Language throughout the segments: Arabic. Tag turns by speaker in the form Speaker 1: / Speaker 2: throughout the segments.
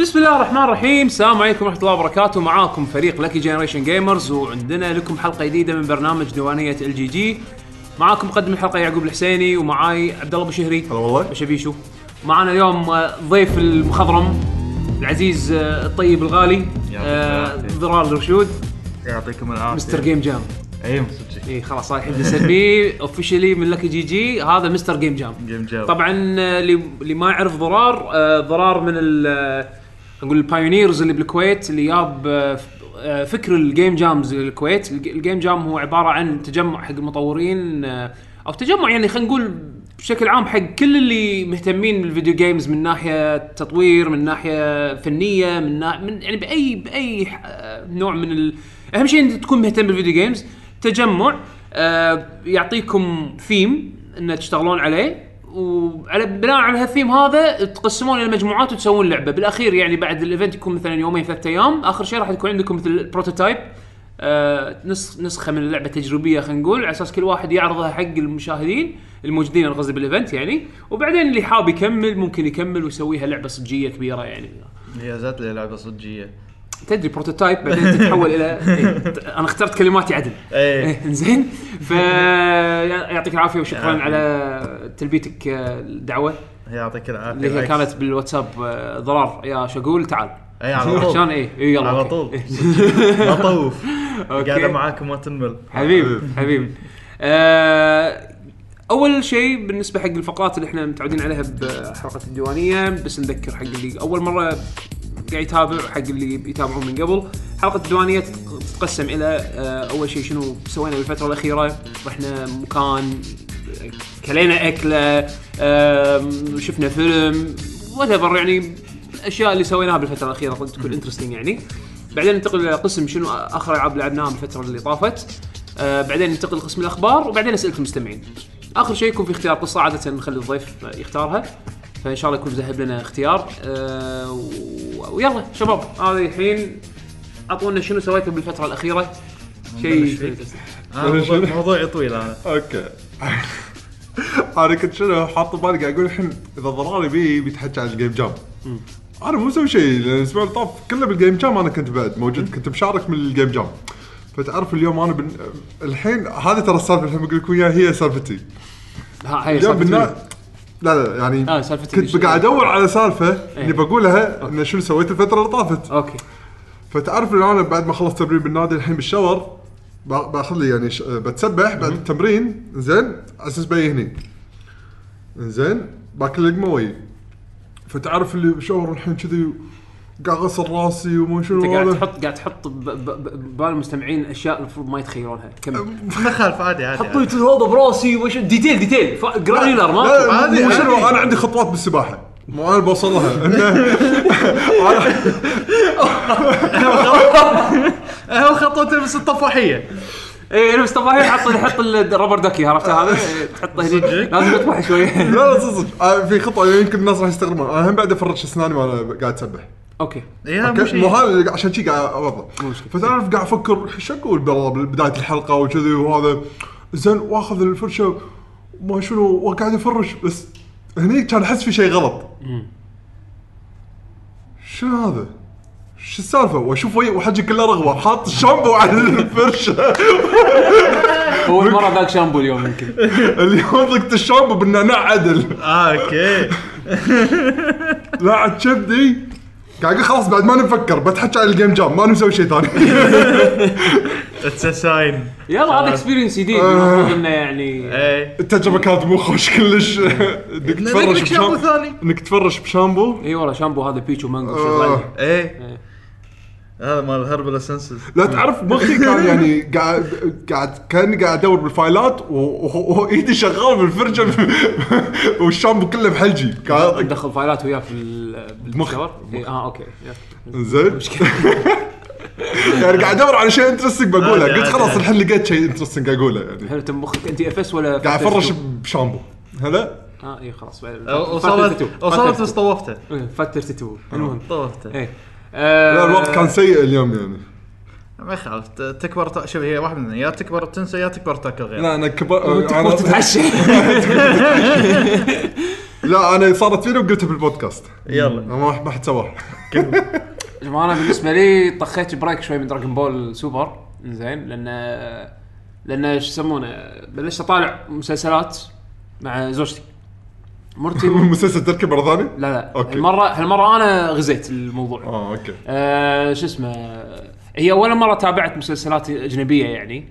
Speaker 1: بسم الله الرحمن الرحيم السلام عليكم ورحمه الله وبركاته معاكم فريق لكي جنريشن جيمرز وعندنا لكم حلقه جديده من برنامج ديوانيه ال جي جي معاكم مقدم الحلقه يعقوب الحسيني ومعاي عبد الله بشهري
Speaker 2: هلا والله
Speaker 1: بشبيشو معنا اليوم آه، ضيف المخضرم العزيز آه، الطيب الغالي آه،
Speaker 3: العافية.
Speaker 1: ضرار الرشود
Speaker 3: يعطيكم إيه، العافيه
Speaker 1: مستر جيم جام
Speaker 3: اي مستر
Speaker 1: اي خلاص هاي احنا نسميه اوفشلي من لكي جي جي هذا مستر جيم جام
Speaker 3: جيم جاب
Speaker 1: طبعا آه، اللي اللي ما يعرف ضرار آه، ضرار من ال آه، نقول البايونيرز اللي بالكويت اللي جاب آه، ف- آه، فكر الجيم جامز للكويت الج- الجيم جام هو عباره عن تجمع حق المطورين آه، او تجمع يعني خلينا نقول بشكل عام حق كل اللي مهتمين بالفيديو جيمز من ناحيه تطوير من ناحيه فنيه من, نا... من يعني باي باي آه، نوع من ال... اهم شيء انك تكون مهتم بالفيديو جيمز تجمع آه، يعطيكم ثيم ان تشتغلون عليه وعلى بناء على هالثيم هذا تقسمون الى مجموعات وتسوون لعبه بالاخير يعني بعد الايفنت يكون مثلا يومين ثلاثة ايام اخر شيء راح يكون عندكم مثل بروتوتايب آه نسخ نسخه من اللعبه تجريبيه خلينا نقول على اساس كل واحد يعرضها حق المشاهدين الموجودين أنا قصدي بالايفنت يعني وبعدين اللي حاب يكمل ممكن يكمل ويسويها لعبه صجيه كبيره يعني
Speaker 3: يا زات لي لعبه صجيه
Speaker 1: تدري بروتوتايب بعدين تتحول الى إيه، ت- انا اخترت كلماتي عدل
Speaker 3: اي
Speaker 1: إيه، زين ف يعطيك العافيه وشكرا على تلبيتك آه، الدعوه
Speaker 3: يعطيك العافيه
Speaker 1: اللي هي
Speaker 3: بالعكس.
Speaker 1: كانت بالواتساب آه، ضرار يا شقول تعال
Speaker 3: اي على طول
Speaker 1: عشان ايه إيه، يلا
Speaker 3: على
Speaker 1: أوكي.
Speaker 3: طول صدق. ما طوف
Speaker 1: أوكي.
Speaker 3: قاعده معاكم ما تنمل
Speaker 1: حبيب حبيب آه، اول شيء بالنسبه حق الفقرات اللي احنا متعودين عليها بحلقه الديوانيه بس نذكر حق اللي اول مره قاعد يتابع حق اللي بيتابعون من قبل حلقه الديوانيه تتق- تتقسم الى آه، اول شيء شنو سوينا بالفتره الاخيره رحنا مكان كلينا اكله آم، شفنا فيلم وات يعني الاشياء اللي سويناها بالفتره الاخيره قد تكون انترستنج يعني بعدين ننتقل الى قسم شنو اخر العاب لعبناها بالفتره اللي طافت آه بعدين ننتقل لقسم الاخبار وبعدين اسئله المستمعين اخر شيء يكون في اختيار قصه عاده نخلي الضيف آه، يختارها فان شاء الله يكون مذهب لنا اختيار آه و- ويلا شباب هذه الحين اعطونا شنو سويتوا بالفتره الاخيره
Speaker 3: نبلش
Speaker 1: شيء
Speaker 3: فيك. آه، موضوع- موضوعي طويل انا
Speaker 2: اوكي انا كنت شنو حاط بالي قاعد اقول الحين اذا ضراري بي بيتحكى عن الجيم جام انا مو مسوي شيء لان الاسبوع اللي طاف كله بالجيم جام انا كنت بعد موجود كنت مشارك من الجيم جام فتعرف اليوم انا بن... الحين هذه ترى السالفه الحين بقول لكم اياها هي سالفتي
Speaker 1: ها هي
Speaker 2: اليوم
Speaker 1: سالفة
Speaker 2: بالنا...
Speaker 1: منو؟
Speaker 2: لا لا يعني
Speaker 1: آه، سالفتي
Speaker 2: كنت قاعد ادور على سالفه
Speaker 1: إيه.
Speaker 2: اللي بقولها ان شنو سويت الفتره اللي طافت
Speaker 1: اوكي
Speaker 2: فتعرف ان انا بعد ما خلصت تمرين بالنادي الحين بالشاور با- باخذ لي يعني ش... بتسبح بعد التمرين زين على اساس بيهني زين باكل لقمه وي فتعرف اللي بالشاور الحين كذي قاعد اغسل راسي وما شنو
Speaker 1: انت قاعد
Speaker 2: هذا.
Speaker 1: تحط قاعد تحط ب- ب- ب- ببال المستمعين اشياء المفروض ما يتخيلونها كمل
Speaker 3: ما خالف عادي عادي عادي.
Speaker 1: حطيت هذا براسي وش ديتيل ديتيل ف- جرانيولر
Speaker 2: لا،
Speaker 1: ما
Speaker 3: عادي،
Speaker 2: مو شنو
Speaker 3: عادي.
Speaker 2: انا عندي خطوات بالسباحه مو انا بوصل لها إنه-
Speaker 3: إيه، هو خطوه تلبس الطفاحيه
Speaker 1: اي نفس الطفاحين حط حط الربر دكي عرفت هذا
Speaker 2: آه.
Speaker 1: إيه، تحطه هنا
Speaker 3: صدق؟
Speaker 1: لازم تطبح شويه
Speaker 2: لا لا صدق صدق. آه، في خطوه يمكن الناس راح يستغربون انا هم بعد افرش اسناني وانا قاعد اسبح
Speaker 1: اوكي
Speaker 3: يا إيه، مو
Speaker 2: اوكي
Speaker 3: شيء
Speaker 2: مو هذا اللي عشان شي قاعد اوضح
Speaker 1: مشكلة.
Speaker 2: فتعرف قاعد افكر شو اقول بالله بدايه الحلقه وكذي وهذا زين واخذ الفرشه ما شنو وقاعد افرش بس هني كان احس في شيء غلط شنو هذا؟ شو السالفه؟ واشوف وي وحجي كله رغوه حاط الشامبو على الفرشه
Speaker 1: اول مره ذاك شامبو اليوم يمكن
Speaker 2: اليوم ضقت الشامبو بالنعناع عدل
Speaker 3: آه، اوكي
Speaker 2: لاعب كبدي قاعد اقول خلاص بعد ما نفكر بتحكي عن الجيم جام ما نسوي شيء ثاني
Speaker 3: اتس ساين
Speaker 1: يلا هذا اكسبيرينس جديد
Speaker 2: آه.
Speaker 1: المفروض انه يعني
Speaker 3: اي
Speaker 2: التجربه كانت مو خوش كلش انك تفرش
Speaker 3: إيه. لك شامبو
Speaker 2: بشامبو
Speaker 3: ثاني
Speaker 2: انك تفرش بشامبو
Speaker 1: اي والله شامبو هذا بيتشو مانجو شغال
Speaker 2: آه.
Speaker 1: إيه.
Speaker 3: اي إيه. هذا مال هربل اسنسز
Speaker 2: لا تعرف مخي كان يعني قاعد قاعد كاني قاعد ادور بالفايلات و- و- وايدي شغال بالفرجه والشامبو كله بحلجي قاعد
Speaker 1: دخل فايلات وياه في ال-
Speaker 2: مخ.
Speaker 1: بالشاور إي، اه اوكي يلا.
Speaker 2: زين يعني قاعد ادور على شيء انترستنج بقوله
Speaker 3: عادي،
Speaker 2: قلت
Speaker 3: عادي،
Speaker 2: خلاص
Speaker 3: عادي.
Speaker 2: الحين لقيت شيء انترستنج اقوله يعني
Speaker 1: حلو تم مخك انت اف اس ولا
Speaker 2: قاعد
Speaker 1: فاتل
Speaker 2: افرش
Speaker 1: تو؟
Speaker 2: بشامبو هلا
Speaker 1: اه اي خلاص بعد- فاتل
Speaker 3: وصلت
Speaker 1: تو، فاتل
Speaker 3: وصلت
Speaker 1: تو.
Speaker 3: بس طوفته
Speaker 1: إيه، فات 32 المهم آه،
Speaker 3: طوفته
Speaker 1: ايه
Speaker 2: آه. لا الوقت كان سيء اليوم يعني
Speaker 3: ما يخالف ت- تكبر ت- شوف هي واحد من يا تكبر تنسى يا تكبر تاكل غير
Speaker 2: لا انا كبر
Speaker 1: وتتعشى
Speaker 2: لا انا صارت فيني وقلتها بالبودكاست
Speaker 3: يلا
Speaker 2: ما ما حد سواه
Speaker 1: جماعة انا بالنسبه لي طخيت بريك شوي من دراجون بول سوبر زين لان لان شو يسمونه بلشت اطالع مسلسلات مع زوجتي مرتي لا
Speaker 2: المسلسل تركي مره ثانيه؟
Speaker 1: لا
Speaker 2: أوكي.
Speaker 1: هالمره هالمره انا غزيت الموضوع
Speaker 2: اه اوكي
Speaker 1: آه شو اسمه هي اول مره تابعت مسلسلات اجنبيه يعني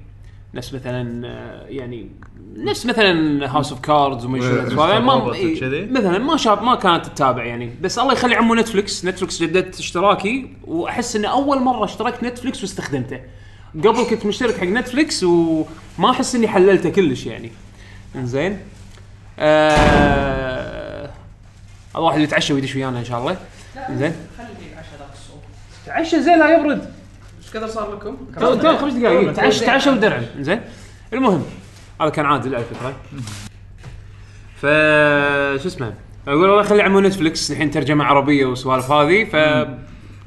Speaker 1: نفس مثلا آه، يعني نفس مثلا هاوس اوف كاردز وما
Speaker 2: إيه،
Speaker 1: شو ما
Speaker 3: Robots
Speaker 1: إيه،
Speaker 3: وكذي.
Speaker 1: مثلا ما شاف ما كانت تتابع يعني بس الله يخلي عمو نتفلكس نتفلكس جددت اشتراكي واحس ان اول مره اشتركت نتفلكس واستخدمته قبل كنت مشترك حق نتفلكس وما احس اني حللته كلش يعني انزين آه الواحد يتعشى ويدش ويانا ان شاء الله زين
Speaker 4: خلي العشاء ذاك الصوت
Speaker 1: تعشى زين لا يبرد
Speaker 4: ايش قدر صار لكم؟
Speaker 1: تو تو خمس دقائق تعشى تعشى ودرع زين المهم هذا كان عادل على فكره ف شو اسمه اقول الله خلي عمو نتفلكس الحين ترجمه عربيه والسوالف هذه ف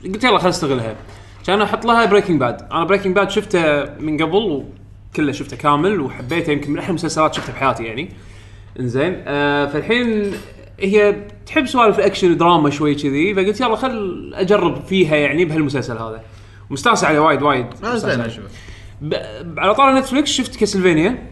Speaker 1: قلت يلا خل استغلها كان احط لها بريكنج باد انا بريكنج باد شفته من قبل وكله شفته كامل وحبيته يمكن من احلى المسلسلات شفتها بحياتي يعني انزين آه فالحين هي تحب سوالف اكشن دراما شوي كذي فقلت يلا خل اجرب فيها يعني بهالمسلسل هذا مستانس عليه وايد وايد
Speaker 3: ما
Speaker 1: مستانس
Speaker 3: زين
Speaker 1: عليه.
Speaker 3: اشوف
Speaker 1: ب- على طار نتفلكس شفت كاسلفينيا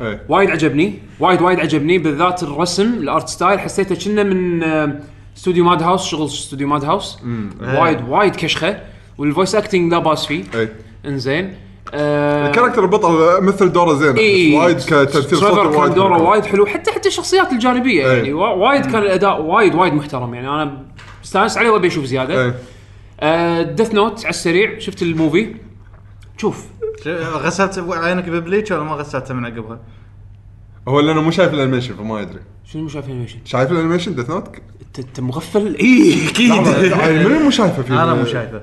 Speaker 2: ايه
Speaker 1: وايد عجبني وايد وايد عجبني بالذات الرسم الارت ستايل حسيته كنا من آه، استوديو ماد هاوس شغل استوديو ماد هاوس
Speaker 2: إيه.
Speaker 1: وايد وايد كشخه والفويس اكتنج لا باس فيه
Speaker 2: ايه
Speaker 1: انزين آه،
Speaker 2: الكاركتر البطل مثل دوره زين
Speaker 1: إي،
Speaker 2: وايد كتمثيل
Speaker 1: تريفر
Speaker 2: صوتي
Speaker 1: كان دوره
Speaker 2: حلو. إيه.
Speaker 1: وايد حلو حتى حتى الشخصيات الجانبيه
Speaker 2: إي.
Speaker 1: يعني وا- وايد كان الاداء وايد وايد محترم يعني انا استانست عليه وابي اشوف زياده
Speaker 2: ايه
Speaker 1: ديث نوت آه، على السريع شفت الموفي شوف
Speaker 3: غسلت عينك ببليتش ولا ما غسلتها من عقبها؟
Speaker 2: هو لانه مو شايف الانيميشن فما يدري
Speaker 1: شنو مو شايف انيميشن
Speaker 2: شايف الانيميشن ديث نوت؟
Speaker 1: انت انت مغفل إيه. اي اكيد
Speaker 2: من اللي يعني مو شايفه في
Speaker 3: انا مو شايفه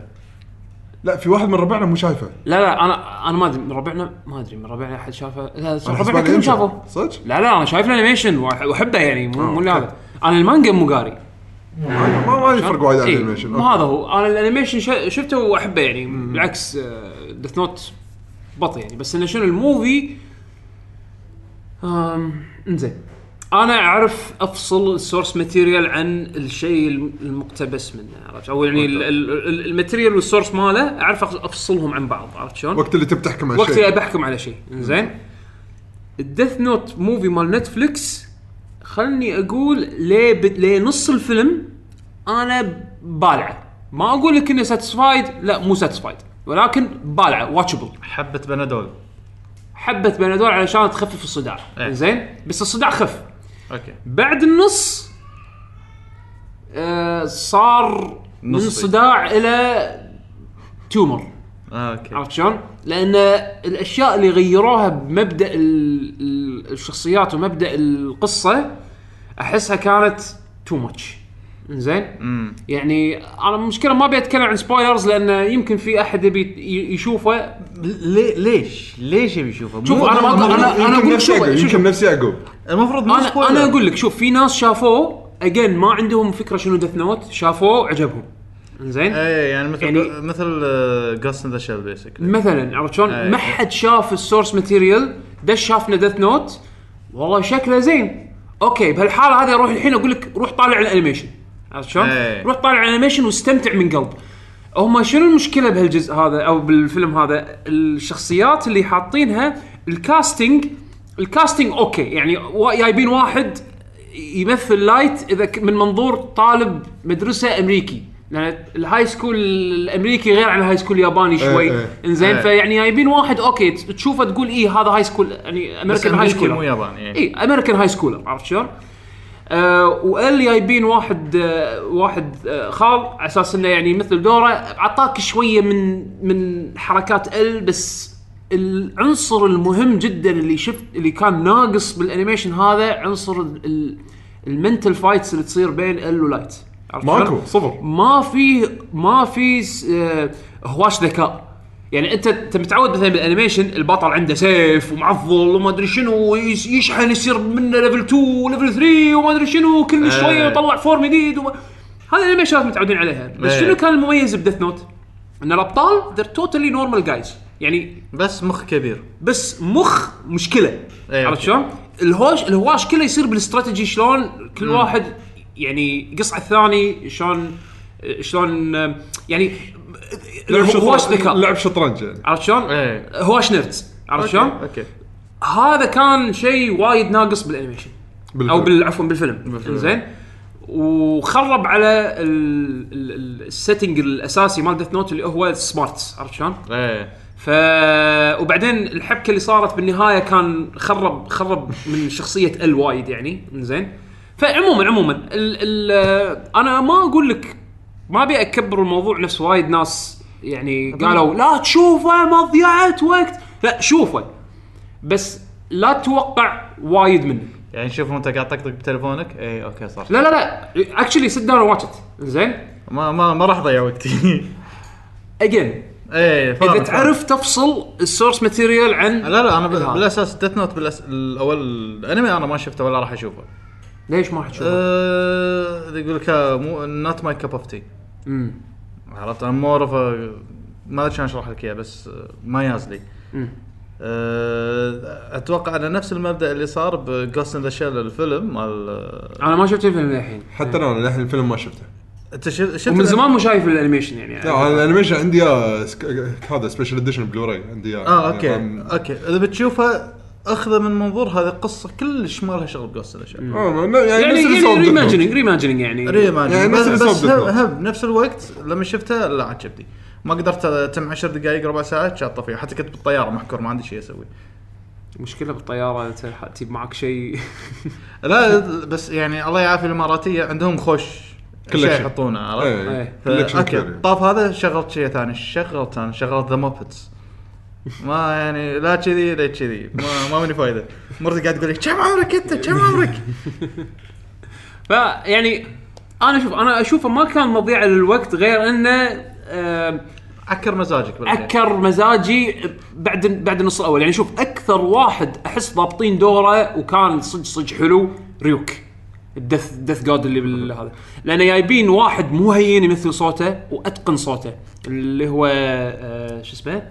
Speaker 2: لا في واحد من ربعنا مو شايفه
Speaker 1: لا لا انا انا ما ادري من ربعنا ما ادري من ربعنا احد شافه لا
Speaker 2: أنا
Speaker 1: ربعنا
Speaker 2: حسبان
Speaker 1: كلهم
Speaker 2: يمشي.
Speaker 1: شافوه
Speaker 2: صدق؟
Speaker 1: لا لا انا شايف الانيميشن وأح- واحبه يعني مو مو اللي
Speaker 2: آه، أوكي.
Speaker 1: هذا انا المانجا مو قاري
Speaker 2: ما ما- ما يفرق وايد عن
Speaker 1: إيه،
Speaker 2: الانيميشن
Speaker 1: مو هذا هو انا الانيميشن شا- شفته واحبه يعني بالعكس آه، ديث نوت بطل يعني بس انه شنو الموفي آم، انزين انا اعرف افصل السورس ماتيريال عن الشيء الم- المقتبس منه عرفت او يعني ال- ال- ال- الماتيريال والسورس ماله اعرف أخ- افصلهم عن بعض عرفت شلون؟
Speaker 2: وقت اللي تبي تحكم على
Speaker 1: وقت اللي
Speaker 2: الشيء
Speaker 1: بحكم على شيء زين الديث نوت موفي مال نتفليكس خلني اقول ليه ب... ليه نص الفيلم انا بالعه ما اقول لك انه ساتسفايد لا مو ساتسفايد ولكن بالعه واتشبل
Speaker 3: حبه بنادول
Speaker 1: حبه بنادول علشان تخفف الصداع
Speaker 3: إيه.
Speaker 1: زين بس الصداع خف
Speaker 3: اوكي
Speaker 1: بعد النص آه صار من
Speaker 3: نصي.
Speaker 1: صداع الى تومر
Speaker 3: اوكي
Speaker 1: عرفت شلون؟ لان الاشياء اللي غيروها بمبدا ال- ال- الشخصيات ومبدا القصه احسها كانت تو ماتش زين
Speaker 3: امم
Speaker 1: يعني انا المشكله ما ابي اتكلم عن سبويلرز لان يمكن في احد يبي ي- يشوفه
Speaker 3: ليه ليش ليش يبي يشوفه؟ مو-
Speaker 1: شوف، أنا ما-
Speaker 2: يمكن-
Speaker 1: أنا- أنا
Speaker 2: يمكن
Speaker 1: أقول
Speaker 2: نفس
Speaker 1: شو-
Speaker 2: يعقوب،
Speaker 1: شو-
Speaker 2: يمكن نفس يعقوب
Speaker 3: المفروض مو
Speaker 1: انا
Speaker 3: spoiler.
Speaker 1: انا اقول لك شوف في ناس شافوه اجين ما عندهم فكره شنو دث نوت شافوه عجبهم زين
Speaker 3: ايه يعني مثل
Speaker 1: يعني-
Speaker 3: يعني مثل جاست ان ذا شيل بيسك
Speaker 1: مثلا عرفت شلون؟
Speaker 2: إيه.
Speaker 3: أي.
Speaker 1: ما حد شاف السورس ماتيريال دش شافنا ديث نوت والله شكله زين اوكي بهالحاله هذه اروح الحين اقول لك روح طالع الانيميشن عرفت شلون؟
Speaker 2: إيه.
Speaker 3: أي.
Speaker 1: روح طالع الانيميشن واستمتع من قلب هما شنو المشكله بهالجزء هذا او بالفيلم هذا الشخصيات اللي حاطينها الكاستنج الكاستنج اوكي يعني وا- جايبين واحد يمثل لايت اذا ك- من منظور طالب مدرسه امريكي يعني الهاي سكول الامريكي غير عن الهاي سكول الياباني شوي
Speaker 2: إيه.
Speaker 1: انزين
Speaker 3: إيه.
Speaker 1: فيعني جايبين واحد اوكي ت- تشوفه تقول اي هذا هاي سكول يعني
Speaker 3: بس
Speaker 1: امريكان هاي إيه.
Speaker 3: امريكي مو
Speaker 1: سكول
Speaker 3: ياباني يعني.
Speaker 1: اي امريكان هاي سكول عرفت شلون؟ آه وال جايبين واحد آه واحد آه خال على اساس انه يعني مثل دوره عطاك شويه من من حركات ال بس العنصر المهم جدا اللي شفت اللي كان ناقص بالانيميشن هذا عنصر المنتل فايتس اللي تصير بين ال ولايت عرفت شلون؟
Speaker 2: ماكو صفر
Speaker 1: ما في ما في س- آه، هواش ذكاء يعني انت انت متعود مثلا بالانيميشن البطل عنده سيف ومعضل وما ادري شنو ويس- يشحن يصير منه ليفل 2 وليفل 3 وما ادري شنو كل شويه
Speaker 3: ايه.
Speaker 1: يطلع فورم جديد وما... هذه الانيميشنات متعودين عليها بس
Speaker 3: ايه.
Speaker 1: شنو كان المميز بدث نوت؟ ان الابطال ذير توتالي نورمال جايز يعني
Speaker 3: بس مخ كبير
Speaker 1: بس مخ مشكله
Speaker 3: ايه،
Speaker 1: عرفت
Speaker 3: اوكي.
Speaker 1: شلون؟ الهوش الهواش كله يصير بالاستراتيجي شلون كل واحد يعني يقص على الثاني شلون شلون يعني هواش ذكاء
Speaker 2: لعب شطرنج يعني
Speaker 1: عرفت شلون؟
Speaker 3: إيه.
Speaker 1: هواش نيردز عرفت شلون؟
Speaker 3: اوكي
Speaker 1: هذا كان شيء وايد ناقص بالانيميشن او
Speaker 2: بالفعل.
Speaker 1: بال عفوا بالفيلم
Speaker 3: بالفيلم.
Speaker 1: زين وخرب على السيتنج الاساسي مال ديث نوت اللي هو السمارت عرفت شلون؟
Speaker 3: ايه
Speaker 1: ف وبعدين الحبكه اللي صارت بالنهايه كان خرب خرب من شخصيه ال وايد يعني زين فعموما عموما ال ال انا ما اقول لك ما ابي اكبر الموضوع نفس وايد ناس يعني قالوا لا تشوفه مضيعه وقت لا شوفه بس لا تتوقع وايد منه
Speaker 3: يعني شوف انت قاعد تطقطق بتليفونك اي اوكي صح
Speaker 1: لا لا لا اكشلي سيت داون واتش ات زين
Speaker 3: ما ما ما راح اضيع وقتي
Speaker 1: اجين
Speaker 3: ايه فاهم،
Speaker 1: اذا
Speaker 3: فاهم.
Speaker 1: تعرف تفصل السورس ماتيريال عن
Speaker 3: لا لا انا
Speaker 1: الهذا.
Speaker 3: بال- بالاساس ديث نوت بالاس... الاول الانمي انا ما شفته ولا راح اشوفه
Speaker 1: ليش ما حتشوفه؟
Speaker 3: أه... يقول لك آه، مو نوت ماي كاب اوف تي
Speaker 1: مم.
Speaker 3: عرفت انا مور اوف ما ادري شلون اشرح لك اياه بس آه، ما ياز لي
Speaker 1: مم.
Speaker 3: أه... اتوقع على نفس المبدا اللي صار بجوست ان ذا شيل الفيلم مال آه،
Speaker 1: انا ما شفت الفيلم للحين
Speaker 2: حتى انا للحين الفيلم ما شفته
Speaker 3: انت شف- شفت
Speaker 1: ومن
Speaker 3: الأن-
Speaker 1: يعني. زمان مو شايف الانيميشن يعني
Speaker 2: لا انا الانيميشن عندي إياه سك- هذا سبيشل اديشن بلوراي عندي إياه.
Speaker 1: آه،
Speaker 2: يعني
Speaker 3: اه اوكي
Speaker 2: أم-
Speaker 3: اوكي اذا بتشوفها اخذه من منظور هذه قصه كلش ما لها شغل بجوست ان ذا شيل
Speaker 2: آه، ن- يعني
Speaker 1: يعني
Speaker 2: نفس اللي
Speaker 1: يعني
Speaker 2: سوى بديث نوت.
Speaker 1: ريماجيننج ريماجيننج يعني
Speaker 3: ريماجن يعني
Speaker 2: يعني نفس
Speaker 3: بس,
Speaker 2: اللي
Speaker 3: بس
Speaker 2: سوى
Speaker 3: هم,
Speaker 2: بديث
Speaker 3: هم بنفس الوقت لما شفته لا عجبني ما قدرت تم 10 دقائق ربع ساعه شاطه فيه حتى كنت بالطياره محكور ما عندي شيء اسوي
Speaker 1: مشكله بالطياره تلح- تجيب معك شيء
Speaker 3: لا بس يعني الله يعافي الاماراتيه عندهم خوش
Speaker 2: كل
Speaker 3: شيء
Speaker 2: شيء.
Speaker 3: يحطونه عرفت؟
Speaker 2: إيه.
Speaker 1: إيه.
Speaker 3: فا-
Speaker 2: كولكشن
Speaker 3: اوكي
Speaker 2: كبير.
Speaker 3: طاف هذا شغلت شيء ثاني شغلت انا شغلت ذا موبتس ما يعني لا كذي لا كذي ما ما مني فايده مرتي قاعد تقول لي كم عمرك انت كم عمرك؟
Speaker 1: فيعني انا يعني شوف انا اشوفه ما كان مضيعه للوقت غير انه آم،
Speaker 3: عكر مزاجك بالأخير.
Speaker 1: اكر مزاجي بعد بعد النص الاول يعني شوف اكثر واحد احس ضابطين دوره وكان صج صج حلو ريوك الدث دث جاد اللي بالهذا لان جايبين واحد مو هين يمثل صوته واتقن صوته اللي هو آه، شو اسمه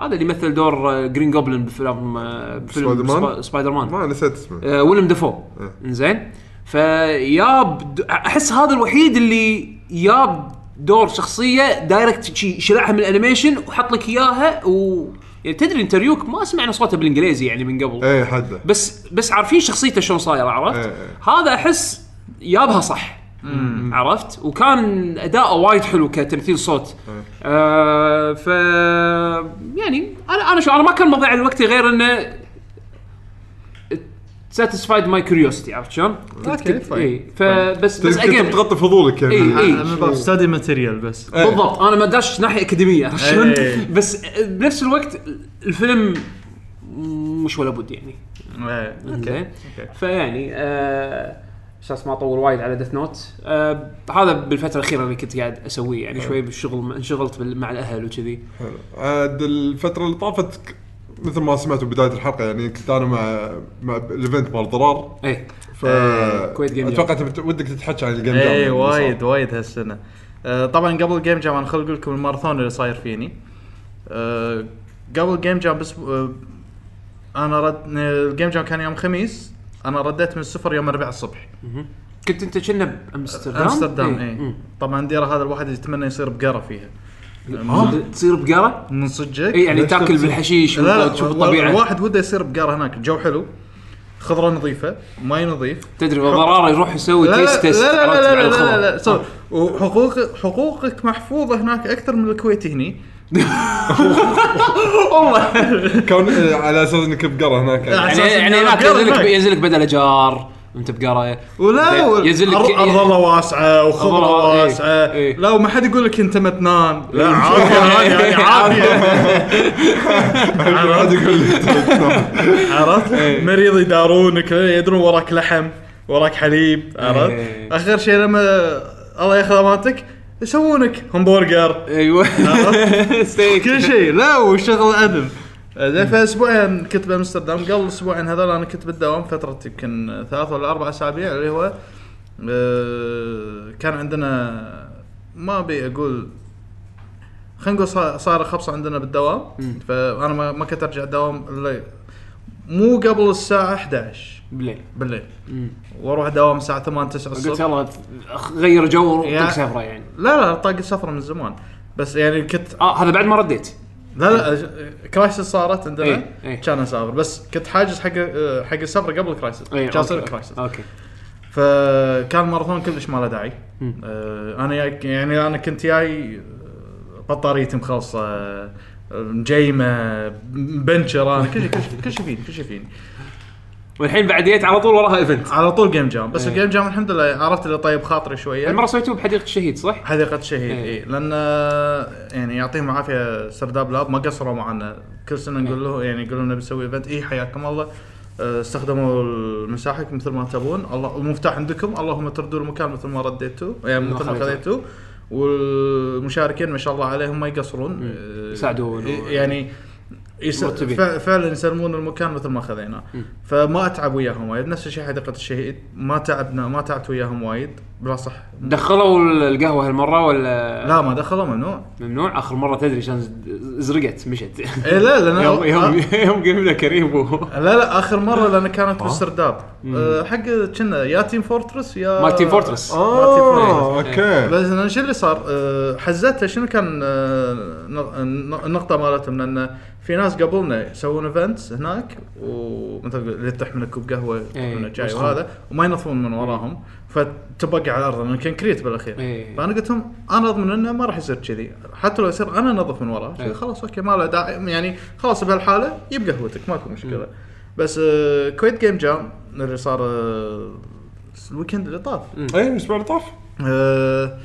Speaker 1: هذا اللي مثل دور جرين جوبلن بفيلم آه، بفيلم
Speaker 2: سبايدر مان؟
Speaker 1: سبا- سبايدر مان
Speaker 2: ما نسيت اسمه
Speaker 1: آه، ويلم دافو
Speaker 2: إيه.
Speaker 1: زين فياب د- احس هذا الوحيد اللي ياب دور شخصيه دايركت شي- شلعها من الانيميشن وحط لك اياها و يعني تدري انت ريوك ما سمعنا صوته بالانجليزي يعني من قبل
Speaker 2: ايه حده
Speaker 1: بس بس عارفين شخصيته شلون صايره عرفت؟
Speaker 2: إيه، إيه.
Speaker 1: هذا احس يابها صح عرفت؟ وكان اداؤه وايد حلو كتمثيل صوت آه ف يعني انا انا شو انا ما كان مضيع الوقت غير انه ساتيسفايد ماي كيوريوستي عرفت شلون؟
Speaker 3: أوكي، fine. طيب،
Speaker 1: اي فبس بس
Speaker 2: تقدر
Speaker 1: اجين
Speaker 2: تغطي فضولك يعني
Speaker 1: إيه، إيه.
Speaker 3: أنا من باب ستادي ماتيريال بس
Speaker 2: إيه.
Speaker 1: بالضبط انا ما داش ناحيه اكاديميه عرفت شلون؟
Speaker 3: إيه.
Speaker 1: بس بنفس الوقت الفيلم مش ولا بد يعني
Speaker 3: إيه.
Speaker 1: زين
Speaker 3: أوكي.
Speaker 1: فيعني آه، اساس ما اطول وايد على ديث نوت آه هذا بالفتره الاخيره اللي كنت قاعد اسويه يعني شوي بالشغل انشغلت بال- مع الاهل وكذي
Speaker 2: حلو. عاد الفترة اللي طافت ك- مثل ما سمعتوا بداية الحلقة يعني كنت انا مع مع الايفنت مال ضرار
Speaker 1: اي
Speaker 2: ف
Speaker 3: إيه،
Speaker 1: كويت جيم
Speaker 2: اتوقع أنت بت- ودك تتحكي عن الجيم جام
Speaker 1: إيه،
Speaker 3: اي
Speaker 2: اللي
Speaker 3: إيه، وايد
Speaker 2: صار.
Speaker 3: وايد هالسنه آه، طبعا قبل الجيم جام انا خل اقول لكم الماراثون اللي صاير فيني آه، قبل الجيم جام بس آه، انا رد الجيم جام كان يوم خميس انا رديت من السفر يوم الاربعاء الصبح
Speaker 1: كنت انت كنا بامستردام
Speaker 3: امستردام
Speaker 1: إيه.
Speaker 3: اي
Speaker 1: مم.
Speaker 3: طبعا ديره هذا الواحد يتمنى يصير بقره فيها
Speaker 1: تصير- تصير بقره
Speaker 3: من صدقك
Speaker 1: اي يعني
Speaker 2: ليش
Speaker 1: تاكل
Speaker 2: تبصر؟
Speaker 1: بالحشيش
Speaker 3: لا لا
Speaker 1: وتشوف الطبيعه
Speaker 3: الواحد وده يصير بقره هناك الجو حلو خضره نظيفه ماي نظيف
Speaker 1: تدري ضراره يروح يسوي
Speaker 3: لا
Speaker 1: تيست
Speaker 3: لا
Speaker 1: تيست
Speaker 3: لا
Speaker 1: عرفت، آه.
Speaker 3: لا
Speaker 1: على
Speaker 3: لا
Speaker 1: الخضار.
Speaker 3: لا لا لا صور. وحقوق حقوقك محفوظه هناك اكثر من الكويت هني
Speaker 2: كان إيه، على اساس انك بقرة هناك يعني.
Speaker 1: يعني
Speaker 3: أساس إنه
Speaker 1: يعني هناك
Speaker 3: بقرة
Speaker 1: ينزل لك
Speaker 3: هناك.
Speaker 1: ينزل لك بدل اجار وانت بقره
Speaker 3: ولا
Speaker 1: زين،
Speaker 3: وال-
Speaker 1: ينزل لك
Speaker 3: أر- ارض الله واسعه وخضره
Speaker 1: أرض الله، إيه،
Speaker 3: واسعه
Speaker 1: إيه.
Speaker 3: لا وما حد يقول لك انت متنان إيه. لا عافيه
Speaker 1: يعني
Speaker 3: عافيه
Speaker 2: عاد
Speaker 3: عافيه
Speaker 2: يقول لي
Speaker 3: عرفت
Speaker 1: إيه.
Speaker 3: مريض يدارونك يدرون وراك لحم وراك حليب عرفت
Speaker 1: إيه.
Speaker 3: اخر شيء لما الله ياخذ امانتك يسوونك همبرجر
Speaker 1: ايوه ستيك
Speaker 3: كل شيء لا وشغل اذن زين فاسبوعين كنت بامستردام قبل اسبوعين هذول انا كنت بالدوام فتره يمكن ثلاث ولا اربع اسابيع اللي هو آه، كان عندنا ما ابي اقول خلينا نقول صا- صار خبصه عندنا بالدوام فانا ما ما كنت ارجع الدوام الا مو قبل الساعه 11
Speaker 1: بالليل
Speaker 3: بالليل
Speaker 1: مم.
Speaker 3: واروح دوام الساعه 8 9
Speaker 1: قلت
Speaker 3: الصبح
Speaker 1: يلا أخ- غير جو
Speaker 3: يا-
Speaker 1: طق سفره يعني
Speaker 3: لا لا طاق السفره من زمان بس يعني كنت
Speaker 1: اه هذا بعد ما رديت
Speaker 3: لا لا ج- كرايسس صارت عندنا
Speaker 1: إيه، إيه.
Speaker 3: كان اسافر بس كنت حاجز حق آه، حق السفر قبل كرايسس
Speaker 1: إيه،
Speaker 3: كان اصير
Speaker 1: أوكي.
Speaker 3: كرايسس
Speaker 1: اوكي
Speaker 3: فكان الماراثون كلش ما له داعي
Speaker 1: مم.
Speaker 3: آه، انا جاي- يعني انا كنت جاي آه، بطاريتي مخلصه آه، مجيمه مبنشر انا كل شيء كل شيء- كل شيء فيني كل شيء فيني
Speaker 1: والحين بعد جيت على طول وراها ايفنت
Speaker 3: على طول جيم جام بس
Speaker 1: إيه. يعني
Speaker 3: الجيم جام الحمد لله عرفت اللي طيب خاطري شويه
Speaker 1: المره سويتوه بحديقه الشهيد صح؟
Speaker 3: حديقه شهيد
Speaker 1: إيه.
Speaker 3: إيه. لان آه، يعني يعطيهم العافيه سرداب لاب ما قصروا معنا كل
Speaker 1: إيه.
Speaker 3: سنه نقول له يعني يقولوا لنا بنسوي ايفنت اي حياكم الله آه، استخدموا المساحه مثل ما تبون الله المفتاح عندكم اللهم تردوا المكان مثل ما رديتوا يعني
Speaker 1: ما
Speaker 3: مثل ما
Speaker 1: خذيتوا.
Speaker 3: خذيتوا والمشاركين ما شاء الله عليهم ما يقصرون
Speaker 1: إيه.
Speaker 3: آه،
Speaker 1: يساعدون و-
Speaker 3: يعني يس...
Speaker 1: مرتبين.
Speaker 3: ف... فعلا يسلمون المكان مثل ما خذيناه
Speaker 1: إيه.
Speaker 3: فما اتعب وياهم وايد نفس الشيء حديقه الشهيد ما تعبنا ما تعبت وياهم وايد بلا صح
Speaker 1: دخلوا القهوه هالمره ولا
Speaker 3: لا ما دخلوا ممنوع
Speaker 1: ممنوع اخر مره تدري عشان زرقت مشت
Speaker 3: اي إيه، لا لان
Speaker 1: يوم يوم يوم قمنا كريم و-
Speaker 3: لا لا اخر مره لان كانت
Speaker 1: آه.
Speaker 3: بالسرداب أه، حق كنا يا تيم فورترس يا
Speaker 1: مال تيم فورترس.
Speaker 2: اه
Speaker 3: آه
Speaker 2: اوكي
Speaker 3: بس أنا شو اللي صار؟ أه، حزتها شنو كان أه، نق- النق- النقطه مالتهم لان في ناس قبلنا يسوون ايفنتس هناك ومثل تقول اللي تطيح من كوب قهوه
Speaker 1: إيه،
Speaker 3: من جاي
Speaker 1: يوسخون.
Speaker 3: وهذا وما ينظفون من وراهم فتبقى على الارض لان كونكريت بالاخير
Speaker 1: إيه.
Speaker 3: فانا قلت لهم انا اضمن انه ما راح يصير كذي حتى لو يصير انا انظف من وراه
Speaker 1: إيه.
Speaker 3: خلاص اوكي ما له داعي يعني خلاص بهالحاله يب قهوتك ماكو مشكله بس آه، كويت جيم جام اللي صار آه، الويكند اللي طاف
Speaker 2: اي الاسبوع اللي طاف
Speaker 3: آه،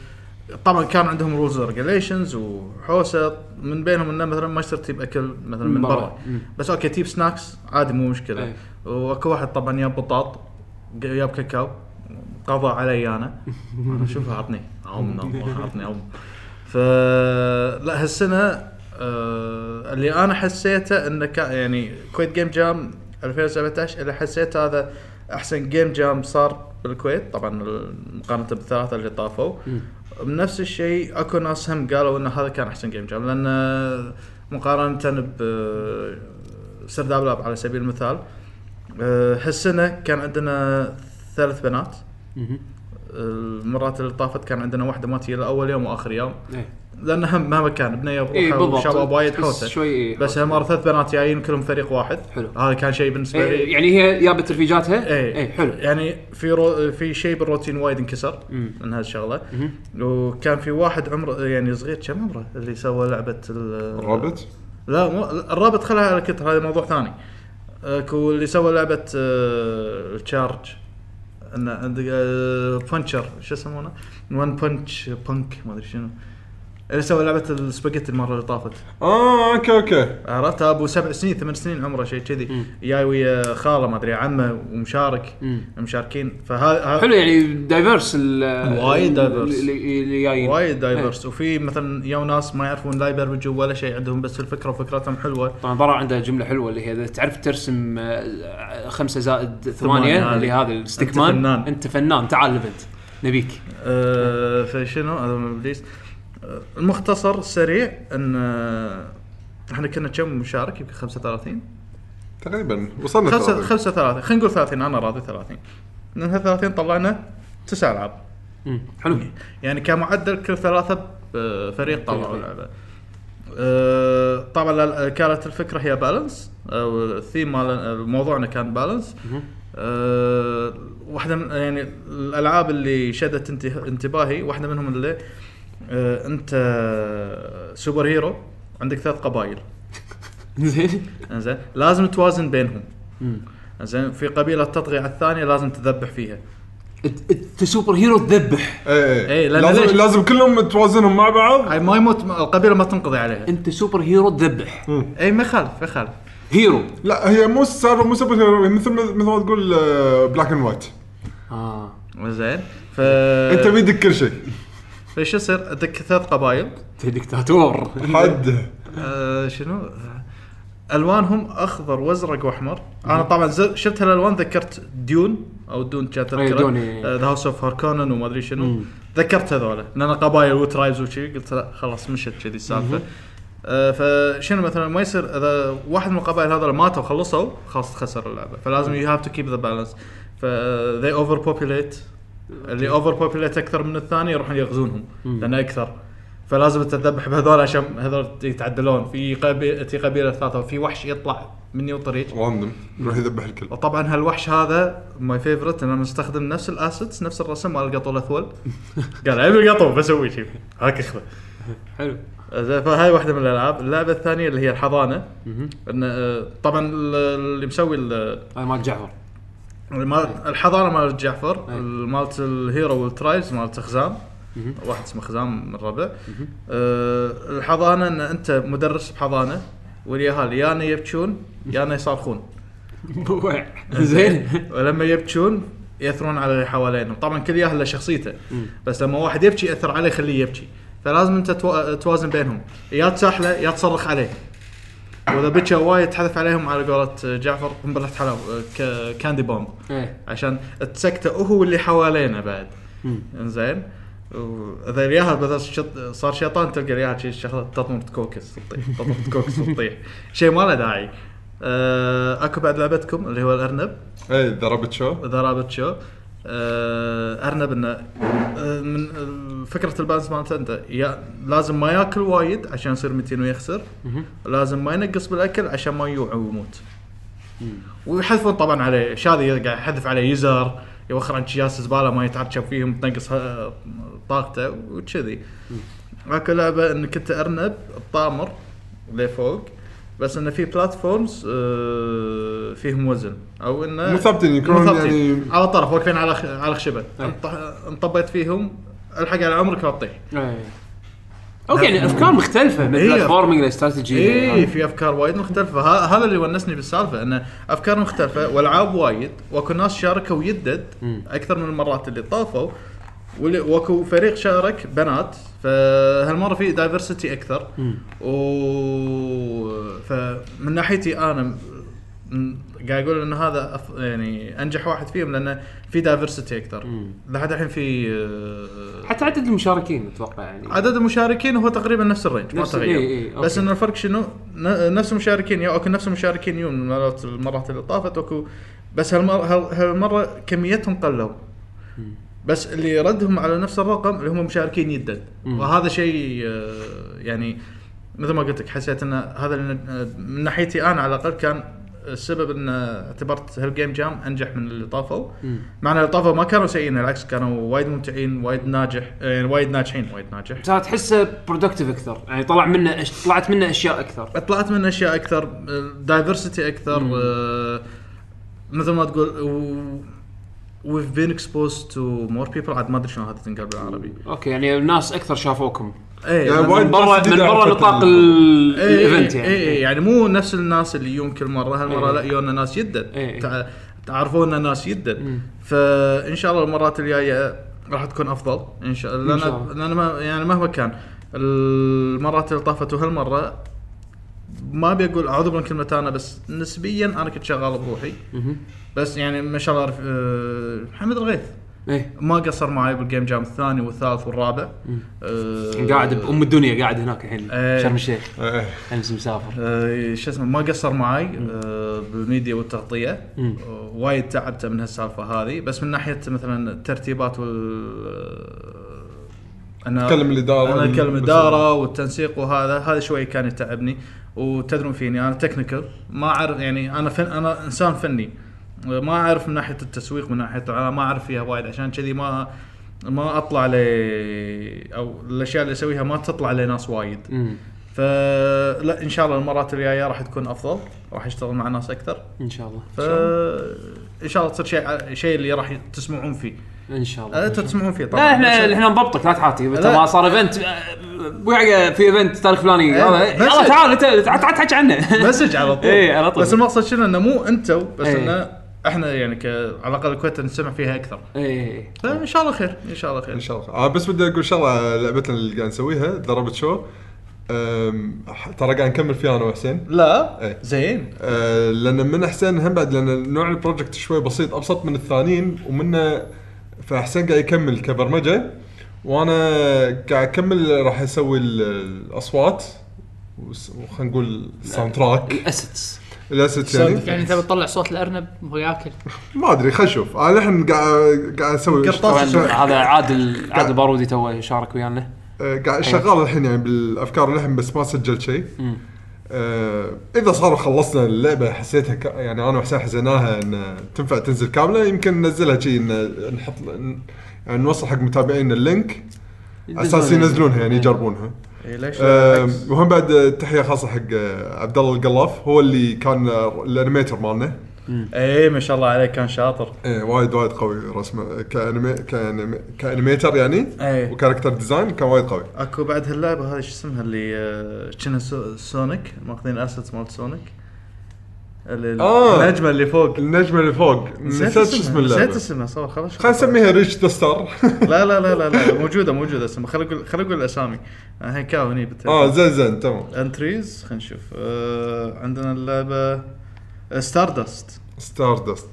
Speaker 3: طبعا كان عندهم رولز ريجليشنز وحوسه من بينهم انه مثلا ما يصير تجيب اكل مثلا من
Speaker 1: من برا.
Speaker 3: برا
Speaker 1: مم.
Speaker 3: بس اوكي تجيب سناكس عادي مو مشكله
Speaker 1: أي.
Speaker 3: واكو واحد طبعا جاب بطاط جاب كاكاو قضى علي انا انا شوف عطني عم الله عطني عم ف لا هالسنه آه اللي انا حسيته انه كا- يعني كويت جيم جام 2017 اللي حسيته هذا احسن جيم جام صار بالكويت طبعا مقارنه بالثلاثه اللي طافوا بنفس الشيء اكو ناس هم قالوا ان هذا كان احسن جيم جام لان مقارنه ب سرداب لاب على سبيل المثال آه، هالسنه كان عندنا ثلاث بنات
Speaker 1: مهم.
Speaker 3: المرات اللي طافت كان عندنا واحده ما تجي إلا اول يوم واخر يوم
Speaker 1: إيه.
Speaker 3: لان هم مهما كان بنيه
Speaker 1: إيه،
Speaker 3: بروحها
Speaker 1: بالضبط.
Speaker 3: وشباب وايد
Speaker 1: تحس
Speaker 3: حوسه
Speaker 1: شوي إيه،
Speaker 3: بس هالمره ثلاث بنات جايين كلهم فريق واحد
Speaker 1: حلو.
Speaker 3: هذا كان شيء بالنسبه لي
Speaker 1: إيه، يعني هي جابت رفيجاتها
Speaker 3: ايه
Speaker 1: ايه حلو
Speaker 3: يعني في رو... في شيء بالروتين وايد انكسر من هالشغله وكان في واحد عمره يعني صغير كم عمره اللي سوى لعبه ال-
Speaker 2: الرابط
Speaker 3: لا مو لا، الرابط خلها على كتر هذا موضوع ثاني اكو اللي سوى لعبه آه، التشارج انه عندك آه، بانشر شو يسمونه؟ وان بانش بانك ما ادري شنو اللي سوى لعبه السباجيتي المره اللي طافت
Speaker 2: اه اوكي اوكي
Speaker 3: عرفت ابو سبع سنين ثمان سنين عمره شيء كذي جاي ويا خاله ما ادري عمه ومشارك
Speaker 1: مم.
Speaker 3: مشاركين فهذا
Speaker 1: حلو يعني دايفرس ال-
Speaker 3: وايد
Speaker 1: ال- يعني
Speaker 3: diverse.
Speaker 1: اللي اللي جايين
Speaker 3: وايد
Speaker 1: إيه.
Speaker 3: دايفرس وفي مثلا يا ناس ما يعرفون لا يبرمجوا ولا شيء عندهم بس الفكره وفكرتهم حلوه
Speaker 1: طبعا براء عنده جمله حلوه اللي هي اذا تعرف ترسم آه، خمسة زائد
Speaker 3: ثمانية
Speaker 1: ثمانية اللي
Speaker 3: هذه.
Speaker 1: هذا الستيك مان
Speaker 3: فنان.
Speaker 1: انت فنان تعال الايفنت نبيك
Speaker 3: أه فشنو هذا من ابليس أه، المختصر السريع ان أه، احنا كنا كم مشارك يمكن 35
Speaker 2: تقريبا وصلنا
Speaker 3: خمسة
Speaker 2: خمسة
Speaker 3: 35 خلينا نقول 30 انا راضي 30 من هال 30 طلعنا تسع العاب
Speaker 1: مم. حلو
Speaker 3: يعني كمعدل كل ثلاثة آه، فريق طلعوا لعبة. آه، طبعا لا- كانت الفكرة هي بالانس او الثيم مال موضوعنا كان بالانس آه، واحدة من يعني الالعاب اللي شدت انته- انتباهي واحدة منهم اللي آه، انت سوبر هيرو عندك ثلاث قبائل
Speaker 1: زين
Speaker 3: انزين لازم توازن بينهم
Speaker 1: مم.
Speaker 3: انزين في قبيلة تطغي على الثانية لازم تذبح فيها
Speaker 1: انت أنت سوبر هيرو تذبح
Speaker 2: اي
Speaker 3: إيه،
Speaker 2: اي
Speaker 3: لأن
Speaker 2: لازم
Speaker 3: ليش؟
Speaker 2: لازم كلهم توازنهم مع بعض
Speaker 3: هاي ما يموت القبيلة ما تنقضي عليها
Speaker 1: انت سوبر هيرو تذبح
Speaker 3: اي ما يخالف ما يخالف
Speaker 1: هيرو
Speaker 2: لا هي مو سالفه مو سوبر هيرو، مثل مثل ما تقول آه، بلاك اند وايت
Speaker 1: اه
Speaker 3: زين ف إيه.
Speaker 2: انت بيدك كل شيء
Speaker 3: فش يصير عندك ثلاث قبائل
Speaker 1: انت دكتاتور
Speaker 2: حد
Speaker 3: آه شنو آه، الوانهم اخضر وازرق واحمر انا طبعا زر- شفت هالالوان ذكرت ديون او دون آه، كانت
Speaker 1: أي،
Speaker 3: تذكره
Speaker 1: دون، إي.
Speaker 3: ذا هاوس اوف هاركونن وما ادري شنو ذكرت هذول لان قبائل وترايبز وشي قلت لا خلاص مشت كذي السالفه آه، فشنو مثلا ما يصير اذا واحد من القبائل هذول ماتوا خلصوا خلاص خسر اللعبه فلازم يو هاف تو كيب ذا بالانس ف they اوفر بوبيليت اللي اوفر بوبيليت اكثر من الثاني يروحون يغزونهم لان اكثر فلازم تذبح بهذول عشان هذول يتعدلون في قبيله في قبيله ثلاثه وفي وحش يطلع مني وطريق
Speaker 2: راندوم يروح يذبح الكل
Speaker 3: وطبعا هالوحش هذا ماي فيفرت انا مستخدم نفس الاسيتس نفس الرسم مال القطو الاثول قال عيب القطو بسوي شيء هاك اخذه
Speaker 1: حلو
Speaker 3: زين، فهاي واحده من الالعاب اللعبه الثانيه اللي هي الحضانه إن آه، طبعا ال- اللي مسوي ال-
Speaker 1: هذا مال جعفر
Speaker 3: المال- الحضانه مال جعفر
Speaker 1: أي.
Speaker 3: مالت الهيرو والترايبز مالت خزام واحد اسمه خزام من الربع آه، الحضانه ان انت مدرس بحضانه واليهال يانا يبكون يانا يصرخون
Speaker 1: زين
Speaker 3: ولما يبكون ياثرون على اللي حوالينهم طبعا كل ياهل له شخصيته بس لما واحد يبكي ياثر عليه يخليه يبكي فلازم انت تو- توازن بينهم يا تساحله يا تصرخ عليه واذا بكى وايد تحذف عليهم على قولة جعفر قنبله حلاوه آه، ك- كاندي بومب
Speaker 1: إيه.
Speaker 3: عشان تسكته هو واللي حوالينا بعد
Speaker 1: مم.
Speaker 3: انزين اذا الياهل مثلا شط- صار شيطان تلقى الياهل شي شغله تطمرت كوكس تطيح تطمرت كوكس تطيح شيء ما له داعي آه، اكو بعد لعبتكم اللي هو الارنب
Speaker 2: اي إيه، ذا رابت شو
Speaker 3: ذا رابت شو آه، ارنب انه آه، من آه، فكره البالانس مالته انت يا لازم ما ياكل وايد عشان يصير متين ويخسر لازم ما ينقص بالاكل عشان ما يجوع ويموت ويحذفون طبعا عليه شاذي قاعد يحذف عليه يزر يوخر عن شياس زباله ما يتعشب فيهم تنقص آه، طاقته وكذي اكو لعبه انك انت ارنب طامر لفوق بس انه في بلاتفورمز آه، فيهم وزن او انه
Speaker 2: مو ثابتين يكونون
Speaker 3: مو ثابتين.
Speaker 2: يعني-
Speaker 3: على طرف واقفين على خ- على خشبه
Speaker 1: أي.
Speaker 3: انط- انطبيت فيهم الحق على عمرك لا تطيح
Speaker 1: إيه. اوكي يعني افكار مختلفه من
Speaker 3: إيه.
Speaker 1: بلاتفورمينج للاستراتيجي
Speaker 3: اي إيه،
Speaker 1: إيه.
Speaker 3: في افكار وايد مختلفه ه- هذا اللي ونسني بالسالفه انه افكار مختلفه والعاب وايد واكو ناس شاركوا يدد اكثر من المرات اللي طافوا واللي- واكو فريق شارك بنات فهالمره في دايفرسيتي اكثر و فمن ناحيتي انا م- م- قاعد اقول ان هذا أف... يعني انجح واحد فيهم لانه في دايفرسيتي اكثر لحد الحين في آه،
Speaker 1: حتى عدد المشاركين اتوقع يعني
Speaker 3: عدد المشاركين هو تقريبا نفس الرينج ما
Speaker 1: نفس-
Speaker 3: تغير
Speaker 1: إي إي، أوكي.
Speaker 3: بس انه الفرق شنو ن- نفس المشاركين يا اوكي نفس المشاركين يوم من المرات المرات اللي طافت اوكو بس هالمره هال- هالمره كميتهم قلوا بس اللي ردهم على نفس الرقم اللي هم مشاركين يدد وهذا شيء آه، يعني مثل ما قلت لك حسيت ان هذا اللي- آه، من ناحيتي انا على الاقل كان السبب ان اعتبرت هالجيم جام انجح من اللي طافوا مع ان اللي طافوا ما كانوا سيئين العكس كانوا وايد ممتعين وايد ناجح يعني وايد ناجحين وايد ناجح
Speaker 1: صار تحسه برودكتيف اكثر يعني طلع منه أش... طلعت منه اشياء اكثر
Speaker 3: طلعت من اشياء اكثر دايفرسيتي اكثر آه، مثل ما تقول ويف بين اكسبوز تو مور بيبل عاد ما ادري شلون هذا تنقال بالعربي
Speaker 1: اوكي يعني الناس اكثر شافوكم
Speaker 3: اي
Speaker 2: يعني
Speaker 3: لأن-
Speaker 2: وايد
Speaker 1: من برا من
Speaker 2: جديدة
Speaker 1: برا
Speaker 2: عرفت
Speaker 1: نطاق
Speaker 2: ال-
Speaker 1: ال-
Speaker 3: إي إي
Speaker 1: الايفنت
Speaker 3: إي
Speaker 1: يعني إيه.
Speaker 3: إي يعني مو نفس الناس اللي يوم كل مره هالمره
Speaker 1: إي.
Speaker 3: لا يونا ناس يدد
Speaker 1: إي إي.
Speaker 3: تع- تعرفون إن ناس يدد
Speaker 1: إيه. مم.
Speaker 3: فان شاء الله المرات الجايه راح تكون افضل ان شاء الله
Speaker 1: إن شاء الله.
Speaker 3: لان لأن ما- يعني مهما كان المرات اللي طافت وهالمره ما ابي اقول اعوذ من كلمه انا بس نسبيا انا كنت شغال بروحي
Speaker 1: مهم.
Speaker 3: بس يعني ما شاء الله آه، محمد الغيث
Speaker 1: ايه
Speaker 3: ما قصر معي بالجيم جام الثاني والثالث والرابع آه،
Speaker 1: قاعد بام الدنيا قاعد هناك الحين
Speaker 3: إيه.
Speaker 1: شرم الشيخ
Speaker 2: إيه.
Speaker 1: امس مسافر
Speaker 3: آه، شو اسمه ما قصر معي آه، بالميديا والتغطيه آه، وايد تعبت من هالسالفه هذه بس من ناحيه مثلا الترتيبات آه، وال انا
Speaker 2: تكلم الإدارة.
Speaker 3: انا اتكلم
Speaker 2: بس-
Speaker 3: الاداره والتنسيق وهذا هذا شوي كان يتعبني وتدرون فيني انا تكنيكال ما اعرف يعني انا فن انا انسان فني آه، ما اعرف من ناحيه التسويق من ناحيه انا ما اعرف فيها وايد عشان كذي ما ما اطلع ل او الاشياء اللي اسويها ما تطلع لناس وايد
Speaker 1: مم.
Speaker 3: فلا ان شاء الله المرات الجايه راح تكون افضل راح اشتغل مع ناس اكثر
Speaker 1: ان شاء الله
Speaker 3: ف ان شاء الله تصير شيء شيء اللي راح تسمعون فيه
Speaker 1: ان شاء الله
Speaker 3: انتم تسمعون فيه طبعا
Speaker 1: لا احنا
Speaker 3: بس-
Speaker 1: احنا نضبطك لا تحاتي انت
Speaker 3: لا.
Speaker 1: ما صار ايفنت ويعقى في ايفنت تاريخ فلاني
Speaker 3: إيه،
Speaker 1: يلا
Speaker 3: بس-
Speaker 1: يلا تعال انت تعال تعال تحكي عنه
Speaker 3: مسج على طول
Speaker 1: إيه، على طول.
Speaker 3: بس المقصد شنو انه مو انتم بس
Speaker 1: إيه.
Speaker 3: انه احنا يعني ك... على الاقل الكويت نسمع فيها اكثر
Speaker 1: ايه
Speaker 3: فان شاء الله خير ان شاء الله خير
Speaker 2: ان شاء الله آه بس بدي اقول شغله لعبتنا اللي قاعد نسويها ذا رابت شو ترى قاعد نكمل فيها انا وحسين إيه.
Speaker 3: لا زين
Speaker 2: آه، لان من حسين هم بعد لان نوع البروجكت شوي بسيط ابسط من الثانيين ومنه فحسين قاعد يكمل كبرمجه وانا قاعد اكمل راح اسوي ال- الاصوات وس- وخلينا نقول الساوند تراك
Speaker 1: الاسيتس
Speaker 2: الاسيتس يعني
Speaker 5: يعني انت بتطلع صوت الارنب وهو ياكل
Speaker 2: ما ادري خلينا نشوف انا الحين آه، قاعد قاعد اسوي
Speaker 3: قرطاس.
Speaker 2: شغال-
Speaker 1: هذا عادل عادل بارودي توه شارك ويانا
Speaker 2: آه، قاعد شغال الحين يعني بالافكار لحم بس ما سجلت شيء
Speaker 1: مم.
Speaker 2: آه اذا صار خلصنا اللعبه حسيتها ك... يعني انا وحسين حزيناها ان تنفع تنزل كامله يمكن ننزلها شيء إن نحط ن- يعني نوصل حق متابعينا اللينك على اساس ينزلونها
Speaker 1: إيه.
Speaker 2: يعني يجربونها
Speaker 3: اي إيه، ليش لا؟
Speaker 2: آه،
Speaker 3: بالعكس.
Speaker 2: وهم بعد آه، تحيه خاصه حق آه، عبد الله القلاف هو اللي كان آه، الانيميتر مالنا
Speaker 3: اي إيه، ما شاء الله عليك كان شاطر
Speaker 2: ايه وايد وايد قوي رسمه كأنمي... كأنمي... كانيميتر يعني
Speaker 3: إيه.
Speaker 2: وكاركتر ديزاين كان وايد قوي
Speaker 3: اكو بعد هاللعبه هذه شو اسمها اللي آه، كنا سو- سونيك ماخذين اسيتس مال سونيك ال-
Speaker 2: آه.
Speaker 3: النجمه اللي فوق
Speaker 2: النجمه اللي فوق نسيت شو اسم اللعبه
Speaker 3: نسيت اسمها صار خلاص
Speaker 2: خلينا نسميها ريتش ذا ستار
Speaker 3: لا لا لا لا لا موجوده موجوده اسمها خليني اقول خليني اقول الاسامي الحين آه، كاو هني
Speaker 2: اه
Speaker 3: بالتليفون
Speaker 2: زين زين تمام
Speaker 3: انتريز خلينا نشوف آه عندنا اللعبه ستار داست
Speaker 2: ستار دست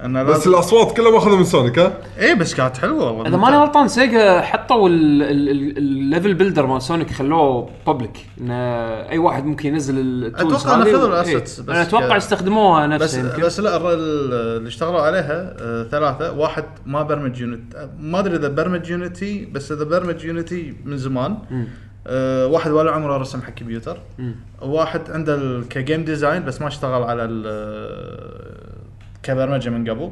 Speaker 3: انا
Speaker 2: بس
Speaker 3: لازم
Speaker 2: الاصوات كلها ماخذها من سونيك ها
Speaker 3: اي بس كانت حلوه والله
Speaker 1: اذا ماني غلطان سيجا حطوا ال- ال- ال- الليفل بيلدر مال سونيك خلوه بابليك ان اي واحد ممكن ينزل التولز
Speaker 3: أتوقع إنه
Speaker 1: هذه.
Speaker 3: خذوا
Speaker 1: إيه.
Speaker 3: الأسيتس بس
Speaker 1: انا اتوقع
Speaker 3: ك-
Speaker 1: استخدموها
Speaker 3: بس
Speaker 1: نفسها يمكن
Speaker 3: بس لا الر- ال- اللي اشتغلوا عليها آه ثلاثه واحد ما برمج يونت آه، ما ادري اذا برمج يونتي بس اذا برمج يونتي من زمان
Speaker 1: مم.
Speaker 3: آه واحد ولا عمره رسم حق كمبيوتر
Speaker 1: مم.
Speaker 3: واحد عنده ال- كجيم ديزاين بس ما اشتغل على ال- كبرمجه من قبل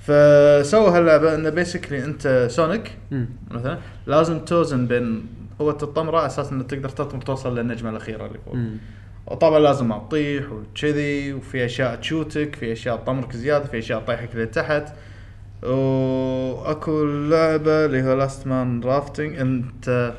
Speaker 3: فسووا هاللعبه انه بيسكلي انت سونيك
Speaker 1: مم.
Speaker 3: مثلا لازم توزن بين قوه الطمره على اساس انك تقدر تطمر توصل للنجمه الاخيره اللي فوق
Speaker 1: مم.
Speaker 3: وطبعا لازم ما تطيح وكذي وفي اشياء تشوتك في اشياء تطمرك زياده في اشياء تطيحك لتحت واكو لعبه اللي هو لاست مان رافتنج انت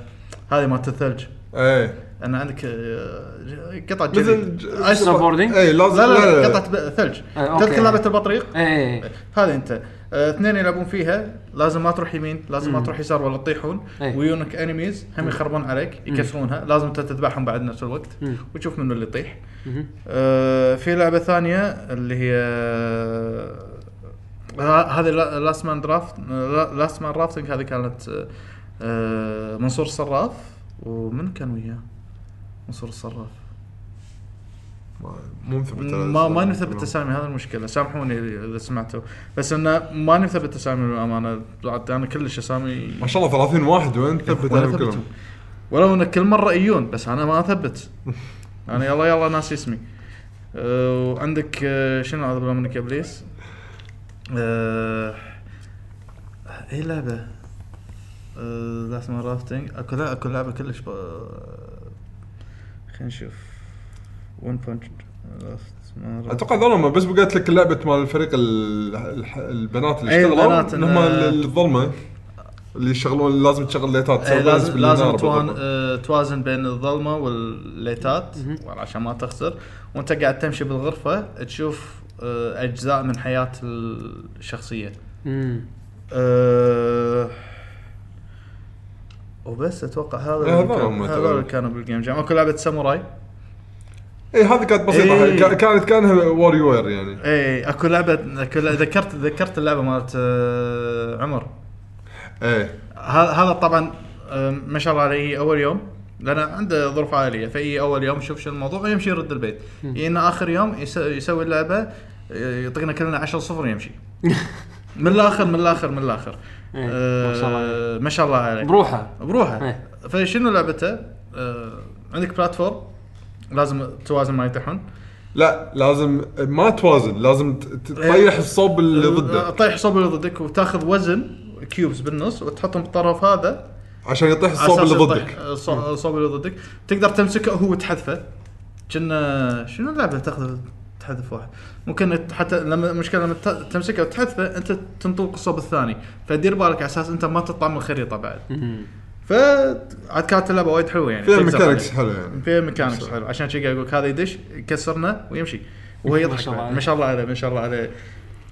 Speaker 3: هذه مالت الثلج
Speaker 2: ايه
Speaker 3: انا عندك آه، قطعه
Speaker 2: مثل
Speaker 3: جليد
Speaker 2: ج-
Speaker 3: ايس
Speaker 1: سنوب
Speaker 3: لا
Speaker 1: بوردينج
Speaker 2: ايه لازم
Speaker 3: لا لا قطعه ب- ثلج
Speaker 1: آه، أوكي.
Speaker 3: تذكر لعبه البطريق
Speaker 1: اي
Speaker 3: هذه انت آه، اثنين يلعبون فيها لازم ما تروح يمين لازم ما تروح يسار ولا تطيحون
Speaker 1: أي.
Speaker 3: ويونك انميز هم يخربون عليك يكسرونها لازم انت تذبحهم بعد نفس الوقت
Speaker 1: مم.
Speaker 3: وتشوف منو اللي يطيح
Speaker 1: مهم.
Speaker 3: آه، في لعبه ثانيه اللي هي آه، هذه لاست مان درافت لاست مان رافتنج هذه كانت آه، آه، منصور الصراف ومن كان وياه؟ منصور الصراف
Speaker 2: ما- مو مثبت
Speaker 3: ما ما نثبت اسامي هذا المشكله سامحوني اذا سمعتوا بس انه ما نثبت اسامي للامانه طلعت انا كلش اسامي
Speaker 2: ما شاء الله 30 واحد وين ثبت
Speaker 3: ولا
Speaker 2: عليهم
Speaker 3: إيه، ثبتوا.
Speaker 2: كلهم
Speaker 3: ولو ان كل مره يجون بس انا ما اثبت انا يلا يلا ناسي اسمي أه، وعندك أه، شنو اعوذ بالله منك يا ابليس أه، اي لعبه لاست مان رافتنج اكو لا اكو لعبه كلش ب- آه، خلينا نشوف ون بانش لاست مان
Speaker 2: اتوقع ذول ما بس بقيت لك لعبه مال الفريق ال- الح- البنات اللي
Speaker 3: أي
Speaker 2: اشتغلوا
Speaker 3: إيه، البنات،
Speaker 2: هم
Speaker 3: أنا-
Speaker 2: الظلمه اللي يشغلون لازم تشغل ليتات
Speaker 3: ايه
Speaker 2: تسوي بالانس
Speaker 3: لازم لازم
Speaker 2: بالنار
Speaker 3: توان
Speaker 2: بالضبط.
Speaker 3: آه، توازن بين الظلمه والليتات عشان ما تخسر وانت قاعد تمشي بالغرفه تشوف آه، اجزاء من حياه الشخصيه
Speaker 1: مم.
Speaker 3: أه وبس اتوقع هذا
Speaker 2: إيه،
Speaker 3: اللي
Speaker 2: هذول
Speaker 3: كان-
Speaker 2: هم
Speaker 3: هذول
Speaker 2: تقريباً.
Speaker 3: اللي كانوا بالجيم جام اكو لعبه ساموراي
Speaker 2: اي هذه كانت بسيطه
Speaker 3: إيه.
Speaker 2: كا- كانت كانها واري وير يعني
Speaker 3: اي اكو لعبه اكو إيه، لعبة- ذكرت ذكرت اللعبه مالت آه، عمر
Speaker 2: ايه
Speaker 3: ه- هذا طبعا آه، ما شاء الله عليه اول يوم لان عنده ظروف عائليه فاي اول يوم يشوف شو الموضوع يمشي يرد البيت يجينا اخر يوم يس- يسوي اللعبه آه، يعطينا كلنا 10 صفر يمشي من الاخر من الاخر من الاخر
Speaker 1: إيه،
Speaker 3: آه،
Speaker 1: ما شاء الله عليه.
Speaker 3: ما شاء الله عليه
Speaker 1: بروحه
Speaker 3: بروحه
Speaker 1: إيه.
Speaker 3: فشنو لعبته؟ آه، عندك بلاتفورم لازم توازن ما يطيحون
Speaker 2: لا لازم ما توازن لازم ت- تطيح الصوب اللي ضده
Speaker 3: تطيح آه، صوب اللي ضدك وتاخذ وزن كيوبس بالنص وتحطهم بالطرف هذا
Speaker 2: عشان يطيح الصوب
Speaker 3: أساس
Speaker 2: اللي
Speaker 3: يطيح-
Speaker 2: ضدك
Speaker 3: الص- الصوب اللي ضدك تقدر تمسكه هو تحذفه كنا شنو اللعبه تاخذ تحذف واحد ممكن حتى لما المشكله لما ت- تمسكه وتحذفه انت تنطلق الصوب الثاني فدير بالك على اساس انت ما تطعم الخريطه بعد
Speaker 1: مم.
Speaker 3: ف عاد كانت اللعبه وايد حلوه يعني
Speaker 2: فيها
Speaker 3: تقدر
Speaker 2: ميكانكس
Speaker 3: عليها.
Speaker 2: حلوه يعني
Speaker 3: فيها ميكانكس حلو عشان كذا اقول لك هذا يدش يكسرنا ويمشي وهو
Speaker 1: ما شاء
Speaker 3: يضحك
Speaker 1: الله
Speaker 3: بعد.
Speaker 1: عليه.
Speaker 3: ما شاء الله عليه ما شاء الله عليه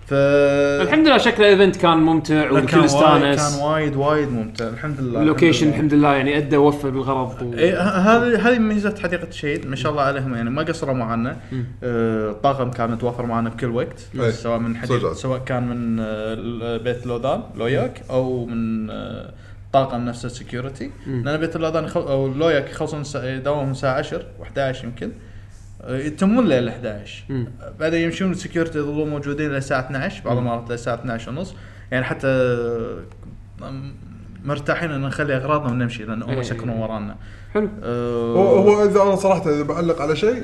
Speaker 3: ف
Speaker 1: الحمد لله شكل الايفنت كان ممتع
Speaker 3: لا، كان
Speaker 1: والكل
Speaker 3: وايد كان
Speaker 1: استانس
Speaker 3: وايد وايد ممتع الحمد لله
Speaker 1: اللوكيشن
Speaker 3: الحمد لله.
Speaker 1: الحمد لله يعني ادى وفى بالغرض و-
Speaker 3: إيه، ه- هذه هذه ميزه حديقه الشهيد ما شاء الله عليهم يعني ما قصروا معنا آه، الطاقم كان متوفر معنا بكل وقت
Speaker 2: إيه.
Speaker 3: سواء من
Speaker 2: صدق.
Speaker 3: حديقه سواء كان من آه، ال- بيت لودان لوياك او من آه، طاقم نفسه سكيورتي لان بيت الاذان يخل... او اللويك يخلصون سا- يداومهم الساعه 10 و11 يمكن آه، يتمون ليل 11
Speaker 1: مم.
Speaker 3: آه، بعدين يمشون السكيورتي يظلون موجودين للساعه 12 بعض المرات للساعه 12 ونص يعني حتى آه، م- مرتاحين ان نخلي اغراضنا ونمشي لان هم
Speaker 1: إيه.
Speaker 3: يسكرون ورانا
Speaker 1: حلو.
Speaker 3: آه،
Speaker 2: هو هو اذا انا صراحه اذا بعلق على شيء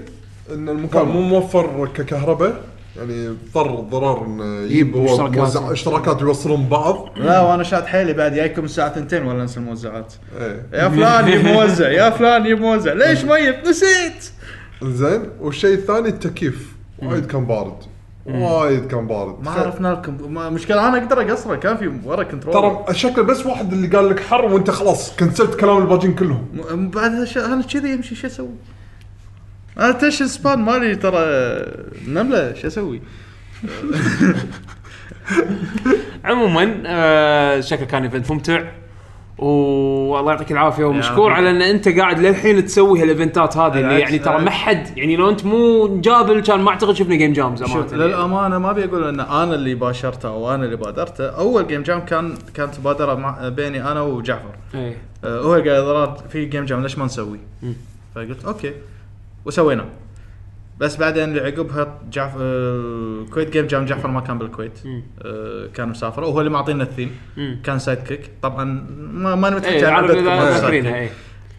Speaker 2: ان المكان مو موفر ككهرباء يعني اضطر ضرر انه يجيب هو
Speaker 1: اشتراكات.
Speaker 2: موزع- اشتراكات يوصلون بعض
Speaker 3: لا وانا شاد حيلي بعد جايكم الساعه 2 ولا انسى الموزعات
Speaker 2: ايه
Speaker 3: يا فلان يا موزع يا فلان يا موزع ليش ميت نسيت
Speaker 2: زين والشيء الثاني التكييف وايد كان بارد وايد كان بارد
Speaker 3: ما
Speaker 2: تخيل.
Speaker 3: عرفنا لكم ما- مشكله انا اقدر اقصره كان في ورا كنترول
Speaker 2: ترى الشكل بس واحد اللي قال لك حر وانت خلاص كنسلت كلام الباجين كلهم
Speaker 3: م- م- بعد هالشيء انا كذي امشي شو اسوي؟ انا تش سبان مالي ترى نمله شو اسوي؟
Speaker 1: عموما آه شكله كان ايفنت ممتع والله يعطيك العافيه ومشكور على ان انت قاعد للحين تسوي هالايفنتات هذه اللي
Speaker 3: بالعكس،
Speaker 1: يعني ترى
Speaker 3: بالعكس.
Speaker 1: ما حد يعني لو انت مو جابل كان ما اعتقد شفنا جيم جامز امانه
Speaker 3: شوف للامانه ما ابي اقول ان انا اللي باشرته او انا اللي بادرته اول جيم جام كان كانت مبادره مع بيني انا وجعفر
Speaker 1: إيه.
Speaker 3: آه، هو قال ضرار في جيم جام ليش ما نسوي؟ فقلت اوكي وسويناه بس بعدين اللي عقبها جعفر الكويت جيم جام جعفر ما كان بالكويت آه، كان مسافر وهو اللي معطينا الثيم
Speaker 1: مم.
Speaker 3: كان سايد كيك طبعا ما ماني
Speaker 1: ايه
Speaker 3: متحكي عن
Speaker 1: عارف
Speaker 3: عددكم
Speaker 1: إذا
Speaker 3: هذا سايد
Speaker 1: ذاكرينها
Speaker 3: كيك.
Speaker 1: ايه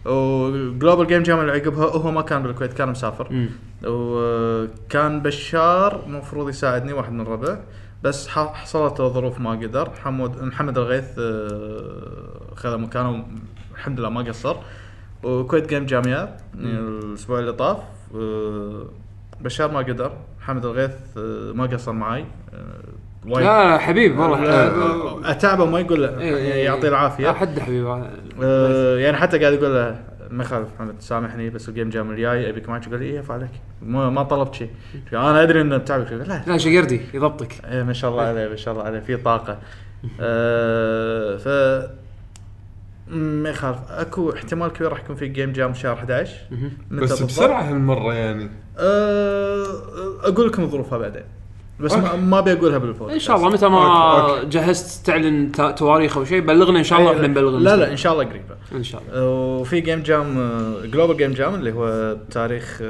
Speaker 3: وجلوبال جيم جام اللي عقبها هو ما كان بالكويت كان مسافر
Speaker 1: مم.
Speaker 3: وكان بشار المفروض يساعدني واحد من الربع بس ح- حصلت له ظروف ما قدر محمد محمد الغيث آه، خذ مكانه الحمد لله ما قصر وكويت جيم جاميا الاسبوع اللي طاف آه، بشار ما قدر محمد الغيث آه، ما قصر معي آه، وايد
Speaker 1: لا لا حبيب والله
Speaker 3: آه، اتعبه ما يقول له
Speaker 1: إيه.
Speaker 3: يعطيه العافيه
Speaker 1: لا حد حبيب هذا.
Speaker 3: آه، يعني حتى قاعد يقول له ما يخالف محمد سامحني بس الجيم جام الجاي ابيك معك يقول لي ايه عليك ما, ما طلبت شيء انا ادري انه بتعبك يقول لا
Speaker 1: لا شقردي يضبطك
Speaker 3: ايه ما شاء الله عليه ما شاء الله عليه في طاقه آه ف ما يخالف اكو احتمال كبير راح يكون في جيم جام شهر 11 متى
Speaker 2: بس
Speaker 3: بالضبط؟
Speaker 2: بسرعه هالمره يعني
Speaker 3: آه اقول لكم ظروفها بعدين بس ما, ما بقولها بالفوز
Speaker 1: ان شاء الله متى
Speaker 2: أوكي،
Speaker 1: ما
Speaker 2: أوكي.
Speaker 1: جهزت تعلن تا- تواريخ او شيء بلغنا ان شا الله احنا نبلغ
Speaker 3: إيه. لا لا ان شاء الله قريبه
Speaker 1: ان شاء الله
Speaker 3: وفي جيم جام جلوبال جيم جام اللي هو تاريخ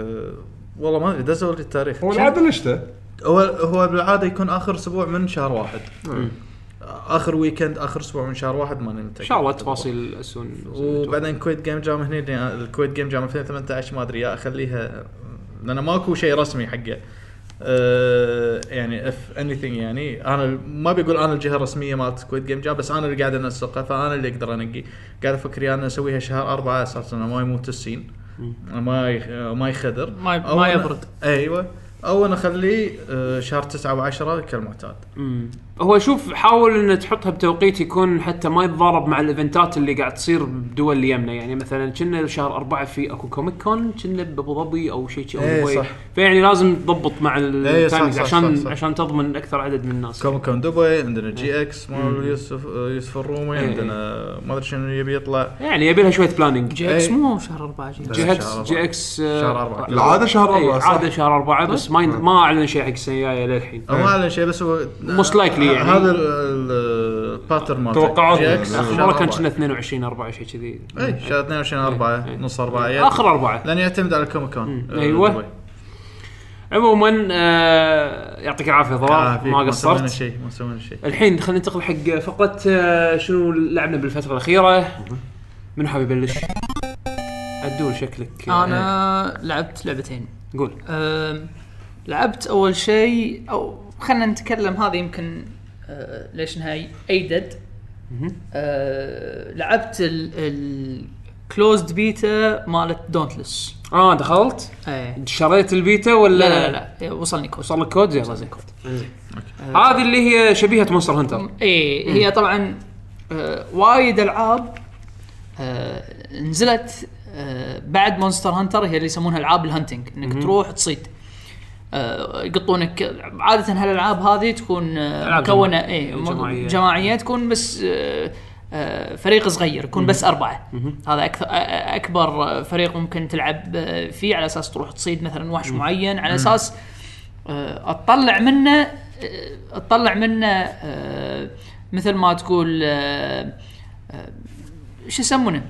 Speaker 3: والله ما ادري دزوا لي التاريخ
Speaker 2: هو العاده لشته
Speaker 3: هو هو بالعاده يكون اخر اسبوع من شهر واحد اخر ويكند اخر اسبوع من شهر واحد ماني متاكد
Speaker 1: ان شاء الله التفاصيل سون
Speaker 3: وبعدين كويت جيم جام هنا اللي- الكويت جيم جام 2018 ما ادري يا اخليها لان ماكو شيء رسمي حقه أه يعني اف اني يعني انا ما بيقول انا الجهه الرسميه مالت كويت جيم جام بس انا اللي قاعد انسقها فانا اللي اقدر انقي قاعد افكر يا انا اسويها شهر أربعة اساسا ما يموت السين ما يخ- ما يخدر
Speaker 5: ما-
Speaker 3: أو
Speaker 5: ما
Speaker 3: أنا-
Speaker 5: يبرد.
Speaker 3: ايوه او انا اخليه أه، شهر تسعة و10 كالمعتاد
Speaker 1: مم. هو شوف حاول ان تحطها بتوقيت يكون حتى ما يتضارب مع الايفنتات اللي قاعد تصير بدول اليمنى يعني مثلا كنا شهر أربعة في اكو كوميك كون كنا بابو ظبي او شيء شيء او
Speaker 3: إيه،
Speaker 1: دبي.
Speaker 3: صح.
Speaker 1: فيعني لازم تضبط مع
Speaker 3: إيه، صح،
Speaker 1: التايمز
Speaker 3: صح،
Speaker 1: عشان
Speaker 3: صح، صح.
Speaker 1: عشان تضمن اكثر عدد من الناس
Speaker 3: كوميك كون دبي عندنا جي اكس مال يوسف أه، يوسف الرومي
Speaker 1: إيه.
Speaker 3: عندنا ما ادري شنو يبي يطلع
Speaker 1: يعني يبي لها شويه بلاننج
Speaker 5: جي اكس
Speaker 3: إيه.
Speaker 5: مو شهر أربعة جي
Speaker 1: جي
Speaker 3: شهر
Speaker 1: اكس
Speaker 3: أربعة.
Speaker 1: جي اكس
Speaker 3: شهر أربعة. إيه؟ آه.
Speaker 2: العاده
Speaker 1: أي
Speaker 2: شهر اربعه
Speaker 1: عاده
Speaker 2: صح؟
Speaker 1: شهر أربعة بس ما يند- ما اعلن شيء حق السنه الجايه للحين
Speaker 3: أو ما اعلن شيء بس هو
Speaker 1: Most likely يعني.
Speaker 3: هذا ال- ال- الباترن مالته
Speaker 2: توقعات.
Speaker 3: جي إكس
Speaker 2: آخر
Speaker 1: اخر
Speaker 3: شهر
Speaker 1: مره كان
Speaker 3: أربعة. إيه،
Speaker 1: كنا 22 4 شيء كذي
Speaker 3: اي شهر 22 4
Speaker 1: إيه.
Speaker 3: نص 4
Speaker 1: اخر اربعه
Speaker 3: لان يعتمد على الكوميك كون آه،
Speaker 1: أيوة.
Speaker 3: دبي.
Speaker 1: عموما آه يعطيك العافيه
Speaker 3: آه،
Speaker 1: ضرار
Speaker 3: فيك،
Speaker 1: ما
Speaker 3: سوينا
Speaker 1: قصرت
Speaker 3: شيء ما سوينا شيء
Speaker 1: الحين خلينا ننتقل حق فقره آه شنو لعبنا بالفتره الاخيره من حاب يبلش عدول شكلك آه،
Speaker 5: انا لعبت لعبتين
Speaker 1: قول
Speaker 5: أم، لعبت اول شيء او خلينا نتكلم هذه يمكن أه، ليش انها ايدد
Speaker 1: مهم.
Speaker 5: أه، لعبت الكلوزد بيتا مالت دونتلس
Speaker 1: اه دخلت
Speaker 5: ايه
Speaker 1: شريت البيتا
Speaker 5: لا
Speaker 1: ولا
Speaker 5: لا لا, لا. وصلني كود
Speaker 1: وصل لك كود زين
Speaker 5: وصلني
Speaker 1: زين
Speaker 5: كود
Speaker 3: إيه.
Speaker 5: آه.
Speaker 1: هذه اللي هي شبيهه مونستر هنتر
Speaker 5: ايه هي طبعا آه وايد العاب آه نزلت آه بعد مونستر هانتر هي اللي يسمونها العاب الهانتنج انك تروح تصيد آه يقطونك عاده هالالعاب هذه تكون آه
Speaker 1: ألعاب
Speaker 5: مكونه
Speaker 1: جماعية.
Speaker 5: ايه م-
Speaker 1: جماعية.
Speaker 5: جماعيه تكون بس آه آه، فريق صغير يكون بس اربعه هذا اكثر أ- أ- اكبر آه، فريق ممكن تلعب آه، فيه على اساس تروح تصيد مثلا وحش معين على اساس آه، اطلع منه آه، اطلع منه آه، مثل ما تقول آه، آه، شو يسمونه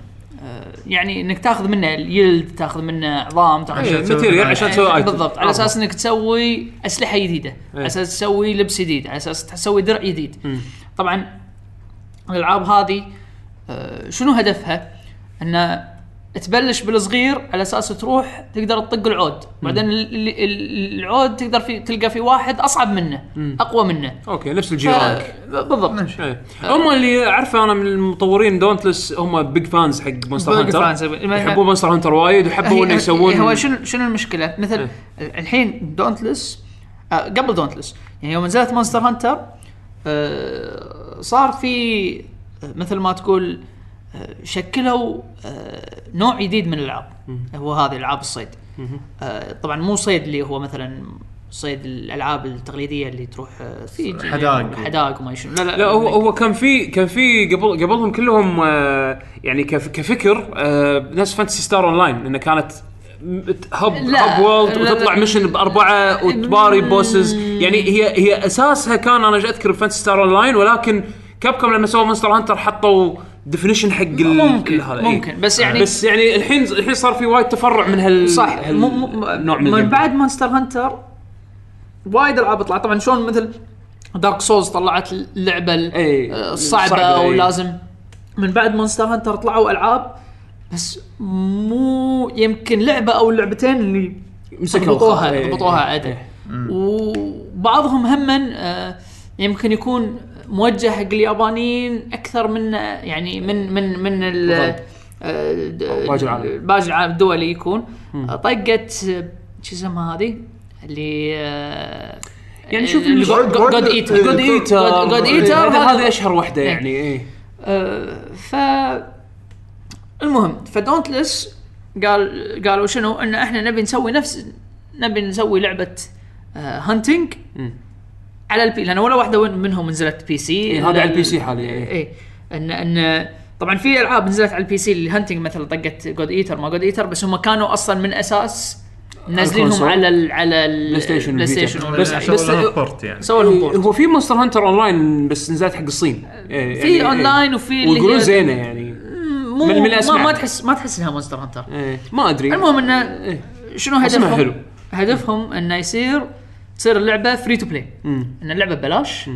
Speaker 5: آه، يعني انك تاخذ منه اليلد تاخذ منه عظام تاخذ
Speaker 1: إيه،
Speaker 3: عشان تسوي-
Speaker 1: ماتيريال عشان تسوي
Speaker 5: يعني
Speaker 1: ايتم
Speaker 5: بالضبط على اساس انك تسوي اسلحه جديده
Speaker 1: آه. إيه.
Speaker 5: على اساس تسوي لبس جديد على اساس تسوي درع جديد طبعا الالعاب هذه آه، شنو هدفها؟ ان تبلش بالصغير على اساس تروح تقدر تطق العود بعدين ال- ال- ال- العود تقدر في تلقى في واحد اصعب منه اقوى منه
Speaker 1: اوكي نفس
Speaker 5: ف-
Speaker 1: الجيرانك
Speaker 5: بالضبط
Speaker 1: إيه. هم اللي اعرفه انا من المطورين دونتلس هم بيج فانز حق مونستر
Speaker 5: Big
Speaker 1: هانتر
Speaker 5: fans.
Speaker 1: يحبون مونستر هانتر وايد ويحبوا
Speaker 5: هي-
Speaker 1: انه
Speaker 5: هي-
Speaker 1: يسوون
Speaker 5: هو شنو شنو المشكله؟ مثل
Speaker 1: إيه.
Speaker 5: ال- الحين دونتلس آه قبل دونتلس يعني يوم نزلت مونستر هانتر آه صار في آه، مثل ما تقول آه، شكلوا آه، نوع جديد من الالعاب هو هذه العاب الصيد آه، طبعا مو صيد اللي هو مثلا صيد الالعاب التقليديه اللي تروح آه، في
Speaker 3: حدائق.
Speaker 5: حدائق وما شنو لا لا,
Speaker 1: لا هو هو كان في كان في قبل قبلهم كلهم آه، يعني كف- كفكر آه، نفس فانتسي ستار اون لاين انه كانت هب
Speaker 5: لا،
Speaker 1: هب وولد
Speaker 5: لا،
Speaker 1: وتطلع
Speaker 5: لا.
Speaker 1: ميشن باربعه وتباري بوسز يعني هي هي اساسها كان انا جا اذكر فانتسي ستار اون لاين ولكن كابكم لما سووا مونستر هانتر حطوا ديفينيشن حق ال-
Speaker 5: ممكن-
Speaker 1: ال- هذا، إيه.
Speaker 5: ممكن، بس يعني-
Speaker 1: بس يعني الحين الحين صار في وايد تفرع من هال
Speaker 5: صح
Speaker 1: هال-
Speaker 5: مو مو
Speaker 1: نوع
Speaker 5: من,
Speaker 1: الجيم.
Speaker 5: بعد مونستر هانتر وايد العاب طلعت طبعا شلون مثل دارك سولز طلعت اللعبه ال-
Speaker 1: إي،
Speaker 5: آه، الصعبه
Speaker 1: الصعبة، إي.
Speaker 5: ولازم من بعد مونستر هانتر طلعوا العاب بس مو يمكن لعبه او لعبتين اللي
Speaker 1: مسكوا الخط.
Speaker 5: ضبطوها
Speaker 1: إي.
Speaker 5: ضبطوها عدل وبعضهم هما آه، يمكن يكون موجه حق اليابانيين اكثر من يعني من من من ال-
Speaker 1: بالضبط.
Speaker 5: آه، د-
Speaker 1: باقي العالم.
Speaker 5: باقي العالم الدولي يكون طقت شو اسمها هذه اللي آه،
Speaker 1: يعني شوف
Speaker 5: اللي
Speaker 1: God-
Speaker 5: God- God Eater.
Speaker 1: جود ايتر
Speaker 5: God- God Eater هذا-
Speaker 1: هذه اشهر واحده
Speaker 5: إيه.
Speaker 1: يعني ايه
Speaker 5: آه، ف المهم فدونتلس قال قالوا شنو ان احنا نبي نسوي نفس نبي نسوي لعبه هانتنج
Speaker 1: مم.
Speaker 5: على البي لان ولا واحده وين- منهم نزلت بي سي
Speaker 1: إيه، هذا على البي سي حاليا، إيه.
Speaker 5: اي ان ان طبعا في العاب نزلت على البي سي الهانتنج مثلا طقت جود ايتر ما جود ايتر بس هم كانوا اصلا من اساس نازلينهم
Speaker 1: الكونسول.
Speaker 5: على ال على ال-
Speaker 1: بلاي ستيشن
Speaker 5: بلاي
Speaker 1: والفيتا.
Speaker 5: ستيشن
Speaker 3: بس
Speaker 5: والبلاي
Speaker 1: بس-
Speaker 3: بس بورت يعني
Speaker 5: سووا لهم بورت.
Speaker 1: إيه، هو في مونستر هانتر اونلاين بس نزلت حق الصين إيه،
Speaker 5: في
Speaker 1: يعني-
Speaker 5: أونلاين وفي اللي
Speaker 1: ويقولون
Speaker 5: هي-
Speaker 1: زينه يعني
Speaker 5: مو
Speaker 1: من- من
Speaker 5: ما,
Speaker 1: الأسماء.
Speaker 5: ما تحس ما تحس انها مونستر هانتر
Speaker 1: إيه، ما ادري
Speaker 5: المهم انه شنو
Speaker 1: اسمها
Speaker 5: هدفهم؟
Speaker 1: إيه. حلو.
Speaker 5: هدفهم انه يصير تصير اللعبه فري تو بلاي
Speaker 1: مم.
Speaker 5: ان اللعبه ببلاش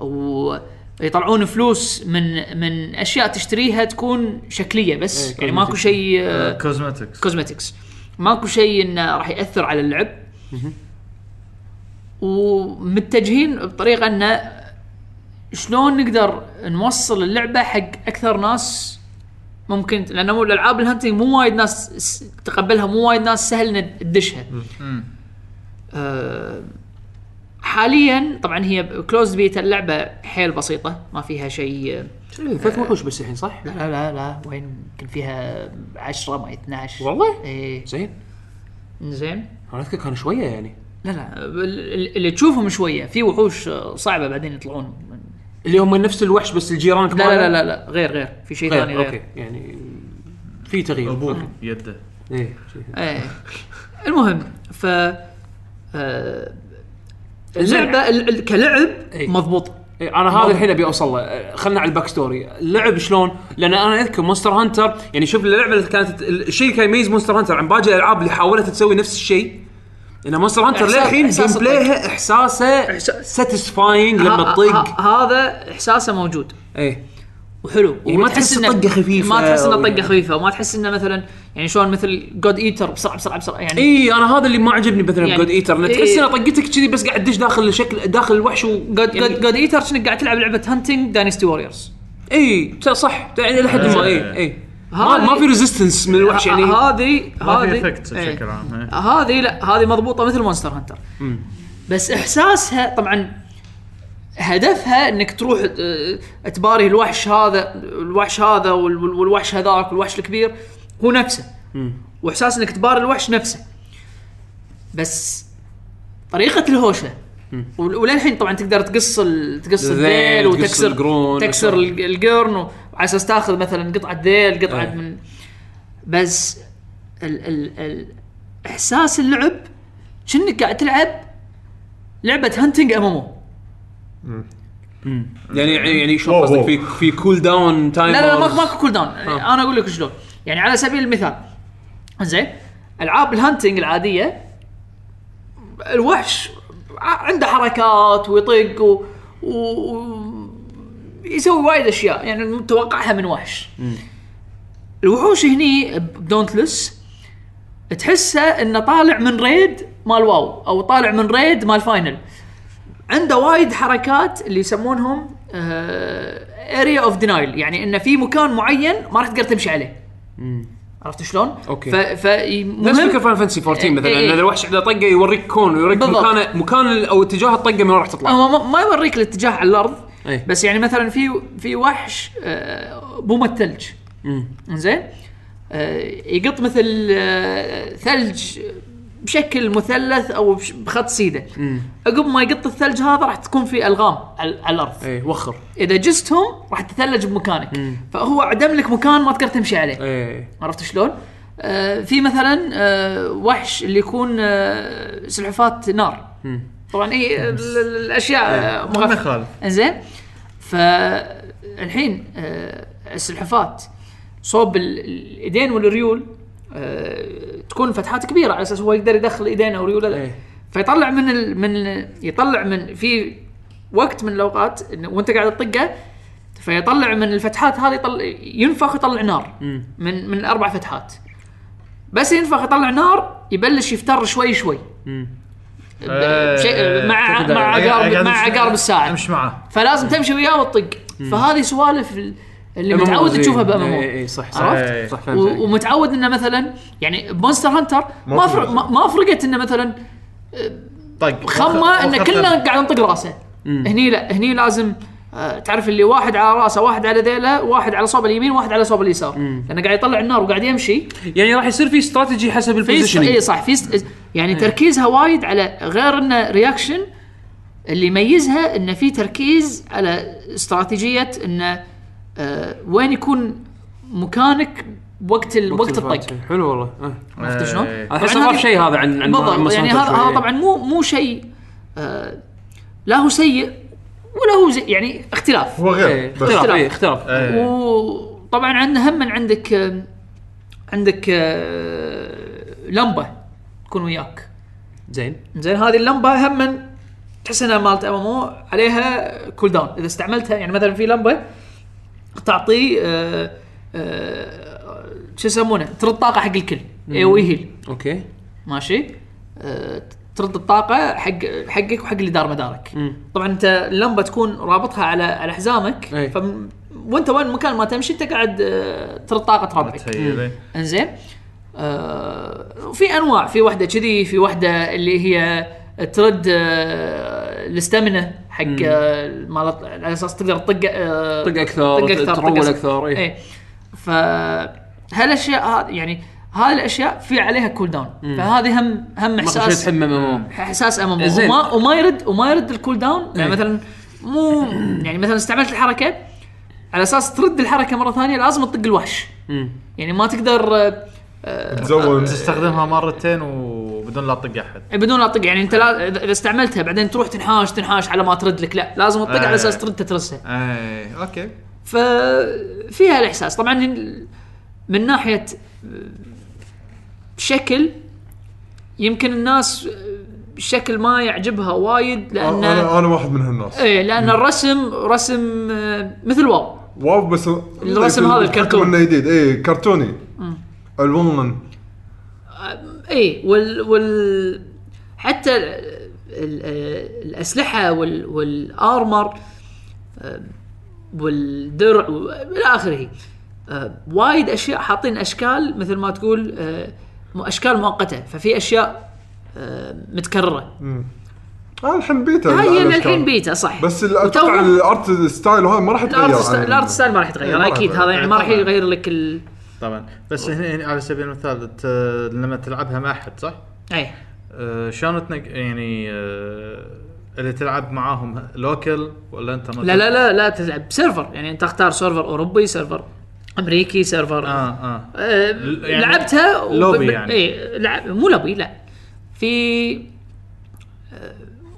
Speaker 5: ويطلعون فلوس من من اشياء تشتريها تكون شكليه
Speaker 1: إيه،
Speaker 5: بس يعني
Speaker 1: cosmetic.
Speaker 5: ماكو شيء آه،
Speaker 3: كوزمتكس
Speaker 5: كوزمتكس ماكو شيء انه راح ياثر على اللعب ومتجهين بطريقه انه شلون نقدر نوصل اللعبه حق اكثر ناس ممكن لان مو- الالعاب الهانتنج مو وايد ناس س- تقبلها مو وايد ناس سهل إن تدشها آه، حاليا طبعا هي كلوز بيتا اللعبه حيل بسيطه ما فيها شيء
Speaker 1: ثلاث وحوش بس الحين صح؟
Speaker 5: لا لا لا لا وين يمكن فيها 10 ما 12
Speaker 1: والله؟
Speaker 5: ايه
Speaker 1: زين
Speaker 5: زين
Speaker 1: انا اذكر كان شويه يعني
Speaker 5: لا لا آه، ال- ال- اللي تشوفهم شويه في وحوش آه، صعبه بعدين يطلعون من-
Speaker 1: اللي هم نفس الوحش بس الجيران
Speaker 5: لا لا لا لا, لا غير غير في شيء ثاني
Speaker 1: غير
Speaker 5: غير
Speaker 1: اوكي يعني في تغيير
Speaker 3: ابوك يده
Speaker 1: ايه شي.
Speaker 5: ايه المهم ف آه، اللعبه ال- ال- كلعب
Speaker 1: إي.
Speaker 5: مضبوط
Speaker 1: إيه، انا هذا الحين ابي اوصل له أه، خلنا على الباك ستوري اللعب شلون لان انا اذكر مونستر هانتر يعني شوف اللعبه اللي كانت الشيء اللي كان يميز مونستر هانتر عن باقي الالعاب اللي حاولت تسوي نفس الشيء ان مونستر هانتر
Speaker 5: إحساس- طيب.
Speaker 1: للحين جيم
Speaker 5: إحساس الطق.
Speaker 1: بلاها احساسه ساتيسفاينج لما
Speaker 5: ه-
Speaker 1: تطق
Speaker 5: ه- هذا احساسه موجود
Speaker 1: ايه
Speaker 5: وحلو
Speaker 1: يعني ما تحس
Speaker 5: إنه-
Speaker 1: طقة خفيفة
Speaker 5: ما تحس انه
Speaker 1: أو
Speaker 5: طقه
Speaker 1: يعني.
Speaker 5: خفيفه وما تحس انه مثلا يعني شلون مثل جود ايتر بسرعه بسرعه بسرعه يعني
Speaker 1: اي انا إيه، هذا اللي ما عجبني مثلا
Speaker 5: يعني-
Speaker 1: بجود ايتر انه
Speaker 5: إيه.
Speaker 1: تحس ان طقتك كذي بس قاعد تدش داخل شكل داخل الوحش و
Speaker 5: جود
Speaker 1: يعني-
Speaker 5: جود جود ايتر كأنك قاعد تلعب لعبه هانتنج داينستي ووريرز
Speaker 1: اي صح يعني لحد ما اي اي ما,
Speaker 5: هذه-
Speaker 1: ما في ريزيستنس من الوحش يعني
Speaker 5: هذه
Speaker 3: ما في
Speaker 5: هذه
Speaker 3: افكت
Speaker 5: إيه.
Speaker 3: بشكل عام إيه.
Speaker 5: هذه لا هذه مضبوطه مثل مونستر هانتر بس احساسها طبعا هدفها انك تروح اه، تباري الوحش هذا الوحش هذا وال- وال- والوحش هذاك والوحش الكبير هو نفسه واحساس انك تباري الوحش نفسه بس طريقه الهوشه ول- وللحين طبعا تقدر تقص ال- تقص
Speaker 1: الذيل،
Speaker 5: الذيل
Speaker 1: تقص
Speaker 5: وتكسر
Speaker 1: القرون.
Speaker 5: تكسر ال- القرن وعلى اساس تاخذ مثلا قطعه ذيل قطعه
Speaker 1: إيه.
Speaker 5: من بس ال ال ال احساس اللعب كأنك قاعد تلعب لعبه هانتنج ام ام
Speaker 1: يعني يعني شلون قصدك في في كول داون تايم
Speaker 5: لا لا لا ماكو ماكو كول داون انا اقول لك شلون يعني على سبيل المثال زين العاب الهانتنج العاديه الوحش ع- عنده حركات ويطق و... و... و- يسوي وايد اشياء يعني متوقعها من وحش الوحوش هني بدونتلس تحسه انه طالع من ريد مال واو او طالع من ريد مال فاينل عنده وايد حركات اللي يسمونهم آه، اريا اوف دينايل يعني انه في مكان معين ما راح تقدر تمشي عليه عرفت شلون؟
Speaker 1: أوكي.
Speaker 5: ف, ف...
Speaker 1: نفس
Speaker 5: مهم-
Speaker 1: فكره فاين فانسي 14 مثلا
Speaker 5: إيه.
Speaker 1: ان الوحش اذا طقه يوريك كون ويوريك
Speaker 5: بالضبط.
Speaker 1: مكانه مكان ال- او اتجاه الطقه من وين راح تطلع
Speaker 5: هو ما- ما يوريك الاتجاه على الارض
Speaker 1: أي.
Speaker 5: بس يعني مثلا في في وحش آه، بومه الثلج زين آه، يقط مثل آه، ثلج بشكل مثلث او بش- بخط سيده عقب ما يقط الثلج هذا راح تكون في الغام على على الارض
Speaker 1: اي وخر
Speaker 5: اذا جزتهم راح تثلج بمكانك فهو عدم لك مكان ما تقدر تمشي عليه
Speaker 1: اي
Speaker 5: عرفت شلون؟ آه، في مثلا آه، وحش اللي يكون آه، سلحفات نار طبعا اي ال- ال- الاشياء آه،
Speaker 3: ما
Speaker 5: مغفى
Speaker 3: يخالف
Speaker 5: انزين فالحين آه، السلحفات صوب ال- الايدين والريول آه، تكون فتحات كبيره على اساس هو يقدر يدخل ايدين او ريوله لا
Speaker 1: إيه.
Speaker 5: فيطلع من ال من يطلع من في وقت من الاوقات إن- وانت قاعد تطقه فيطلع من الفتحات هذه يطلع ينفخ يطلع نار من من اربع فتحات بس ينفخ يطلع نار يبلش يفتر شوي شوي
Speaker 3: إيه.
Speaker 5: بشيء مع
Speaker 1: تقدر-
Speaker 5: مع عقارب مع عقارب الساعه
Speaker 3: امشي معاه
Speaker 5: فلازم تمشي وياه وتطق فهذه سوالف اللي
Speaker 3: أمم
Speaker 5: متعود تشوفها
Speaker 3: إيه،
Speaker 1: اي
Speaker 5: بامامو
Speaker 1: اي صح صح
Speaker 5: عرفت؟
Speaker 1: صح فهمت عليك.
Speaker 5: ومتعود انه مثلا يعني بونستر هانتر ما
Speaker 2: في
Speaker 5: فرق
Speaker 2: مشكلة.
Speaker 5: ما- ما فرقت انه مثلا
Speaker 3: طق
Speaker 5: خمه
Speaker 3: أو
Speaker 5: انه
Speaker 3: خفة.
Speaker 5: كلنا قاعد نطق راسه هني لا هني لازم آه، تعرف اللي واحد على راسه واحد على ذيله واحد على صوب اليمين واحد على صوب اليسار لانه قاعد يطلع النار وقاعد يمشي
Speaker 1: يعني راح يصير في استراتيجي حسب
Speaker 5: في اي
Speaker 1: البوزيشنينج
Speaker 5: صح في س- يعني تركيزها وايد على غير انه رياكشن اللي يميزها انه في تركيز على استراتيجيه انه آه وين يكون مكانك وقت ال- وقت الطق
Speaker 1: حلو والله آه.
Speaker 5: عرفت شلون؟
Speaker 3: إيه.
Speaker 5: طبعاً
Speaker 1: احس
Speaker 5: هذه-
Speaker 1: اضاف شيء هذا عن عن
Speaker 5: بالضبط
Speaker 1: Monster
Speaker 5: يعني
Speaker 1: Hunter
Speaker 5: هذا
Speaker 1: شوي.
Speaker 5: هذا طبعا مو مو شيء آه لا هو سيء ولا هو زي يعني اختلاف
Speaker 2: هو
Speaker 1: إيه،
Speaker 2: غير بس
Speaker 1: اختلاف اي اختلاف
Speaker 3: إيه.
Speaker 5: وطبعا عندنا هم عندك آه، عندك آه، لمبه تكون وياك
Speaker 1: زين
Speaker 5: زين هذه اللمبه هم تحس انها مالت ام ام عليها كول داون اذا استعملتها يعني مثلا في لمبه تعطي آه، آه، شو يسمونه ترد طاقه حق الكل اي ويهيل
Speaker 1: اوكي
Speaker 5: ماشي آه، ترد الطاقه حق حقك وحق اللي دار مدارك طبعا انت اللمبه تكون رابطها على على حزامك
Speaker 1: أي.
Speaker 5: فم- وانت وين مكان ما تمشي انت قاعد آه، ترد طاقه ربعك
Speaker 3: تخيل إيه.
Speaker 5: انزين آه في انواع في واحده كذي في واحده اللي هي ترد آه الاستمنه حق آه مال على اساس تقدر تطق آه
Speaker 1: طق أكثر، ترول أكثر، إيه.
Speaker 5: اي ف هالاشياء هذ- يعني هذه الاشياء في عليها كول داون فهذه هم هم
Speaker 1: ماكو شيء
Speaker 5: احساس
Speaker 1: تحمه ممو
Speaker 5: احساس امامه
Speaker 1: زين.
Speaker 5: وما وما يرد وما يرد الكول داون
Speaker 1: إيه.
Speaker 5: يعني مثلا مو يعني مثلا استعملت الحركه على اساس ترد الحركه مره ثانيه لازم تطق الوحش يعني ما تقدر آه،
Speaker 2: تزون
Speaker 3: تستخدمها مرتين وبدون لا تطق احد
Speaker 5: بدون لا تطق يعني انت لا اذا إذا استعملتها بعدين تروح تنحاش تنحاش على ما ترد لك لا لازم تطق على
Speaker 3: آه.
Speaker 5: اساس ترد تترسها
Speaker 3: اي اوكي
Speaker 5: ففيها الاحساس طبعا ال- من ناحيه آه، شكل يمكن الناس آه، شكل ما يعجبها وايد لان
Speaker 2: انا انا واحد من هالناس
Speaker 5: ايه لان الرسم رسم آه، مثل واو
Speaker 2: واو بس إيه،
Speaker 5: الرسم هذا الكرتون.
Speaker 2: انه جديد اي إيه، كرتوني أه، الوان
Speaker 5: اي وال وال حتى ال- ال- الاسلحه وال والارمر آه، والدرع و- الى اخره آه، وايد اشياء حاطين اشكال مثل ما تقول آه، م- اشكال مؤقته ففي اشياء آه، متكرره
Speaker 2: انا آه، الحين بيتا
Speaker 5: هاي
Speaker 2: الأشكال.
Speaker 5: الحين بيتا صح
Speaker 2: بس ال-
Speaker 5: وتوهم-
Speaker 2: اتوقع الارت ستايل هذا ما راح يتغير
Speaker 5: الارت ستا-
Speaker 2: عن-
Speaker 5: الارت ستايل ما راح يتغير
Speaker 2: إيه، ما راح
Speaker 5: اكيد هذا يعني ما راح
Speaker 3: طبعاً.
Speaker 5: يغير لك ال
Speaker 3: طبعا بس هنا هنا على سبيل المثال ت- لما تلعبها مع احد صح؟
Speaker 5: اي
Speaker 3: أه، شلون تنق يعني أه، اللي تلعب معاهم لوكل ولا انترنت؟
Speaker 5: لا لا لا لا تلعب بسيرفر يعني انت اختار سيرفر اوروبي سيرفر امريكي سيرفر
Speaker 3: اه اه
Speaker 5: آه،
Speaker 3: يعني
Speaker 5: لعبتها وب-
Speaker 3: لوبي
Speaker 5: ب-
Speaker 3: يعني.
Speaker 5: اي لعب مو لوبي لا في آه،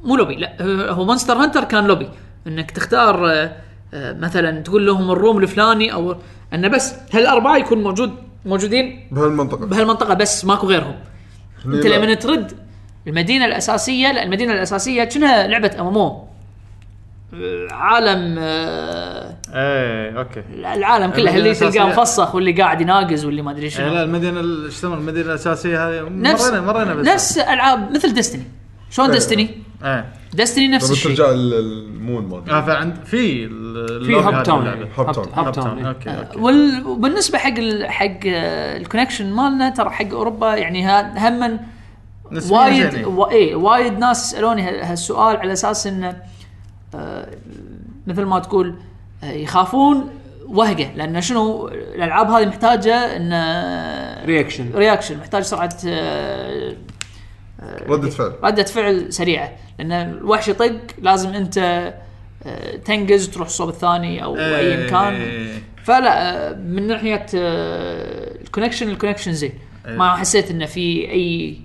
Speaker 5: مو لوبي لا هو مونستر هانتر كان لوبي انك تختار آه، آه، مثلا تقول لهم الروم الفلاني او انه بس هالاربعه يكون موجود موجودين
Speaker 2: بهالمنطقه
Speaker 5: بهالمنطقه بس ماكو غيرهم انت
Speaker 2: لا.
Speaker 5: لما ترد المدينه الاساسيه لا المدينه الاساسيه كأنها لعبه امامو عالم آه،
Speaker 3: ايه اوكي
Speaker 5: العالم كله اللي
Speaker 3: المدينة
Speaker 5: تلقاه
Speaker 3: الأساسية.
Speaker 5: مفسخ واللي قاعد يناقز واللي ما ادري
Speaker 3: إيه، لا
Speaker 5: شنو
Speaker 3: المدينه ال- ايش اسمها المدينه الاساسيه هذه
Speaker 5: نفس
Speaker 3: مرينا مرينا بس
Speaker 5: نفس العاب مثل ديستني شلون
Speaker 2: إيه.
Speaker 5: ديستني؟
Speaker 3: ايه
Speaker 5: ديستني نفس
Speaker 2: لما
Speaker 5: الشيء
Speaker 2: ترجع ال- المون مالته
Speaker 3: اه فعند في
Speaker 1: في هاب تاون
Speaker 2: هاب
Speaker 1: هاب
Speaker 2: تاون.
Speaker 1: هاب تاون إيه.
Speaker 3: اوكي اوكي
Speaker 5: وال- وبالنسبه حق ال... حق آه، الكونكشن مالنا ترى حق اوروبا يعني ها هم
Speaker 3: نسبياً
Speaker 5: وايد
Speaker 3: زينين.
Speaker 5: و... اي وايد ناس سالوني ه- هالسؤال على اساس انه آه، مثل ما تقول آه، يخافون وهقه لان شنو الالعاب هذه محتاجه ان
Speaker 1: رياكشن
Speaker 5: رياكشن محتاج سرعه آه،
Speaker 2: ردة فعل
Speaker 5: ردة فعل سريعة لأن الوحش يطق لازم أنت آه، تنقز تروح صوب الثاني أو أي مكان
Speaker 3: إيه.
Speaker 5: فلا آه، من ناحية آه، الكونكشن الكونكشن زين ما حسيت إنه في أي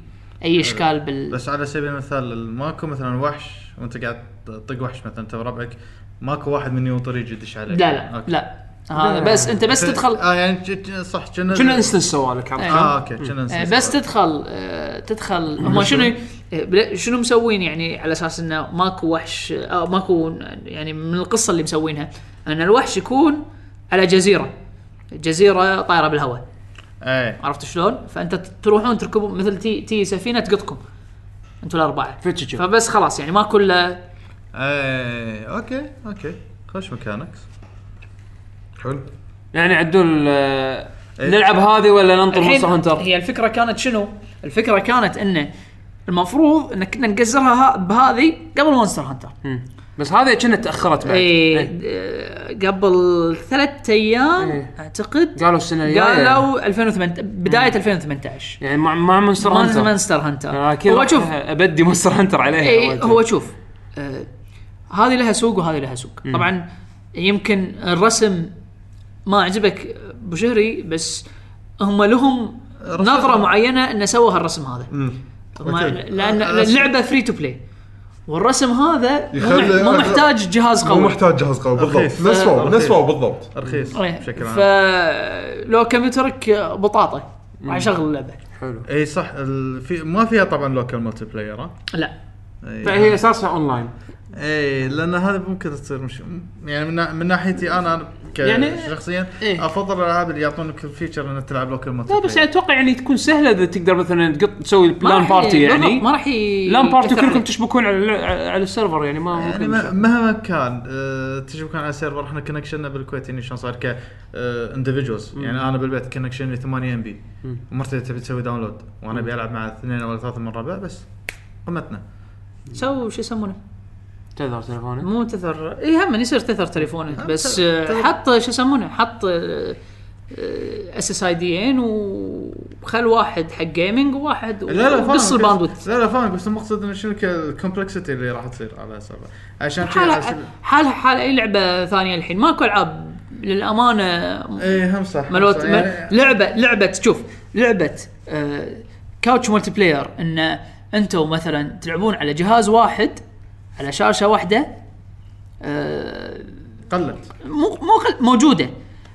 Speaker 5: أي إشكال بال
Speaker 3: إيه. بس على سبيل المثال ماكو مثلا وحش وانت قاعد تطق وحش مثلا انت وربعك ماكو واحد من يوم طريق يدش عليك
Speaker 5: لا لا
Speaker 3: أوكي.
Speaker 5: لا هذا بس أنت بس تدخل
Speaker 3: اه يعني ج- ج- صح كنا
Speaker 1: كنا انستنس سوالك عرفت شلون؟
Speaker 3: اه اوكي كنا
Speaker 5: آه،
Speaker 3: نسنس.
Speaker 5: بس تدخل آه، تدخل هم شنو آه، بل- شنو مسوين يعني على اساس انه ماكو وحش آه ماكو يعني من القصه اللي مسوينها ان الوحش يكون على جزيره جزيره طايره بالهواء
Speaker 3: ايه
Speaker 5: عرفت شلون؟ فانت تروحون تركبون مثل تي, تي سفينه تقطكم انتوا الاربعه
Speaker 1: فتشتشو.
Speaker 5: فبس خلاص يعني ماكو الا
Speaker 3: ايه اوكي اوكي خوش مكانكس
Speaker 2: حلو
Speaker 1: يعني عدول آه،
Speaker 3: إيه.
Speaker 1: نلعب هذه ولا ننطر
Speaker 5: الحين
Speaker 1: مونستر هانتر
Speaker 5: هي الفكره كانت شنو؟ الفكره كانت انه المفروض ان كنا نقزرها ه- بهذه قبل مونستر هانتر
Speaker 1: مم. بس هذه كنا تاخرت بعد
Speaker 5: اي
Speaker 1: إيه.
Speaker 5: آه، قبل ثلاثة ايام
Speaker 1: إيه.
Speaker 5: اعتقد
Speaker 1: قالوا إيه. السنه الجايه
Speaker 5: قالوا 2018 بدايه 2018
Speaker 1: يعني مع مع آه، مونستر
Speaker 5: مونستر
Speaker 1: هانتر
Speaker 5: مونستر هانتر
Speaker 1: أنا أكيد
Speaker 5: هو
Speaker 1: راح
Speaker 5: شوف
Speaker 1: ابدي مونستر هانتر عليه
Speaker 5: اي هو شوف آه، هذه لها سوق وهذه لها سوق طبعا يمكن الرسم ما عجبك ابو شهري بس هم لهم نظره معينه انه سووا هالرسم هذا هم
Speaker 2: أكيد.
Speaker 5: لان
Speaker 3: آه، رسم.
Speaker 5: اللعبه فري تو بلاي والرسم هذا مو
Speaker 2: يخلي-
Speaker 5: مح- مو محتاج جهاز
Speaker 2: مو
Speaker 5: قوي
Speaker 2: محتاج جهاز قوي
Speaker 3: رخيص.
Speaker 2: بالضبط نفس واو
Speaker 3: رخيص.
Speaker 2: نفس واو بالضبط
Speaker 3: رخيص
Speaker 5: ايه
Speaker 3: بشكل عام
Speaker 5: فلو كمبيوترك بطاطا مع شغل اللعبه
Speaker 1: حلو
Speaker 3: اي صح ال... في... ما فيها طبعا لوكال ملتي بلاير ها؟
Speaker 5: لا
Speaker 3: إي.
Speaker 1: فهي اساسها اونلاين
Speaker 3: اي لان هذا ممكن تصير مش يعني من, نا- من ناحيتي انا انا ك...
Speaker 5: يعني-
Speaker 3: يعني شخصيا
Speaker 5: إيه.
Speaker 3: إيه؟ افضل الالعاب اللي يعطونك الفيتشر انك تلعب لوكال ملتي
Speaker 1: لا بس يعني اتوقع يعني تكون سهله اذا تقدر مثلا تقط تسوي
Speaker 5: ما
Speaker 1: بلان
Speaker 5: راح-
Speaker 1: بارتي
Speaker 5: بالضبط،
Speaker 1: يعني
Speaker 5: ما راح ي-
Speaker 1: لان بارتي
Speaker 5: يأثر
Speaker 1: كلكم
Speaker 5: عليك.
Speaker 1: تشبكون على على السيرفر يعني ما
Speaker 3: يعني
Speaker 1: ممكن
Speaker 3: ما- مهما كان أه تشبكون على السيرفر احنا كونكشننا بالكويت يعني شلون صار ك اندفجوالز يعني انا بالبيت كونكشن 8 ام بي ومرتي تبي تسوي داونلود وانا ابي العب مع اثنين ولا ثلاثه من ربع بس قمتنا
Speaker 5: سو شو يسمونه
Speaker 1: تذر تليفونه
Speaker 5: مو تثر اي هم يصير تثر تليفونك
Speaker 3: هم
Speaker 5: بس
Speaker 3: تثر-
Speaker 5: آه،
Speaker 3: تثر.
Speaker 5: حط شو يسمونه حط آه، اس اس اي دي ان وخل واحد حق جيمنج وواحد قص
Speaker 3: فاهم.
Speaker 5: الباندوث
Speaker 3: لا لا فاهم بس المقصد انه شنو الكومبلكسيتي اللي راح تصير على السيرفر عشان كذا على
Speaker 5: حال
Speaker 3: سبيل-
Speaker 5: حال حال اي لعبه ثانيه الحين ماكو العاب للامانه
Speaker 3: اي إيه، هم صح هم
Speaker 5: ملوت
Speaker 3: صح.
Speaker 5: يعني لعبه لعبه شوف لعبه آه كاوتش مولتي بلاير ان انتم مثلا تلعبون على جهاز واحد على شاشه واحده آه
Speaker 3: قلت
Speaker 5: مو مو خل- موجوده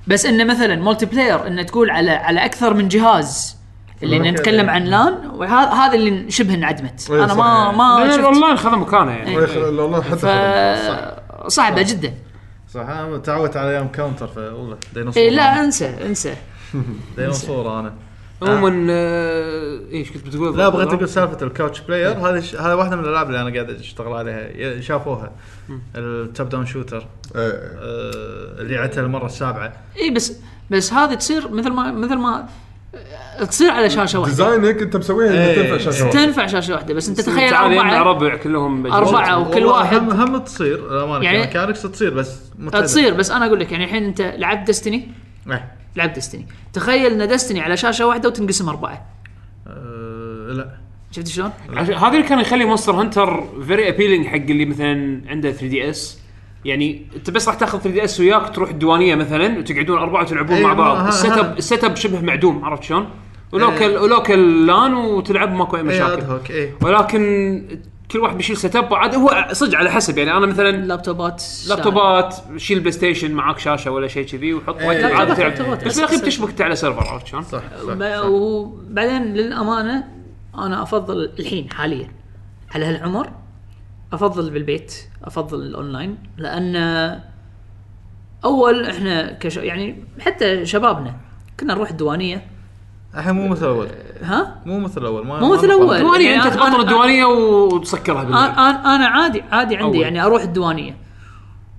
Speaker 5: بس انه مثلا مولتي بلاير انه تقول على على اكثر من جهاز اللي
Speaker 3: والله
Speaker 5: نتكلم عن لان وهذا هذا اللي شبه انعدمت انا ما ما شفت إيه.
Speaker 1: الاونلاين خذ مكانه يعني
Speaker 2: ما يخل- والله حتى
Speaker 5: ف
Speaker 2: خلاص.
Speaker 5: صعبه جدا
Speaker 3: صح انا تعودت على ايام كاونتر فوالله ديناصور
Speaker 5: إيه لا انسى انسى
Speaker 3: ديناصور انا
Speaker 1: عموما آه، ايش كنت بتقول
Speaker 3: لا بغيت اقول سالفه الكاوتش بلاير هذه ش- هذه واحده من الالعاب اللي انا قاعد اشتغل عليها ي- شافوها التوب داون شوتر
Speaker 2: إيه.
Speaker 3: آه، اللي عدتها المره السابعه
Speaker 5: اي إيه، بس بس هذه تصير مثل ما مثل ما آه، تصير على شاشه واحده
Speaker 2: ديزاينك انت مسويها انها
Speaker 3: إيه.
Speaker 2: تنفع شاشه واحدة.
Speaker 5: تنفع شاشه واحده بس انت تخيل
Speaker 1: تعال يجمع
Speaker 5: اربعه
Speaker 1: ربع كلهم مجموعة.
Speaker 5: أربعة. وكل
Speaker 3: والله
Speaker 5: واحد-
Speaker 3: هم, هم تصير الامانه
Speaker 5: يعني-
Speaker 3: يعني ميكانكس تصير بس متعبة.
Speaker 5: تصير بس انا اقول لك يعني الحين انت لعبت ديستني
Speaker 3: إيه.
Speaker 5: لعبت ديستني تخيل ان ديستني على شاشه واحده وتنقسم اربعه
Speaker 3: أه، لا
Speaker 5: شفت شلون؟
Speaker 1: عشان- هذا اللي كان يخلي مونستر هانتر فيري ابيلينج حق اللي مثلا عنده 3 دي اس يعني انت بس راح تاخذ 3 دي اس وياك تروح الديوانيه مثلا وتقعدون اربعه وتلعبون
Speaker 3: أي
Speaker 1: مع
Speaker 3: ما-
Speaker 1: بعض
Speaker 3: أيوة، ها- إيه.
Speaker 1: السيت
Speaker 3: ها.
Speaker 1: اب السيت اب شبه معدوم عرفت شلون؟ ولوكل ولوكل لان وتلعب ماكو اي
Speaker 3: اي اد
Speaker 1: مشاكل
Speaker 3: هوك اي
Speaker 1: ولكن كل واحد بيشيل سيت اب عاد هو صدق على حسب يعني انا مثلا
Speaker 5: اللابتوبات
Speaker 1: لابتوبات شيل بلاي ستيشن معاك شاشه ولا شيء كذي وحط
Speaker 3: إيه.
Speaker 1: وقت عادي
Speaker 5: لابتوبات-
Speaker 1: تلعب
Speaker 5: لابتوبات
Speaker 1: بس بالاخير
Speaker 5: بس-
Speaker 1: بتشبك على سيرفر عرفت شلون؟
Speaker 3: صح صح,
Speaker 5: ما-
Speaker 3: صح.
Speaker 5: وبعدين للامانه انا افضل الحين حاليا على هالعمر افضل بالبيت افضل الاونلاين لان اول احنا كش يعني حتى شبابنا كنا نروح الديوانيه
Speaker 3: الحين مو مثل اول
Speaker 5: ها
Speaker 3: مو مثل اول ما
Speaker 5: مو
Speaker 3: ما
Speaker 5: مثل
Speaker 3: نقارن.
Speaker 5: أول.
Speaker 1: الديوانيه
Speaker 5: يعني
Speaker 1: انت
Speaker 5: أنا-
Speaker 1: تبطل
Speaker 5: أنا-
Speaker 1: الديوانيه وتسكرها
Speaker 5: انا
Speaker 1: بالليل
Speaker 5: انا أنا عادي عادي عندي
Speaker 1: أول.
Speaker 5: يعني اروح الديوانيه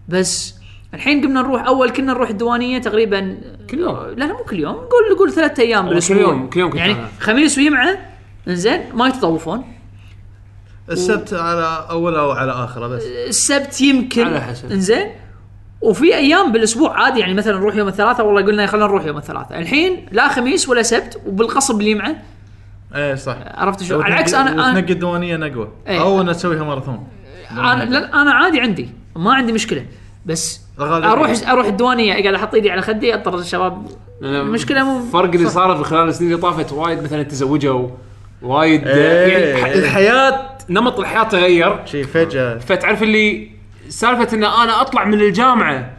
Speaker 5: بس الحين قمنا نروح اول كنا نروح الديوانيه تقريبا
Speaker 1: كل يوم.
Speaker 5: لا لا مو كل يوم قول قول ثلاثة ايام
Speaker 1: كل
Speaker 5: بالاسبوع
Speaker 1: يوم- كل يوم كنت
Speaker 5: يعني
Speaker 1: أنا.
Speaker 5: خميس وجمعه انزين ما يتطوفون
Speaker 3: السبت على اوله او على اخره بس
Speaker 5: السبت يمكن
Speaker 1: على حسب.
Speaker 5: انزين وفي ايام بالاسبوع عادي يعني مثلا نروح يوم الثلاثاء والله قلنا خلينا نروح يوم الثلاثاء الحين لا خميس ولا سبت وبالقصب الجمعه
Speaker 3: اي إيه، صح
Speaker 5: عرفت شو على العكس انا انا
Speaker 3: تنقي الديوانيه نقوه
Speaker 5: إيه.
Speaker 3: او انها تسويها ماراثون
Speaker 5: انا لا، أنا عادي عندي ما عندي مشكله بس
Speaker 3: الغالب-
Speaker 5: اروح اروح الديوانيه قاعد احط ايدي على خدي اضطر الشباب
Speaker 1: أنا
Speaker 5: المشكلة مو-
Speaker 1: الفرق اللي صار في خلال السنين اللي طافت وايد مثلا تزوجوا وايد
Speaker 3: إيه.
Speaker 1: يعني الحياه نمط الحياه تغير
Speaker 3: شي فجاه
Speaker 1: فتعرف اللي سالفه ان انا اطلع من الجامعه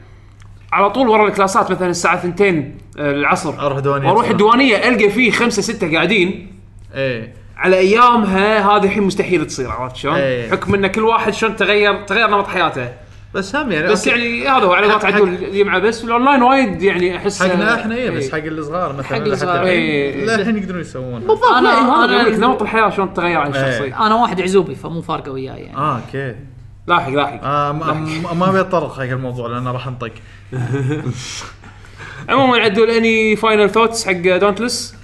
Speaker 1: على طول ورا الكلاسات مثلا الساعه 2 آه، العصر
Speaker 3: أروح دوانية.
Speaker 1: واروح الديوانيه القى فيه خمسه سته قاعدين
Speaker 3: ايه
Speaker 1: على ايامها هذه الحين مستحيل تصير عرفت شلون؟
Speaker 3: إيه.
Speaker 1: حكم ان كل واحد شلون تغير تغير نمط حياته
Speaker 3: بس هم يعني
Speaker 1: بس
Speaker 3: أوكي.
Speaker 1: يعني هذا هو على
Speaker 3: حق-
Speaker 1: قطع
Speaker 3: حق-
Speaker 1: عدول الجمعه بس والاونلاين وايد يعني احس
Speaker 3: حقنا احنا ايه بس
Speaker 1: إيه.
Speaker 3: حق الصغار مثلا
Speaker 5: حق
Speaker 3: لا حتى
Speaker 5: الصغار،
Speaker 3: الحين.
Speaker 1: إيه.
Speaker 3: لا الحين يقدرون يسوون
Speaker 1: بالضبط
Speaker 5: أنا-
Speaker 1: انا
Speaker 5: أنا-
Speaker 1: انا اقول لك نمط الحياه شلون تغير عن
Speaker 3: إيه.
Speaker 1: الشخصيه
Speaker 5: انا واحد عزوبي فمو فارقه وياي يعني
Speaker 3: اه اوكي
Speaker 1: لاحق لاحق
Speaker 3: آه ما, ما- ما ابي اتطرق حق الموضوع لان راح انطق
Speaker 1: عموما عدول اني فاينل ثوتس حق دونتلس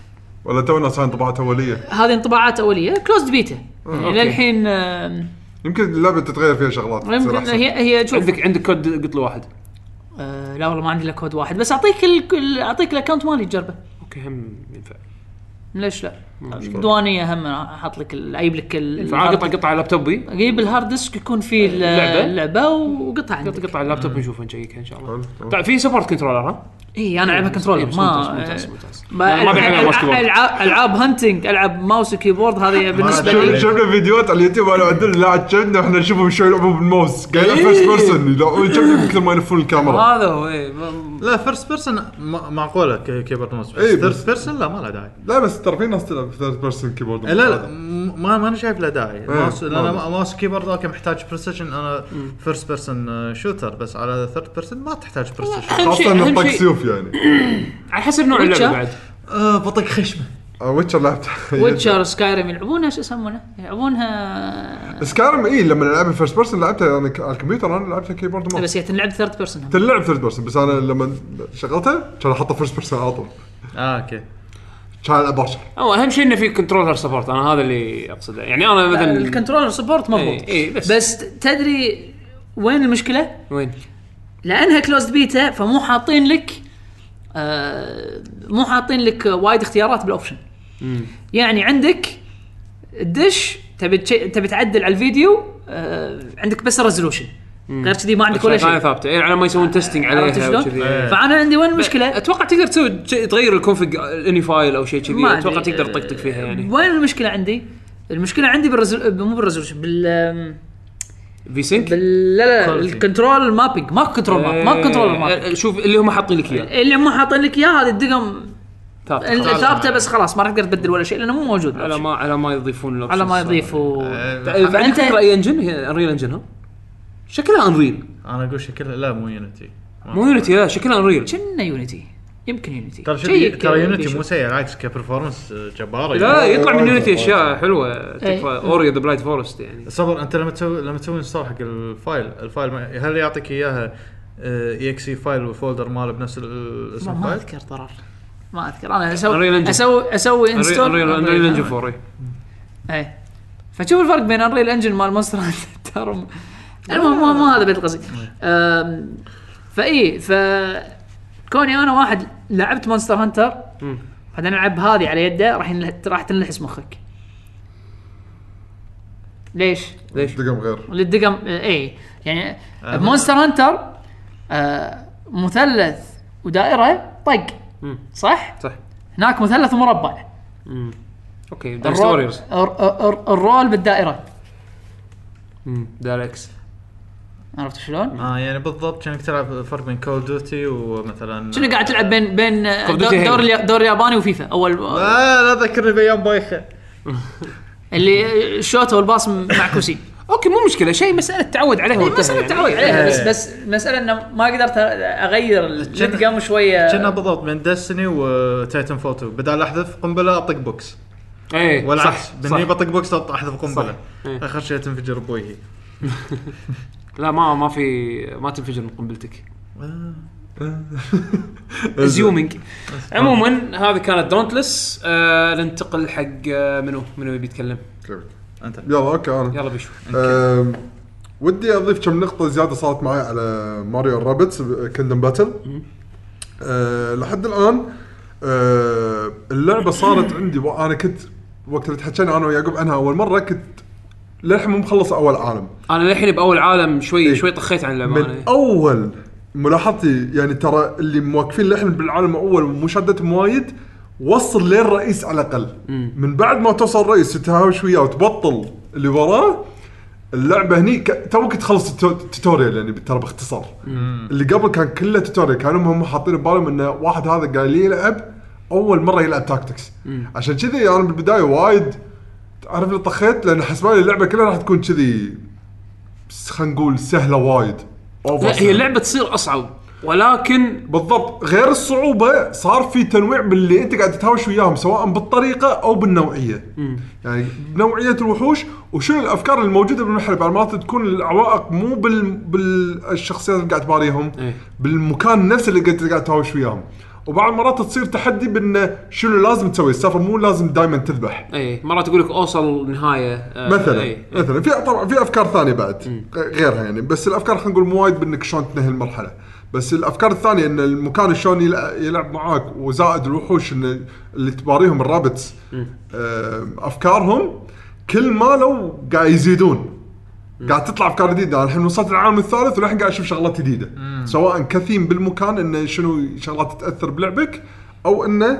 Speaker 2: ولا تونا صاير طبعات اوليه
Speaker 5: هذه انطباعات اوليه كلوزد بيتا يعني الحين آم،
Speaker 2: يمكن اللعبه تتغير فيها شغلات تصير
Speaker 5: يمكن
Speaker 2: أحسن.
Speaker 5: هي هي شوف
Speaker 1: عندك عندك كود قلت له واحد
Speaker 5: آه لا والله ما عندي الا كود واحد بس اعطيك ال... ال- اعطيك الاكونت مالي تجربه
Speaker 1: اوكي هم ينفع
Speaker 5: ليش لا؟ الديوانيه هم احط لك ال- اجيب لك ال-
Speaker 1: ينفع قطع قطع على لابتوبي
Speaker 5: اجيب الهارد ديسك يكون فيه ال-
Speaker 1: اللعبة.
Speaker 5: اللعبه
Speaker 1: آه،
Speaker 5: وقطع
Speaker 1: قطع
Speaker 5: عندك
Speaker 1: قطع على اللابتوب نشوفه نشيكها ان شاء الله
Speaker 2: حلو.
Speaker 1: طيب في سبورت كنترولر ها؟
Speaker 5: اي انا العبها
Speaker 1: إيه،
Speaker 5: كنترولر
Speaker 1: بس
Speaker 5: ما
Speaker 1: ممتاز ممتاز
Speaker 5: ما
Speaker 1: ما بيلعبها ماوس
Speaker 5: العب
Speaker 1: كيبورد.
Speaker 5: العاب العاب هانتنج العب ماوس وكيبورد هذه بالنسبه
Speaker 3: أدري.
Speaker 5: لي
Speaker 2: شف- شفنا فيديوهات على اليوتيوب انا عدل لاعب شفنا احنا نشوفهم شو يلعبون بالماوس قاعد يلعب فيرست
Speaker 1: إيه.
Speaker 2: بيرسون يلعبون شفنا كثر ما يلفون الكاميرا
Speaker 1: هذا هو إيه، ما-
Speaker 3: لا فيرست بيرسون معقوله ك- كيبورد ماوس بس
Speaker 2: إيه، بس-
Speaker 3: ثيرد بيرسون لا ما له داعي
Speaker 2: لا بس ترى في ناس تلعب ثيرد بيرسون كيبورد
Speaker 3: لا لا م- ما ما انا شايف له داعي ماوس
Speaker 2: ما
Speaker 3: لان
Speaker 2: بس.
Speaker 3: ما- ماوس كيبورد اوكي محتاج بريسيشن انا فيرست بيرسون شوتر آه، بس على ثيرد بيرسون ما تحتاج بريسيشن
Speaker 1: أهم شيء-
Speaker 2: خاصه انه
Speaker 1: أهم
Speaker 2: طق
Speaker 1: شيء-
Speaker 2: سيوف يعني
Speaker 1: على حسب نوع اللعبه
Speaker 5: ويتشر؟
Speaker 1: بعد
Speaker 3: بطق خشمه
Speaker 2: ويتشر آه، لعبت
Speaker 5: ويتشر سكايريم يلعبونها شو يسمونه؟ يلعبونها
Speaker 2: سكارم اي إيه، لما العبها فيرست بيرسون لعبتها انا ك- على الكمبيوتر انا لعبتها كيبورد ماوس
Speaker 5: بس هي تنلعب ثيرد بيرسون
Speaker 2: تلعب ثيرد بيرسون بس انا لما شغلتها كان احطها فيرست بيرسون على طول
Speaker 3: اه اوكي
Speaker 2: كان العب باكر
Speaker 1: او اهم شيء انه في كنترولر سبورت انا هذا اللي اقصده يعني انا مثلا
Speaker 5: الكنترولر سبورت مضبوط
Speaker 1: إي- إي، بس-
Speaker 5: بس تدري وين المشكله؟
Speaker 1: وين؟
Speaker 5: لانها كلوزد بيتا فمو حاطين لك آه مو حاطين لك وايد اختيارات بالاوبشن يعني عندك الدش تبي تشي- تبي تعدل على الفيديو آه عندك بس الريزولوشن غير كذي ما عندك ولا
Speaker 1: شغالة
Speaker 5: شيء
Speaker 1: ثابته إيه، على ما يسوون تيستنج
Speaker 5: عرفت
Speaker 1: عليها
Speaker 5: شلون؟
Speaker 1: وكذي.
Speaker 3: إيه.
Speaker 5: فانا عندي وين المشكله؟
Speaker 1: اتوقع تقدر تسوي شيء- تغير الكونفج اني فايل او شيء كذي
Speaker 5: ما أدري.
Speaker 1: اتوقع تقدر تطقطق فيها يعني
Speaker 5: وين المشكله عندي؟ المشكله عندي بالرزول مو بالريزولوشن بال
Speaker 1: في سينك
Speaker 5: بال لا لا
Speaker 3: Quality.
Speaker 5: الكنترول مابينج ماكو كنترول ماب ماكو كنترول ماب
Speaker 1: إيه، شوف اللي هم حاطين لك اياه
Speaker 5: اللي مو حاطين لك اياه هذه الدقم
Speaker 1: ثابتة. إيه. خلاص.
Speaker 5: ثابته بس خلاص ما راح تقدر تبدل ولا شيء لانه مو موجود
Speaker 1: على ما على ما يضيفون إيه،
Speaker 5: على ما
Speaker 1: يضيفون
Speaker 5: يضيفوا
Speaker 3: آه،
Speaker 1: عندك
Speaker 5: فأنت-
Speaker 1: فكره اي انجن هي انريل انجن ها؟ شكلها انريل
Speaker 3: انا اقول شكلها لا مو يونتي
Speaker 1: مو يونيتي لا شكلها انريل
Speaker 5: كنا يونيتي يمكن يونيتي
Speaker 3: ترى شوف
Speaker 5: شيك
Speaker 3: ترى
Speaker 5: آه،
Speaker 3: يونتي
Speaker 5: بيشوف.
Speaker 3: مو سيء العكس كبرفورمنس آه، جباره
Speaker 1: لا
Speaker 3: يعني.
Speaker 1: يطلع من يونيتي اشياء حلوه
Speaker 5: إيه.
Speaker 1: تكفى اوريا ذا بلايت فورست يعني
Speaker 3: صبر انت لما تسوي لما تسوي انستول حق الفايل الفايل ما- هل يعطيك آه، اياها اي اكس اي فايل والفولدر ماله بنفس ال-
Speaker 5: ما-
Speaker 3: اسم
Speaker 5: ما
Speaker 3: الفايل؟
Speaker 5: اذكر ضرر ما اذكر انا
Speaker 1: Unreal
Speaker 5: اسوي
Speaker 1: Engine.
Speaker 5: اسوي اسوي
Speaker 1: انريل
Speaker 5: انستول
Speaker 1: انريل انريل انجن 4 إيه.
Speaker 5: اي إيه. فشوف الفرق بين انريل انجن مال مونستر هانتر وم- المهم مو- مو هذا بيت القصيد أم، فاي ف كوني انا واحد لعبت مونستر هانتر
Speaker 1: مم.
Speaker 5: بعدين العب هذه على يده راح ينل- راح تنلحس مخك ليش؟
Speaker 1: ليش؟
Speaker 2: دقم غير
Speaker 5: للدقم آه، اي يعني
Speaker 3: آه.
Speaker 5: مونستر هانتر آه، مثلث ودائره طق
Speaker 1: مم.
Speaker 5: صح؟
Speaker 1: صح
Speaker 5: هناك مثلث ومربع
Speaker 1: اوكي داينستي
Speaker 5: الرول
Speaker 1: ووريرز
Speaker 5: الر- الر- الرول بالدائره
Speaker 1: دايركس
Speaker 5: عرفت شلون؟
Speaker 3: اه يعني بالضبط كانك تلعب فرق بين كول دوتي ومثلا
Speaker 5: شنو قاعد تلعب بين بين
Speaker 1: Duty
Speaker 5: دور-
Speaker 1: Halo.
Speaker 5: دور اليا- دور ياباني وفيفا اول
Speaker 3: آه، لا لا ذكرني بايام بايخه
Speaker 5: اللي الشوت والباص معكوسين
Speaker 1: اوكي مو مشكله شيء مساله تعود عليه
Speaker 5: اي
Speaker 1: وانتهى
Speaker 5: مساله
Speaker 1: يعني.
Speaker 5: تعود عليها
Speaker 3: إيه.
Speaker 5: بس بس مساله انه ما قدرت اغير الجد قام شويه
Speaker 3: كنا بالضبط بين ديستني وتايتن فوتو بدال احذف قنبله اطق بوكس
Speaker 5: إيه،
Speaker 1: اي
Speaker 3: والعكس
Speaker 1: إيه، صح
Speaker 3: باني
Speaker 1: صح
Speaker 3: بطق بوكس احذف قنبله
Speaker 1: إيه.
Speaker 3: اخر شيء تنفجر بوجهي
Speaker 1: لا ما ما في ما تنفجر من قنبلتك
Speaker 2: زين.
Speaker 1: ازيومينج عموما هذه كانت دونتلس آه ننتقل حق آه منو منو يبي يتكلم
Speaker 3: انت
Speaker 2: يلا اوكي انا
Speaker 1: يلا بيشو
Speaker 2: أم، ودي اضيف كم نقطه زياده صارت معي على ماريو رابتس كندم باتل أه، لحد الان أه، اللعبه صارت عندي وانا كنت وقت اللي تحكينا انا ويعقوب عنها اول مره كنت للحين مو مخلص اول عالم
Speaker 1: انا للحين باول عالم شوي
Speaker 2: إيه.
Speaker 1: شوي طخيت عن اللعبه
Speaker 2: من
Speaker 1: أنا.
Speaker 2: اول ملاحظتي يعني ترى اللي موقفين للحين بالعالم الاول ومو شادتهم وايد وصل للرئيس على الاقل من بعد ما توصل الرئيس تتهاوش وياه وتبطل اللي وراه اللعبه هني ك- توك تخلص التو- التوتوريال يعني ترى باختصار اللي قبل كان كله توتوريال كانوا هم حاطين ببالهم انه واحد هذا قاعد يلعب اول مره يلعب تاكتكس عشان كذي انا بالبدايه وايد تعرف اللي طخيت لان حسبالي اللعبه كلها راح تكون كذي بس خلينا نقول سهله وايد أوفر
Speaker 1: لا هي
Speaker 2: سهلة.
Speaker 1: اللعبه تصير اصعب ولكن
Speaker 2: بالضبط غير الصعوبه صار في تنويع باللي انت قاعد تتهاوش وياهم سواء بالطريقه او بالنوعيه يعني بنوعيه الوحوش وشنو الافكار الموجوده بالمحل بعض المرات تكون العوائق مو بال... بالشخصيات اللي قاعد تباريهم
Speaker 1: إيه.
Speaker 2: بالمكان نفسه اللي انت قاعد تهاوش وياهم وبعض المرات تصير تحدي بانه شنو لازم تسوي السالفه مو لازم دائما تذبح
Speaker 1: اي إيه، مرات يقول لك اوصل نهايه آه
Speaker 2: مثلا
Speaker 1: اي
Speaker 2: مثلا في طبعا في افكار ثانيه بعد غيرها يعني بس الافكار خلينا نقول مو وايد بانك شلون تنهي المرحله بس الافكار الثانيه ان المكان شلون يلع- يلعب معاك وزائد الوحوش إن اللي تباريهم الرابتس آه، افكارهم كل ما لو قاعد يزيدون قاعد تطلع افكار جديده انا الحين وصلت للعالم الثالث وللحين قاعد اشوف شغلات جديده سواء كثيم بالمكان انه شنو شغلات تاثر بلعبك او انه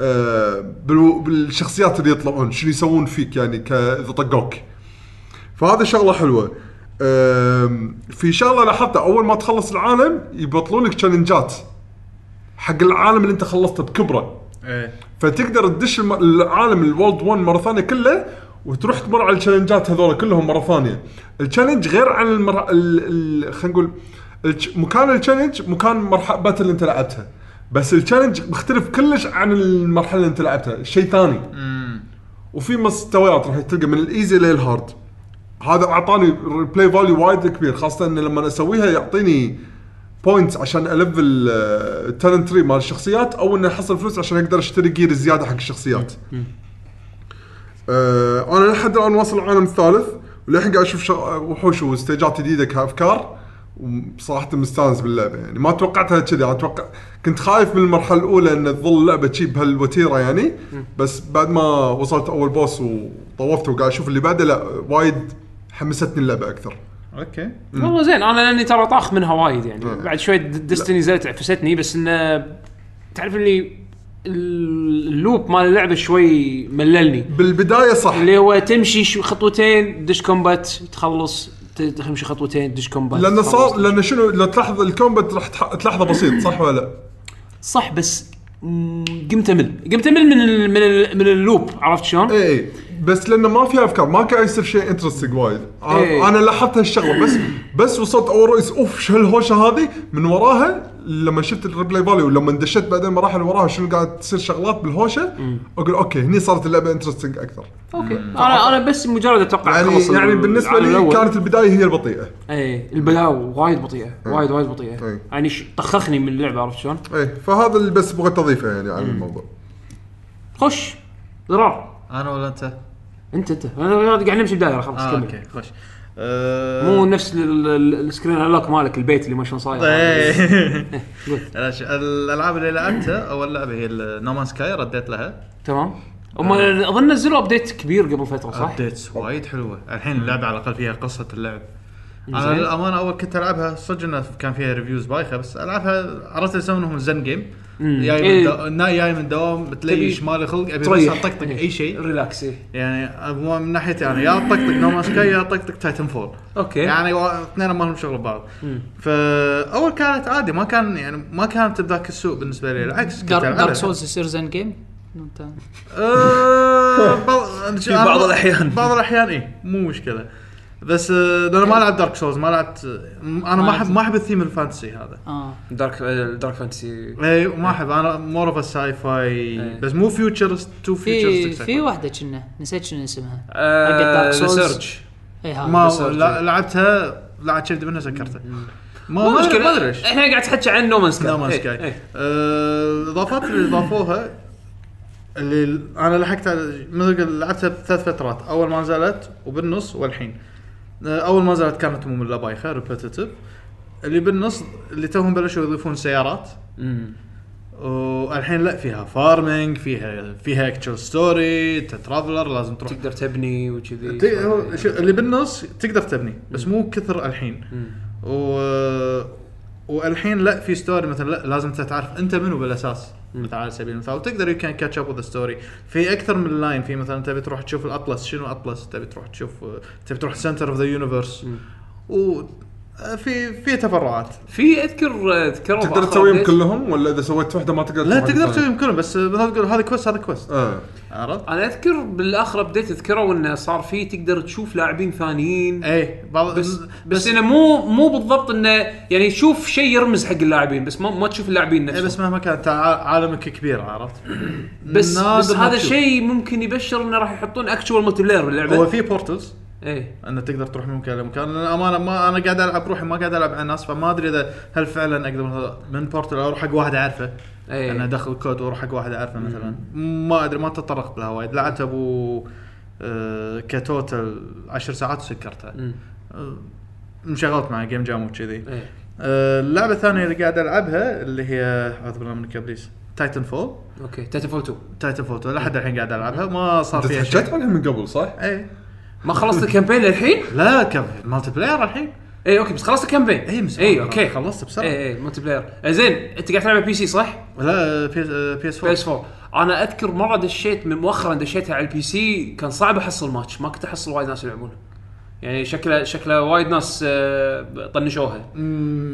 Speaker 2: آه بالو- بالشخصيات اللي يطلعون شنو يسوون فيك يعني ك- اذا طقوك فهذا شغله حلوه آم، في شغله لاحظتها اول ما تخلص العالم يبطلون لك تشالنجات حق العالم اللي انت خلصته بكبره
Speaker 5: إيه.
Speaker 3: ايه
Speaker 2: فتقدر تدش الم- العالم الورد 1 مره ثانيه كله وتروح تمر على التشالنجات هذول كلهم مره ثانيه التشالنج غير عن المر... ال... ال... خلينا نقول الج- مكان التشالنج مكان مرحله باتل اللي انت لعبتها بس التشالنج مختلف كلش عن المرحله اللي انت لعبتها شيء ثاني وفي مستويات راح تلقى من الايزي للهارد هذا اعطاني البلاي فاليو وايد كبير خاصه انه لما اسويها يعطيني بوينتس عشان الفل التالنت تري مال الشخصيات او اني احصل فلوس عشان اقدر اشتري جير زياده حق الشخصيات. آه انا لحد الان واصل العالم الثالث وللحين قاعد اشوف شغ- وحوش وستيجات جديده كافكار وبصراحه مستانس باللعبه يعني ما توقعتها كذي انا اتوقع كنت خايف من المرحله الاولى ان تظل اللعبه شي بهالوتيره يعني بس بعد ما وصلت اول بوس وطوفت وقاعد اشوف اللي بعده لا وايد حمستني اللعبه اكثر.
Speaker 3: اوكي
Speaker 1: والله زين انا لاني ترى طاخ منها وايد يعني بعد شوي ديستني زلت عفستني بس انه تعرف اللي ال- اللوب مال اللعبه شوي مللني
Speaker 2: بالبدايه صح
Speaker 1: اللي هو تمشي شو- خطوتين دش كومبات تخلص ت- تمشي خطوتين دش كومبات
Speaker 2: لانه
Speaker 1: تخلص.
Speaker 2: صار لانه شنو لو تلاحظ الكومبات راح تح- تلاحظه بسيط صح ولا لا؟
Speaker 1: صح بس مم، قمت امل قمت امل من ال من ال من اللوب عرفت شلون؟
Speaker 2: اي اي إيه، بس لانه ما في افكار ما كان يصير شيء انترستنج وايد أنا-
Speaker 1: إيه.
Speaker 2: انا لاحظت هالشغله بس بس وصلت اول رئيس اوف شو هالهوشه هذه من وراها لما شفت الريبلاي فاليو ولما دشيت بعدين مراحل وراها شنو قاعد تصير شغلات بالهوشه اقول اوكي هني صارت اللعبه انترستنج اكثر
Speaker 1: اوكي انا انا بس مجرد اتوقع
Speaker 2: يعني
Speaker 1: أخلص
Speaker 2: يعني
Speaker 1: ال-
Speaker 2: بالنسبه
Speaker 1: العالم
Speaker 2: لي
Speaker 1: الأول.
Speaker 2: كانت البدايه هي البطيئه
Speaker 1: ايه البلاو وايد بطيئه وايد وايد بطيئه
Speaker 2: إيه.
Speaker 1: يعني ش- طخخني من اللعبه عرفت شلون؟
Speaker 2: اي إيه، فهذا اللي بس بغيت اضيفه يعني على الموضوع
Speaker 1: خش ضرار
Speaker 3: انا ولا انت؟
Speaker 1: انت انت انا قاعد نمشي بدايره خلاص
Speaker 3: اه
Speaker 1: كمل
Speaker 3: اوكي خوش آه،
Speaker 1: مو نفس ال- ال- السكرين هلوك مالك البيت اللي ما شلون صاير
Speaker 3: إيه.
Speaker 1: قول.
Speaker 3: لا، ش- الالعاب اللي لعبتها اول لعبه هي نومان سكاي رديت لها
Speaker 1: تمام هم
Speaker 2: آه.
Speaker 1: اظن نزلوا ابديت كبير قبل فتره صح؟
Speaker 3: رديتس وايد حلوه الحين اللعبه على الاقل فيها قصه اللعب انا للامانه اول كنت العبها صدق انه كان فيها ريفيوز بايخه بس العبها عرفت يسمونهم زن جيم جاي من
Speaker 1: إيه.
Speaker 3: دو... نا- جاي من دوام
Speaker 1: تبي
Speaker 3: بتليش مالي خلق ابي بس
Speaker 1: تريح.
Speaker 3: اطقطق
Speaker 1: إيه.
Speaker 3: اي شيء
Speaker 1: ريلاكس إيه.
Speaker 3: يعني أبو- من ناحيتي انا يا اطقطق نو سكاي يا اطقطق تايتن فول
Speaker 1: اوكي
Speaker 3: يعني وا- اثنين ما لهم شغل ببعض فاول كانت عادي ما كان يعني ما كانت بذاك السوء بالنسبه لي العكس كنت
Speaker 5: دارك, دارك
Speaker 3: ألعبها.
Speaker 5: سولز يصير زين جيم انت
Speaker 3: آه، بعض-
Speaker 6: في بعض الأحيان.
Speaker 3: بعض الاحيان اي مو مشكله بس آه، انا ما لعبت دارك سولز ما لعبت انا ما احب ما احب الثيم الفانتسي هذا
Speaker 5: اه
Speaker 1: دارك دارك فانتسي
Speaker 3: اي ما احب انا مور اوف ساي فاي بس مو فيوتشرست تو
Speaker 5: في
Speaker 3: فيوتشرست
Speaker 5: في واحده كنا نسيت شنو اسمها إيه،
Speaker 1: آه،
Speaker 5: حق Dark Souls.
Speaker 1: سيرج
Speaker 5: اي
Speaker 3: ما
Speaker 5: هذا
Speaker 1: بس أرجع.
Speaker 3: لا- لعبتها لعبت شفت منها سكرتها ما
Speaker 1: مو
Speaker 3: ما أدري-
Speaker 1: مشكله
Speaker 3: ما ادري ايش
Speaker 1: احنا قاعد نحكي عن نومان سكاي
Speaker 3: Oh, No Man's Sky.
Speaker 1: إيه.
Speaker 3: آه، الاضافات اللي ضافوها اللي ال- انا لحقت على- مثل قل- لعبتها بثلاث فترات اول ما نزلت وبالنص والحين آه، اول ما نزلت كانت ممله بايخه ريبتيتف اللي بالنص اللي توهم بلشوا يضيفون سيارات Hmm.
Speaker 1: مم.
Speaker 3: والحين لا فيها فارمنج فيها فيها اكتشوال ستوري ترافلر لازم تروح
Speaker 1: تقدر تبني وكذي
Speaker 3: ت- هو شو- اللي بالنص تقدر تبني بس مو كثر الحين
Speaker 1: Hmm.
Speaker 3: و... والحين لا في ستوري مثلا لا لازم انت تعرف انت منو بالاساس مثلا على سبيل المثال وتقدر يو كان كاتش اب وذ ستوري في اكثر من لاين في مثلا تبي تروح تشوف الاطلس شنو اطلس تبي تروح تشوف تبي تروح سنتر اوف ذا يونيفرس و آه، في في تفرعات
Speaker 1: في اذكر اذكروا
Speaker 2: تقدر
Speaker 1: بأخر
Speaker 2: تسويهم
Speaker 1: update.
Speaker 2: كلهم ولا اذا سويت واحده ما تقدر
Speaker 3: لا
Speaker 2: تسوي
Speaker 3: تقدر
Speaker 2: واحدة
Speaker 3: تسويهم كلهم بس مثلا تقول هذا كويست هذا كويست
Speaker 2: ثانية. آه.
Speaker 3: عرفت؟
Speaker 1: انا اذكر بالاخر ابديت اذكروا انه صار في تقدر تشوف لاعبين ثانيين
Speaker 3: اي إيه، بعض
Speaker 1: بس بس, بس انه مو مو بالضبط انه يعني تشوف شيء يرمز حق اللاعبين بس ما, ما تشوف اللاعبين
Speaker 3: إيه
Speaker 1: نفسهم
Speaker 3: بس مهما كان تع- عالمك كبير عرفت؟
Speaker 1: بس, بس
Speaker 3: نادر ما
Speaker 1: هذا
Speaker 3: تشوف.
Speaker 1: شيء ممكن يبشر انه راح يحطون اكشوال ملتي بلاير
Speaker 3: هو
Speaker 1: باللعبه
Speaker 3: في بورتلز
Speaker 1: ايه
Speaker 3: انه تقدر تروح من مكان لمكان للامانه ما انا قاعد العب روحي ما قاعد العب على ناس فما ادري اذا هل فعلا اقدر مثلاً من بورتل اروح حق واحد اعرفه
Speaker 1: إيه.
Speaker 3: انا ادخل كود واروح حق واحد اعرفه مثلا ما ادري ما تطرقت لها وايد لعبت ابو آه، كتوتل عشر ساعات وسكرتها
Speaker 1: مم.
Speaker 3: آه، انشغلت مع جيم جام وكذي
Speaker 1: ايه
Speaker 3: آه، اللعبه الثانيه اللي قاعد العبها اللي هي اعوذ بالله منك يا ابليس تايتن فول
Speaker 1: اوكي تاتا فول 2
Speaker 3: تايتن فول لحد الحين قاعد العبها ما صار
Speaker 2: انت
Speaker 3: فيها
Speaker 2: تحكيت
Speaker 3: شيء
Speaker 2: عنها من قبل صح؟
Speaker 3: اي
Speaker 1: ما خلصت الكامبين للحين؟
Speaker 3: لا كم مالتي بلاير الحين
Speaker 1: ايه اوكي بس خلصت الكامبين إيه،
Speaker 3: اي مسوي
Speaker 1: اي اوكي
Speaker 3: خلصت بسرعه
Speaker 1: ايه ايه ملتي بلاير آه، زين انت قاعد تلعب بي سي صح؟
Speaker 3: لا آه، بي اس
Speaker 1: بي اس
Speaker 3: 4
Speaker 1: 4 انا اذكر مره دشيت من مؤخرا دشيتها على البي سي كان صعب احصل ماتش ما كنت احصل وايد ناس يلعبونه يعني شكله شكله وايد ناس آه، طنشوها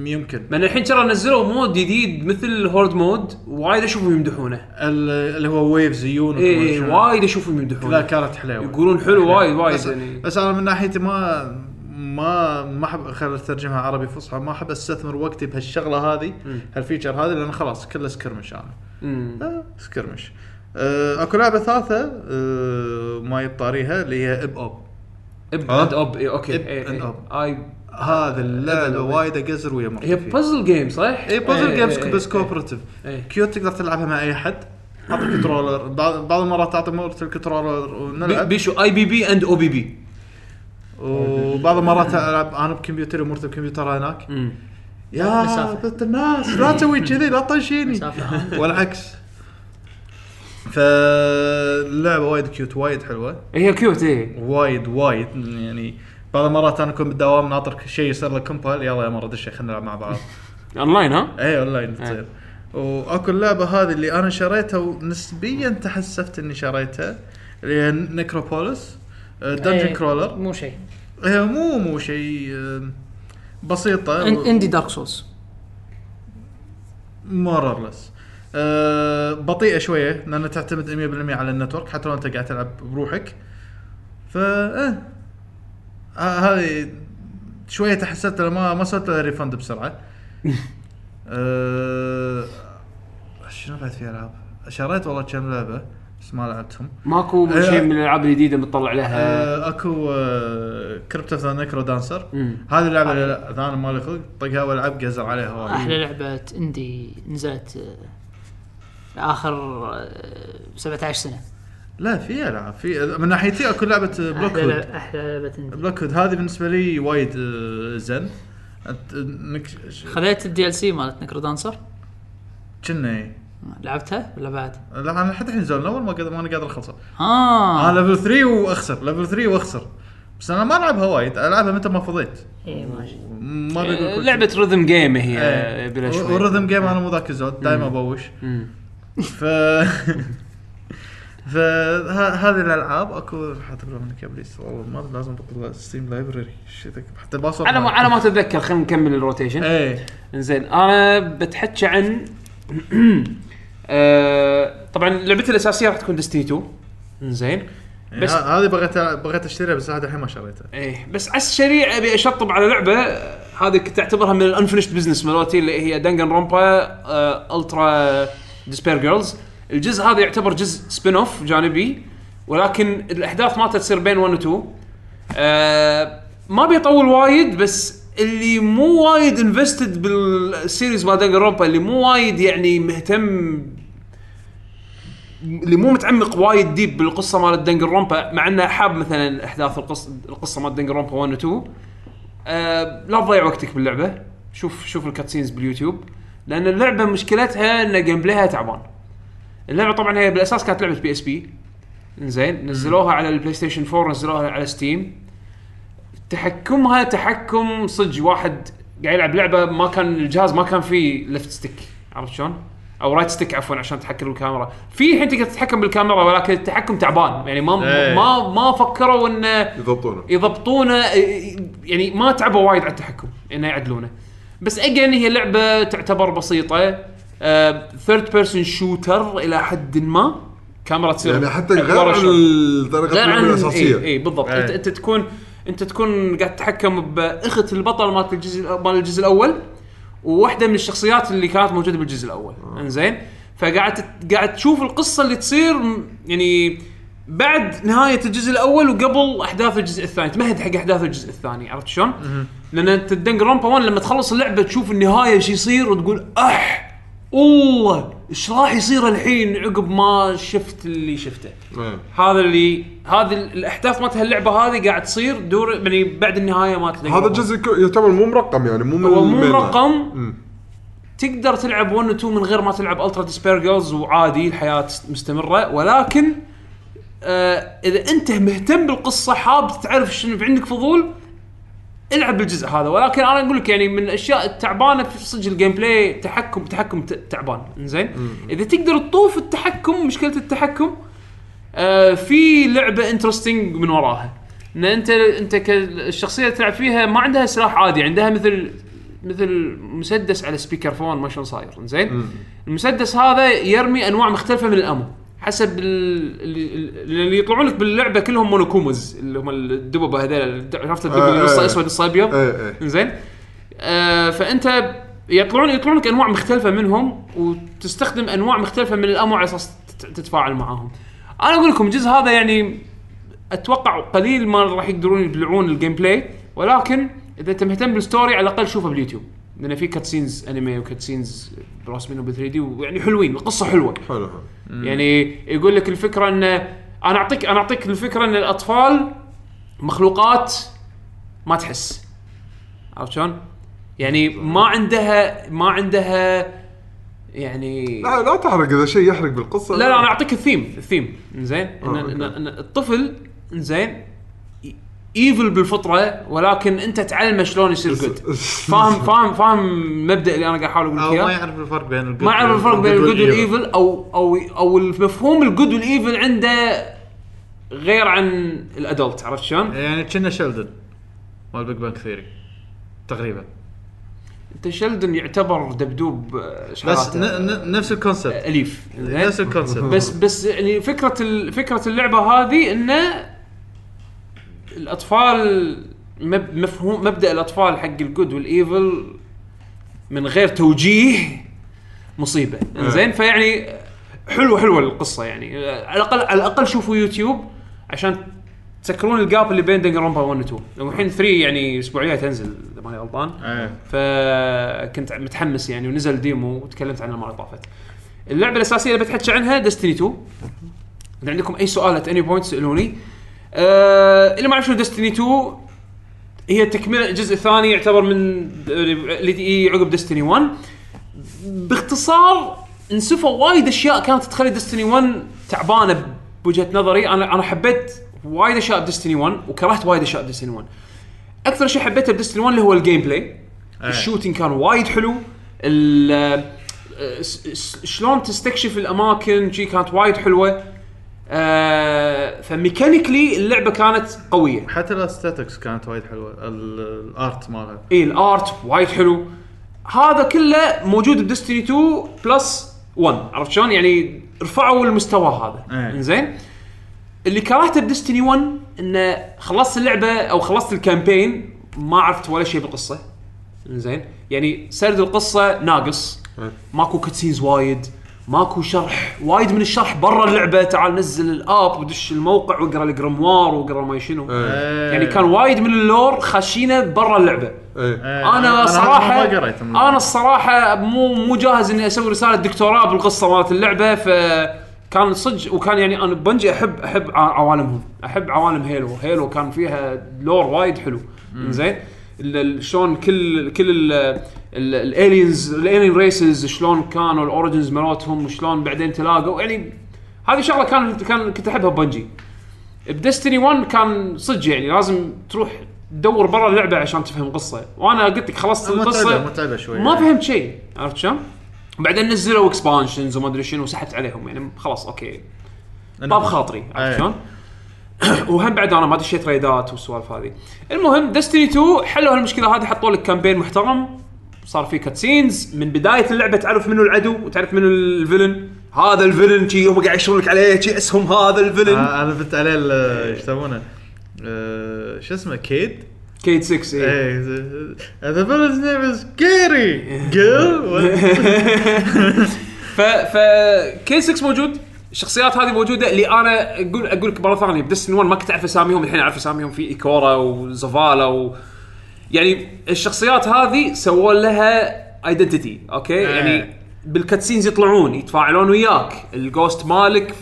Speaker 3: يمكن
Speaker 1: من الحين ترى نزلوا مود جديد مثل هورد مود وايد اشوفهم يمدحونه
Speaker 3: ال- اللي هو ويفز يون
Speaker 1: اي إي، إيه، وايد اشوفهم
Speaker 3: لا
Speaker 1: يمدحونه
Speaker 3: كانت حلوه
Speaker 1: يقولون حلو وايد وايد
Speaker 3: بس,
Speaker 1: يعني
Speaker 3: بس انا من ناحيتي ما ما ما احب خلينا نترجمها عربي فصحى ما احب استثمر وقتي بهالشغله هذه هالفيتشر هذه لان خلاص كله سكرمش انا
Speaker 1: مم.
Speaker 3: آه، سكرمش آه، اكو لعبه ثالثه آه، ما يبطاريها اللي هي اب اوب
Speaker 1: اب
Speaker 2: ها؟
Speaker 1: اند اب إي، اوكي
Speaker 3: إب
Speaker 1: إي،
Speaker 3: and
Speaker 1: إي.
Speaker 3: up.
Speaker 1: اي
Speaker 3: هذا اللعبه
Speaker 1: أب.
Speaker 3: وايد اقزر ويا مرتفع
Speaker 1: هي بازل جيم صح؟
Speaker 3: اي بازل
Speaker 1: إي،
Speaker 3: إيه، جيمز
Speaker 1: إي، إي،
Speaker 3: بس
Speaker 1: إي.
Speaker 3: كوبرتيف
Speaker 1: إيه.
Speaker 3: كيوت تقدر تلعبها مع اي احد اعطي كنترولر بعض بعض المرات تعطي مرت الكنترولر
Speaker 1: بي-
Speaker 3: ونلعب
Speaker 1: بيشو اي بي بي اند او بي بي
Speaker 3: وبعض المرات العب انا بكمبيوتري ومرت بكمبيوتر هناك يا
Speaker 5: مسافة.
Speaker 3: بنت الناس لا تسوي كذي لا تطنشيني
Speaker 5: مسافة.
Speaker 3: والعكس فاللعبه وايد كيوت وايد حلوه
Speaker 1: إيه، هي كيوت اي
Speaker 3: وايد وايد يعني بعض المرات انا اكون بالدوام ناطر شيء يصير لك كومبال يلا يا مره دش خلينا نلعب مع بعض
Speaker 1: اونلاين ها؟
Speaker 3: اي اونلاين تصير واكو اللعبه هذه اللي انا شريتها ونسبيا تحسفت اني شريتها اللي هي نكروبوليس دنجن كرولر
Speaker 5: إيه، مو شيء
Speaker 3: هي مو مو شيء آه، بسيطه
Speaker 5: إن- اندي دارك سولز
Speaker 3: موررلس أه، بطيئه شويه لان تعتمد 100% على النتورك حتى لو انت قاعد تلعب بروحك ف إيه. ه- هذه شويه تحسبت أنا ما ما سويت لها ريفند بسرعه آه، شنو بعد في العاب؟ شريت والله كم لعبه بس ما لعبتهم
Speaker 1: ماكو
Speaker 3: إي.
Speaker 1: شيء من الالعاب الجديده متطلع لها
Speaker 3: آه، اكو كريبت اوف ذا نيكرو دانسر
Speaker 1: مم.
Speaker 3: هذه اللعبه اللي لا- اذا انا مالي خلق طقها والعب قزر عليها وايد
Speaker 5: احلى لعبه اندي نزلت آه، اخر آه، 17 سنه
Speaker 3: لا في العاب في من ناحيتي اكو لعبه بلوك
Speaker 5: احلى
Speaker 3: هود
Speaker 5: لع- احلى لعبه اندي
Speaker 3: بلاك هود هذه بالنسبه لي وايد آه، زين أنت- انك ش-
Speaker 5: خذيت الدي ال سي مالت نكرو دانسر
Speaker 3: كنا إيه.
Speaker 5: لعبتها ولا بعد؟
Speaker 3: لا
Speaker 1: آه.
Speaker 3: انا لحد الحين زول الاول ما قادر ما انا قادر اخلصه
Speaker 5: اه
Speaker 3: انا ليفل 3 واخسر ليفل 3 واخسر بس انا ما العبها وايد العبها متى ما فضيت
Speaker 5: إيه،
Speaker 6: اي ماشي
Speaker 3: ما بقول
Speaker 1: آه،
Speaker 3: كل
Speaker 1: لعبه رذم جيم هي آه،
Speaker 3: إيه.
Speaker 1: بلا شوي
Speaker 3: والرذم جيم انا مو ذاك الزود دائما ابوش
Speaker 1: مم.
Speaker 3: ف فهذه الالعاب اكو حاطب لها منك يا ابليس والله ما لازم بطل ستيم لايبرري شتك حتى الباسورد
Speaker 1: على ما على ما اتذكر خلينا نكمل الروتيشن
Speaker 3: ايه
Speaker 1: انزين انا بتحكى عن آه، طبعا لعبتي الاساسيه راح تكون ديستني 2 انزين
Speaker 3: بس
Speaker 1: بس-
Speaker 3: هذه بغيت بغيت اشتريها بس لحد الحين ما شريتها
Speaker 1: ايه بس على السريع ابي اشطب على لعبه آه، هذه كنت اعتبرها من الانفنشد بزنس مالتي اللي هي دانجن رومبا آه، الترا ديسبير جيرلز الجزء هذا يعتبر جزء سبين اوف جانبي ولكن الاحداث مالته تصير بين 1 و 2 آه، ما بيطول وايد بس اللي مو وايد انفستد بالسيريز مال دانجن رومبا اللي مو وايد يعني مهتم اللي مو متعمق وايد ديب بالقصه مال الدنجر رومبا مع انه حاب مثلا احداث القصه القصه مال الدنجر رومبا 1 و 2 آه لا تضيع وقتك باللعبه شوف شوف الكاتسينز باليوتيوب لان اللعبه مشكلتها ان جيم بلايها تعبان اللعبه طبعا هي بالاساس كانت لعبه بي اس بي زين نزلوها على البلاي ستيشن 4 نزلوها على ستيم تحكمها تحكم صج واحد قاعد يلعب لعبه ما كان الجهاز ما كان فيه ليفت ستيك عرفت شلون؟ او رايت ستيك عفوا عشان تحكم بالكاميرا في الحين تقدر تتحكم بالكاميرا ولكن التحكم تعبان يعني ما
Speaker 3: إيه.
Speaker 1: ما ما فكروا انه إيه.
Speaker 2: يضبطونه
Speaker 1: يضبطونه يعني ما تعبوا وايد على التحكم انه يعدلونه بس اجين هي لعبه تعتبر آه، بسيطه ثيرد بيرسون شوتر الى حد ما كاميرا تصير
Speaker 2: يعني حتى غير
Speaker 1: أكبر
Speaker 2: عن
Speaker 1: شوي.
Speaker 2: طريقه اللعبه
Speaker 1: اي
Speaker 2: الاساسيه
Speaker 1: إيه بالضبط
Speaker 3: إيه.
Speaker 1: انت انت تكون انت تكون قاعد تتحكم باخت البطل مالت الجزء مال الجزء الاول وواحده من الشخصيات اللي كانت موجوده بالجزء الاول انزين فقاعد تت- قاعد تشوف القصه اللي تصير م- يعني بعد نهايه الجزء الاول وقبل احداث الجزء الثاني تمهد حق احداث الجزء الثاني عرفت شلون؟ لان انت الدنجرامبا 1 لما تخلص اللعبه تشوف النهايه شو يصير وتقول اح الله ايش راح يصير الحين عقب ما شفت اللي شفته.
Speaker 2: إيه.
Speaker 1: هذا اللي هذه الاحداث مالت هاللعبه هذه قاعد تصير دور يعني بعد النهايه مالت اللعبة.
Speaker 2: هذا الجزء ك- يعتبر مو مرقم يعني مو من
Speaker 1: هو مو
Speaker 2: المين لاين.
Speaker 1: رقم
Speaker 2: مم.
Speaker 1: تقدر تلعب 1 و 2 من غير ما تلعب الترا ديسبير جيرلز وعادي الحياه مستمره ولكن آه اذا انت مهتم بالقصه حاب تعرف شنو عندك فضول العب الجزء هذا ولكن انا اقول لك يعني من الاشياء التعبانه في صدق الجيم بلاي تحكم تحكم ت- تعبان زين اذا تقدر تطوف التحكم مشكله التحكم آه في لعبه انترستنج من وراها ان انت انت كالشخصيه اللي تلعب فيها ما عندها سلاح عادي عندها مثل مثل مسدس على سبيكر فون ما شلون صاير زين المسدس هذا يرمي انواع مختلفه من الامو حسب ال- اللي, اللي يطلعون لك باللعبه كلهم مونوكومز اللي هم الدببه هذول عرفت الدب
Speaker 2: آه،
Speaker 1: اللي نصه
Speaker 2: آه.
Speaker 1: اسود نصه ابيض
Speaker 2: ايه ايه
Speaker 1: زين آه فانت يطلعون يطلعون لك انواع مختلفه منهم وتستخدم انواع مختلفه من الامو على اساس تت- تتفاعل معاهم. انا اقول لكم الجزء هذا يعني اتوقع قليل ما راح يقدرون يبلعون الجيم بلاي ولكن اذا انت مهتم بالستوري على الاقل شوفه باليوتيوب لان في كاتسينز انمي وكاتسينز براسمين وب 3 دي ويعني حلوين القصه حلوه.
Speaker 2: حلو حلو
Speaker 1: يعني يقول لك الفكره ان انا اعطيك انا اعطيك الفكره ان الاطفال مخلوقات ما تحس عرفت شلون؟ يعني ما عندها ما عندها يعني
Speaker 2: لا لا تحرق اذا شيء يحرق بالقصه
Speaker 1: لا لا انا اعطيك الثيم الثيم زين إن,
Speaker 2: آه، أوكي.
Speaker 1: إن, إن الطفل زين ايفل بالفطره ولكن انت تعلمه شلون يصير جود فاهم فاهم فاهم المبدا اللي انا قاعد احاول اقول لك
Speaker 3: او
Speaker 1: اياه
Speaker 3: ما يعرف الفرق بين الجود
Speaker 1: ما اعرف الفرق بين الجود
Speaker 3: والإيفل.
Speaker 1: والايفل او او او المفهوم الجود والايفل عنده غير عن الادلت عرفت شلون؟
Speaker 3: يعني كنا شلدن مال بيج بانك ثيري تقريبا
Speaker 1: انت شلدن يعتبر دبدوب آه،
Speaker 3: بس
Speaker 1: شعراته.
Speaker 3: ن- ن- نفس الكونسبت
Speaker 1: اليف زين؟
Speaker 3: نفس الكونسبت
Speaker 1: إيه؟ بس بس يعني فكره ال- فكره اللعبه هذه انه الاطفال مب- مفهوم مبدا الاطفال حق الجود والايفل من غير توجيه مصيبه زين فيعني حلوه حلوه القصه يعني على الاقل على الاقل شوفوا يوتيوب عشان تسكرون الجاب اللي بين دنجرامبا 1 و 2 والحين 3 يعني اسبوعيه تنزل اذا ماني غلطان
Speaker 3: إيه.
Speaker 1: فكنت متحمس يعني ونزل ديمو وتكلمت عنه المره اللي طافت. اللعبه الاساسيه اللي بتحكي عنها ديستني 2 اذا عندكم اي سؤال ات اني بوينت سالوني. آه اللي ما يعرف شنو ديستني 2 هي تكمله الجزء الثاني يعتبر من اللي تجي عقب ديستني 1 باختصار انسفوا وايد اشياء كانت تخلي ديستني 1 تعبانه بوجهه نظري انا انا حبيت وايد اشياء بديستني 1 وكرهت وايد اشياء بديستني 1 اكثر شيء حبيته بديستني 1 اللي هو الجيم بلاي الشوتينج كان وايد حلو ال آه، س- س- شلون تستكشف الاماكن شي كانت وايد حلوه آه فميكانيكلي اللعبه كانت قويه
Speaker 3: حتى الاستاتكس كانت وايد حلوه ال- الارت مالها
Speaker 1: اي الارت إيه، وايد حلو هذا كله موجود بدستني 2 بلس 1 عرفت شلون يعني رفعوا المستوى هذا
Speaker 3: إيه.
Speaker 1: زين اللي كرهته بدستني 1 انه خلصت اللعبه او خلصت الكامبين ما عرفت ولا شيء بالقصه زين يعني سرد القصه ناقص ماكو كتسينز وايد ماكو شرح وايد من الشرح برا اللعبه تعال نزل الاب ودش الموقع واقرا الجرموار واقرا ما شنو
Speaker 2: إيه.
Speaker 1: يعني كان وايد من اللور خاشينه برا اللعبه
Speaker 2: إيه.
Speaker 1: انا
Speaker 3: آه، ما
Speaker 1: صراحه
Speaker 3: قريت
Speaker 1: انا الصراحه مو مو جاهز اني اسوي رساله دكتوراه بالقصه مالت اللعبه فكان صدق وكان يعني انا بنجي احب احب ع- عوالمهم احب عوالم هيلو هيلو كان فيها لور وايد حلو زين شلون كل كل الالينز الالين ريسز شلون كانوا الاوريجنز مالتهم وشلون بعدين تلاقوا يعني هذه شغله كان كان كنت احبها ببنجي بدستني 1 كان صدق يعني لازم تروح تدور برا اللعبه عشان تفهم قصه وانا قلت لك خلصت القصه
Speaker 3: متعبه متعبه شوي
Speaker 1: ما فهمت شيء عرفت شلون؟ بعدين نزلوا اكسبانشنز وما ادري شنو وسحبت عليهم يعني خلاص اوكي طاب خاطري عرفت
Speaker 3: أي.
Speaker 1: شلون؟ وهم بعد انا ما دشيت ريدات والسوالف هذه. المهم دستني 2 حلوا هالمشكله هذه حطوا لك كامبين محترم صار في كاتسينز من بدايه اللعبه تعرف منو العدو وتعرف منو الفيلن هذا الفيلن شي هم قاعد يشرون لك عليه شي اسهم هذا الفيلن
Speaker 3: آه، انا بنت عليه ال- ايش يسمونه آه، شو اسمه كيد
Speaker 1: كيد 6 إيه.
Speaker 3: ايه ذا فيلنز نيم از كيري جيل
Speaker 1: ف ف كي 6 موجود الشخصيات هذه موجوده اللي انا اقول اقول لك مره ثانيه بدسن 1 ما كنت اعرف اساميهم الحين اعرف اساميهم في ايكورا وزفالا و يعني الشخصيات هذه سووا لها ايدنتيتي اوكي
Speaker 3: آه.
Speaker 1: يعني بالكاتسينز يطلعون يتفاعلون وياك الجوست مالك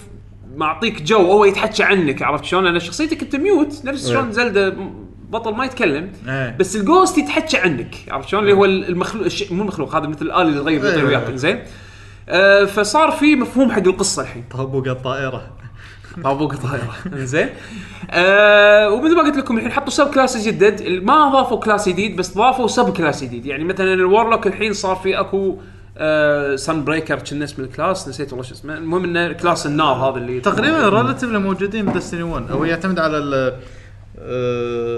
Speaker 1: معطيك جو هو يتحكى عنك عرفت شلون لان شخصيتك انت ميوت نفس شلون زلده بطل ما يتكلم
Speaker 3: إيه.
Speaker 1: بس الجوست يتحكى عنك عرفت شلون اللي هو المخلوق الشيء- مو المخلوق هذا مثل الالي اللي يتغير يطير وياك زين آه، فصار في مفهوم حق القصه الحين
Speaker 3: طابوق الطائره
Speaker 1: طابوق طايره زين آه ومثل ما قلت لكم الحين حطوا سب كلاس جدد ما ضافوا كلاس جديد بس ضافوا سب كلاس جديد يعني مثلا الورلوك الحين صار في اكو آه سن بريكر كنا اسم الكلاس نسيت والله شو اسمه المهم انه كلاس النار هذا اللي
Speaker 3: تقريبا ريلاتيفلي موجودين بدستني 1 هو يعتمد على ال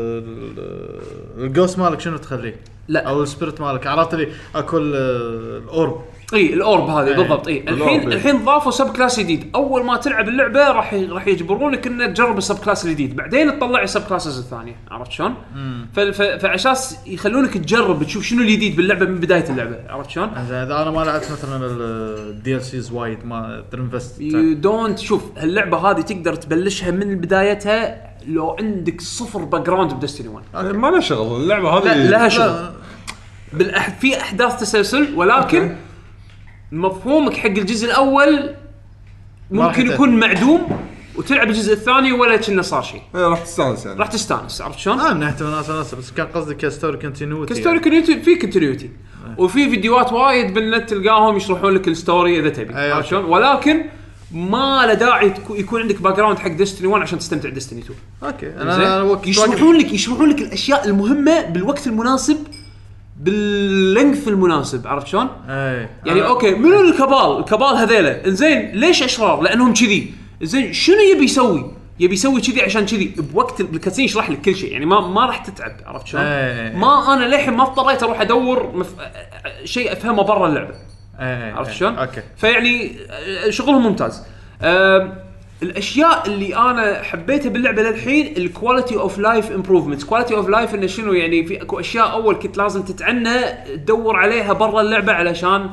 Speaker 3: آه، الجوست مالك شنو تخليه؟
Speaker 1: لا.
Speaker 3: او السبيرت مالك عرفت لي اكو ال- الاورب
Speaker 1: اي الاورب هذه
Speaker 3: إيه.
Speaker 1: بالضبط اي الحين
Speaker 2: الأورب، إيه.
Speaker 1: الحين ضافوا سب كلاس جديد اول ما تلعب اللعبه راح ي- راح يجبرونك انك تجرب السب كلاس الجديد بعدين تطلع السب كلاسز الثانيه عرفت شلون؟ ف- ف- فعشان يخلونك تجرب تشوف شنو الجديد باللعبه من بدايه اللعبه عرفت شلون؟
Speaker 3: اذا إذا انا ما لعبت مثلا الدي ال سيز وايد ما تنفست
Speaker 1: يو دونت شوف اللعبه هذه تقدر تبلشها من بدايتها لو عندك صفر باك جراوند بدستني 1
Speaker 2: إيه، ما له شغل اللعبه هذه
Speaker 1: لا لها شغل بالأح... في احداث تسلسل ولكن مفهومك حق الجزء الاول
Speaker 3: ما راح
Speaker 1: ممكن
Speaker 3: يتأثر.
Speaker 1: يكون معدوم وتلعب الجزء الثاني ولا كنا صار شيء
Speaker 2: إيه، راح تستانس يعني
Speaker 1: راح تستانس عرفت شلون؟
Speaker 3: اه نهت وناس ناس بس كان قصدي كستوري كونتينيوتي
Speaker 1: كستوري كونتينيوتي في كونتينيوتي وفي فيديوهات وايد بالنت تلقاهم يشرحون لك الستوري اذا تبي
Speaker 3: أي،
Speaker 1: عرفت شلون؟ ولكن ما له داعي تكو- يكون عندك باك جراوند حق ديستني 1 عشان تستمتع ديستني 2
Speaker 3: اوكي انا
Speaker 1: زين؟
Speaker 3: انا وقت
Speaker 1: يشرحون لك يشرحون لك الاشياء المهمه بالوقت المناسب باللنف المناسب عرفت شلون؟
Speaker 3: إيه،
Speaker 1: يعني اوكي منو الكبال؟ الكبال هذيله، انزين ليش اشرار؟ لانهم كذي، زين شنو يبي يسوي؟ يبي يسوي كذي عشان كذي بوقت الكاتسين يشرح لك كل شيء يعني ما ما راح تتعب عرفت شلون؟
Speaker 3: إيه.
Speaker 1: ما انا للحين ما اضطريت اروح ادور مف... شيء افهمه برا اللعبه
Speaker 3: آه، إيه،
Speaker 1: عرفت شلون؟
Speaker 3: اوكي
Speaker 1: فيعني آه، شغلهم ممتاز. آم، الاشياء اللي انا حبيتها باللعبه للحين الكواليتي اوف لايف امبروفمنت، كواليتي اوف لايف انه شنو يعني في اكو اشياء اول كنت لازم تتعنى تدور عليها برا اللعبه علشان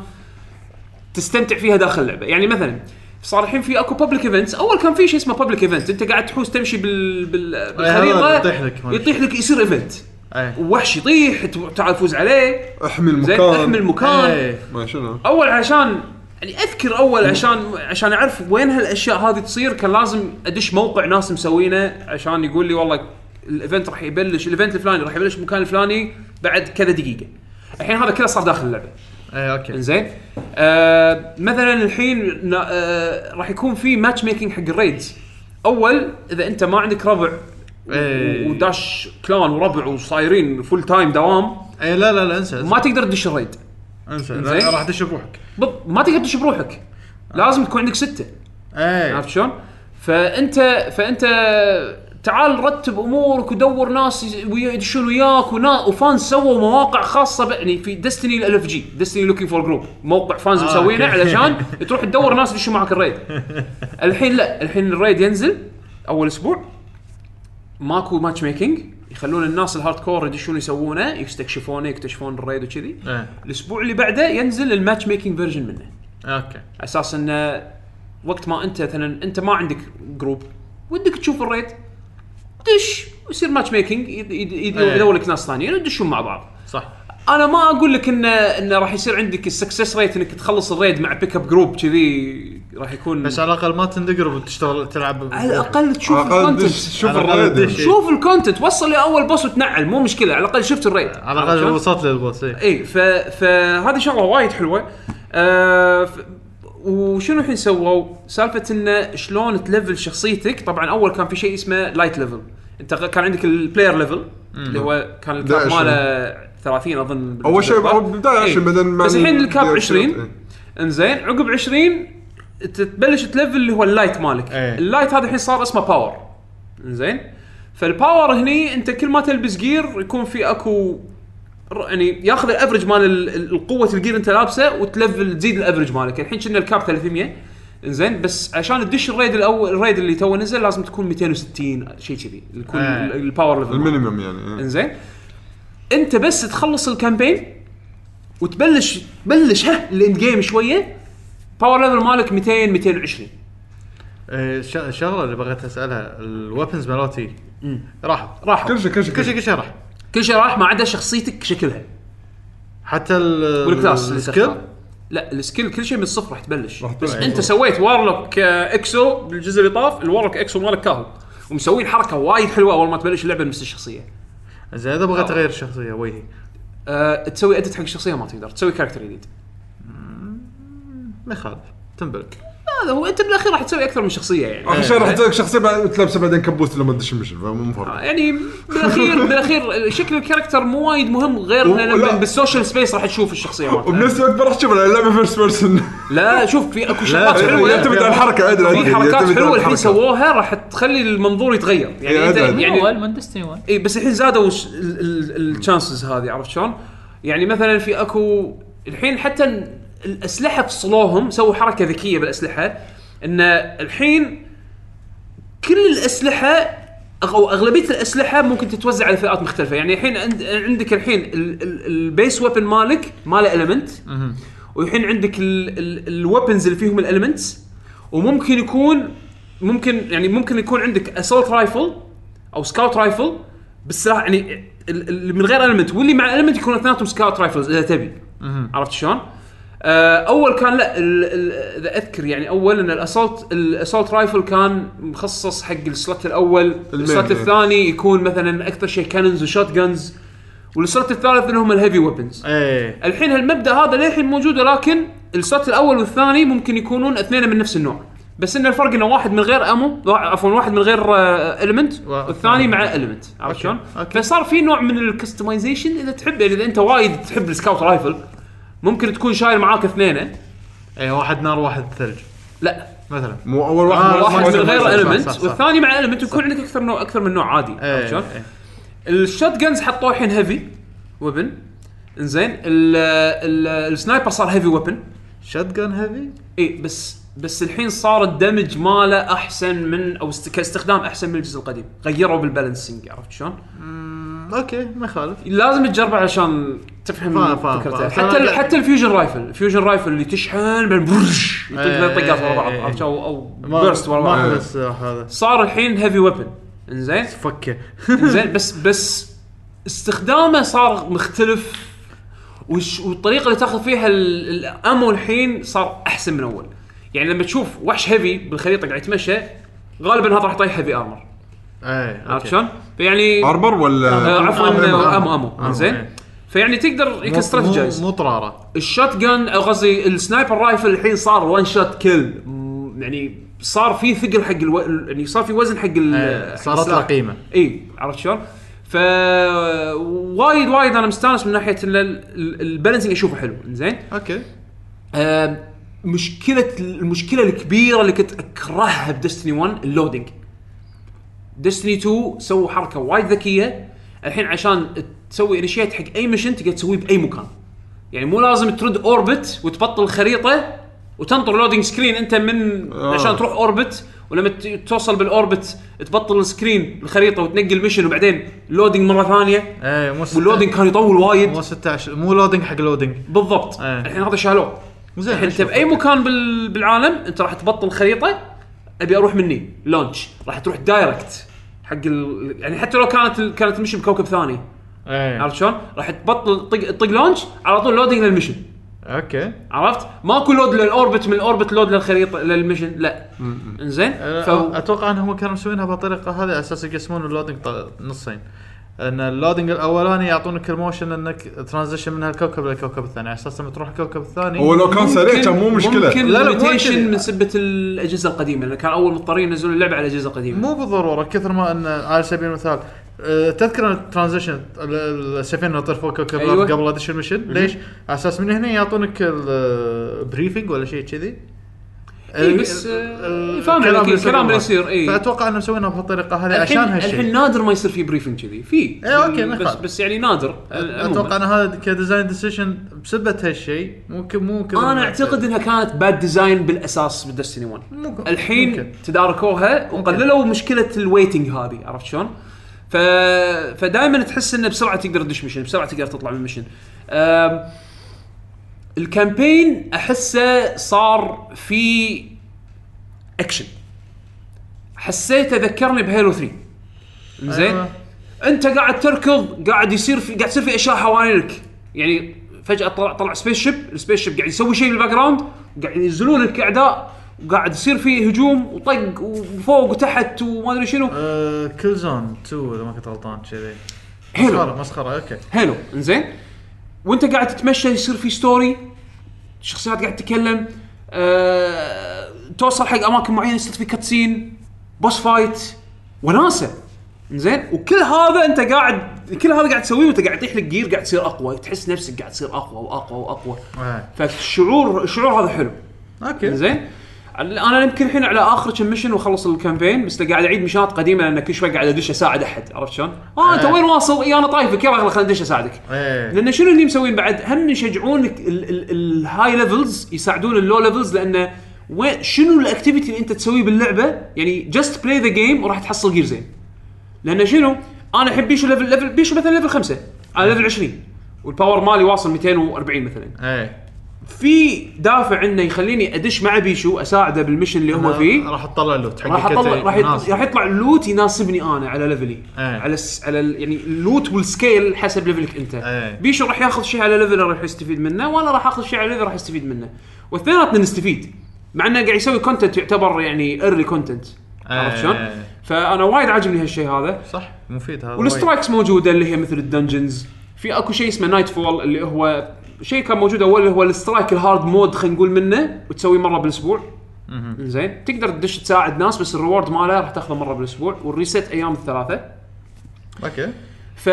Speaker 1: تستمتع فيها داخل اللعبه، يعني مثلا صار الحين في اكو بابليك ايفنتس، اول كان في شيء اسمه بابليك ايفنت، انت قاعد تحوس تمشي بال... بال... بالخريطه
Speaker 3: إيه، يطيح لك، ما أدري.
Speaker 1: يطيح لك يصير ايفنت،
Speaker 3: إيه.
Speaker 1: وحش يطيح ت- تعال فوز عليه،
Speaker 2: احمي
Speaker 1: زين
Speaker 2: المكان
Speaker 1: احمي المكان
Speaker 3: إيه.
Speaker 2: ما شنو
Speaker 1: اول عشان يعني اذكر اول عشان عشان اعرف وين هالاشياء هذه تصير كان لازم ادش موقع ناس مسوينه عشان يقول لي والله الايفنت راح يبلش الايفنت الفلاني راح يبلش المكان الفلاني بعد كذا دقيقه. الحين هذا كله صار داخل اللعبه.
Speaker 3: اي اوكي
Speaker 1: زين آه مثلا الحين نا- آه راح يكون في ماتش ميكنج حق الريدز اول اذا انت ما عندك ربع
Speaker 3: إيه.
Speaker 1: وداش كلان وربع وصايرين فول تايم دوام
Speaker 3: اي إيه، لا لا لا انسى انسى,
Speaker 1: ما تقدر تدش الريد
Speaker 3: انسى.
Speaker 1: زين.
Speaker 3: لا، راح تشوف روحك
Speaker 1: بط- ما تقدر تدش بروحك لازم تكون عندك سته
Speaker 3: اي
Speaker 1: عرفت شلون؟ فانت فانت تعال رتب امورك ودور ناس يز- ويا- يدشون وياك ونا وفانز سووا مواقع خاصه ب- يعني في ديستني الالف جي ديستني لوكينج فور جروب موقع فانز آه مسوينه
Speaker 3: أوكي.
Speaker 1: علشان تروح تدور ناس يدشون معك الريد الحين لا الحين الريد ينزل اول اسبوع ماكو ماتش ميكينج يخلون الناس الهارد كور يدشون يسوونه يستكشفونه يكتشفون الريد وكذي
Speaker 3: إيه.
Speaker 1: الاسبوع اللي بعده ينزل الماتش ميكينج فيرجن منه
Speaker 3: اوكي
Speaker 1: على اساس انه وقت ما انت مثلا انت ما عندك جروب ودك تشوف الريد دش ويصير ماتش ميكينج يد- يد- يد-
Speaker 3: إيه.
Speaker 1: يدور لك ناس ثانيين وتدشون مع بعض
Speaker 3: صح
Speaker 1: انا ما اقول لك انه انه راح يصير عندك السكسس ريت انك تخلص الريد مع بيك اب جروب كذي راح يكون
Speaker 3: بس على الاقل ما تندقرب وتشتغل تلعب
Speaker 1: على الاقل تشوف
Speaker 2: على الاقل
Speaker 1: الكونتنت
Speaker 2: دش شوف
Speaker 3: على الأقل
Speaker 2: الريد
Speaker 3: دش.
Speaker 1: شوف الكونتنت وصل لاول بوس وتنعل مو مشكله على الاقل شفت الريد
Speaker 3: على الاقل
Speaker 1: عرفت شلون؟
Speaker 3: وصلت للبوس إيه.
Speaker 1: اي ف فهذه شغله وايد حلوه آه ف... وشنو الحين سووا؟ سالفه انه شلون تلفل شخصيتك، طبعا اول كان في شيء اسمه لايت ليفل، انت غ- كان عندك البلاير ليفل اللي هو كان الكاب
Speaker 2: 11.
Speaker 1: ماله 30 اظن
Speaker 2: اول شيء
Speaker 1: بالنسبة
Speaker 2: بالبدايه
Speaker 1: إيه.
Speaker 2: 10 بعدين مع
Speaker 1: بس الحين الكاب
Speaker 2: DLC.
Speaker 1: 20
Speaker 2: إيه.
Speaker 1: انزين عقب 20 تبلش تلفل اللي هو اللايت مالك
Speaker 3: إيه.
Speaker 1: اللايت هذا الحين صار اسمه باور انزين فالباور هني انت كل ما تلبس جير يكون في اكو ر- يعني ياخذ الافرج مال ال- ال- القوه الجير انت لابسه وتلفل تزيد الافرج مالك الحين كنا الكاب 300 انزين بس عشان تدش الريد الاول الريد اللي تو نزل لازم تكون 260 شيء كذي يكون
Speaker 3: إيه.
Speaker 1: ال- الباور ليفل مالك.
Speaker 2: المينيمم يعني
Speaker 1: انزين انت بس تخلص الكامبين وتبلش بلش ها الاند جيم شويه باور ليفل مالك 200 220
Speaker 3: إيه، ش- الشغله اللي بغيت اسالها الويبنز مالتي راحت
Speaker 1: راح
Speaker 2: كل شيء كل شيء
Speaker 3: كل شيء كل شيء راح
Speaker 1: كل شيء راح ما عدا شخصيتك شكلها
Speaker 3: حتى ال
Speaker 1: والكلاس اللي
Speaker 3: السكيل
Speaker 1: تختار. لا السكيل كل شيء من الصفر راح تبلش
Speaker 2: راح
Speaker 1: بس
Speaker 2: تبلش.
Speaker 1: انت سويت وارلوك آه، اكسو بالجزء اللي طاف الوارلوك اكسو مالك كاهو ومسوين حركه وايد حلوه اول ما تبلش اللعبه نفس الشخصيه
Speaker 3: زين اذا
Speaker 1: آه.
Speaker 3: بغيت اغير شخصيه وجهي
Speaker 1: أه تسوي ادت حق الشخصيه ما تقدر تسوي كاركتر جديد
Speaker 3: ما يخالف تنبلك
Speaker 1: هذا هو انت بالاخير راح تسوي اكثر من شخصيه يعني
Speaker 2: اخر شيء راح تسوي شخصيه بعد تلبسه بعدين كبوت لما تدش المشن فمو مفرق
Speaker 1: يعني بالاخير بالاخير شكل الكاركتر مو وايد مهم غير
Speaker 2: و-
Speaker 1: لما
Speaker 2: لا.
Speaker 1: بالسوشيال سبيس راح تشوف الشخصيه مالتها
Speaker 2: وبنفس الوقت ما راح تشوف اللعبه فيرست بيرسون
Speaker 1: لا شوف في اكو شغلات
Speaker 3: لا،
Speaker 1: حلوه
Speaker 2: يعتمد على الحركه ادري أدري،
Speaker 1: في
Speaker 2: يعتمد
Speaker 1: حركات
Speaker 2: على
Speaker 1: حلوه الحين
Speaker 2: الحركة.
Speaker 1: سووها راح تخلي المنظور يتغير يعني
Speaker 2: إيه،
Speaker 1: انت
Speaker 2: أدري، أدري.
Speaker 1: يعني
Speaker 5: اول من ديستني 1
Speaker 1: اي بس الحين زادوا الشانسز هذه عرفت شلون؟ يعني مثلا في اكو الحين حتى ال- الاسلحه فصلوهم سووا حركه ذكيه بالاسلحه ان الحين كل الاسلحه أغ- او اغلبيه الاسلحه ممكن تتوزع على فئات مختلفه يعني الحين عند عندك الحين ال- ال- البيس ويبن مالك ماله المنت والحين عندك الويبنز اللي فيهم الالمنتس وممكن يكون ممكن يعني ممكن يكون عندك اسولت رايفل او سكاوت رايفل بالسلاح يعني ال- ال- من غير المنت واللي مع المنت يكون اثنيناتهم سكاوت رايفلز اذا تبي عرفت شلون؟ آه، اول كان لا ال- ال- اذا اذكر يعني اول ان الاسولت الاسولت رايفل كان مخصص حق السلوت الاول السلوت
Speaker 2: إيه.
Speaker 1: الثاني يكون مثلا اكثر شيء كانونز وشوت جنز والسلوت الثالث اللي هم الهيفي ويبنز
Speaker 3: ايه
Speaker 1: الحين هالمبدا هذا للحين موجود ولكن السوت الاول والثاني ممكن يكونون اثنين من نفس النوع بس ان الفرق انه واحد من غير امو وا- عفوا واحد من غير المنت
Speaker 3: وا-
Speaker 1: والثاني مع المنت عرفت
Speaker 3: أوكي،
Speaker 1: شلون؟
Speaker 3: أوكي.
Speaker 1: فصار في نوع من الكستمايزيشن اذا تحب يعني اذا انت وايد تحب السكاوت رايفل ممكن تكون شايل معاك اثنين إيه،
Speaker 3: ايه واحد نار واحد ثلج
Speaker 1: لا
Speaker 3: مثلا
Speaker 2: مو اول واحد
Speaker 3: آه،
Speaker 2: ما راح
Speaker 1: واحد من
Speaker 2: يسوي
Speaker 1: غير
Speaker 2: شيء.
Speaker 3: صح،
Speaker 1: المنت
Speaker 3: صح، صح.
Speaker 1: والثاني مع المنت ويكون عندك اكثر نوع اكثر من نوع عادي عرفت شلون؟
Speaker 3: ايه
Speaker 1: الشوت جنز حطوه الحين هيفي ويبن انزين ال- ال- السنايبر صار هيفي ويبن
Speaker 3: شوت جن هيفي
Speaker 1: اي إيه، بس بس الحين صار الدمج ماله احسن من او است... كاستخدام احسن من الجزء القديم غيروا بالبالانسنج عرفت شلون
Speaker 3: اوكي ما يخالف
Speaker 1: لازم تجربه علشان تفهم
Speaker 3: فاهم، فاهم،
Speaker 1: فكرته
Speaker 3: فاهم.
Speaker 1: حتى ال... حتى الفيوجن رايفل الفيوجن رايفل اللي تشحن بعدين برش يطق
Speaker 3: إيه،
Speaker 1: ثلاث طقات ورا
Speaker 3: إيه،
Speaker 1: بعض
Speaker 3: إيه.
Speaker 1: عرفت او او
Speaker 3: ما
Speaker 1: بيرست ورا
Speaker 3: ما
Speaker 1: بعض
Speaker 3: أحلى السلاح هذا
Speaker 1: صار الحين هيفي ويبن انزين
Speaker 3: فكه
Speaker 1: زين بس بس استخدامه صار مختلف وش والطريقه اللي تاخذ فيها ال- الامو الحين صار احسن من اول يعني لما تشوف وحش هيفي بالخريطه قاعد يتمشى غالبا هذا راح يطيح هيفي ارمر
Speaker 3: ايه
Speaker 1: عرفت شلون؟ فيعني آه،
Speaker 2: اربر ولا
Speaker 1: عفوا
Speaker 3: آه،
Speaker 1: امو
Speaker 3: آه،
Speaker 1: امو زين
Speaker 3: إيه.
Speaker 1: فيعني تقدر
Speaker 3: مو-
Speaker 1: يكون
Speaker 3: مو-
Speaker 1: استراتيجايز
Speaker 3: مو طراره
Speaker 1: الشوت جن او قصدي السنايبر رايفل الحين صار وان شوت كيل يعني صار في ثقل حق الو... يعني صار في وزن حق ال...
Speaker 3: إيه،
Speaker 1: حق
Speaker 3: صارت له
Speaker 1: السلاح.
Speaker 3: قيمه
Speaker 1: اي عرفت شلون؟ ف وايد وايد انا مستانس من ناحيه ان ال- ال- البالانسنج اشوفه حلو زين
Speaker 3: اوكي
Speaker 1: آه، مشكله المشكله الكبيره اللي كنت اكرهها بدستني 1 اللودنج دستني 2 سووا حركه وايد ذكيه الحين عشان تسوي انيشيت حق اي مشن تقدر تسويه باي مكان يعني مو لازم ترد اوربت وتبطل خريطه وتنطر لودنج سكرين انت من
Speaker 2: آه.
Speaker 1: عشان تروح اوربت ولما ت- توصل بالاوربت تبطل السكرين الخريطه وتنقل ميشن وبعدين لودنج مره ثانيه
Speaker 3: اي مو ستة-
Speaker 1: واللودنج كان يطول وايد
Speaker 3: مو 16 مو لودنج حق لودنج
Speaker 1: بالضبط
Speaker 3: إيه.
Speaker 1: الحين هذا شالوه
Speaker 3: زين
Speaker 1: الحين انت باي مكان بال... بالعالم انت راح تبطل خريطه ابي اروح مني لونش راح تروح دايركت حق ال... يعني حتى لو كانت ال... كانت المشن بكوكب ثاني
Speaker 3: إيه.
Speaker 1: عرفت شلون؟ راح تبطل طق طق لونش على طول لودنج للمشن
Speaker 3: اوكي
Speaker 1: عرفت؟ ماكو لود للاوربت من الاوربت لود للخريطه للمشن لا انزين
Speaker 3: أنا
Speaker 1: ف...
Speaker 3: اتوقع انهم كانوا مسوينها بالطريقه هذه على اساس يقسمون اللودنج ط- نصين ان اللودنج الاولاني يعطونك الموشن انك ترانزيشن من هالكوكب للكوكب الثاني على اساس لما تروح الكوكب الثاني
Speaker 2: هو لو كان سريع
Speaker 1: ممكن-
Speaker 2: كان مو مشكله
Speaker 1: ممكن
Speaker 3: لا، لا، مو
Speaker 1: ليميتيشن
Speaker 3: كذي.
Speaker 1: من سبه الاجهزه القديمه لان كان اول مضطرين ينزلون اللعبه على الاجهزه القديمه
Speaker 3: مو بالضروره كثر ما ان على سبيل المثال أه، تذكر الترانزيشن ال- السفينه تطير فوق كوكب
Speaker 1: أيوة.
Speaker 3: الأرض قبل ادش المشن ليش؟ على اساس من هنا يعطونك البريفنج ولا شيء كذي
Speaker 1: إيه، بس، آه، يفهمون الكلام اللي يصير، إيه.
Speaker 3: فاتوقع انه مسوينها بهالطريقه هذه
Speaker 1: الحين
Speaker 3: عشان
Speaker 1: الحين
Speaker 3: هالشيء
Speaker 1: نادر ما يصير في بريفنج كذي في
Speaker 3: إيه، أوكي، ما
Speaker 1: بس
Speaker 3: يخالف.
Speaker 1: بس يعني نادر
Speaker 3: اتوقع ان هذا كديزاين ديسيشن بسبه هالشيء ممكن مو كذا
Speaker 1: انا اعتقد انها كانت باد ديزاين بالاساس بالدستني 1
Speaker 3: ممكن.
Speaker 1: الحين
Speaker 3: ممكن.
Speaker 1: تداركوها وقللوا مشكله الويتنج هذه عرفت شلون؟ ف... فدائما تحس انه بسرعه تقدر تدش مشن بسرعه تقدر تطلع من مشن أم... الكامبين احسه صار في اكشن حسيته ذكرني بهيلو 3 زين
Speaker 3: أيوة.
Speaker 1: انت قاعد تركض قاعد يصير في قاعد يصير في اشياء حوالينك يعني فجاه طلع طلع سبيس شيب السبيس شيب قاعد يسوي شيء بالباك جراوند قاعد ينزلون لك اعداء وقاعد يصير فيه هجوم وطق وفوق وتحت وما ادري شنو
Speaker 3: أه، كل زون 2 اذا ما كنت غلطان كذي
Speaker 1: حلو
Speaker 3: مسخره مسخره اوكي
Speaker 1: حلو انزين وانت قاعد تتمشى يصير في ستوري شخصيات قاعد تتكلم أه... توصل حق اماكن معينه يصير في كاتسين بوس فايت وناسه زين وكل هذا انت قاعد كل هذا قاعد تسويه وانت قاعد يطيح لك جير قاعد تصير اقوى تحس نفسك قاعد تصير اقوى واقوى واقوى
Speaker 3: آه.
Speaker 1: فالشعور الشعور هذا حلو
Speaker 3: اوكي
Speaker 1: زين انا يمكن الحين على اخر كم ميشن واخلص الكامبين بس قاعد اعيد مشات قديمه لان كل شوي قاعد ادش اساعد احد عرفت شلون؟ اه انت
Speaker 3: آه.
Speaker 1: وين واصل؟ اي انا طايفك يلا خلينا ندش اساعدك
Speaker 3: ايه
Speaker 1: لان شنو اللي مسوين بعد؟ هم يشجعونك ال- ال- الهاي ليفلز يساعدون اللو ليفلز لانه وين شنو الاكتيفيتي اللي انت تسويه باللعبه؟ يعني جاست بلاي ذا جيم وراح تحصل جير زين. لان شنو؟ انا الحين بيشو ليفل ليفل بيشو مثلا ليفل خمسه، انا ليفل 20 والباور مالي واصل 240 مثلا.
Speaker 3: ايه
Speaker 1: في دافع انه يخليني ادش مع بيشو اساعده بالمشن اللي هو فيه
Speaker 3: راح تطلع اللوت حق
Speaker 1: راح اطلع راح يط- راح يطلع اللوت يناسبني انا على ليفلي
Speaker 3: ايه.
Speaker 1: على الس... على ال... يعني اللوت والسكيل حسب ليفلك انت
Speaker 3: ايه.
Speaker 1: بيشو راح ياخذ شيء على ليفل راح يستفيد منه وانا راح اخذ شيء على ليفل راح يستفيد منه واثنيناتنا نستفيد مع انه قاعد يسوي كونتنت يعتبر يعني ايرلي كونتنت عرفت شلون؟
Speaker 3: ايه.
Speaker 1: فانا وايد عاجبني هالشيء هذا
Speaker 3: صح مفيد هذا
Speaker 1: والسترايكس موجوده اللي هي مثل الدنجنز في اكو شيء اسمه نايت فول اللي هو شيء كان موجود اول اللي هو السترايك الهارد مود خلينا نقول منه وتسويه مره بالاسبوع زين تقدر تدش تساعد ناس بس الريورد ماله راح تاخذه مره بالاسبوع والريست ايام الثلاثه
Speaker 3: وايد. اوكي
Speaker 1: ف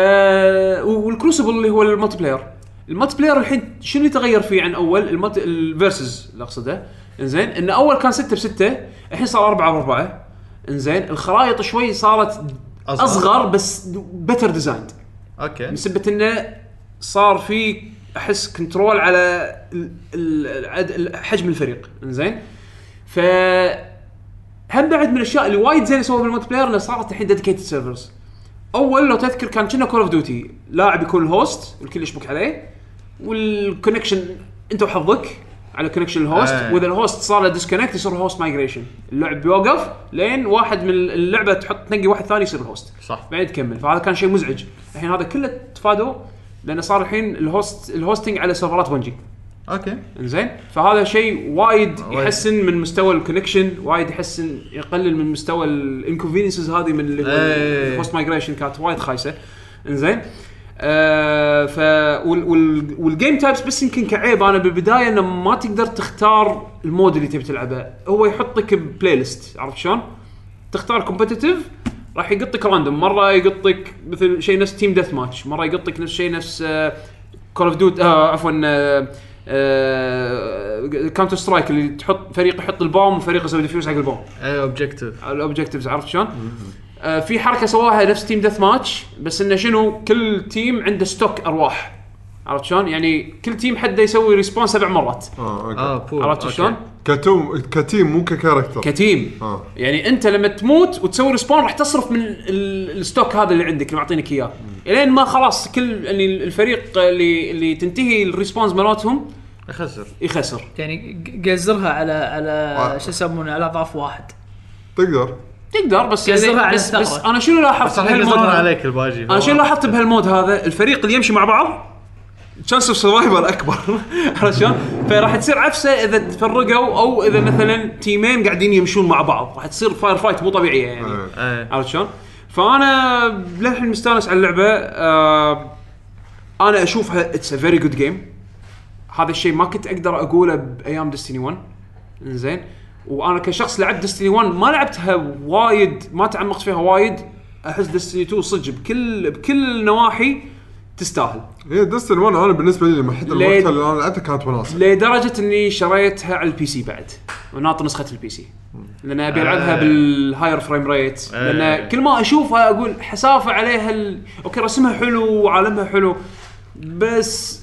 Speaker 1: والكروسبل اللي هو الملتي بلاير الملتي بلاير الحين شنو اللي تغير فيه عن اول الملت... الفيرسز اللي اقصده انزين ان اول كان 6 ب 6 الحين صار 4 ب 4 انزين الخرائط شوي صارت
Speaker 3: أصغر.
Speaker 1: اصغر, أصغر بس بتر ديزايند
Speaker 3: اوكي
Speaker 1: من سبه انه صار في احس كنترول على ال- ال- العد- ال- حجم الفريق زين ف هم بعد من الاشياء اللي وايد زين سووها بالملتي بلاير انه صارت الحين ديديكيتد سيرفرز اول لو تذكر كان كنا كول اوف ديوتي لاعب يكون الهوست والكل يشبك عليه والكونكشن انت وحظك على كونكشن الهوست
Speaker 3: آه.
Speaker 1: واذا الهوست صار له ديسكونكت يصير هوست مايجريشن اللعب بيوقف لين واحد من اللعبه تحط تنقي واحد ثاني يصير الهوست
Speaker 3: صح
Speaker 1: بعدين تكمل فهذا كان شيء مزعج الحين هذا كله تفادوا لانه صار الحين الهوست الهوستنج على سيرفرات بنجي
Speaker 3: اوكي
Speaker 1: انزين فهذا شيء وايد
Speaker 3: وايد.
Speaker 1: يحسن من مستوى الكونكشن وايد يحسن يقلل من مستوى الانكونفينينسز هذه من اللي هو
Speaker 3: إيه.
Speaker 1: الهوست مايجريشن كانت وايد خايسه انزين آه ف وال وال والجيم تايبس بس يمكن كعيب انا بالبدايه انه ما تقدر تختار المود اللي تبي تلعبه هو يحطك ببلاي ليست عرفت شلون؟ تختار كومبتتف راح يقطك راندوم مره يقطك مثل شيء نفس تيم ديث ماتش مره يقطك نفس شيء نفس آه، كول اوف ديوت عفوا كاونتر سترايك آه، اللي تحط فريق يحط البوم وفريق يسوي ديفيوز حق البوم
Speaker 3: اي اوبجيكتيف
Speaker 1: الاوبجكتيفز عرفت شلون؟ آه في حركه سواها نفس تيم ديث ماتش بس انه شنو كل تيم عنده ستوك ارواح عرفت شلون؟ يعني كل تيم حده يسوي ريسبون سبع مرات
Speaker 2: اه
Speaker 3: اه
Speaker 2: اوكي
Speaker 3: بول
Speaker 1: عرفت
Speaker 3: أوكي. آه.
Speaker 1: شلون؟
Speaker 2: كتوم كتيم مو ككاركتر
Speaker 1: كتيم
Speaker 2: اه
Speaker 1: يعني انت لما تموت وتسوي ريسبون راح تصرف من ال- الستوك هذا اللي عندك اللي معطينك اياه الين ما خلاص كل يعني الفريق اللي اللي تنتهي الريسبونز مالتهم
Speaker 3: اخسر
Speaker 1: يخسر
Speaker 5: يعني ج- جزرها على
Speaker 2: آه.
Speaker 5: على شو يسمونه على اضعاف واحد
Speaker 2: تقدر
Speaker 1: تقدر بس
Speaker 5: يزرها
Speaker 1: يعني
Speaker 5: على
Speaker 1: بس, بس
Speaker 5: الثغرة.
Speaker 1: انا شنو لاحظت
Speaker 3: بس راح يقدرون
Speaker 1: هذا؟
Speaker 3: عليك الباجي
Speaker 1: انا شنو لاحظت بهالمود هذا الفريق اللي يمشي مع بعض تشانس اوف سرفايفل اكبر عرفت شلون؟ فراح تصير عفسه اذا تفرقوا او اذا مثلا تيمين قاعدين يمشون مع بعض راح تصير فاير فايت مو طبيعيه يعني
Speaker 2: إيه.
Speaker 3: إيه.
Speaker 1: عرفت شلون؟ فانا للحين مستانس على اللعبه آه انا اشوفها اتس ا فيري جود جيم هذا الشيء ما كنت اقدر اقوله بايام ديستني 1 زين وانا كشخص لعبت ديستني 1 ما لعبتها وايد ما تعمقت فيها وايد احس ديستني 2 صدق بكل بكل النواحي تستاهل
Speaker 2: هي دستن 1 انا بالنسبه لي لما حتى
Speaker 1: ليه؟
Speaker 2: الوقت اللي انا لعبته كانت وناسه
Speaker 1: لدرجه اني شريتها على البي سي بعد وناطر نسخه البي سي لان ابي العبها
Speaker 3: آه.
Speaker 1: بالهاير فريم ريت لان
Speaker 3: آه.
Speaker 1: كل ما اشوفها اقول حسافه عليها ال... اوكي رسمها حلو وعالمها حلو بس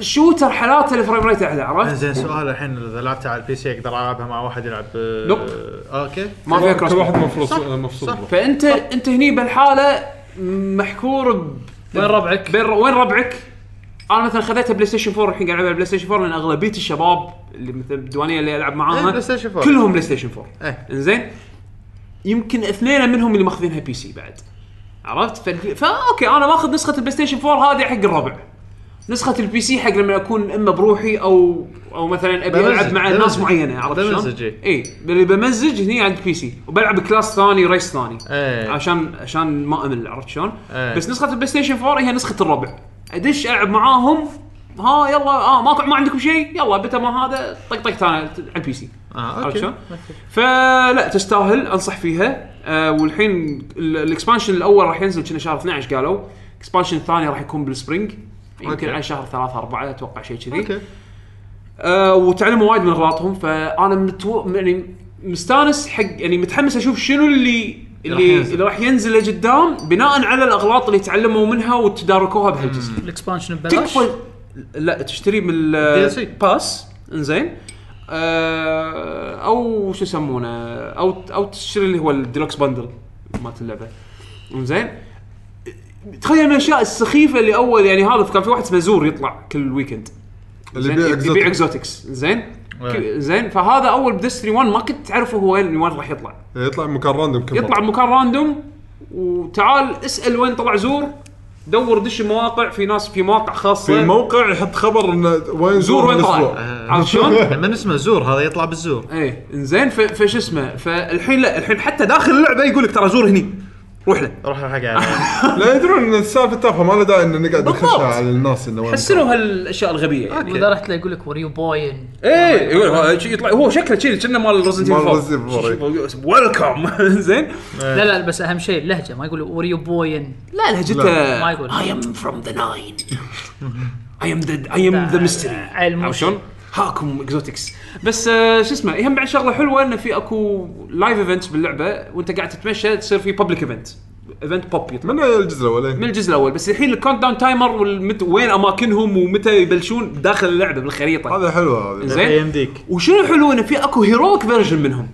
Speaker 1: شوتر حالاته الفريم ريت اعلى عرفت؟
Speaker 3: زين سؤال الحين اذا لعبت على البي سي اقدر العبها مع واحد يلعب آه،
Speaker 1: نوب.
Speaker 3: آه، اوكي
Speaker 1: ما فيها كروس
Speaker 2: كل واحد
Speaker 1: بلاي.
Speaker 2: مفصول مفصول
Speaker 3: صح.
Speaker 1: فانت انت هني بالحاله محكور ب...
Speaker 5: وين ربعك؟
Speaker 1: بين وين ربعك؟ انا مثلا خذيتها بلاي ستيشن 4 الحين قاعد العبها بلاي ستيشن 4 لان اغلبيه الشباب اللي مثل الديوانيه اللي العب معاها
Speaker 3: إيه، بلاي ستيشن 4.
Speaker 1: كلهم بلاي ستيشن 4
Speaker 3: إيه.
Speaker 1: انزين يمكن اثنين منهم اللي ماخذينها بي سي بعد عرفت؟ فال- فا اوكي انا ماخذ نسخه البلاي ستيشن 4 هذه حق الربع نسخه البي سي حق لما اكون اما بروحي او او مثلا ابي
Speaker 3: بمزج-
Speaker 1: العب مع
Speaker 3: بمزج-
Speaker 1: ناس معينه عرفت شلون؟
Speaker 3: بمزج، إيه.
Speaker 1: اي اللي بمزج هني عند البي سي وبلعب كلاس ثاني ريس ثاني
Speaker 3: ايه
Speaker 1: عشان عشان ما امل عرفت شلون؟
Speaker 3: إيه.
Speaker 1: بس نسخه البلاي ستيشن 4 هي نسخه الربع ادش العب معاهم ها يلا اه ما ما عندكم شيء يلا بتا ما هذا طق طق ثاني على البي سي
Speaker 3: اه
Speaker 1: عرفت شلون؟
Speaker 3: اوكي
Speaker 1: فلا تستاهل انصح فيها آه والحين ال- الاكسبانشن الاول راح ينزل كنا شهر 12 قالوا الاكسبانشن الثاني راح يكون بالسبرينج يمكن
Speaker 3: أوكي.
Speaker 1: عن شهر ثلاثة أربعة أتوقع شيء كذي
Speaker 3: اوكي
Speaker 1: آه وتعلموا وايد من غلطهم فانا متو... يعني مستانس حق يعني متحمس اشوف شنو اللي
Speaker 3: راح
Speaker 1: اللي
Speaker 3: ينزل.
Speaker 1: اللي راح ينزل لقدام بناء على الاغلاط اللي تعلموا منها وتداركوها بهالجزء
Speaker 5: الاكسبانشن ببلاش
Speaker 1: تكفى لا تشتري من
Speaker 3: DLC.
Speaker 1: باس انزين آه او شو يسمونه او او تشتري اللي هو الديلوكس باندل مالت اللعبه انزين تخيل من الاشياء السخيفه اللي اول يعني هذا كان في واحد اسمه زور يطلع كل ويكند
Speaker 2: اللي
Speaker 1: زين،
Speaker 2: يبيع آه.
Speaker 1: يبيع
Speaker 2: اكزوتيك
Speaker 1: اكزوتكس زين
Speaker 3: إيه.
Speaker 1: ك- زين فهذا اول بدستري 1 ما كنت تعرفه هو وين وين راح يطلع
Speaker 2: إيه، يطلع مكان راندوم كل
Speaker 1: يطلع
Speaker 2: مرة.
Speaker 1: بمكان راندوم وتعال اسال وين طلع زور دور دش المواقع في ناس في مواقع خاصه
Speaker 2: في موقع يحط خبر انه
Speaker 1: زور
Speaker 2: وين زور
Speaker 1: وين طلع
Speaker 2: هالأسبوع.
Speaker 1: عرفت شلون؟
Speaker 3: من اسمه زور هذا يطلع بالزور
Speaker 1: ايه انزين ف- فش اسمه فالحين لا الحين حتى داخل اللعبه يقول لك ترى زور هني روح له
Speaker 3: روح حق عليه
Speaker 2: لا يدرون ان السالفه تافهه ما له داعي ان نقعد
Speaker 1: بالضبط.
Speaker 2: نخشها على الناس انه وين
Speaker 1: حسنوا هالاشياء الغبيه يعني
Speaker 5: واذا رحت له يقول لك ور يو بوين
Speaker 1: ايه يقول هو- شي يطلع هو شكله كذي كنا مال رزنت
Speaker 2: مال Resident Evil،
Speaker 1: ويلكم زين
Speaker 5: لا لا بس اهم شيء اللهجه ما يقول ور يو بوين
Speaker 1: لا لهجته
Speaker 2: لا.
Speaker 5: ما يقول.
Speaker 1: I am from the nine I am the I am the mystery
Speaker 5: علم.
Speaker 1: عرفت شلون؟ هاكم اكزوتكس بس آه، شو اسمه يهم بعد شغله حلوه انه في اكو لايف ايفنتس باللعبه وانت قاعد تتمشى تصير في بابليك ايفنت ايفنت بوب يطلع
Speaker 2: من الجزء الاولين
Speaker 1: من الجزء الاول بس الحين الكاونت داون تايمر والمت... وين اماكنهم ومتى يبلشون داخل اللعبه بالخريطه
Speaker 2: هذا حلوه هذه
Speaker 1: زين.
Speaker 3: يمديك
Speaker 1: وشنو حلو انه في اكو هيروك فيرجن منهم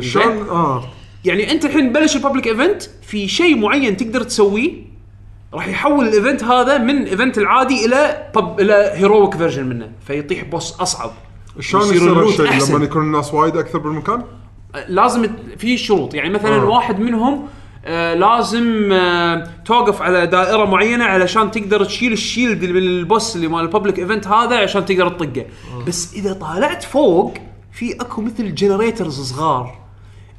Speaker 2: شلون اه
Speaker 1: يعني انت الحين بلش الببليك ايفنت في شيء معين تقدر تسويه راح يحول الايفنت هذا من ايفنت العادي الى بب... الى هيرويك فيرجن منه فيطيح بوس اصعب
Speaker 2: شلون
Speaker 1: يصير
Speaker 2: يصير
Speaker 1: اللوت
Speaker 2: هالشيء
Speaker 1: أحسن.
Speaker 2: لما يكون الناس وايد اكثر بالمكان؟
Speaker 1: لازم ت- في شروط يعني مثلا
Speaker 2: آه.
Speaker 1: واحد منهم آه لازم آه توقف على دائره معينه علشان تقدر تشيل الشيلد اللي من البوس اللي مال الببليك ايفنت هذا عشان تقدر تطقه بس اذا طالعت فوق في اكو مثل جنريترز صغار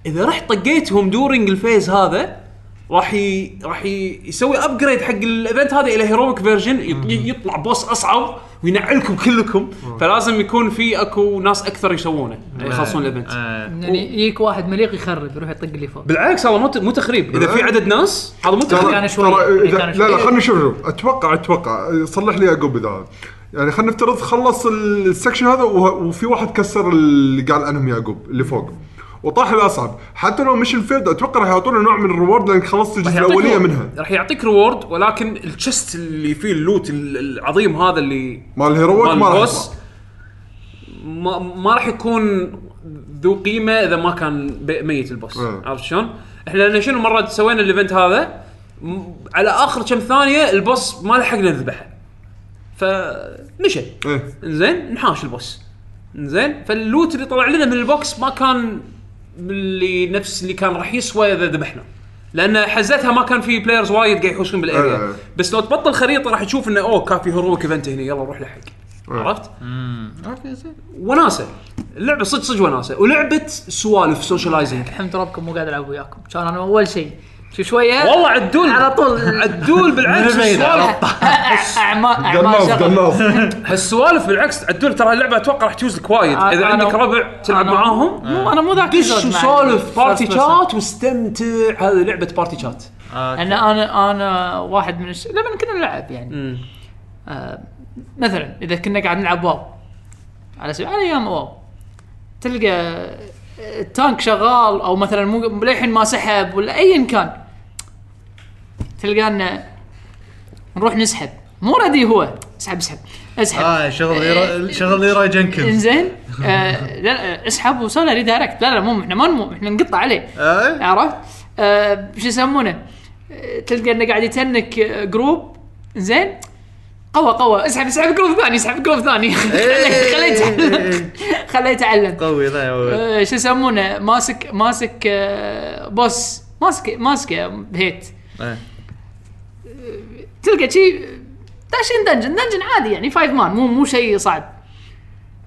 Speaker 1: اذا رحت طقيتهم دورنج الفيز هذا راح ي... راح ي... يسوي ابجريد حق الايفنت هذا الى هيرويك فيرجن يطلع بوس اصعب وينعلكم كلكم فلازم يكون في اكو ناس اكثر يسوونه يخلصون الايفنت
Speaker 5: يعني يجيك واحد مليق يخرب يروح يطق اللي فوق
Speaker 1: بالعكس هذا مو ت- مو تخريب اذا في عدد ناس هذا مو
Speaker 5: ترى-
Speaker 1: تخريب
Speaker 5: كان شوي.
Speaker 2: ترى إذا-
Speaker 5: كان
Speaker 2: لا لا
Speaker 5: شوي.
Speaker 2: خلنا نشوف شوف اتوقع اتوقع صلح لي عقب اذا هذا. يعني خلينا نفترض خلص ال- السكشن هذا وه- وفي واحد كسر اللي قال عنهم يعقوب اللي فوق وطاح الاصعب حتى لو مش الفيرد اتوقع راح يعطونا نوع من الريورد لان خلصت الجزء
Speaker 1: يعطيك
Speaker 2: الاوليه
Speaker 1: reward.
Speaker 2: منها
Speaker 1: راح يعطيك ريورد ولكن الشست اللي فيه اللوت ال- العظيم هذا اللي
Speaker 2: مال الهيرويك ما راح
Speaker 1: البوس
Speaker 2: يطلع.
Speaker 1: ما, ما راح يكون ذو قيمه اذا ما كان ب- ميت البوس
Speaker 2: آه.
Speaker 1: عرفت شلون؟ احنا لأن شنو مره سوينا الايفنت هذا م- على اخر كم ثانيه البوس ما لحقنا نذبحه فمشى
Speaker 2: إيه.
Speaker 1: زين نحاش البوس زين فاللوت اللي طلع لنا من البوكس ما كان اللي نفس اللي كان راح يسوى اذا ذبحنا لان حزتها ما كان في بلايرز وايد قاعد يحوشون
Speaker 2: آه.
Speaker 5: إيه.
Speaker 1: بالاريا بس لو تبطل خريطه راح تشوف انه اوه كان في هروب ايفنت هنا يلا نروح لحق
Speaker 5: إيه.
Speaker 1: عرفت؟ وناسه اللعبه صدق صدق وناسه ولعبه سوالف سوشيالايزنج
Speaker 5: الحمد ربكم مو قاعد العب وياكم كان انا اول شيء شو شويه
Speaker 1: والله عدول
Speaker 5: على طول
Speaker 1: عدول بالعكس
Speaker 6: من البعيد، على
Speaker 1: السوالف
Speaker 5: اعمال اعمال
Speaker 2: قناص
Speaker 5: شغل
Speaker 2: قناص
Speaker 1: هالسوالف بالعكس عدول ترى اللعبه اتوقع راح تجوز لك وايد
Speaker 5: آه،
Speaker 1: اذا
Speaker 5: أنا-
Speaker 1: عندك ربع تلعب
Speaker 5: أنا- إيه.
Speaker 1: معاهم
Speaker 5: مو انا مو ذاك
Speaker 1: دش
Speaker 5: الزود مع
Speaker 1: وسولف بارتي
Speaker 5: الفيرست بيرسون.
Speaker 1: شات واستمتع هذه لعبه بارتي شات
Speaker 5: ان انا انا واحد من الش... لما كنا نلعب يعني آه مثلا اذا كنا قاعد نلعب واو على سبيل على ايام واو تلقى التانك شغال او مثلا مو للحين ما سحب ولا ايا كان تلقى انه نروح نسحب مو ردي هو اسحب اسحب اسحب
Speaker 3: اه شغل ليرا- شغل ليراي جنكنز
Speaker 5: انزين آه لا لا اسحب وسوي له ريدايركت لا لا مو احنا ما نمو احنا نقطع عليه
Speaker 3: آه.
Speaker 5: عرفت؟ آه شو يسمونه؟ آه، تلقى انه قاعد يتنك آه، جروب زين قوى قوى اسحب اسحب جروب ثاني اسحب جروب ثاني خليه خليه يتعلم خليه يتعلم
Speaker 3: قوي ذا يا ولد
Speaker 5: آه، شو يسمونه ماسك ماسك آه، بوس ماسك ماسكه هيت
Speaker 1: آه.
Speaker 3: إيه.
Speaker 5: تلقى شي داشين دنجن دنجن عادي يعني فايف مان مو مو شيء صعب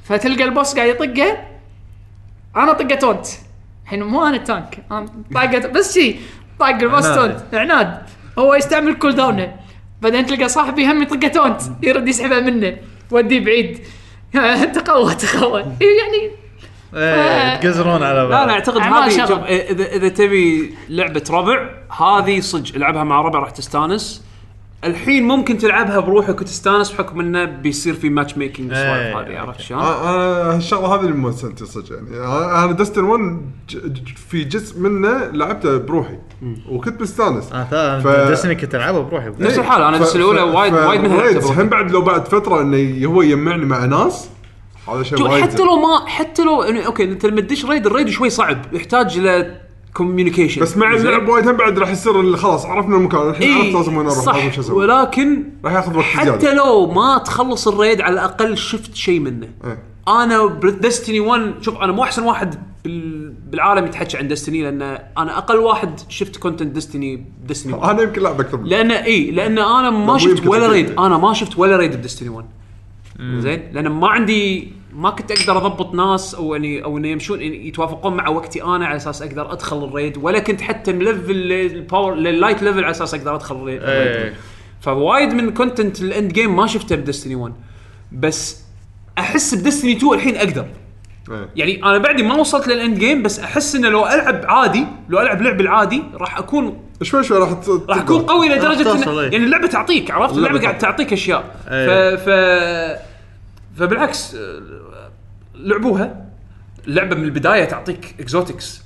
Speaker 5: فتلقى البوس قاعد يطقه انا طقه تونت الحين مو انا التانك انا طاقه بس شي طاق البوس
Speaker 3: عناد.
Speaker 5: تونت عناد هو يستعمل كول داونه بعدين تلقى صاحبي هم يطقه تونت يرد يسحبها منه وديه بعيد تقوى تقوى يعني
Speaker 3: إيه، تقزرون على
Speaker 1: لا انا
Speaker 3: بعض
Speaker 1: اعتقد
Speaker 5: أعمال
Speaker 1: هذه
Speaker 5: شغب.
Speaker 1: شوف، اذا اذا تبي لعبه ربع هذه صدق العبها مع ربع راح تستانس الحين ممكن تلعبها بروحك وتستانس بحكم انه بيصير في ماتش ميكنج
Speaker 3: إيه،
Speaker 1: والسوالف هذه عرفت شلون؟
Speaker 2: آه، انا هالشغله هذه اللي ما سالتي صدق يعني آه، انا دستن 1 ج- ج- في جزء منه لعبته بروحي وكنت مستانس
Speaker 3: اه ترى
Speaker 2: ف-
Speaker 3: دستني كنت العبها بروحي
Speaker 1: نفس الحالة، أنا بس الأولى وايد- وايد منها
Speaker 2: وايد
Speaker 1: أعتبر.
Speaker 2: هم بعد لو بعد فتره انه هو يجمعني مع ناس هذا شيء
Speaker 1: شوف،
Speaker 2: وايد
Speaker 1: حتى لو ما حتى لو إنه- اوكي انت لما تدش ريد الريد شوي صعب يحتاج الى كوميونيكيشن
Speaker 2: بس مع اللعب وايد هم بعد راح يصير اللي خلاص عرفنا المكان الحين عرفت لازم وين اروح لازم
Speaker 1: إيه، صح
Speaker 2: شو اسوي
Speaker 1: ولكن
Speaker 2: راح ياخذ وقت
Speaker 1: حتى
Speaker 2: زيادة.
Speaker 1: لو ما تخلص الريد على الاقل شفت شيء منه
Speaker 2: إيه.
Speaker 1: انا ديستني 1 شوف انا مو احسن واحد بال- بالعالم يتحكى عن ديستني لان انا اقل واحد شفت كونتنت ديستني ديستني 1
Speaker 2: انا يمكن لعب اكثر منك.
Speaker 1: لان اي لان انا إيه، ما
Speaker 2: مو
Speaker 1: شفت
Speaker 2: يمكن
Speaker 1: ولا
Speaker 2: تقول. إيه.
Speaker 1: ريد انا ما شفت ولا ريد بديستني 1 زين لان ما عندي ما كنت اقدر اضبط ناس او يعني او انه يمشون يعني يتوافقون مع وقتي انا على اساس اقدر ادخل الريد ولا كنت حتى ملفل الباور اللايت ليفل على اساس اقدر ادخل الريد
Speaker 3: إيه.
Speaker 1: فوايد من كونتنت الاند جيم ما شفته بديستني 1 بس احس بديستني 2 الحين اقدر
Speaker 2: إيه.
Speaker 1: يعني انا بعدي ما وصلت للاند جيم بس احس انه لو العب عادي لو العب لعب العادي راح اكون
Speaker 2: شوي شوي راح ت-
Speaker 1: راح اكون قوي لدرجه إن
Speaker 3: توصل، إيه.
Speaker 1: يعني اللعبه تعطيك عرفت
Speaker 2: اللعبة أيوه.
Speaker 1: اللعبه قاعد تعطيك اشياء
Speaker 3: إيه.
Speaker 1: ف ف فبالعكس آه، لعبوها اللعبه من البدايه تعطيك اكزوتكس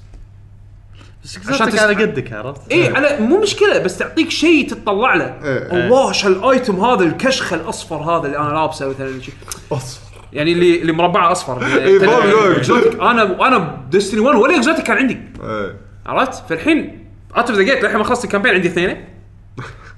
Speaker 3: بس
Speaker 1: عشان
Speaker 3: قزرتك
Speaker 1: تستحق.
Speaker 3: على قدك عرفت؟
Speaker 2: أيوه.
Speaker 1: اي إيه، على مو مشكله بس تعطيك شيء تتطلع له
Speaker 2: إيه.
Speaker 1: الله شو هالايتم هذا الكشخه الاصفر هذا اللي انا لابسه مثلا شي.
Speaker 2: اصفر
Speaker 1: يعني اللي اللي مربعه اصفر
Speaker 2: إيه، فاهم، لا،
Speaker 1: Exotic. انا انا ديستني 1 ولا اكزوتيك كان عندي
Speaker 2: إيه.
Speaker 1: عرفت فالحين اوت اوف ذا جيت للحين ما خلصت الكامبين عندي اثنين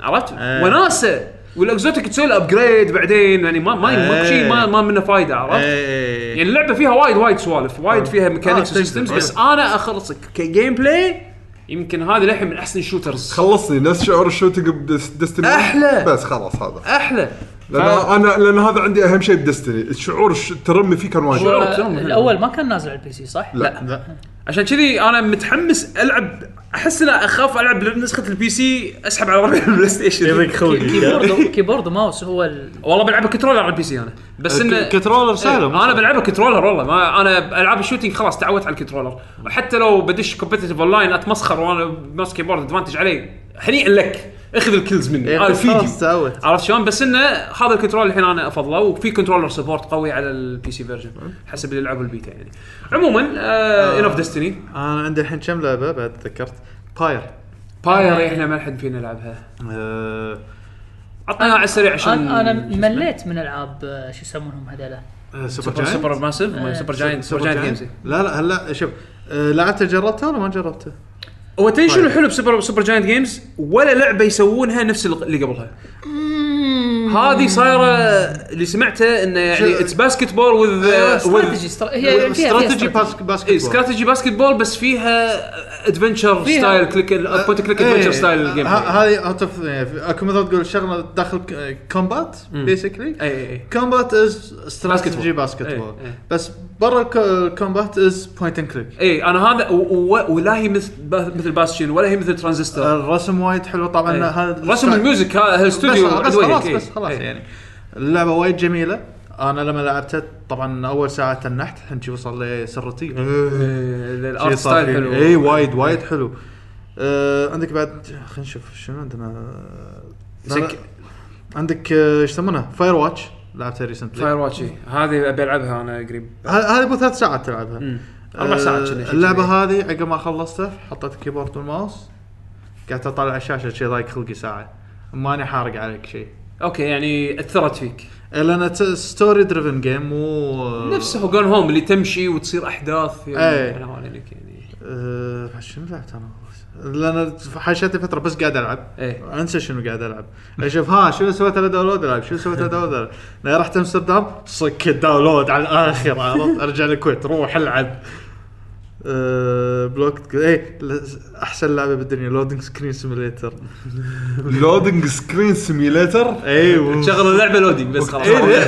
Speaker 1: عرفت
Speaker 3: آه.
Speaker 1: وناسه والاكزوتيك تسوي له ابجريد بعدين يعني ما ما ماكو شيء ما ما منه فايده عرفت
Speaker 3: ايه
Speaker 1: يعني اللعبه فيها وايد وايد سوالف وايد فيها ميكانكس
Speaker 3: تقدر،
Speaker 1: وسيستمز بس انا اخلصك كجيم بلاي يمكن هذه للحين من احسن الشوترز
Speaker 2: خلصني نفس شعور الشوتنج بدستني
Speaker 1: أحلى.
Speaker 2: بس خلاص هذا
Speaker 1: احلى
Speaker 2: لان انا لان هذا عندي اهم شيء بدستني الشعور الش- الترمي فيه كان وايد
Speaker 1: شعور-
Speaker 5: آه، الاول ما كان نازل على البي سي صح؟
Speaker 2: لا
Speaker 3: لا
Speaker 1: عشان كذي انا متحمس العب احس انا اخاف العب نسخه البي سي اسحب على ورقه البلاي ستيشن
Speaker 3: يضيق خلقي
Speaker 5: كيبورد كيبورد وماوس هو ال...
Speaker 1: والله بلعبها كنترولر على البي سي انا بس انه
Speaker 3: كنترولر سهله
Speaker 1: انا بلعبها كنترولر والله ما انا العاب الشوتينج خلاص تعودت على الكنترولر حتى لو بدش كومبتتف اون لاين اتمسخر وانا ماسك كيبورد ادفانتج عليه هنيئا لك اخذ الكلز
Speaker 3: إيه،
Speaker 1: مني
Speaker 3: آه،
Speaker 1: انا الفيديو
Speaker 7: خلاص تعودت
Speaker 1: عرفت شلون بس انه هذا الكنترول الحين انا افضله وفي كنترولر سبورت قوي على البي سي فيرجن حسب اللي لعبوا البيتا يعني آه، عموما انف ديستني
Speaker 3: انا عندي الحين كم لعبه بعد تذكرت باير
Speaker 1: باير احنا ما حد فينا يلعبها
Speaker 3: آه،
Speaker 1: عطنا على السريع عشان
Speaker 5: انا انا مليت من العاب آه، شو يسمونهم هذول
Speaker 3: آه، سوبر
Speaker 1: سوبر
Speaker 3: جاينت
Speaker 1: سوبر ماسيف سوبر جاينت سوبر جاينت جيمز
Speaker 3: لا لا هلا شوف آه، لعبته جربتها ولا ما جربتها؟
Speaker 1: هو تدري شنو الحلو بسوبر سوبر جاينت جيمز ولا لعبه يسوونها نفس اللي قبلها هذه صايره اللي سمعته انه يعني
Speaker 3: شو- أيوة،
Speaker 1: اتس باسكت بول وذ
Speaker 5: استراتيجي استرا- هي فيها- فيها
Speaker 3: استراتيجي
Speaker 5: استراتيجي.
Speaker 3: باسك باسكت
Speaker 1: اي
Speaker 3: بول.
Speaker 1: إيه، استراتيجي باسكت بول بس فيها ادفنشر
Speaker 5: فيها-
Speaker 1: ستايل كليك بوينت كليك ادفنشر
Speaker 3: إيه.
Speaker 1: ستايل الجيم
Speaker 3: ه- هذه اوت اوف اكو مثل تقول شغله داخل كومبات
Speaker 1: اي
Speaker 3: بيسكلي
Speaker 1: اي اي
Speaker 3: كومبات از
Speaker 1: باسكتبول.
Speaker 3: استراتيجي باسكت بول
Speaker 1: إيه، إيه.
Speaker 3: بس برا الكومبات از بوينت اند كليك
Speaker 1: اي انا إيه، هذا و- و- ولا هي مثل با- مثل باستشن ولا هي مثل
Speaker 3: Uh,
Speaker 1: ترانزستور
Speaker 3: الرسم وايد حلو طبعا
Speaker 1: إيه.
Speaker 3: آه، هذا
Speaker 1: رسم الميوزك ها- هالاستوديو
Speaker 3: بس, بس
Speaker 1: عدوية،
Speaker 3: خلاص
Speaker 1: إيه.
Speaker 3: بس خلاص
Speaker 1: إيه.
Speaker 3: يعني اللعبه وايد جميله انا لما لعبتها طبعا اول ساعه تنحت الحين شي وصل لي سرتي
Speaker 1: إيه، الارت ستايل حلو إيه.
Speaker 3: اي إيه، وايد وايد حلو آه عندك بعد خلينا نشوف شنو عندنا
Speaker 1: سك-
Speaker 3: عندك آه، ايش يسمونه فاير واتش لعبتها ريسنتلي
Speaker 1: فاير واتش إيه. هذه ابي العبها انا قريب
Speaker 3: هذه مو ثلاث ساعات تلعبها
Speaker 1: مم. اربع
Speaker 3: آه،
Speaker 1: ساعات كنا شي
Speaker 3: اللعبه
Speaker 1: كذي.
Speaker 3: هذه عقب ما خلصتها حطيت الكيبورد والماوس قعدت اطالع على الشاشه شي ضايق خلقي ساعه ماني حارق عليك شيء
Speaker 1: اوكي يعني اثرت فيك
Speaker 3: لان ستوري دريفن جيم مو
Speaker 1: نفس جون هوم اللي تمشي وتصير احداث
Speaker 3: آه. إيه.
Speaker 1: يعني حوالينك يعني
Speaker 3: أه بعد شنو لعبت انا لان حاشتني فتره بس قاعد العب
Speaker 1: إيه.
Speaker 3: انسى شنو قاعد العب اشوف ها شنو سويت له داونلود العب شنو سويت له داونلود العب لأن رحت امستردام صك الداونلود على الاخر عرفت ارجع الكويت روح العب أه بلوك اي احسن لعبه بالدنيا لودنج سكرين سيميليتر
Speaker 2: لودنج سكرين سيميليتر
Speaker 3: ايوه
Speaker 1: شغل اللعبه لودينج بس إيه.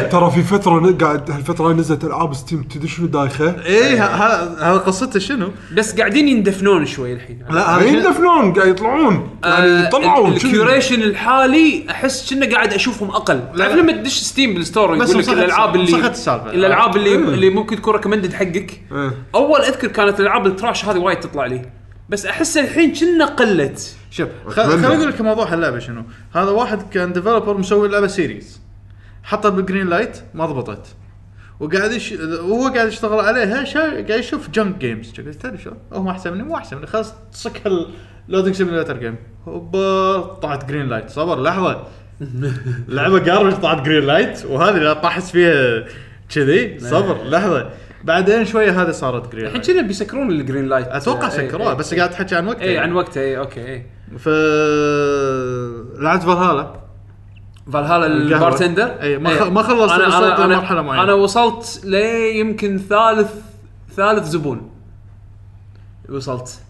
Speaker 1: خلاص
Speaker 2: ترى في فتره ن- قاعد هالفتره نزلت العاب ستيم تدري شنو دايخه؟
Speaker 3: اي هذا قصته شنو؟
Speaker 1: بس قاعدين يندفنون شوي الحين
Speaker 3: لا
Speaker 2: قاعد يندفنون قاعد يطلعون يعني
Speaker 1: آه، ال-
Speaker 2: يطلعون
Speaker 1: الكيوريشن الحالي احس كنا قاعد اشوفهم اقل تعرف لما تدش ستيم بالستور
Speaker 3: بس
Speaker 1: يقول لك
Speaker 3: مسخت-
Speaker 1: الالعاب اللي
Speaker 3: مسخت السالفة.
Speaker 1: الالعاب اللي
Speaker 2: إيه.
Speaker 1: اللي ممكن تكون ريكومندد حقك
Speaker 2: إيه.
Speaker 1: اول اذكر كانت العاب التراش هذه وايد تطلع لي بس احس الحين كنا قلت
Speaker 3: شوف خ- خليني اقول لك موضوع اللعبه شنو هذا واحد كان ديفلوبر مسوي لعبه سيريز حطت بالجرين لايت ما ضبطت وقاعد يش... وهو قاعد يشتغل عليها شا... قاعد يشوف جنك جيمز قلت تدري شو هو ما احسن مني مو احسن مني خلاص صك اللودنج سيميليتر جيم هوبا طلعت جرين لايت صبر لحظه لعبه جارج طلعت جرين لايت وهذه اللي طاحت فيها كذي صبر لحظه بعدين شويه هذه صارت جرين
Speaker 1: الحين
Speaker 3: لايت
Speaker 1: كنا بيسكرون الجرين لايت
Speaker 3: اتوقع
Speaker 1: إيه، إيه،
Speaker 3: سكروها
Speaker 1: إيه.
Speaker 3: بس قاعد تحكي عن وقتها
Speaker 1: اي
Speaker 3: يعني.
Speaker 1: إيه، عن وقتها إيه. اي اوكي اي
Speaker 3: ف لعبت فالهالا
Speaker 1: فالهالا
Speaker 3: القهوة.
Speaker 1: البارتندر
Speaker 3: إي، ما خ- ما خلصت،
Speaker 1: انا
Speaker 3: وصلت
Speaker 1: انا
Speaker 3: لمرحلة
Speaker 1: انا,
Speaker 3: معينة.
Speaker 1: أنا وصلت لي يمكن ثالث ثالث زبون وصلت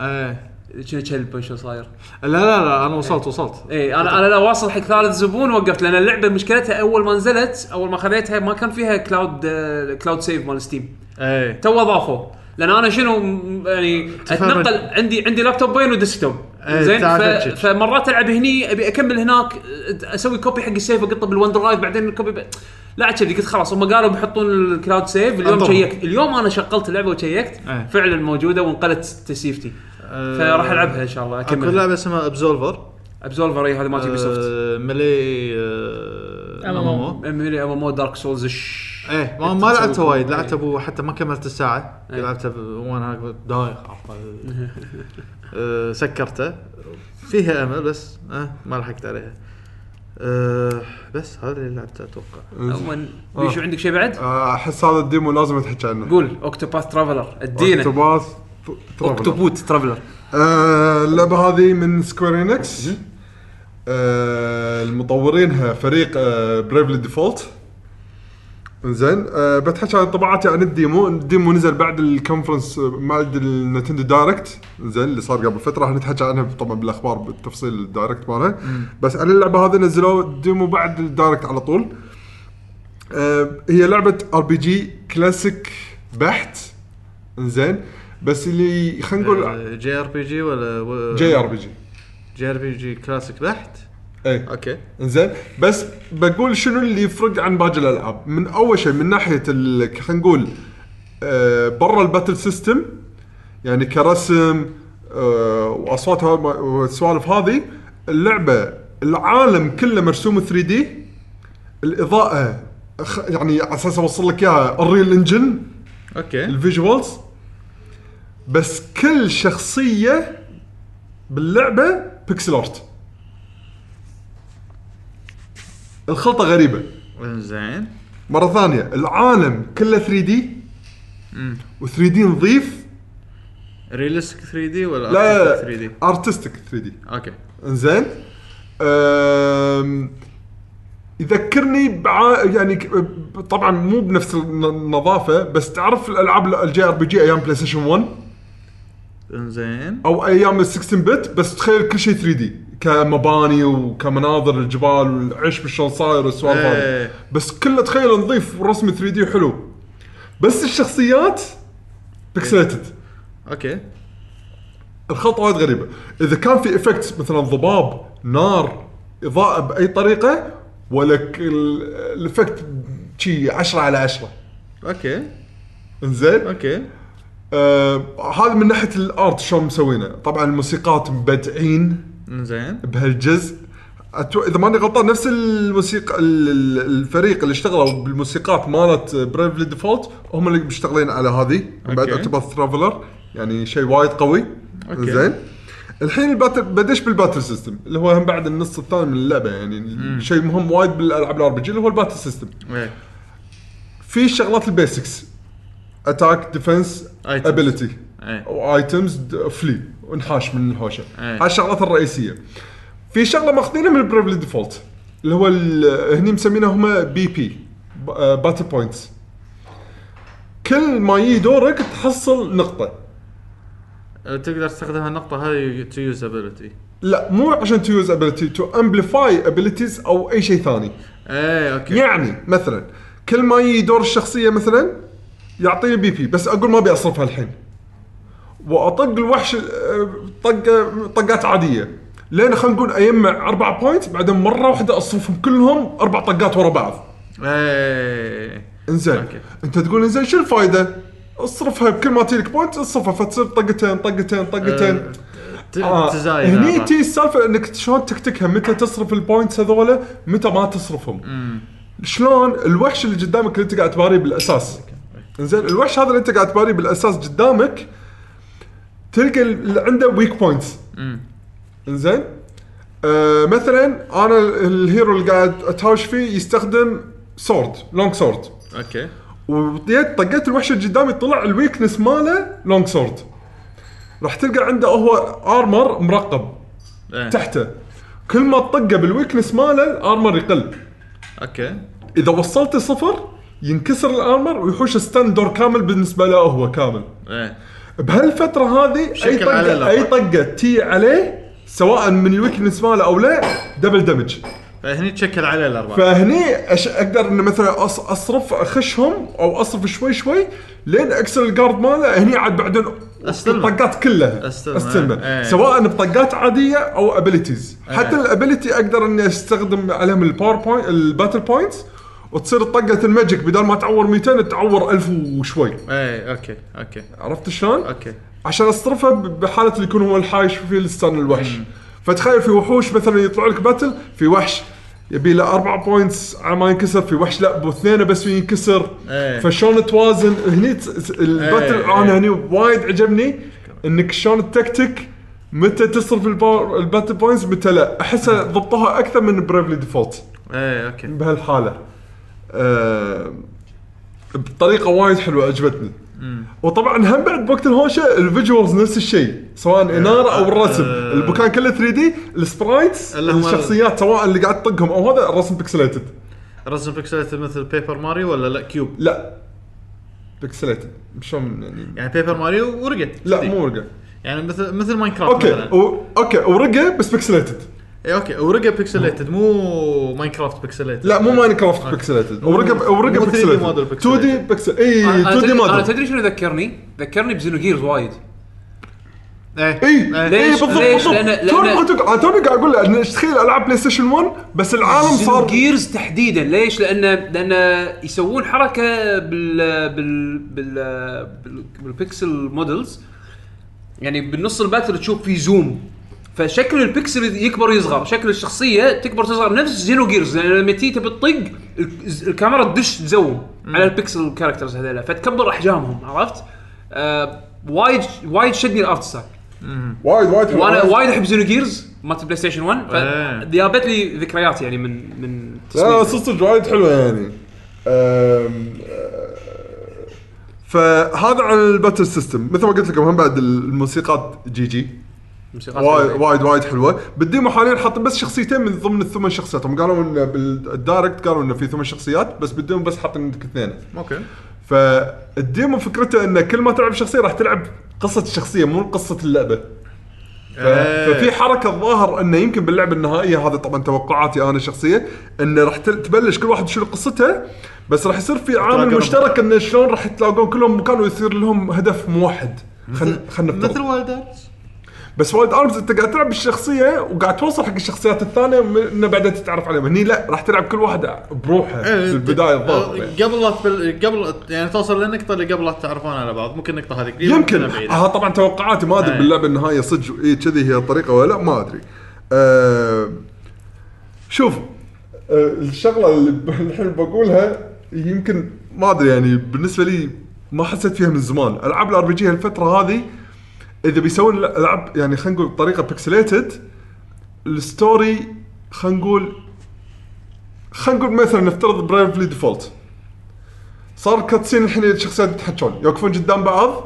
Speaker 3: ايه
Speaker 1: كنا كلب شو صاير
Speaker 3: لا لا لا انا وصلت وصلت
Speaker 1: اي انا انا لا واصل حق ثالث زبون وقفت لان اللعبه مشكلتها اول ما نزلت اول ما خذيتها ما كان فيها كلاود آه، كلاود سيف مال ستيم
Speaker 3: ايه
Speaker 1: تو ضافوا لان انا شنو م- يعني
Speaker 3: تفرج.
Speaker 1: اتنقل عندي عندي لابتوبين وديسكتوب
Speaker 3: إيه،
Speaker 1: زين
Speaker 3: تعال
Speaker 1: ف-
Speaker 3: فرجك.
Speaker 1: فمرات العب هني ابي اكمل هناك أت- اسوي كوبي حق السيف اقطه بالون درايف بعدين الكوبي ب... لا كذي قلت خلاص هم قالوا بيحطون الكلاود سيف اليوم
Speaker 3: انطرهم.
Speaker 1: شيكت اليوم انا شغلت اللعبه وشيكت
Speaker 3: إيه.
Speaker 1: فعلا موجوده وانقلت تسيفتي
Speaker 3: آه،
Speaker 1: فراح العبها ان شاء الله
Speaker 3: اكو
Speaker 1: اكمل
Speaker 3: لعبه اسمها ابزولفر
Speaker 1: ابزولفر هذه مالت
Speaker 3: آه.
Speaker 1: يوبي سوفت
Speaker 3: ملي
Speaker 5: MMO.
Speaker 3: ام
Speaker 1: ميلي ام ام دارك سولز
Speaker 3: ايه ما, ما لعبتها وايد لعبتها ابو حتى ما كملت الساعه لعبتها ب- وانا دايخ عرفت؟ آه، سكرته فيها امل بس آه ما لحقت عليها آه بس هذا اللي لعبته اتوقع
Speaker 1: عموما بيشو عندك شيء بعد؟
Speaker 2: آه، احس هذا الديمو لازم تحكي عنه
Speaker 1: قول اوكتوباث ترافلر ادينا
Speaker 2: اكتوباث ترافلر.
Speaker 1: اوكتوبوت ترافلر
Speaker 2: آه، اللعبه هذه من سكوير انكس آه، المطورينها فريق بريفلي ديفولت زين أه بتحكي عن طبعاتي عن الديمو، الديمو نزل بعد الكونفرنس آه، بعد النتندو دايركت زين اللي صار قبل فتره راح نتحكى عنها طبعا بالاخبار بالتفصيل الدايركت مالها بس انا اللعبه هذه نزلوا الديمو بعد الدايركت على طول آه، هي لعبه ار بي جي كلاسيك بحت زين بس اللي خلينا نقول
Speaker 3: آه، جي ار بي جي ولا و-
Speaker 2: جي ار بي جي
Speaker 3: جي ار بي جي كلاسيك بحت
Speaker 2: اي
Speaker 3: اوكي
Speaker 2: انزين إيه. بس بقول شنو اللي يفرق عن باقي الالعاب من اول شيء من ناحيه ال- خلينا نقول آه، برا الباتل سيستم يعني كرسم آه، واصوات هذا- والسوالف هذه اللعبه العالم كله مرسوم 3 دي الاضاءه أخ- يعني على اساس اوصل لك اياها الريل انجن
Speaker 3: اوكي
Speaker 2: الفيجوالز بس كل شخصيه باللعبه بيكسل ارت الخلطه غريبه
Speaker 3: زين
Speaker 2: مره ثانيه العالم كله 3 دي و3 دي نظيف
Speaker 3: ريلستيك 3 دي ولا
Speaker 2: لا
Speaker 3: 3 دي
Speaker 2: ارتستيك 3 دي
Speaker 3: اوكي
Speaker 2: انزين أم، يذكرني بع... يعني ك- طبعا مو بنفس الن- النظافه بس تعرف الالعاب الجي ار بي جي ايام بلاي ستيشن 1
Speaker 3: انزين
Speaker 2: او ايام ال 16 بت بس تخيل كل شيء 3 دي كمباني وكمناظر الجبال والعشب شلون صاير والسوالف هذه
Speaker 3: إيه.
Speaker 2: بس كله تخيل نظيف ورسم 3 دي حلو بس الشخصيات بيكسليتد
Speaker 3: اوكي
Speaker 2: الخلطه وايد غريبه اذا كان في افكتس مثلا ضباب نار اضاءه باي طريقه ولا ك- ال- الافكت شي 10 على 10
Speaker 3: اوكي
Speaker 2: انزين
Speaker 3: اوكي
Speaker 2: آه، هذا من ناحيه الارت شلون مسوينه طبعا الموسيقات مبدعين
Speaker 3: انزين
Speaker 2: بهالجزء أتو... اذا ماني غلطان نفس الموسيقى ال- ال- الفريق اللي اشتغلوا بالموسيقات مالت بريفلي ديفولت هم اللي مشتغلين على هذه من بعد
Speaker 3: أوكي.
Speaker 2: اكتوباث ترافلر يعني شيء وايد قوي
Speaker 3: أوكي.
Speaker 2: زين الحين الباتل بدش بالباتل سيستم اللي هو هم بعد النص الثاني من اللعبه يعني شيء مهم وايد بالالعاب الار بي جي اللي هو الباتل سيستم
Speaker 3: إيه.
Speaker 2: في شغلات البيسكس اتاك ديفنس
Speaker 3: Items.
Speaker 2: ابيلتي
Speaker 3: إيه.
Speaker 2: وايتمز فلي ونحاش من الهوشه
Speaker 3: إيه.
Speaker 2: هاي الشغلات الرئيسيه في شغله ماخذينها من البريفلي ديفولت اللي هو ال- هني مسمينها هم بي بي باتل بوينتس آه، كل ما يجي دورك تحصل نقطه
Speaker 3: أه، تقدر تستخدم هالنقطه هذه تو يوز ابيلتي
Speaker 2: لا مو عشان تو يوز ابيلتي تو امبليفاي ابيلتيز او اي شيء ثاني
Speaker 3: ايه اوكي
Speaker 2: يعني مثلا كل ما يجي دور الشخصيه مثلا يعطيني بي بي بس اقول ما ابي اصرفها الحين واطق الوحش آه، طقه طقات عاديه لين خلينا نقول اجمع اربع بوينت بعدين مره واحده اصرفهم كلهم اربع طقات ورا بعض
Speaker 3: ايه
Speaker 2: انزين
Speaker 3: أوكي.
Speaker 2: انت تقول انزين شو الفائده؟ اصرفها بكل ما تجيك بوينت اصرفها فتصير طقتين طقتين طقتين
Speaker 3: أه، ت-
Speaker 2: آه،
Speaker 3: تزايد
Speaker 2: هني
Speaker 3: هذا.
Speaker 2: تي السالفه انك شلون تكتكها متى تصرف البوينتس هذولا متى ما تصرفهم شلون الوحش اللي قدامك اللي انت قاعد تباريه بالاساس زين الوحش هذا اللي انت قاعد تباريه بالاساس قدامك تلقى اللي عنده ويك بوينتس زين آه مثلا انا الهيرو اللي قاعد اتهاوش فيه يستخدم سورد لونج سورد
Speaker 3: اوكي
Speaker 2: وطيت طقيت الوحش اللي قدامي طلع الويكنس ماله لونج سورد راح تلقى عنده هو ارمر مرقب
Speaker 3: إيه.
Speaker 2: تحته كل ما تطقه بالويكنس ماله الارمر يقل
Speaker 3: اوكي
Speaker 2: اذا وصلت صفر ينكسر الارمر ويحوش ستان دور كامل بالنسبه له هو كامل
Speaker 3: ايه
Speaker 2: بهالفتره هذه اي
Speaker 3: بشكل على
Speaker 2: طقه
Speaker 3: الأرض.
Speaker 2: اي طقه تي عليه سواء من الويكنس ماله او لا دبل دمج
Speaker 3: فهني تشكل عليه الاربعه
Speaker 2: فهني أش... اقدر ان مثلا أص... اصرف اخشهم او اصرف شوي شوي لين اكسر الجارد ماله هني عاد بعدين
Speaker 3: أستلمه.
Speaker 2: الطقات كلها
Speaker 3: أستلمه، إيه.
Speaker 2: سواء بطقات عاديه او ابيلتيز حتى الابيلتي اقدر اني استخدم عليهم الباور بوينت الباتل بوينتس وتصير طقه الماجيك بدل ما تعور 200 تعور 1000 وشوي
Speaker 3: ايه اوكي اوكي
Speaker 2: عرفت شلون؟
Speaker 3: اوكي
Speaker 2: عشان اصرفها ب- بحاله اللي يكون هو الحايش في الستان الوحش فتخيل في وحوش مثلا يطلع لك باتل في وحش يبي له اربع بوينتس على ما ينكسر في وحش لا باثنين بس ينكسر
Speaker 3: إيه.
Speaker 2: فشلون توازن هني ت- ت- الباتل
Speaker 3: إيه،
Speaker 2: انا
Speaker 3: إيه.
Speaker 2: هني وايد عجبني انك شلون التكتيك متى تصرف الباور الباتل بوينتس متى لا احسها ضبطوها اكثر من بريفلي ديفولت
Speaker 3: ايه اوكي
Speaker 2: بهالحاله آه بطريقه وايد حلوه عجبتني وطبعا هم بعد بوقت الهوشه الفيجوالز نفس الشيء سواء اناره او الرسم
Speaker 3: إيه. آه.
Speaker 2: المكان كله 3 دي السبرايتس
Speaker 3: اللي هم
Speaker 2: الشخصيات سواء اللي قاعد تطقهم او هذا الرسم بيكسليتد
Speaker 3: رسم بيكسلات مثل بيبر ماريو ولا لا كيوب
Speaker 2: لا بيكسليتد شلون يعني
Speaker 3: يعني بيبر ماريو ورقه
Speaker 2: لا
Speaker 3: صدق.
Speaker 2: مو ورقه
Speaker 3: يعني مثل مثل ماينكرافت
Speaker 2: اوكي
Speaker 3: مثلا
Speaker 2: و... اوكي ورقه بس بيكسليتد
Speaker 3: اي اوكي اوريجا بيكسليتد مو إيه. ماينكرافت بيكسليتد
Speaker 2: لا مو ماين كرافت بيكسليتد اوريجا اوريجا
Speaker 3: مو 3D model آه،
Speaker 2: بيكسليتد 2 دي بيكسل اي 2 دي
Speaker 1: انا
Speaker 2: موديل
Speaker 1: تدري شنو ذكرني؟ ذكرني بزينو جيرز وايد
Speaker 3: إيه.
Speaker 2: اي
Speaker 1: ليش؟
Speaker 2: اي بالضبط
Speaker 1: ليش؟
Speaker 2: بالضبط
Speaker 1: لأن-
Speaker 2: توني
Speaker 1: لأن-
Speaker 2: قلت لك انا توني قاعد اقول لأن إيش تخيل العاب بلاي ستيشن 1 بس العالم
Speaker 1: صار
Speaker 2: صار
Speaker 1: جيرز تحديدا ليش؟ لان لان يسوون حركه بال بال بال, بال... بالبكسل مودلز يعني بالنص الباتل تشوف في زوم فشكل البكسل يكبر ويصغر شكل الشخصيه تكبر وتصغر نفس زينو جيرز لان لما تيجي تبي تطق ال- الكاميرا تدش تزوم على البكسل كاركترز هذيلا فتكبر احجامهم عرفت؟ آه وايد وايد شدني الارت ستايل
Speaker 2: وايد وايد حلو.
Speaker 1: وانا وايد احب زينو جيرز مالت بلاي ستيشن 1 فجابت لي ذكريات يعني من من
Speaker 2: إيه. لا
Speaker 1: تصميم.
Speaker 2: صدق صدق وايد حلوه يعني أم، أه، فهذا عن الباتل سيستم مثل ما قلت لكم هم بعد الموسيقات جي جي
Speaker 1: موسيقى
Speaker 2: وايد
Speaker 1: حلوة.
Speaker 2: وايد وايد حلوه بالديمو حاليا حاطين بس شخصيتين من ضمن الثمان شخصيات هم قالوا انه بالدايركت قالوا انه في ثمان شخصيات بس بالديمو بس حاطين عندك اثنين
Speaker 3: اوكي
Speaker 2: فالديمو فكرته انه كل ما تلعب شخصيه راح تلعب قصه الشخصيه مو قصه اللعبه ف...
Speaker 3: آه. إيه.
Speaker 2: ففي حركه الظاهر انه يمكن باللعبه النهائيه هذا طبعا توقعاتي انا شخصيه انه راح تل- تبلش كل واحد يشيل قصته بس راح يصير في عامل
Speaker 3: تلاقون-
Speaker 2: مشترك انه شلون راح يتلاقون كلهم مكان ويصير لهم هدف موحد خلينا
Speaker 3: مثل
Speaker 2: نفترض
Speaker 3: وايلد ارمز
Speaker 2: بس وايد ارمز انت قاعد تلعب بالشخصيه وقاعد توصل حق الشخصيات الثانيه من- انه بعدين تتعرف عليهم هني لا راح تلعب كل واحد بروحه
Speaker 3: إيه،
Speaker 2: في البدايه الظاهر يعني.
Speaker 3: آه، قبل لا تبل- قبل يعني توصل للنقطه اللي قبل لا تتعرفون على بعض ممكن النقطه هذه قريبه
Speaker 2: يمكن
Speaker 3: ممكن بعيدة.
Speaker 2: ها طبعا توقعاتي ما ادري
Speaker 3: أي.
Speaker 2: باللعبه النهائيه صدق اي كذي هي الطريقه ولا لا ما ادري أه شوف أه الشغله اللي ب- الحين بقولها يمكن ما ادري يعني بالنسبه لي ما حسيت فيها من زمان العاب الار بي جي هالفتره هذه اذا بيسوون العاب يعني خلينا نقول بطريقه بيكسليتد الستوري خلينا نقول خلينا نقول مثلا نفترض برايفلي ديفولت صار كاتسين الحين الشخصيات يتحجون يوقفون قدام بعض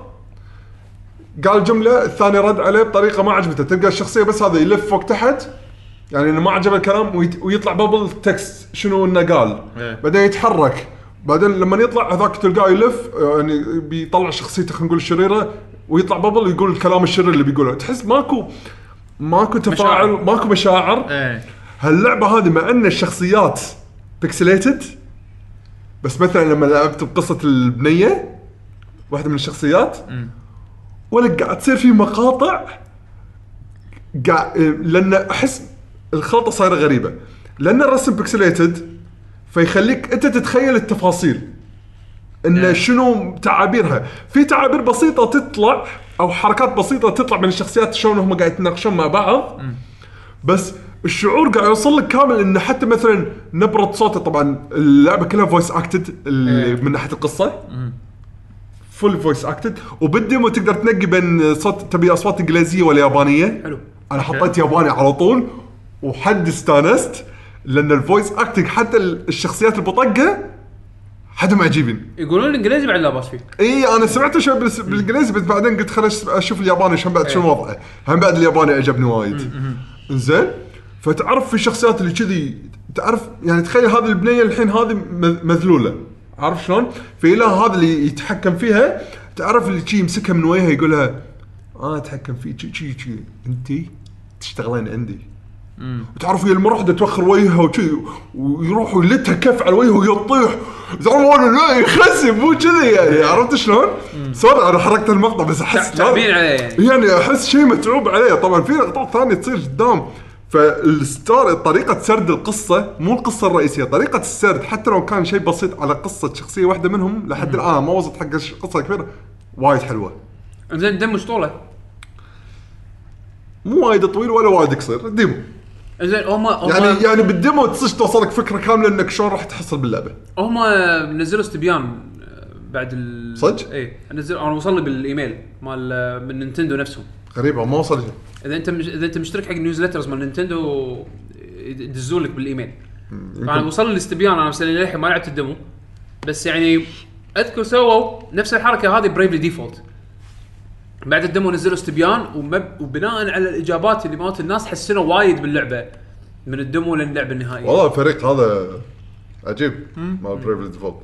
Speaker 2: قال جمله الثاني رد عليه بطريقه ما عجبته تلقى الشخصيه بس هذا يلف فوق تحت يعني انه ما عجبه الكلام ويت... ويطلع بابل تكست شنو انه قال
Speaker 3: إيه.
Speaker 2: بعدين يتحرك بعدين لما يطلع هذاك تلقاه يلف يعني بيطلع شخصيته خلينا نقول الشريره ويطلع بابل ويقول الكلام الشرير اللي بيقوله تحس ماكو ماكو تفاعل
Speaker 1: مشاعر.
Speaker 2: ماكو مشاعر
Speaker 3: ايه
Speaker 2: هاللعبه هذه مع ان الشخصيات بيكسليتد بس مثلا لما لعبت بقصه البنيه واحده من الشخصيات ولا قاعد تصير في مقاطع قاعد لان احس الخلطه صايره غريبه لان الرسم بيكسليتد فيخليك انت تتخيل التفاصيل ان شنو تعابيرها في تعابير بسيطه تطلع او حركات بسيطه تطلع من الشخصيات شلون هم قاعد يتناقشون مع بعض بس الشعور قاعد يوصل لك كامل انه حتى مثلا نبره صوته طبعا اللعبه كلها فويس اكتد من ناحيه القصه فول فويس اكتد وبالديمو تقدر تنقي بين صوت تبي اصوات انجليزيه ولا يابانيه حلو انا حطيت ياباني على طول وحد استانست لان الفويس اكتنج حتى ال- الشخصيات البطقه حدهم عجيبين
Speaker 1: يقولون الانجليزي بعد لا باس فيه
Speaker 2: اي انا سمعت شوي بالس- بالانجليزي بس بعدين قلت خليني اشوف الياباني عشان بعد شنو وضعه هم بعد الياباني عجبني وايد زين فتعرف في شخصيات اللي كذي تعرف يعني تخيل هذه البنيه الحين هذه م- مذلوله عارف شلون؟ في له هذا اللي يتحكم فيها تعرف اللي شي يمسكها من وجهها يقولها انا اتحكم فيك شي شي شي انت تشتغلين عندي تعرف هي المره واحده توخر وجهها وشي ويروح ويلتها كف على وجهه ويطيح زعما وانا لا يخسي مو كذي يعني عرفت شلون؟ سوري انا حركت المقطع بس احس لا-
Speaker 1: تعبين عليه يعني
Speaker 2: يعني احس شيء متعوب عليه طبعا في لقطات ثانيه تصير قدام فالستار طريقه سرد القصه مو القصه الرئيسيه طريقه السرد حتى لو كان شيء بسيط على قصه شخصيه واحده منهم لحد الان ما وصلت حق القصه الكبيره وايد حلوه
Speaker 1: زين دم اسطوله
Speaker 2: مو وايد طويل ولا وايد قصير ديمو
Speaker 1: زين هم هم
Speaker 2: يعني يعني بالديمو تصير توصلك فكره كامله انك شلون راح تحصل باللعبه
Speaker 1: هم نزلوا استبيان آه، بعد ال
Speaker 2: صدق؟
Speaker 1: اي نزل انا وصل لي بالايميل مال آه، من نينتندو نفسهم
Speaker 2: غريبه ما وصل شيء
Speaker 1: اذا انت مش... اذا انت مشترك حق نيوزلترز مال نينتندو يدزون لك بالايميل طبعا وصل لي استبيان انا بس يعني للحين ما لعبت الدمو بس يعني اذكر سووا نفس الحركه هذه برايفلي ديفولت بعد الدمو نزلوا استبيان ومب... وبناء على الاجابات اللي مالت الناس حسنوا وايد باللعبه من الدمو للعبه النهائيه
Speaker 2: والله الفريق هذا عجيب مال برايفلي ديفولت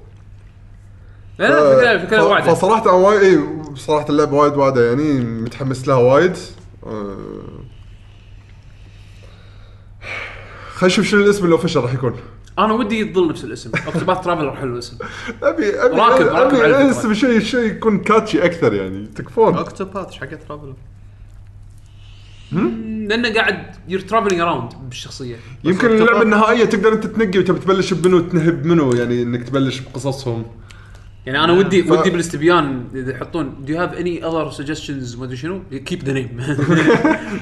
Speaker 1: لا لا فكره فكره
Speaker 2: ف-
Speaker 1: واعده
Speaker 2: فصراحه انا وايد اي صراحه اللعبه وايد واعده آه، يعني متحمس لها وايد أه. خلينا نشوف شنو الاسم اللي اوفشل راح يكون
Speaker 1: انا ودي يظل نفس الاسم اوكتوباث ترافلر حلو الاسم
Speaker 2: ابي ابي
Speaker 1: راكب- راكب على
Speaker 2: ابي
Speaker 1: الفكرة.
Speaker 2: اسم شيء شيء يكون كاتشي اكثر يعني تكفون
Speaker 3: اوكتوباث ايش حق ترافل
Speaker 1: لانه قاعد يور ترافلينج اراوند بالشخصيه
Speaker 2: يمكن اللعبه النهائيه تقدر انت تنقي وتبي تبلش بمنو تنهب منو يعني انك تبلش بقصصهم
Speaker 1: يعني انا ودي
Speaker 2: ف-
Speaker 1: ودي بالاستبيان اذا يحطون do you have any other suggestions ما ادري شنو keep the name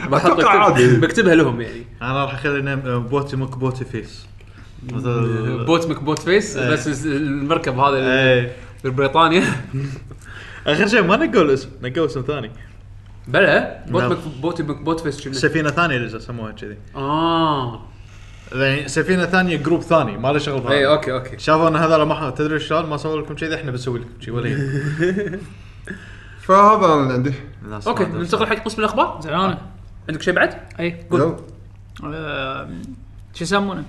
Speaker 1: بحط
Speaker 2: أتوقع عادي.
Speaker 1: بكتبها لهم يعني
Speaker 3: انا راح اخلي نيم بوتي مك بوتي فيس مثل
Speaker 1: بوت مك بوت فيس
Speaker 2: إيه.
Speaker 1: بس المركب هذا
Speaker 3: ايه
Speaker 1: بريطانيا
Speaker 3: اخر شيء ما نقوا الاسم نقوا اسم ثاني
Speaker 1: بلا بوت
Speaker 3: نعم.
Speaker 1: مك بوت مك بوت فيس شنو
Speaker 3: سفينه ثانيه اللي سموها كذي
Speaker 1: اه
Speaker 3: يعني سفينه ثانيه جروب ثاني ما له
Speaker 1: اي
Speaker 3: شغل
Speaker 2: آه.
Speaker 3: بهذا.
Speaker 1: اوكي اوكي
Speaker 3: شافوا ان هذا ما حق- تدري شلون ما سووا لكم كذي احنا بنسوي لكم كذي ولا هي.
Speaker 2: فهذا انا اللي عندي
Speaker 3: الناس ما
Speaker 1: اوكي
Speaker 3: عندهم.
Speaker 1: ننتقل حق قسم الاخبار
Speaker 5: زعلانه
Speaker 1: عندك شيء بعد؟
Speaker 5: اي
Speaker 2: يلا.
Speaker 5: آم، آه، شو يسمونه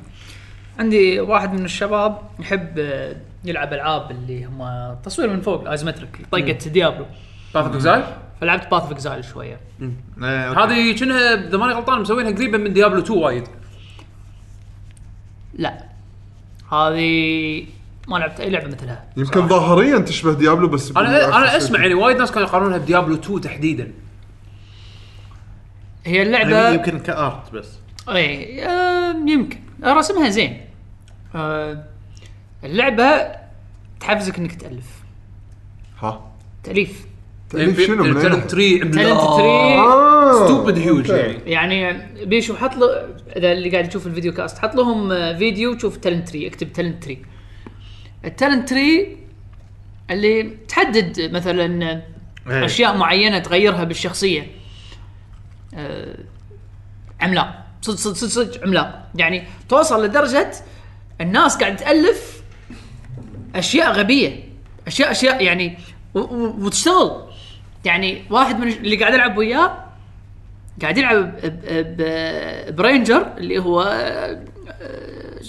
Speaker 5: عندي واحد من الشباب يحب آه، يلعب العاب اللي هم تصوير من فوق ايزومتريك طقه ديابلو
Speaker 1: باث اوف اكزايل
Speaker 5: فلعبت باث اوف اكزايل شويه
Speaker 3: ايه
Speaker 8: آه،
Speaker 3: اوكي.
Speaker 1: هذه كأنها اذا ماني غلطان مسوينها قريبه من ديابلو 2 وايد
Speaker 5: لا هذه ما لعبت اي لعبه مثلها
Speaker 2: يمكن ظاهريا تشبه ديابلو بس
Speaker 1: انا انا
Speaker 2: بالعكس.
Speaker 1: اسمع يعني وايد ناس كانوا يقارنونها بديابلو 2 تحديدا
Speaker 5: هي
Speaker 3: يعني
Speaker 5: اللعبه
Speaker 3: يمكن
Speaker 8: آه،
Speaker 3: كارت بس
Speaker 5: اي آم، يمكن رسمها زين آه، اللعبه تحفزك انك تالف
Speaker 2: ها
Speaker 5: تاليف
Speaker 1: إيه،
Speaker 2: تاليف شنو من Oh.
Speaker 1: تالنت
Speaker 2: عندك؟
Speaker 1: تري
Speaker 5: تالنت تري
Speaker 2: آه،
Speaker 1: ستوبد هيوج
Speaker 2: أوكي.
Speaker 1: يعني
Speaker 5: يعني بيشو حط له اذا اللي قاعد يشوف الفيديو كاست حط لهم آه، فيديو تشوف تالنت تري اكتب تالنت تري التالنت تري اللي تحدد مثلا آه،
Speaker 8: إيه.
Speaker 3: ايه.
Speaker 5: اشياء معينه تغيرها بالشخصيه آه، عملاق صدق صدق صدق صدق عملاق يعني توصل لدرجه الناس قاعد تالف اشياء غبيه اشياء اشياء يعني و- و- وتشتغل يعني واحد من اللي قاعد العب وياه قاعد يلعب ب- ب- ب- برينجر اللي هو آه،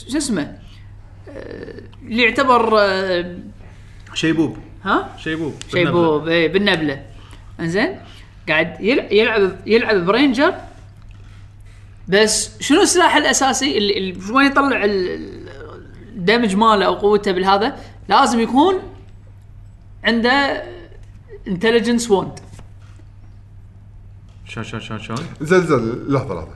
Speaker 5: شو اسمه آه، اللي يعتبر آه،
Speaker 3: شيبوب
Speaker 5: ها
Speaker 3: شيبوب بالنبذة.
Speaker 5: شيبوب اي بالنبله انزين قاعد يلعب يلعب يلعب برينجر بس شنو السلاح الاساسي اللي, اللي شو ما يطلع ال- ال- الدمج ماله او قوته بالهذا لازم يكون عنده انتليجنس وونت
Speaker 3: شلون شلون شلون شلون
Speaker 2: زلزل لحظه لحظه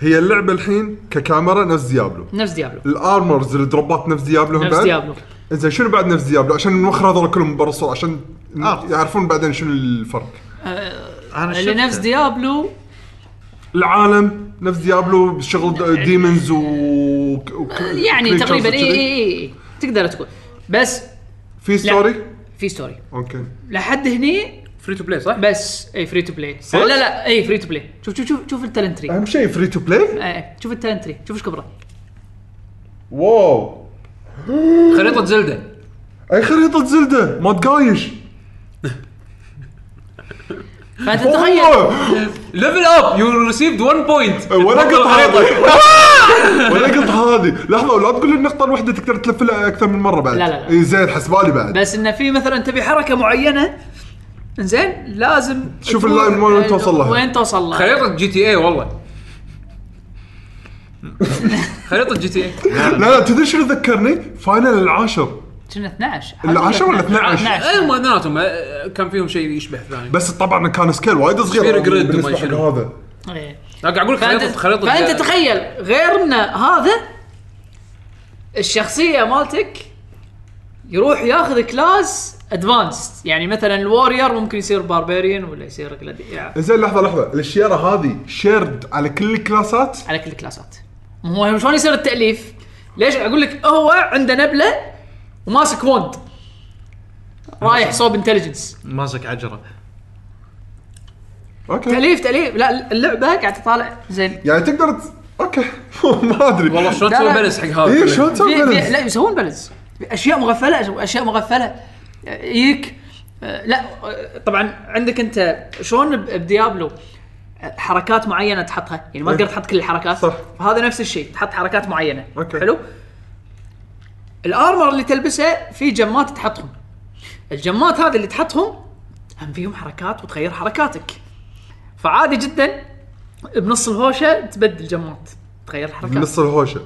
Speaker 2: هي اللعبه الحين ككاميرا نفس ديابلو
Speaker 5: نفس ديابلو
Speaker 2: الارمرز الدروبات نفس ديابلو هم
Speaker 5: نفس
Speaker 2: بعد؟
Speaker 5: ديابلو
Speaker 2: زين شنو بعد نفس ديابلو عشان نوخر هذول كلهم برا الصورة عشان ن-
Speaker 3: آه.
Speaker 2: يعرفون بعدين شنو الفرق
Speaker 3: انا
Speaker 5: اللي
Speaker 3: شفته.
Speaker 5: نفس ديابلو
Speaker 2: العالم نفس ديابلو شغل ديمونز و
Speaker 5: يعني
Speaker 2: creatures
Speaker 5: تقريبا اي
Speaker 2: وكذي.
Speaker 5: اي اي تقدر تقول بس
Speaker 2: في
Speaker 5: إيه. لا.
Speaker 2: ستوري
Speaker 5: في ستوري
Speaker 2: اوكي
Speaker 5: لحد هني
Speaker 1: فري تو بلاي صح؟
Speaker 5: بس اي فري تو بلاي لا لا اي فري تو بلاي شوف شوف شوف شوف التالنت تري
Speaker 2: اهم شيء فري تو بلاي
Speaker 5: ايه شوف التالنت تري شوف ايش كبره
Speaker 2: واو
Speaker 1: خريطه زلده
Speaker 2: اي خريطه زلده ما تقايش
Speaker 5: فانت تخيل
Speaker 1: ليفل اب يو ريسيفد 1 بوينت
Speaker 2: ولا قط إيه، هذه ولا قط هذه لحظه ولا تقول لي النقطه الواحده تقدر تلف لها اكثر من مره بعد
Speaker 5: لا، لا، لا.
Speaker 2: إي زين حسبالي بعد
Speaker 5: بس انه في مثلا تبي حركه معينه زين لازم
Speaker 2: شوف
Speaker 5: تقول-
Speaker 2: اللاين وين
Speaker 5: آه،
Speaker 2: توصل لها.
Speaker 5: وين توصل لها
Speaker 1: خريطه جي تي اي والله خريطه جي تي اي
Speaker 2: لا لا تدري شنو ذكرني فاينل العاشر
Speaker 5: كنا 12
Speaker 2: العشرة ولا 12?
Speaker 1: اي ما اثنيناتهم آه، كان فيهم شيء يشبه ثاني
Speaker 2: بس طبعا كان سكيل وايد صغير
Speaker 1: Spirit Grid
Speaker 2: بالنسبه
Speaker 1: وما
Speaker 2: حق
Speaker 1: شنو.
Speaker 2: هذا
Speaker 5: إيه.
Speaker 1: أنا قاعد اقول لك
Speaker 5: فانت
Speaker 1: خريطه خريطه
Speaker 5: فانت تخيل غير ان هذا الشخصيه مالتك يروح ياخذ كلاس ادفانسد يعني مثلا الوارير ممكن يصير باربيريان ولا يصير gladi-
Speaker 2: زين لحظه لحظه الشيره هذه شيرد على كل الكلاسات
Speaker 5: على كل الكلاسات هو شلون يصير التاليف؟ ليش اقول لك هو عنده نبله وماسك وند رايح صوب انتليجنس
Speaker 3: ماسك عجره
Speaker 2: اوكي
Speaker 5: تاليف تاليف لا اللعبه قاعد تطالع زين
Speaker 2: يعني تقدر ت... اوكي ما إيه، ادري
Speaker 1: والله شلون
Speaker 5: لا،
Speaker 1: تسوي
Speaker 5: لا.
Speaker 1: بالانس حق
Speaker 2: اي
Speaker 1: هذا
Speaker 2: شلون
Speaker 5: في-
Speaker 2: تسوي
Speaker 5: في-
Speaker 2: بالانس؟
Speaker 5: لا يسوون بالانس اشياء مغفله اشياء مغفله يجيك آه، لا آه، طبعا عندك انت شلون ب- بديابلو آه، حركات معينه تحطها يعني ما
Speaker 2: إيه.
Speaker 5: تقدر تحط كل الحركات
Speaker 2: صح.
Speaker 5: فهذا نفس الشيء تحط حركات معينه
Speaker 2: أوكي.
Speaker 5: حلو الارمر اللي تلبسه في جمات تحطهم الجمات هذه اللي تحطهم هم فيهم حركات وتغير حركاتك فعادي جدا بنص الهوشه تبدل جمات تغير الحركات
Speaker 2: نص الهوشه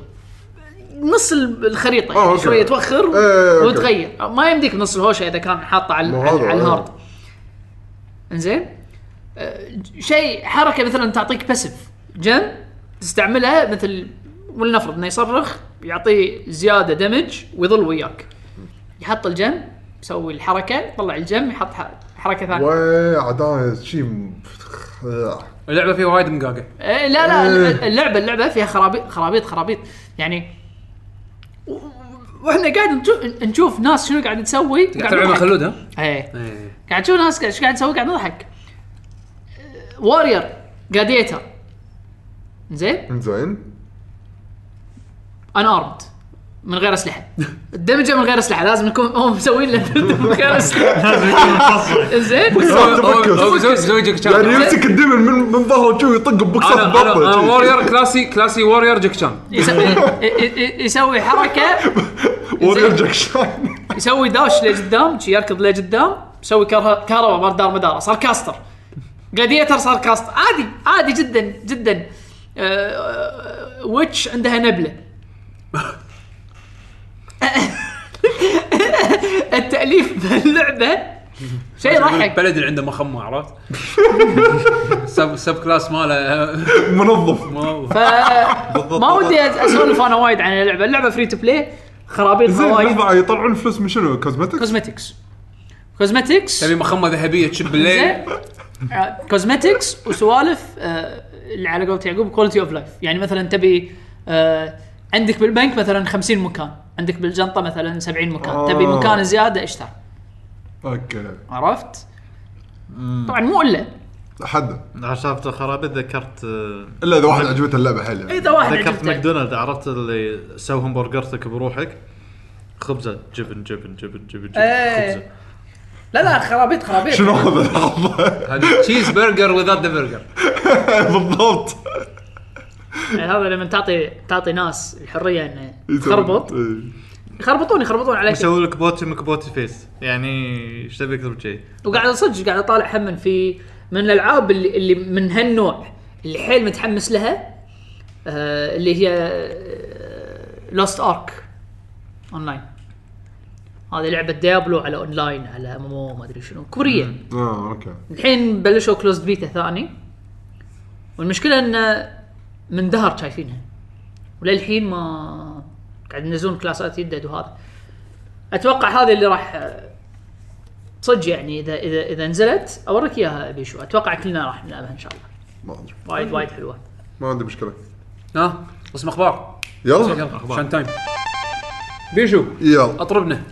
Speaker 5: نص ال- الخريطه
Speaker 2: آه،
Speaker 5: يعني
Speaker 2: أوكي.
Speaker 5: شويه توخر
Speaker 2: إيه، أوكي.
Speaker 5: وتغير آه، ما يمديك نص الهوشه اذا كان حاطه على,
Speaker 2: ما
Speaker 5: على,
Speaker 2: هذا،
Speaker 5: على
Speaker 2: إيه.
Speaker 5: الهارد انزين آه، شيء حركه مثلا تعطيك باسف جن تستعملها مثل ولنفرض انه يصرخ يعطيه زياده دمج ويظل وياك يحط الجن يسوي الحركه يطلع الجن يحط ح- حركه ثانيه
Speaker 2: وعداية شي م- آه،
Speaker 6: اللعبه فيها وايد مقاقع
Speaker 5: إيه، لا لا
Speaker 2: إيه.
Speaker 5: اللعبه اللعبه فيها خرابيط خرابيط خرابيط يعني و- و- واحنا قاعد نشوف نشوف ناس شنو قاعد تسوي
Speaker 6: قاعد تلعب مع خلود ها؟
Speaker 5: ايه
Speaker 6: إيه.
Speaker 5: قاعد تشوف ناس ايش قاعد تسوي قاعد نضحك وورير جاديتر زين
Speaker 2: زين
Speaker 5: ان ارمد من غير اسلحه الدمجه من غير اسلحه لازم نكون هم مسوين له من غير اسلحه زين
Speaker 6: هو زوج زوجك
Speaker 2: يعني يمسك الدبل من من ظهره شو يطق ببوكسات
Speaker 6: انا انا
Speaker 2: بطه
Speaker 6: أنا
Speaker 2: شي.
Speaker 6: وورير كلاسي كلاسي وورير جاك شان
Speaker 5: يسوي حركه
Speaker 2: وورير
Speaker 5: زين.
Speaker 2: جاك شان
Speaker 5: يسوي داش لقدام شي يركض لقدام يسوي كره كهرباء مال دار مدار صار كاستر جلاديتر صار كاستر عادي عادي جدا جدا أه ويتش عندها نبله التاليف باللعبه شيء يضحك
Speaker 6: البلد اللي عنده مخمه عرفت؟ سب سب كلاس ماله
Speaker 2: منظم
Speaker 5: ف ما ودي اسولف انا وايد عن اللعبه اللعبه فري تو بلاي خرابيطها
Speaker 2: زين
Speaker 5: وايد
Speaker 2: لحظه يطلعون الفلوس من شنو كوزمتكس
Speaker 5: كوزمتكس كوزمتكس
Speaker 6: تبي مخمه ذهبيه تشب
Speaker 5: زين
Speaker 6: الليل
Speaker 5: كوزمتكس وسوالف آه، اللي على قولة يعقوب كواليتي اوف لايف يعني مثلا تبي آه، عندك بالبنك مثلا 50 مكان عندك بالجنطه مثلا 70 مكان تبي
Speaker 2: آه.
Speaker 5: مكان زياده اشتر
Speaker 2: اوكي
Speaker 5: عرفت طبعا مو الا
Speaker 2: حد
Speaker 8: عشان الخرابيط ذكرت آه،
Speaker 2: الا اذا واحد عجبته اللعبه حيل
Speaker 6: إيه.
Speaker 2: يعني
Speaker 5: اذا واحد
Speaker 8: ذكرت
Speaker 5: عجبته.
Speaker 8: ماكدونالد عرفت اللي سوي همبرجرتك بروحك خبزه جبن جبن جبن جبن, جبن
Speaker 4: إيه.
Speaker 8: خبزه
Speaker 4: لا لا خرابيط خرابيط
Speaker 2: شنو هذا لحظه
Speaker 6: هذه تشيز برجر وذات ذا برجر
Speaker 2: بالضبط
Speaker 5: يعني هذا لما تعطي تعطي ناس الحريه انه تخربط
Speaker 2: إيه.
Speaker 5: يخربطون يخربطون عليك
Speaker 8: يسوي لك بوتي مك بوتي فيس يعني ايش تبي اكثر من شيء؟
Speaker 5: وقاعد صدق قاعد اطالع هم من في من الالعاب اللي, اللي من هالنوع اللي حيل متحمس لها آه اللي هي آه، لوست ارك اونلاين هذه لعبه ديابلو على اونلاين على ام ما ادري شنو كوريه
Speaker 2: اه اوكي
Speaker 5: الحين بلشوا كلوزد بيتا ثاني والمشكله ان من دهر شايفينها وللحين ما قاعد ينزلون كلاسات يدد وهذا اتوقع هذه اللي راح آه، صدق يعني اذا اذا اذا نزلت اوريك اياها بيشو اتوقع كلنا راح نلعبها ان شاء الله
Speaker 2: ما ادري
Speaker 5: وايد وايد حلوه
Speaker 2: ما عندي مشكله
Speaker 6: ها اسم اخبار
Speaker 2: يلا
Speaker 6: يلا شان تايم بيشو
Speaker 2: يلا
Speaker 6: اطربنا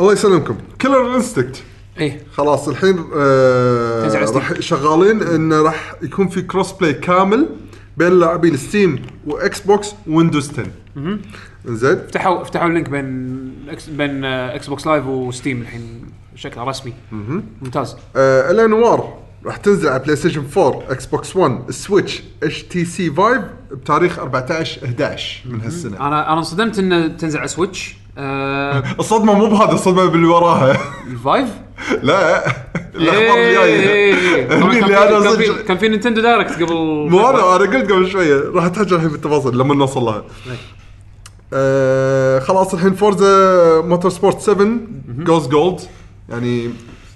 Speaker 2: الله يسلمكم كلر انستكت
Speaker 1: إيه،
Speaker 6: ايه
Speaker 2: خلاص الحين آه
Speaker 6: تنزل على ستيم.
Speaker 2: راح شغالين انه راح يكون في كروس بلاي كامل بين لاعبين ستيم واكس بوكس ويندوز 10 زين
Speaker 1: فتحوا فتحوا اللينك بين إكس- بين آه، اكس بوكس لايف وستيم الحين شكله رسمي ممتاز
Speaker 2: آه الانوار راح تنزل على بلاي ستيشن 4 اكس بوكس 1 سويتش اتش تي سي فايف بتاريخ 14 11 من آه، هالسنه
Speaker 1: انا انا انصدمت انه تنزل على سويتش آه،
Speaker 2: الصدمه مو بهذا الصدمه باللي وراها
Speaker 1: الفايف
Speaker 2: لا الاخبار
Speaker 1: إيه، إيه،
Speaker 2: الجايه
Speaker 1: إيه.
Speaker 2: هني
Speaker 1: طبعاً كان
Speaker 2: اللي
Speaker 1: في-
Speaker 2: أنا
Speaker 1: كان في-
Speaker 2: صدق-
Speaker 1: كان في نينتندو دايركت قبل
Speaker 2: مو انا انا قلت قبل شويه راح اتحجر الحين بالتفاصيل لما نوصل لها. آه خلاص الحين فورزا موتور سبورت 7 جوز جولد يعني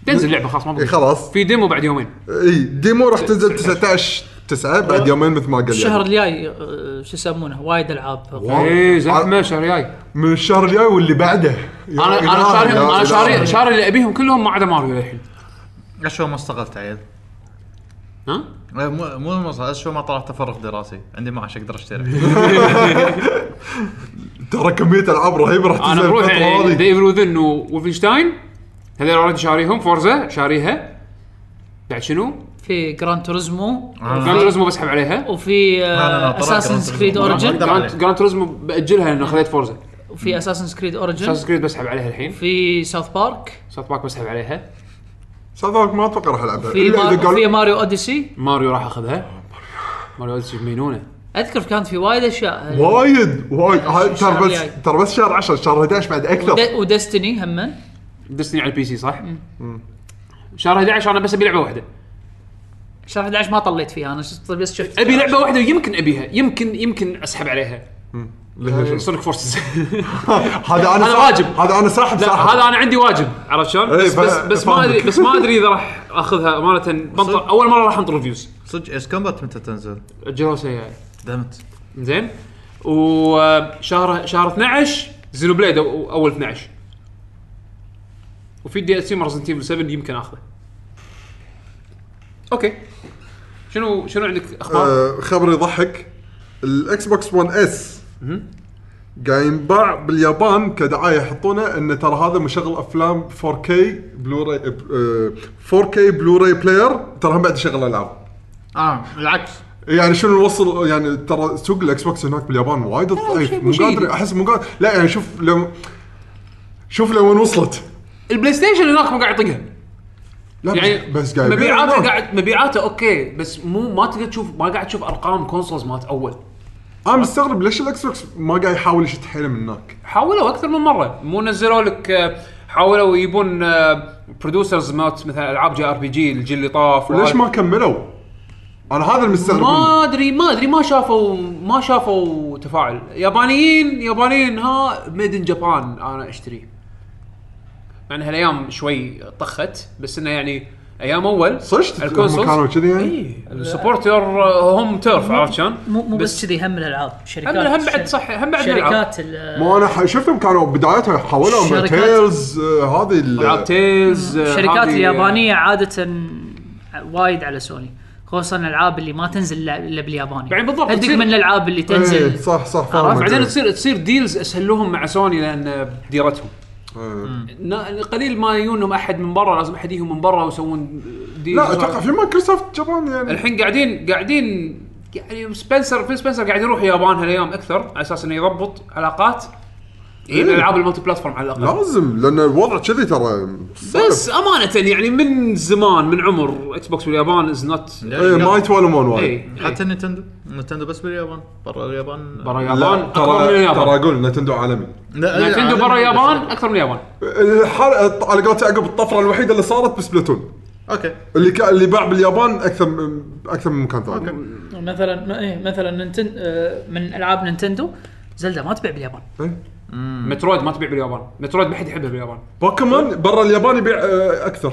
Speaker 1: تنزل لعبه خلاص ما
Speaker 2: إيه
Speaker 1: بدي.
Speaker 2: خلاص
Speaker 1: في ديمو بعد يومين
Speaker 2: اي ديمو راح تنزل 19 9 بعد يومين مثل ما قال يعني.
Speaker 5: الشهر الجاي آه، شو يسمونه وايد العاب
Speaker 1: ايه زحمه شهر جاي
Speaker 2: من الشهر الجاي واللي بعده يا
Speaker 1: انا
Speaker 2: إله،
Speaker 1: انا شاري
Speaker 2: يا
Speaker 1: انا
Speaker 2: إله.
Speaker 1: شاري شاري اللي ابيهم كلهم ما عدا ماريو للحين
Speaker 8: اشوى ما اشتغلت عيل
Speaker 1: ها
Speaker 8: آه، مو مو المصاري اشوى ما طلعت تفرغ دراسي عندي معاش اقدر اشتري
Speaker 2: ترى كميه العاب رهيبه راح
Speaker 1: انا
Speaker 2: تنزل
Speaker 1: بروح يعني
Speaker 2: الفتره هذه
Speaker 1: ديفل وذن وولفنشتاين هذول اوريدي شاريهم فورزا شاريها بعد شنو؟
Speaker 5: في جران توريزمو
Speaker 1: جراند توريزمو بسحب عليها
Speaker 5: وفي
Speaker 8: آه.
Speaker 5: آه،
Speaker 8: لا، لا، طلعت Gran
Speaker 5: اساسن كريد
Speaker 8: Turismo.
Speaker 5: اوريجن
Speaker 1: جراند جراند توريزمو باجلها لانه خذيت فورزا
Speaker 5: وفي اساسن كريد اوريجن
Speaker 1: اساس كريد بسحب عليها الحين
Speaker 5: في ساوث بارك
Speaker 1: ساوث بارك بسحب عليها
Speaker 2: صدق ما اتوقع راح العبها
Speaker 5: في
Speaker 2: الا اذا
Speaker 5: مار... في
Speaker 2: قالوا
Speaker 5: ماريو اوديسي
Speaker 1: ماريو راح اخذها ماريو اوديسي مجنونه
Speaker 5: اذكر كانت في وايد اشياء
Speaker 2: وايد وايد هاي
Speaker 5: الشهر
Speaker 2: ترى
Speaker 5: الجاي.
Speaker 2: بس ترى بس شهر 10 شهر 11 بعد اكثر
Speaker 5: ود- ودستني هم
Speaker 1: دستني على البي سي صح؟ شهر 11 انا بس ابي لعبه واحده
Speaker 5: شهر 11 ما طليت فيها انا شفت بس شفت
Speaker 1: ابي لعبه واحده يمكن ابيها يمكن يمكن اسحب عليها آه، سونيك فورسز
Speaker 2: هذا
Speaker 1: هذا
Speaker 2: انا سا-
Speaker 1: واجب.
Speaker 2: هذا انا ساحب
Speaker 1: لا
Speaker 2: ساحب
Speaker 1: هذا انا عندي واجب عرفت شلون؟
Speaker 2: إيه،
Speaker 1: بس بس,
Speaker 2: فا-
Speaker 1: بس ما
Speaker 2: فاهمك.
Speaker 1: ادري بس ما ادري اذا راح اخذها امانه بنطر اول مره راح انطر ريفيوز
Speaker 8: صدق اس كومبات متى تنزل؟
Speaker 1: الجلوسه الجاي
Speaker 8: دامت
Speaker 1: يعني. زين وشهر شهر 12 زينو بليد أو- اول 12 وفي دي اس سي مرزنت 7 يمكن اخذه اوكي شنو شنو عندك اخبار؟
Speaker 2: آه، خبر يضحك الاكس بوكس 1 اس قاعد ينباع باليابان كدعايه يحطونه ان ترى هذا مشغل افلام 4K بلوراي آه، 4K بلوراي بلاير ترى هم بعد يشغل العاب
Speaker 3: اه العكس
Speaker 2: يعني شنو نوصل يعني ترى سوق الاكس بوكس هناك باليابان وايد ضعيف مو قادر احس مو قادر لا يعني شوف لو شوف لوين وصلت
Speaker 1: البلاي ستيشن هناك ما قاعد يطقها
Speaker 2: لا
Speaker 1: يعني
Speaker 2: بس
Speaker 1: بس
Speaker 2: قاعد يبيع
Speaker 1: مبيعاته
Speaker 2: هناك.
Speaker 1: قاعد مبيعاته اوكي بس مو ما تقدر تشوف ما قاعد تشوف ارقام كونسولز مالت اول
Speaker 2: انا مستغرب ليش الاكس بوكس ما قاعد يحاول يشد حيله من هناك
Speaker 1: حاولوا اكثر من مره مو نزلوا لك آه، حاولوا يجيبون آه، برودوسرز مالت مثلا العاب جي ار بي جي الجيل اللي طاف
Speaker 2: ليش
Speaker 1: وهذا.
Speaker 2: ما كملوا؟ انا هذا المستغرب منه.
Speaker 1: ما ادري ما ادري ما شافوا ما شافوا تفاعل يابانيين يابانيين ها ميد ان جابان انا اشتري مع ان هالايام شوي طخت بس انه يعني ايام اول
Speaker 2: صدق؟
Speaker 1: الكونسولز
Speaker 2: هم كانوا كذي يعني؟
Speaker 1: اي السبورت يور إيه، هوم تيرف عرفت شلون؟
Speaker 5: مو مو
Speaker 1: بس
Speaker 5: بس كذي هم الالعاب شركات
Speaker 1: هم هم بعد صح هم بعد العاب
Speaker 5: شركات ال-
Speaker 2: ما انا ح- شفتهم كانوا بدايتها حاولوا
Speaker 5: شركات-
Speaker 2: تيلز آه، هذه ال-
Speaker 1: العاب تيلز آه،
Speaker 5: الشركات
Speaker 1: هذه-
Speaker 5: اليابانيه عاده وايد على سوني خصوصا الالعاب اللي ما تنزل الا بالياباني
Speaker 1: بعدين يعني بالضبط
Speaker 5: هديك
Speaker 1: تصير-
Speaker 5: من الالعاب اللي
Speaker 2: إيه،
Speaker 5: تنزل
Speaker 2: صح صح
Speaker 5: عرفت؟
Speaker 2: فاهم
Speaker 1: آه،
Speaker 2: إيه.
Speaker 1: بعدين تصير تصير ديلز اسهل لهم مع سوني لان ديرتهم
Speaker 2: آه.
Speaker 1: نا- قليل ما يجونهم احد من برا لازم احد يجيهم من برا ويسوون ديلز
Speaker 2: لا اتوقع في مايكروسوفت جابان يعني
Speaker 1: الحين قاعدين قاعدين يعني سبنسر في سبنسر قاعد يروح اليابان هالايام اكثر على اساس انه يضبط علاقات يجيب
Speaker 2: إيه.
Speaker 1: العاب المالتي بلاتفورم على الاقل
Speaker 2: لازم لان الوضع كذي ترى
Speaker 1: بس امانه يعني من زمان من عمر اكس بوكس باليابان از نوت
Speaker 2: إيه، ما يتوالمون وايد
Speaker 1: اي
Speaker 8: حتى نينتندو نينتندو بس باليابان برا اليابان
Speaker 1: برا اليابان
Speaker 2: لا
Speaker 1: اكبر من
Speaker 2: ترى ترى
Speaker 1: اليابان
Speaker 2: اقول نتندو عالمي إيه،
Speaker 1: نتندو يعني برا اليابان اكثر من اليابان
Speaker 2: الحلقه على قولت يعقوب الطفره الوحيده اللي صارت بسبلاتون
Speaker 8: اوكي
Speaker 2: اللي كا اللي باع باليابان اكثر من اكثر من مكان ثاني
Speaker 5: مثلا ما- إيه، مثلا نينتن- آه، من العاب نينتندو زلدا ما تبيع باليابان
Speaker 2: إيه.
Speaker 1: مترويد ما تبيع باليابان مترويد ما حد يحبها باليابان
Speaker 2: بوكيمون يعني برا اليابان يبيع آه، اكثر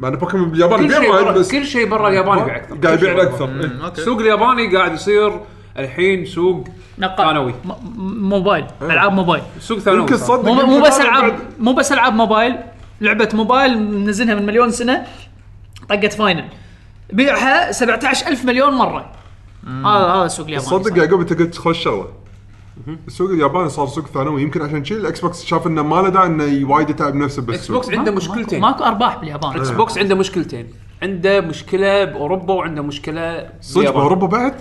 Speaker 2: مع ان بوكيمون باليابان
Speaker 1: كل
Speaker 2: يبيع
Speaker 1: شيء
Speaker 2: وايد
Speaker 1: برا-
Speaker 2: بس
Speaker 1: كل شيء برا اليابان يبيع اكثر
Speaker 2: قاعد
Speaker 1: كل شيء
Speaker 2: يبيع
Speaker 1: برا
Speaker 2: اكثر إيه.
Speaker 1: السوق الياباني قاعد يصير الحين سوق
Speaker 5: نقال
Speaker 1: ثانوي.
Speaker 5: م- م- موبايل
Speaker 1: إيه.
Speaker 5: العاب موبايل
Speaker 1: سوق ثانوي
Speaker 2: يمكن
Speaker 1: صار.
Speaker 2: تصدق
Speaker 5: مو مو
Speaker 2: يمكن
Speaker 5: بس
Speaker 2: هذا
Speaker 5: العاب
Speaker 2: بعد-
Speaker 5: مو بس العاب موبايل لعبه موبايل منزلها من مليون سنه طقت فاينل بيعها 17000 مليون مره هذا هذا السوق الياباني
Speaker 2: تصدق
Speaker 5: صار.
Speaker 2: يعقوب انت قلت خوش شغله السوق الياباني صار سوق ثانوي يمكن عشان كذي الاكس بوكس شاف انه ما له داعي انه وايد يتعب نفسه بس
Speaker 1: اكس بوكس عنده
Speaker 5: ماكو-
Speaker 1: مشكلتين
Speaker 5: ماكو ماكو ارباح باليابان
Speaker 1: اكس بوكس عنده مشكلتين عنده مشكله باوروبا وعنده مشكله
Speaker 2: صدق
Speaker 1: باليابان.
Speaker 2: باوروبا بعد؟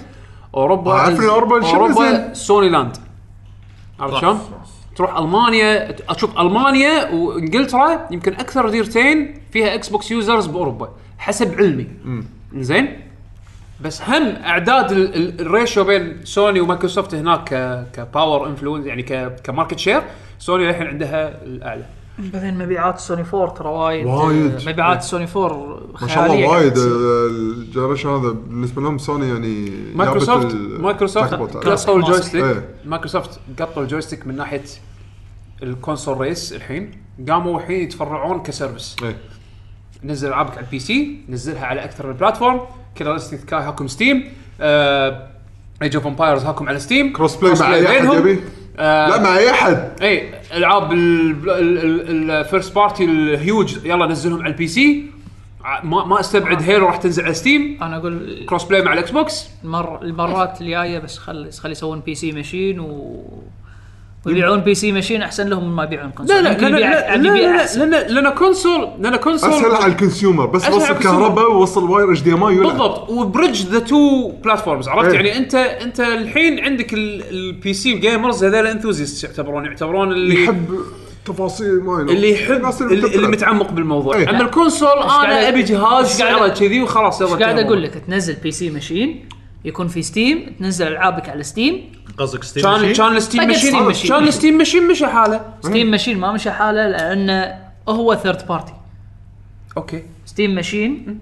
Speaker 1: اوروبا
Speaker 2: عارف إن أوروبا شنو زين؟
Speaker 1: اوروبا سوني لاند عرفت شلون؟ تروح المانيا تشوف المانيا وانجلترا يمكن اكثر ديرتين فيها اكس بوكس يوزرز باوروبا حسب علمي زين بس هم اعداد ال- ال- الريشيو بين سوني ومايكروسوفت هناك ك- كباور انفلونس يعني ك- كماركت شير سوني الحين عندها الاعلى
Speaker 5: بعدين مبيعات سوني 4 ترى وايد
Speaker 2: وايد.
Speaker 5: مبيعات سوني 4
Speaker 2: ما شاء الله وايد آه، الجنريشن هذا بالنسبه لهم سوني يعني
Speaker 1: مايكروسوفت
Speaker 2: لعبة ال-
Speaker 1: مايكروسوفت
Speaker 2: جاكبوت.
Speaker 1: قطوا
Speaker 5: ماسك.
Speaker 1: الجويستيك
Speaker 2: إيه.
Speaker 1: مايكروسوفت قطوا الجويستيك من ناحيه الكونسول ريس الحين قاموا الحين يتفرعون كسيرفس
Speaker 2: إيه.
Speaker 1: نزل العابك على البي سي نزلها على اكثر من بلاتفورم كيلر انستنكت كاي هاكم آه، ستيم ايج اوف امبايرز هاكم على ستيم
Speaker 2: كروس بلاي مع اي احد يبي
Speaker 1: آه،
Speaker 2: لا مع اي احد
Speaker 1: اي العاب الفيرست بارتي الهيوج يلا نزلهم على البي سي ع- ما ما استبعد هيرو راح تنزل على ستيم
Speaker 5: انا اقول
Speaker 1: كروس بلاي مع الاكس بوكس
Speaker 5: المر... المرات الجايه بس خل خلي يسوون بي سي ماشين و ويبيعون بي سي ماشين احسن لهم من ما يبيعون كونسول
Speaker 1: لا لا
Speaker 5: يمكن
Speaker 1: لا لا
Speaker 5: يبيع- يبيع
Speaker 1: لا
Speaker 5: أحسن.
Speaker 1: لان لان كونسول لان
Speaker 2: اسهل
Speaker 1: كونسول
Speaker 2: على الكونسيومر بس
Speaker 1: أسهل على
Speaker 2: وصل
Speaker 1: الكونسيومر.
Speaker 2: كهرباء ووصل واير اتش دي ام اي
Speaker 1: بالضبط وبريدج ذا تو بلاتفورمز عرفت
Speaker 2: إيه.
Speaker 1: يعني انت انت الحين عندك البي سي جيمرز هذول انثوزيست يعتبرون يعتبرون اللي
Speaker 2: يحب تفاصيل معينه
Speaker 1: اللي يحب
Speaker 2: الناس
Speaker 1: اللي, اللي
Speaker 2: بتلعب.
Speaker 1: متعمق بالموضوع
Speaker 2: إيه.
Speaker 1: اما الكونسول
Speaker 5: قاعد-
Speaker 1: انا ابي جهاز
Speaker 5: إيش قاعد-
Speaker 1: سعره كذي وخلاص يلا
Speaker 5: ايش قاعد
Speaker 1: تمام.
Speaker 5: اقول لك تنزل بي سي ماشين يكون في ستيم تنزل العابك على ستيم
Speaker 8: قصدك ستيم
Speaker 1: كان
Speaker 8: ماشين؟
Speaker 1: كان الستيم
Speaker 5: طق ستيم
Speaker 1: ماشين
Speaker 5: ماشين.
Speaker 1: كان الستيم ماشين مشى حاله
Speaker 5: ستيم ماشين ما مشى حاله لانه هو ثيرد بارتي
Speaker 1: اوكي
Speaker 5: ستيم ماشين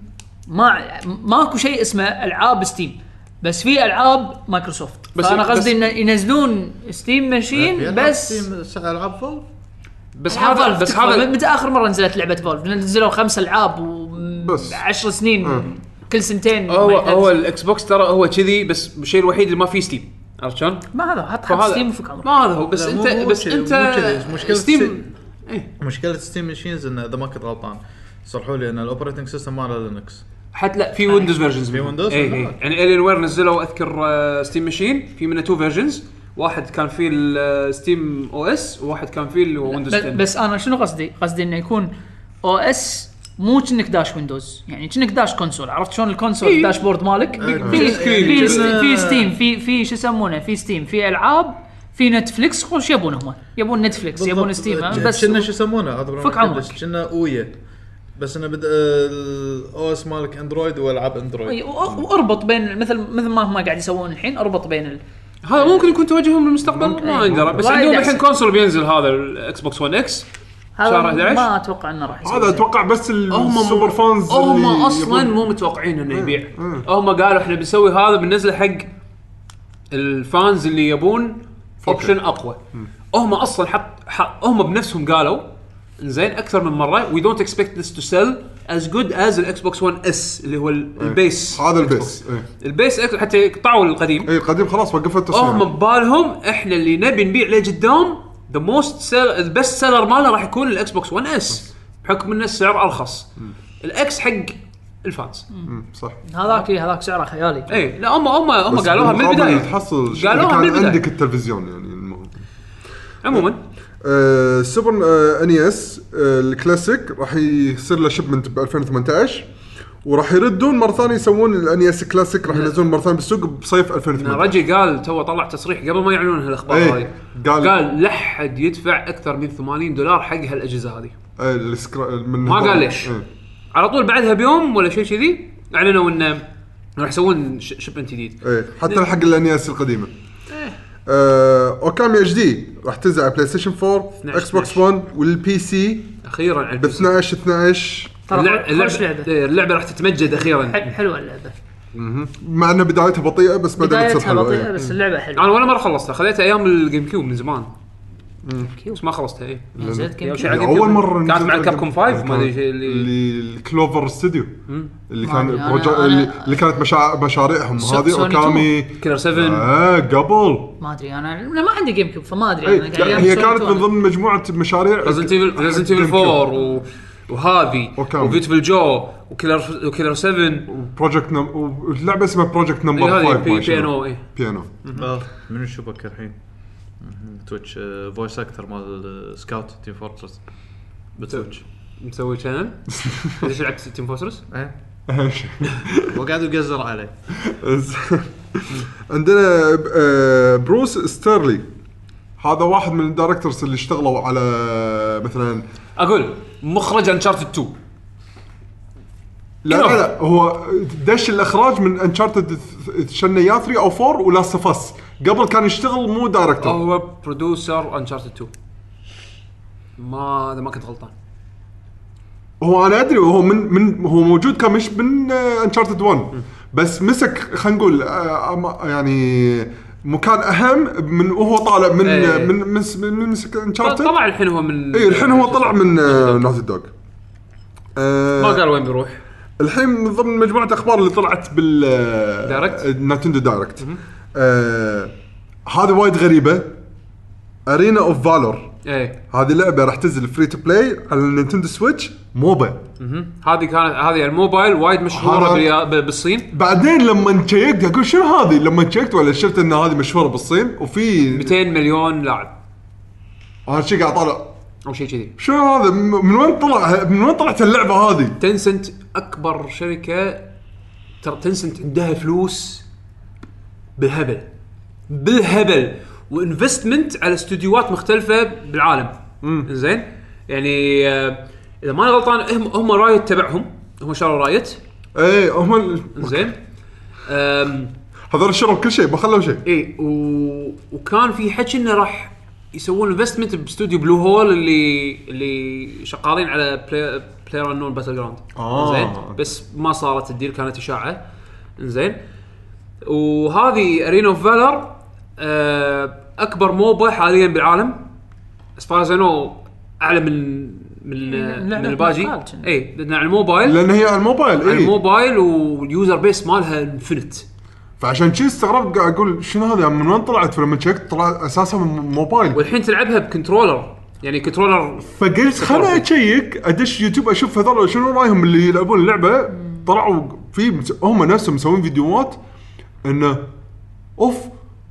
Speaker 5: ما ماكو شيء اسمه العاب ستيم بس في العاب مايكروسوفت
Speaker 1: بس-
Speaker 5: بس فانا
Speaker 1: بس-
Speaker 5: قصدي انه ينزلون ستيم ماشين بس
Speaker 3: ستيم العاب فول
Speaker 1: بس هذا
Speaker 5: Valve
Speaker 1: بس
Speaker 5: تكفى.
Speaker 1: هذا
Speaker 5: من- متى اخر مره نزلت لعبه فولف نزلوا خمس العاب
Speaker 2: بس.
Speaker 5: وعشر سنين كل سنتين
Speaker 1: هو
Speaker 5: ما
Speaker 1: هو
Speaker 5: ينزل.
Speaker 1: الاكس بوكس ترى هو كذي بس الشيء الوحيد اللي ما فيه ستيم عرفت شلون؟
Speaker 5: ما هذا حط حط
Speaker 1: فهذا-
Speaker 5: ستيم وفك عمرك
Speaker 1: ما هذا هو بس
Speaker 3: لا، مو-
Speaker 1: انت
Speaker 3: مو
Speaker 1: بس
Speaker 3: كذي،
Speaker 1: انت
Speaker 3: مو كذي. مشكلة
Speaker 1: ستيم
Speaker 3: مشكله ستيم ماشينز انه اذا ما كنت غلطان صلحوا لي ان الاوبريتنج سيستم ماله لينكس
Speaker 1: حتى لا في ويندوز فيرجنز
Speaker 3: آه، في Windows؟
Speaker 1: اي
Speaker 3: لا.
Speaker 1: يعني الين وير نزلوا اذكر ستيم ماشين في منه تو فيرجنز واحد كان آه، فيه ستيم او اس وواحد كان فيه اللي هو ويندوز
Speaker 5: بس,
Speaker 1: 10
Speaker 5: بس انا شنو قصدي؟ قصدي انه يكون او اس مو كأنك داش ويندوز يعني كأنك داش كونسول عرفت شلون الكونسول
Speaker 1: إيه.
Speaker 5: الداشبورد مالك في إيه.
Speaker 1: سكرين.
Speaker 5: في س-
Speaker 3: كأنه-
Speaker 5: في ستيم في في شو يسمونه في ستيم في العاب في نتفلكس وش يبون هم؟ يبون نتفلكس يبون ستيم ها؟
Speaker 3: بس
Speaker 5: بس
Speaker 3: كنا شو يسمونه عاد
Speaker 5: فك عمرك.
Speaker 3: بس كنا اويا بس انه بد الاو اس مالك اندرويد والعاب اندرويد
Speaker 5: إي، وأ- واربط بين مثل مثل ما هم قاعد يسوون الحين اربط بين ال...
Speaker 1: هذا ممكن يكون توجههم للمستقبل ما يندرى بس
Speaker 5: وايد
Speaker 1: عندهم
Speaker 5: أحسن.
Speaker 1: الحين كونسول بينزل هذا الاكس بوكس 1 اكس
Speaker 5: هذا
Speaker 1: شهر 11.
Speaker 5: ما اتوقع انه راح يصير
Speaker 2: هذا اتوقع بس السوبر فانز
Speaker 1: هم
Speaker 2: اللي
Speaker 1: اصلا
Speaker 2: يبون-
Speaker 1: مو متوقعين انه يبيع هم قالوا احنا بنسوي هذا بننزله حق الفانز اللي يبون اوبشن اقوى هم اصلا حط حط- هم بنفسهم قالوا زين اكثر من مره وي دونت اكسبكت ذس تو سيل از جود از الاكس بوكس 1 اس اللي هو ال- البيس
Speaker 2: إيه. هذا البيس إيه.
Speaker 1: البيس X- حتى قطعوا القديم
Speaker 2: اي القديم خلاص وقفت
Speaker 1: هم
Speaker 2: التصوير
Speaker 1: ببالهم احنا اللي نبي نبيع لقدام ذا موست البست سيلر ماله راح يكون الاكس بوكس 1 اس بحكم انه السعر ارخص الاكس حق الفانز
Speaker 2: مم، إيه، صح
Speaker 5: هذاك إي، هذاك سعره خيالي
Speaker 1: اي لا هم هم هم
Speaker 2: بس
Speaker 1: قالوها من
Speaker 2: بالمقابل
Speaker 1: البدايه
Speaker 2: تحصل شيء
Speaker 1: قالوها
Speaker 2: كان
Speaker 1: من البداية.
Speaker 2: عندك التلفزيون يعني المهم
Speaker 1: عموما
Speaker 2: آه، سوبر ان اس آه، الكلاسيك راح يصير له شipment ب 2018 وراح يردون مره ثانيه يسوون الان اس كلاسيك
Speaker 1: نعم.
Speaker 2: راح ينزلون مره ثانيه بالسوق بصيف 2018
Speaker 1: رجي قال تو طلع تصريح قبل ما يعلنون هالاخبار
Speaker 2: إيه،
Speaker 1: هذه
Speaker 2: قال-
Speaker 1: قال لا حد يدفع اكثر من 80 دولار حق هالاجهزه هذه
Speaker 2: آه، السكرا- من
Speaker 1: ما
Speaker 2: هذول.
Speaker 1: قال ليش
Speaker 2: إيه.
Speaker 1: على طول بعدها بيوم ولا شيء كذي اعلنوا انه راح يسوون ش- شipment جديد
Speaker 2: ايه حتى حق الانياس القديمه
Speaker 1: إيه.
Speaker 2: آه، اوكامي اتش دي راح تنزل على بلاي ستيشن 4
Speaker 1: 12
Speaker 2: اكس بوكس 1 والبي سي
Speaker 1: اخيرا على
Speaker 2: ب 12 12
Speaker 5: ترى
Speaker 1: اللعبة-
Speaker 5: خوش
Speaker 1: اللعبة,
Speaker 5: لعبه
Speaker 1: إيه، اللعبة راح تتمجد اخيرا
Speaker 5: حل- حلوه اللعبه
Speaker 2: مع ان بدايتها بطيئه بس بعدين تصير
Speaker 5: بدايتها
Speaker 2: حلوه
Speaker 5: بطيئه
Speaker 2: إيه.
Speaker 5: بس اللعبه حلوه
Speaker 1: انا ولا مره خلصتها خذيتها ايام الجيم كيوب من زمان بس ما خلصتها إيه. اي
Speaker 5: نزلت
Speaker 1: أول
Speaker 5: كم
Speaker 1: شيء على
Speaker 5: كم؟
Speaker 2: اول
Speaker 1: الجيم كيوب.
Speaker 2: مره
Speaker 1: يعني كانت مع
Speaker 2: نزلت
Speaker 1: الكاب كوم 5 ما ادري
Speaker 2: كان-
Speaker 1: شيء اللي
Speaker 2: اللي الكلوفر ستوديو اللي كان
Speaker 5: أنا-
Speaker 2: بروجا-
Speaker 5: أنا-
Speaker 2: اللي- اللي كانت مشا- مشاريعهم
Speaker 5: سو-
Speaker 2: هذه
Speaker 5: سوني
Speaker 2: اوكامي
Speaker 1: كيلر 7
Speaker 2: اه قبل
Speaker 5: ما ادري انا أنا ما عندي جيم كيوب فما ادري
Speaker 2: إيه،
Speaker 5: أنا قاعد
Speaker 2: لا،
Speaker 5: ألعب
Speaker 2: هي
Speaker 5: سوني
Speaker 2: كانت
Speaker 5: تو
Speaker 2: من
Speaker 5: أنا.
Speaker 2: ضمن مجموعه مشاريع
Speaker 1: ريزنت ايفل ريزنت ايفل 4 و... وهافي
Speaker 2: وكامل.
Speaker 1: وبيوتفل جو وكيلر وكيلر 7
Speaker 2: بروجكت نم... واللعبه اسمها بروجكت
Speaker 1: إي،
Speaker 2: نمبر 5
Speaker 1: إيه، هذه بي بي ان او اي
Speaker 2: بيانو
Speaker 3: آه، من الشبكه الحين تويتش فويس اكتر مال آه، سكاوت تيم فورترس بتويتش
Speaker 1: مسوي شانل ليش لعبت تيم فورسرس؟
Speaker 2: اهم شيء
Speaker 3: وقاعد إيه؟ يقزر عليه
Speaker 2: زين. عندنا ب- آه، بروس ستيرلي هذا واحد من الدايركتورز اللي اشتغلوا على مثلا
Speaker 1: اقول مخرج انشارتد 2
Speaker 2: لا
Speaker 1: إيه.
Speaker 2: لا, لا هو دش الاخراج من انشارتد شنيا 3 او 4 ولاست اوف اس قبل كان يشتغل مو دايركتور
Speaker 1: هو برودوسر انشارتد 2 ما اذا ما كنت غلطان
Speaker 2: هو انا ادري هو من من هو موجود كان مش من انشارتد 1 بس مسك خلينا نقول آه، أما- يعني مكان اهم من وهو طالع من
Speaker 1: إيه.
Speaker 2: من من, من مسك انشارتد
Speaker 1: طلع الحين هو من
Speaker 2: اي إيه، الحين هو طلع من آه، نوت دوغ
Speaker 1: ما قال وين بيروح
Speaker 2: آه، الحين من ضمن مجموعه اخبار اللي طلعت بال آه،
Speaker 1: دايركت؟
Speaker 2: نتندو دايركت آه، هذه وايد غريبه ارينا اوف فالور
Speaker 1: ايه
Speaker 2: هذه لعبه راح تنزل فري تو بلاي على النينتندو سويتش موبا
Speaker 1: هذه كانت هذه الموبايل وايد مشهوره
Speaker 2: هذا-
Speaker 1: باليا- ب- بالصين
Speaker 2: بعدين لما تشيكت اقول شنو هذه لما تشيكت ولا شفت ان هذه مشهوره بالصين وفي
Speaker 1: 200 مليون لاعب
Speaker 2: انا شي قاعد طالع
Speaker 1: او شيء كذي
Speaker 2: شنو هذا م- من وين طلع من وين طلعت اللعبه هذه
Speaker 1: تنسنت اكبر شركه ترى تنسنت عندها فلوس بالهبل بالهبل وانفستمنت على استديوهات مختلفه بالعالم زين يعني آه، اذا ماني غلطان هم هم رايت تبعهم هم شروا رايت
Speaker 2: ايه هم ال-
Speaker 1: زين أم،
Speaker 2: هذول شروا كل شيء ما خلوا شيء
Speaker 1: إيه، اي و... وكان في حكي انه راح يسوون انفستمنت باستوديو بلو هول اللي اللي شغالين على بلاي بلاير انون باتل جراوند
Speaker 2: آه.
Speaker 1: زين بس ما صارت الديل كانت اشاعه زين وهذه ارينا اوف فالر اكبر آه، موبا حاليا بالعالم از فار اعلى من من
Speaker 5: إيه، لعبة
Speaker 1: من الباجي
Speaker 5: موبايل كنا.
Speaker 1: اي لان على الموبايل
Speaker 2: لان هي على الموبايل إيه.
Speaker 1: على
Speaker 2: اي
Speaker 1: الموبايل واليوزر بيس مالها انفنت
Speaker 2: فعشان شي استغربت قاعد اقول شنو هذا يعني من وين طلعت فلما شيكت طلع اساسها من موبايل
Speaker 1: والحين تلعبها بكنترولر يعني كنترولر
Speaker 2: فقلت خليني اشيك ادش يوتيوب اشوف هذول شنو رايهم اللي يلعبون اللعبه طلعوا في مس- هم نفسهم مسوين فيديوهات انه اوف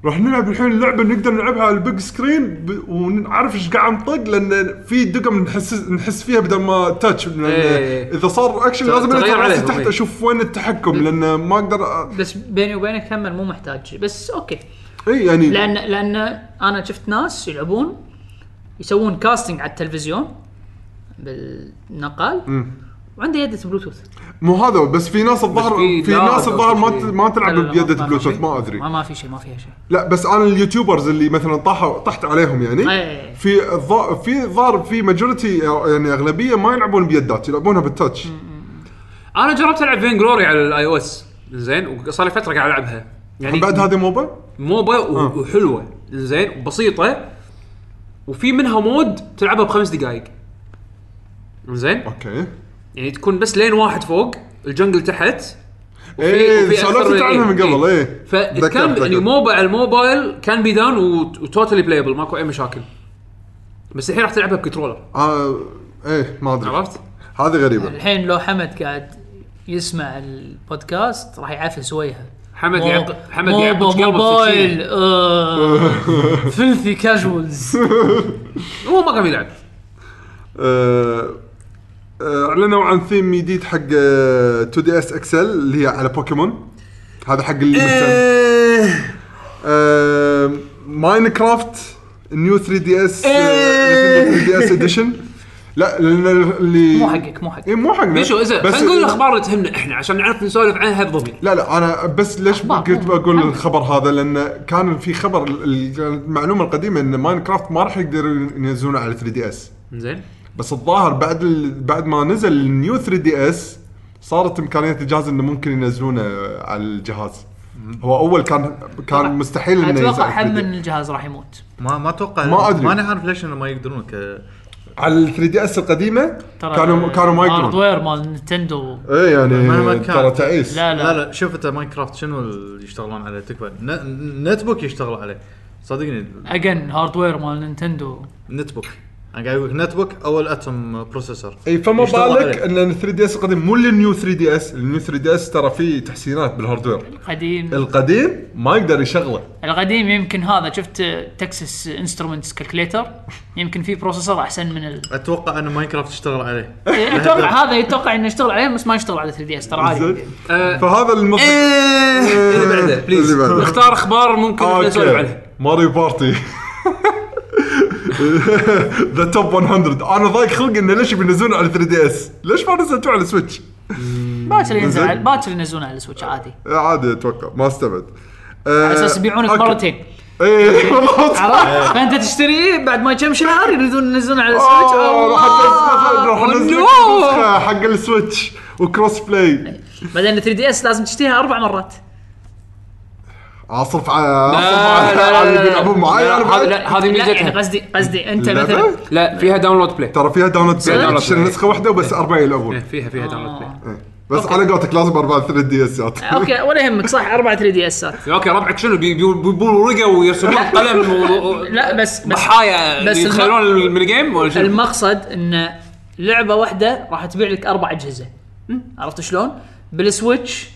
Speaker 2: راح نلعب الحين اللعبه نقدر نلعبها على البيج سكرين ب- ونعرف ايش قاعد نطق لان في دقم نحس نحس فيها بدل ما تاتش لان
Speaker 1: إيه.
Speaker 2: اذا صار اكشن لازم
Speaker 1: تغير
Speaker 2: انزل راسي
Speaker 1: عليهم،
Speaker 2: تحت
Speaker 1: إيه.
Speaker 2: اشوف وين التحكم لان ما اقدر أ-
Speaker 5: بس بيني وبينك هم مو محتاج بس اوكي
Speaker 2: اي يعني
Speaker 5: لان لان انا شفت ناس يلعبون يسوون كاستنج على التلفزيون بالنقال وعنده يدة بلوتوث
Speaker 2: مو هذا بس في ناس الظهر
Speaker 1: في
Speaker 2: في
Speaker 1: لاعب
Speaker 2: ناس
Speaker 1: أو
Speaker 2: الظهر ما
Speaker 1: شيء.
Speaker 2: ت- ما تلعب
Speaker 5: لا، لا، ما-
Speaker 2: بيدة
Speaker 5: ما-
Speaker 2: بلوتوث ما ادري
Speaker 5: ما ما في شيء ما فيها شيء
Speaker 2: لا بس انا اليوتيوبرز اللي مثلا طاحوا طحت عليهم يعني
Speaker 5: إيه.
Speaker 2: في الظا- في ظهر في ماجورتي يعني اغلبيه ما يلعبون بيدات يلعبونها بالتاتش
Speaker 1: انا جربت العب فين جلوري على الاي او اس زين وصار لي فتره قاعد العبها يعني
Speaker 2: بعد هذه موبا
Speaker 1: موبا و- وحلوه زين وبسيطه وفي منها مود تلعبها بخمس دقائق زين
Speaker 2: اوكي
Speaker 1: يعني تكون بس لين واحد فوق الجنجل تحت
Speaker 2: ايه
Speaker 1: وفي أكثر
Speaker 2: سولفت
Speaker 1: من-
Speaker 2: عنها من
Speaker 1: إيه،
Speaker 2: قبل
Speaker 1: إيه.
Speaker 2: ايه
Speaker 1: فكان يعني موبا على الموبايل كان بي داون وتوتالي بلايبل ماكو اي مشاكل بس الحين راح تلعبها بكنترولر
Speaker 2: آه ايه ما ادري
Speaker 1: عرفت؟
Speaker 2: هذه غريبه
Speaker 5: الحين لو حمد قاعد يسمع البودكاست راح يعافس وجهه
Speaker 1: حمد
Speaker 5: مو-
Speaker 1: يعق حمد
Speaker 5: موبا
Speaker 1: يعق قلبه
Speaker 5: موبايل آه، فيلثي كاجوالز
Speaker 1: هو ما قام يلعب
Speaker 2: آه، آه، اعلنوا عن ثيم جديد حق أه، 2 دي اس اكسل اللي هي على بوكيمون هذا حق
Speaker 1: إيه،
Speaker 2: اللي مهتم آه، ماينكرافت نيو 3 دي اس 3 دي اس اديشن لا لان اللي
Speaker 5: Eh. مو حقك مو حقك
Speaker 2: اي إيه، مو حقنا
Speaker 1: بيشو اذا خلينا نقول الاخبار اللي تهمنا احنا عشان نعرف نسولف عنها بضمير
Speaker 2: لا لا انا بس ليش
Speaker 5: أخبار.
Speaker 2: قلت بقول الخبر هذا لان كان في خبر ال- المعلومه القديمه ان ماينكرافت ما راح يقدروا ينزلونه على 3 دي اس
Speaker 1: زين
Speaker 2: بس الظاهر بعد ال... بعد ما نزل النيو 3 دي اس صارت امكانيه الجهاز انه ممكن ينزلونه على الجهاز هو اول كان كان مستحيل انه ينزل
Speaker 5: اتوقع
Speaker 2: على
Speaker 5: حد
Speaker 2: 3D.
Speaker 5: من الجهاز راح يموت
Speaker 3: ما ما اتوقع
Speaker 2: ما أدري.
Speaker 3: ما انا عارف ليش انه ما يقدرون ك
Speaker 2: على ال 3 دي اس القديمه
Speaker 5: ترى
Speaker 2: كانوا كانوا ما يقدرون
Speaker 5: الهاردوير مال نينتندو
Speaker 2: ايه
Speaker 3: مهما
Speaker 2: يعني
Speaker 3: كان.
Speaker 2: ترى تعيس
Speaker 5: لا
Speaker 3: لا
Speaker 5: لا
Speaker 3: لا شوف انت ماينكرافت شنو اللي يشتغلون عليه تكفى ن- نت بوك يشتغلون عليه صدقني
Speaker 5: اجن هاردوير مال نينتندو
Speaker 3: نت بوك انا قاعد اقول نت بوك اول اتم بروسيسور
Speaker 2: اي إيه، فما
Speaker 3: يشتغلوا
Speaker 2: بالك
Speaker 3: عليه.
Speaker 2: ان ال 3 دي اس القديم مو النيو 3 دي اس النيو 3 دي اس ترى فيه تحسينات بالهاردوير
Speaker 5: قديم
Speaker 2: القديم ما يقدر يشغله
Speaker 5: القديم يمكن هذا شفت تكساس انسترومنتس كالكليتر يمكن في بروسيسور احسن من ال...
Speaker 3: اتوقع ان ماينكرافت اشتغل عليه
Speaker 5: اتوقع هذا يتوقع انه يشتغل عليه بس ما يشتغل على 3 دي اس ترى عادي
Speaker 2: زين؟
Speaker 5: آه.
Speaker 2: فهذا المطلق
Speaker 5: إيه،
Speaker 1: اللي بعده بليز
Speaker 2: إيه. اللي بعده.
Speaker 1: اختار اخبار ممكن
Speaker 2: آه،
Speaker 1: إحنا نسولف عنها
Speaker 2: اوكي ماريو بارتي ذا توب 100 انا ضايق خلقي انه ليش بينزلونه على 3 دي اس؟ ليش ما نزلتوه على سويتش؟
Speaker 5: باكر ينزل
Speaker 2: زين.
Speaker 5: على- باكر ينزلونه على السويتش عادي
Speaker 2: آه، عادي اتوقع ما استبعد آه، إيه،
Speaker 5: على اساس يبيعونك مرتين
Speaker 2: اي بالضبط
Speaker 5: عرفت؟ فانت تشتريه بعد ما كم شهر يريدون ينزلونه على السويتش
Speaker 2: آه، راح ننزل-
Speaker 5: الله
Speaker 2: راح ننزل لك
Speaker 5: والنور.
Speaker 2: نسخة حق السويتش وكروس بلاي
Speaker 5: بعدين 3 دي اس لازم تشتريها اربع مرات
Speaker 2: اصرف على اصرف
Speaker 1: لا،
Speaker 2: على
Speaker 1: لا، لا،
Speaker 2: على اللي
Speaker 1: لا،
Speaker 2: بيلعبون معاي
Speaker 1: لا،
Speaker 2: انا
Speaker 1: هذه-
Speaker 2: بعد
Speaker 1: آه، لا هذه
Speaker 5: لا يعني
Speaker 1: ميزتها
Speaker 5: قصدي قصدي انت مثلا
Speaker 2: اللعبة؟
Speaker 1: لا فيها داونلود بلاي
Speaker 2: ترى فيها داونلود بلاي إيه.
Speaker 5: داونلود
Speaker 2: تشتري
Speaker 1: بلاي.
Speaker 2: نسخه واحده وبس اربعه يلعبون
Speaker 1: فيها فيها داونلود بلاي
Speaker 2: بس على قولتك لازم اربع 3 دي اسات
Speaker 5: اوكي ولا يهمك صح اربع 3 دي اسات
Speaker 1: اوكي ربعك شنو بي- بي- بيبون ورقه ويرسمون قلم و... و-
Speaker 5: لا، بس- بس-
Speaker 1: ضحايا
Speaker 5: بس الم-
Speaker 1: يتخيلون الميني جيم ولا شنو؟
Speaker 5: المقصد ان لعبه واحده راح تبيع لك اربع اجهزه عرفت شلون؟ بالسويتش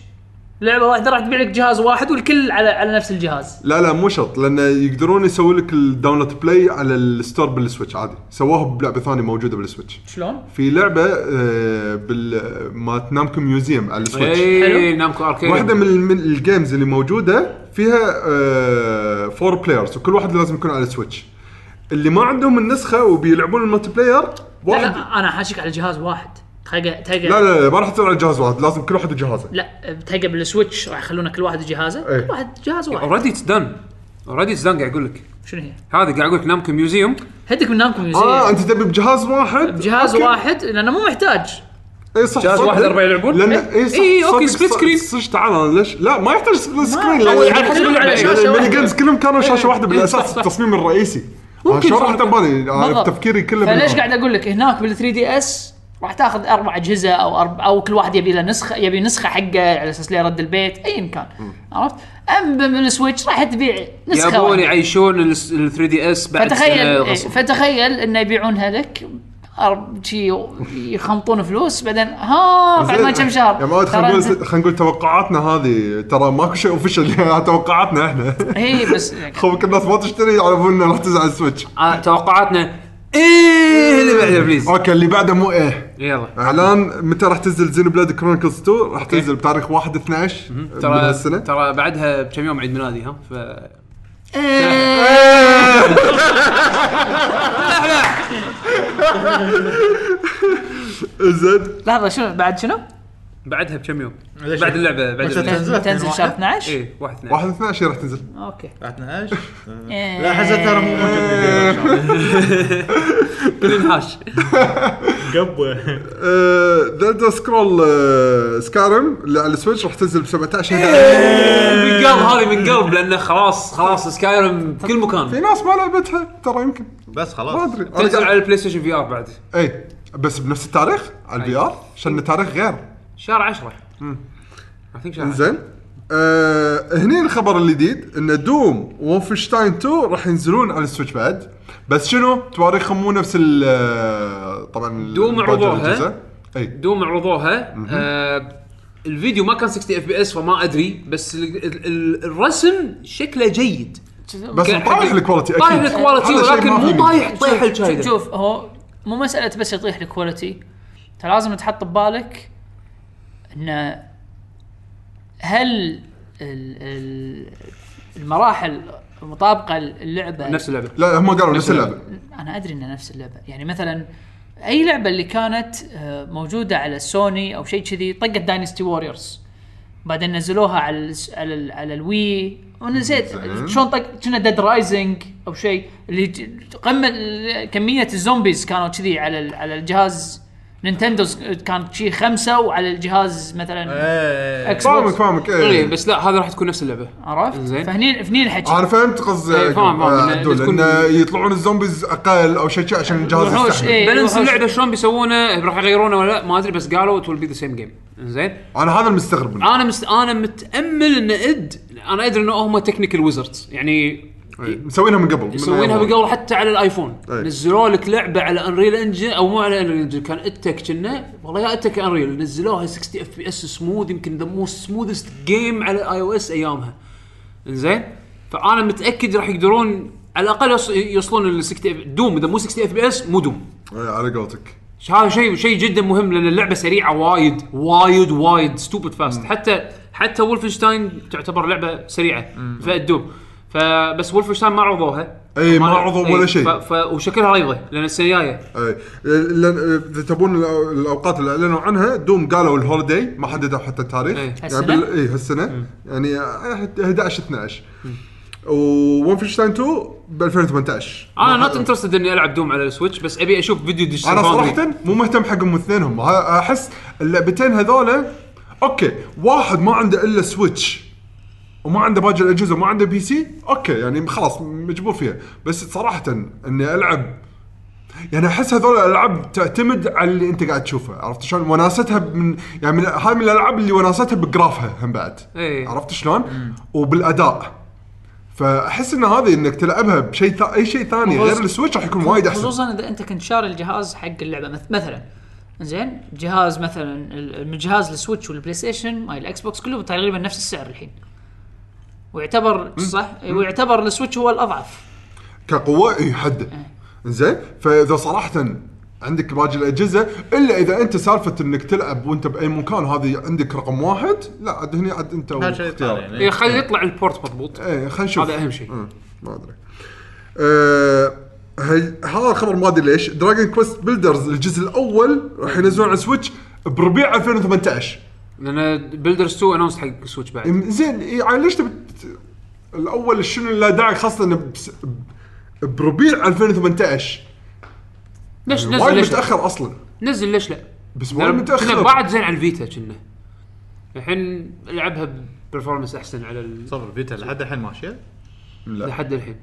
Speaker 5: لعبه واحده راح تبيع لك جهاز واحد والكل على على نفس الجهاز
Speaker 2: لا لا مو شرط لان يقدرون يسوي لك الداونلود بلاي على الستور بالسويتش عادي سووها بلعبه ثانيه موجوده بالسويتش
Speaker 5: شلون؟
Speaker 2: في لعبه آه، بال مالت نامكو ميوزيوم على السويتش
Speaker 1: اي
Speaker 5: حلو.
Speaker 1: إيه، نامكو اركيد
Speaker 2: واحده من, من الجيمز اللي موجوده فيها فور بلايرز وكل واحد لازم يكون على سويتش اللي ما عندهم النسخه وبيلعبون الملتي بلاير
Speaker 5: لا,
Speaker 2: واحد
Speaker 5: لا انا حاشك على جهاز واحد تلقى تلقى
Speaker 2: لا لا, لا ما راح تصير على جهاز واحد لازم كل واحد وجهازه
Speaker 5: لا تلقى بالسويتش راح يخلونا كل واحد جهازه
Speaker 2: إيه.
Speaker 5: كل واحد جهاز واحد
Speaker 1: اوريدي اتس دن اوريدي اتس دن قاعد اقول لك
Speaker 5: شنو هي؟
Speaker 1: هذه قاعد اقول لك نامكو ميوزيوم
Speaker 5: هدك من نامكم
Speaker 2: اه
Speaker 5: يوزيا.
Speaker 2: انت تبي بجهاز واحد
Speaker 5: بجهاز
Speaker 2: أوكي.
Speaker 5: واحد لانه مو محتاج
Speaker 2: اي صح
Speaker 1: جهاز
Speaker 2: صدق.
Speaker 1: واحد أربعة يلعبون؟
Speaker 2: لان
Speaker 1: إيه.
Speaker 2: اي صح
Speaker 1: إيه، أوكي،
Speaker 2: صدق،
Speaker 1: split
Speaker 2: صدق،
Speaker 1: screen.
Speaker 2: صدق تعال انا ليش لا ما يحتاج سبليت سكرين
Speaker 5: أو
Speaker 2: لأن
Speaker 5: على حسب
Speaker 1: اللعبة.
Speaker 5: شاشة
Speaker 2: لأن الميني
Speaker 5: واحدة.
Speaker 2: جيمز كلهم كانوا شاشه واحده
Speaker 1: صح،
Speaker 2: بالاساس
Speaker 1: صح.
Speaker 2: التصميم الرئيسي
Speaker 1: ممكن
Speaker 2: ممكن شلون راح
Speaker 1: صح.
Speaker 2: تبالي أنا
Speaker 5: بالضبط.
Speaker 2: تفكيري كله
Speaker 5: فليش
Speaker 2: بالنار.
Speaker 5: قاعد اقول لك هناك بال 3 دي اس راح تاخذ اربع اجهزه او أربع او كل واحد يبي له نسخه يبي نسخه حقه على اساس لا يرد البيت ايا كان عرفت؟ اما من السويتش راح تبيع نسخه
Speaker 1: يبون
Speaker 5: واحدة.
Speaker 1: يعيشون ال 3 دي اس بعد
Speaker 5: فتخيل
Speaker 1: سنة
Speaker 5: إيه،
Speaker 1: غصب.
Speaker 5: فتخيل انه يبيعونها لك أرب- شي يخمطون فلوس بعدين ها بعد ما كم شهر
Speaker 2: يا ما
Speaker 5: ترى
Speaker 2: خلينا
Speaker 5: أنت-
Speaker 2: نقول خلينا نقول توقعاتنا هذه ترى ماكو شيء اوفشل توقعاتنا احنا
Speaker 5: اي إيه، بس
Speaker 2: خوك الناس ما تشتري يعرفون انه راح تنزل على السويتش
Speaker 1: آه، توقعاتنا
Speaker 6: إيه،
Speaker 1: ايه اللي بعده بليز
Speaker 2: اوكي اللي بعده مو ايه
Speaker 1: يلا
Speaker 2: اعلان متى راح تنزل زينو بلاد كرونيكلز 2 راح تنزل بتاريخ 1 12 من
Speaker 6: ترى
Speaker 2: هالسنه
Speaker 6: ترى بعدها بكم يوم عيد ميلادي ها ف
Speaker 2: زين
Speaker 5: لحظه شنو بعد شنو؟
Speaker 6: بعدها بكم يوم بعد اللعبه بعد اللعبه
Speaker 3: تنزل
Speaker 5: تنزل شهر
Speaker 2: إيه.
Speaker 5: 12
Speaker 6: اي واحد اثنين
Speaker 2: 1 12 راح تنزل
Speaker 5: اوكي
Speaker 3: 12
Speaker 5: إيه.
Speaker 3: لا حزت ترى مو
Speaker 6: كل انحاش
Speaker 3: قبه
Speaker 2: ذا سكرول سكارم آه، اللي على السويتش راح تنزل ب 17
Speaker 1: إيه.
Speaker 6: من قلب هذه من قلب لانه خلاص خلاص سكايرم بكل مكان
Speaker 2: في ناس ما لعبتها ترى يمكن
Speaker 3: بس
Speaker 2: ما
Speaker 3: خلاص
Speaker 2: ادري أنا
Speaker 6: تنزل
Speaker 2: قاعد-
Speaker 6: على البلاي ستيشن في ار بعد
Speaker 2: اي بس بنفس التاريخ على البي ار عشان التاريخ غير
Speaker 6: شهر 10 I think شهر 10
Speaker 2: انزين آه هني الخبر الجديد ان دوم وولفنشتاين 2 راح ينزلون على السويتش بعد بس شنو تواريخهم مو نفس ال آه، طبعا
Speaker 6: دوم
Speaker 2: باقي
Speaker 6: عرضوها.
Speaker 2: الأجهزة. اي
Speaker 6: دوم عرضوها آه الفيديو ما كان 60 اف بي اس فما ادري بس ال- ال- ال- الرسم شكله جيد
Speaker 5: إيه.
Speaker 2: بس
Speaker 6: كان-
Speaker 2: طايح الكواليتي اكيد
Speaker 6: طايح الكواليتي
Speaker 2: هذا شيء
Speaker 6: ولكن
Speaker 2: ما في
Speaker 6: مو
Speaker 2: منه.
Speaker 6: طايح طيح
Speaker 5: شوف,
Speaker 6: الشايده
Speaker 5: شوف هو مو مساله بس يطيح الكواليتي انت لازم تحط ببالك ان هل ال ال المراحل مطابقه للعبه
Speaker 6: نفس اللعبه
Speaker 2: لا هم قالوا نفس اللعبه
Speaker 5: انا ادري انها نفس اللعبه يعني مثلا اي لعبه اللي كانت آه، موجوده على سوني او شيء كذي طقت داينستي ووريرز بعدين نزلوها على الس- على ال- على الوي ونسيت شلون طق كنا ديد رايزنج او شيء اللي ج- قمه ال- كميه الزومبيز كانوا كذي على ال- على الجهاز نينتندو كان شي خمسه وعلى الجهاز مثلا اكس
Speaker 2: فاهمك
Speaker 5: بوكس
Speaker 2: فاهمك إيه.
Speaker 1: اي
Speaker 2: اي
Speaker 1: إيه، بس لا هذا راح تكون نفس اللعبه
Speaker 5: عرفت؟
Speaker 1: زين.
Speaker 5: فهني فهني الحكي
Speaker 2: انا فهمت قصدي
Speaker 1: إيه، فاهم، فاهم. إن-
Speaker 2: عدول
Speaker 1: تكون-
Speaker 2: انه يطلعون الزومبيز اقل او شيء شيء عشان الجهاز
Speaker 5: وحوش،
Speaker 2: يستحمل
Speaker 5: إيه.
Speaker 1: بالانس
Speaker 5: وحوش.
Speaker 1: اللعبه شلون بيسوونه راح يغيرونه ولا لا ما ادري بس قالوا ات ويل بي ذا سيم جيم زين
Speaker 2: انا هذا المستغرب منه
Speaker 1: انا مست... انا متامل ان اد انا ادري انه هم تكنيكال ويزردز يعني
Speaker 2: إيه، مسوينها من قبل من
Speaker 1: يسوينها
Speaker 2: أيام.
Speaker 1: بقول حتى على الايفون
Speaker 2: أي.
Speaker 1: نزلوا لك لعبه على انريل انجن او مو على انريل انجن كان اتك كنا والله يا اتك انريل نزلوها 60 اف بي اس سموث يمكن ذا موست سموثست جيم على اي او اس ايامها انزين فانا متاكد راح يقدرون على الاقل يوص- يوصلون ل 60 دوم اذا مو 60 اف بي اس مو دوم
Speaker 2: إيه، على قولتك
Speaker 1: ش- هذا شيء شيء جدا مهم لان اللعبه سريعه وايد وايد وايد ستوبد فاست حتى حتى ولفنشتاين تعتبر لعبه سريعه فالدوم فبس ولفنشتاين ما عرضوها
Speaker 2: إي، ما عرضوا
Speaker 1: إي،
Speaker 2: ولا شيء.
Speaker 1: ف... ف... وشكلها ريضه لان السنه الجايه
Speaker 2: اي لان اذا إيه، تبون الأو- الاوقات اللي اعلنوا عنها دوم قالوا الهوليداي ما حددوا حتى التاريخ يعني
Speaker 1: إيه.
Speaker 5: هالسنة؟
Speaker 2: اي هالسنه يعني آه، 11 12 وونفنشتاين 2 ب 2018
Speaker 1: انا
Speaker 2: ما
Speaker 1: نوت
Speaker 2: حد-
Speaker 1: انترستد اني العب دوم على السويتش بس ابي اشوف فيديو ديجيتال
Speaker 2: انا
Speaker 1: فاوندري.
Speaker 2: صراحه مو مهتم حقهم اثنينهم ها- احس اللعبتين هذولا اوكي واحد ما عنده الا سويتش وما عنده باقي الاجهزه وما عنده بي سي اوكي يعني خلاص مجبور فيها بس صراحه اني العب يعني احس هذول الالعاب تعتمد على اللي انت قاعد تشوفه عرفت شلون وناستها من يعني من هاي من الالعاب اللي وناستها بجرافها هم بعد
Speaker 1: إيه.
Speaker 2: عرفت شلون وبالاداء فاحس ان هذه انك تلعبها بشيء ثا- اي شيء ثاني غير السويتش راح يكون وايد احسن
Speaker 5: خصوصا اذا انت كنت شاري الجهاز حق اللعبه مث- مثلا زين جهاز مثلا ال- من جهاز السويتش والبلاي ستيشن مال الاكس بوكس كله تقريبا نفس السعر الحين ويعتبر صح ويعتبر السويتش هو الاضعف
Speaker 2: كقوه اي حده
Speaker 1: إيه.
Speaker 2: زين فاذا صراحه عندك باقي الاجهزه الا اذا انت سالفه انك تلعب وانت باي مكان هذه عندك رقم واحد لا عاد هني عاد انت
Speaker 3: هذا شيء ثاني
Speaker 2: واختيارك.
Speaker 1: إي،
Speaker 3: يعني
Speaker 1: خلي يطلع البورت مضبوط
Speaker 2: ايه خلينا نشوف
Speaker 1: هذا أهم شيء.
Speaker 2: مم، ما ادري آه، هل- هذا الخبر ما ادري ليش دراجون كويست بيلدرز الجزء الاول راح ينزلون على سويتش بربيع 2018
Speaker 1: لان بلدرز 2 انونس حق السويتش بعد
Speaker 2: إيه، زين يعني ليش تبي ت- الاول شنو لا داعي خاصه إنه بس- ب- بربيع 2018
Speaker 1: ليش نزل
Speaker 2: وايد
Speaker 1: ليش لا؟
Speaker 2: متاخر اصلا
Speaker 1: نزل ليش لا؟
Speaker 2: بس وايد
Speaker 1: كنا
Speaker 2: متاخر
Speaker 1: بعد زين على الفيتا كنا الحين العبها ببرفورمانس احسن على ال...
Speaker 8: صبر فيتا لحد الحين ماشيه
Speaker 2: لا
Speaker 1: لحد الحين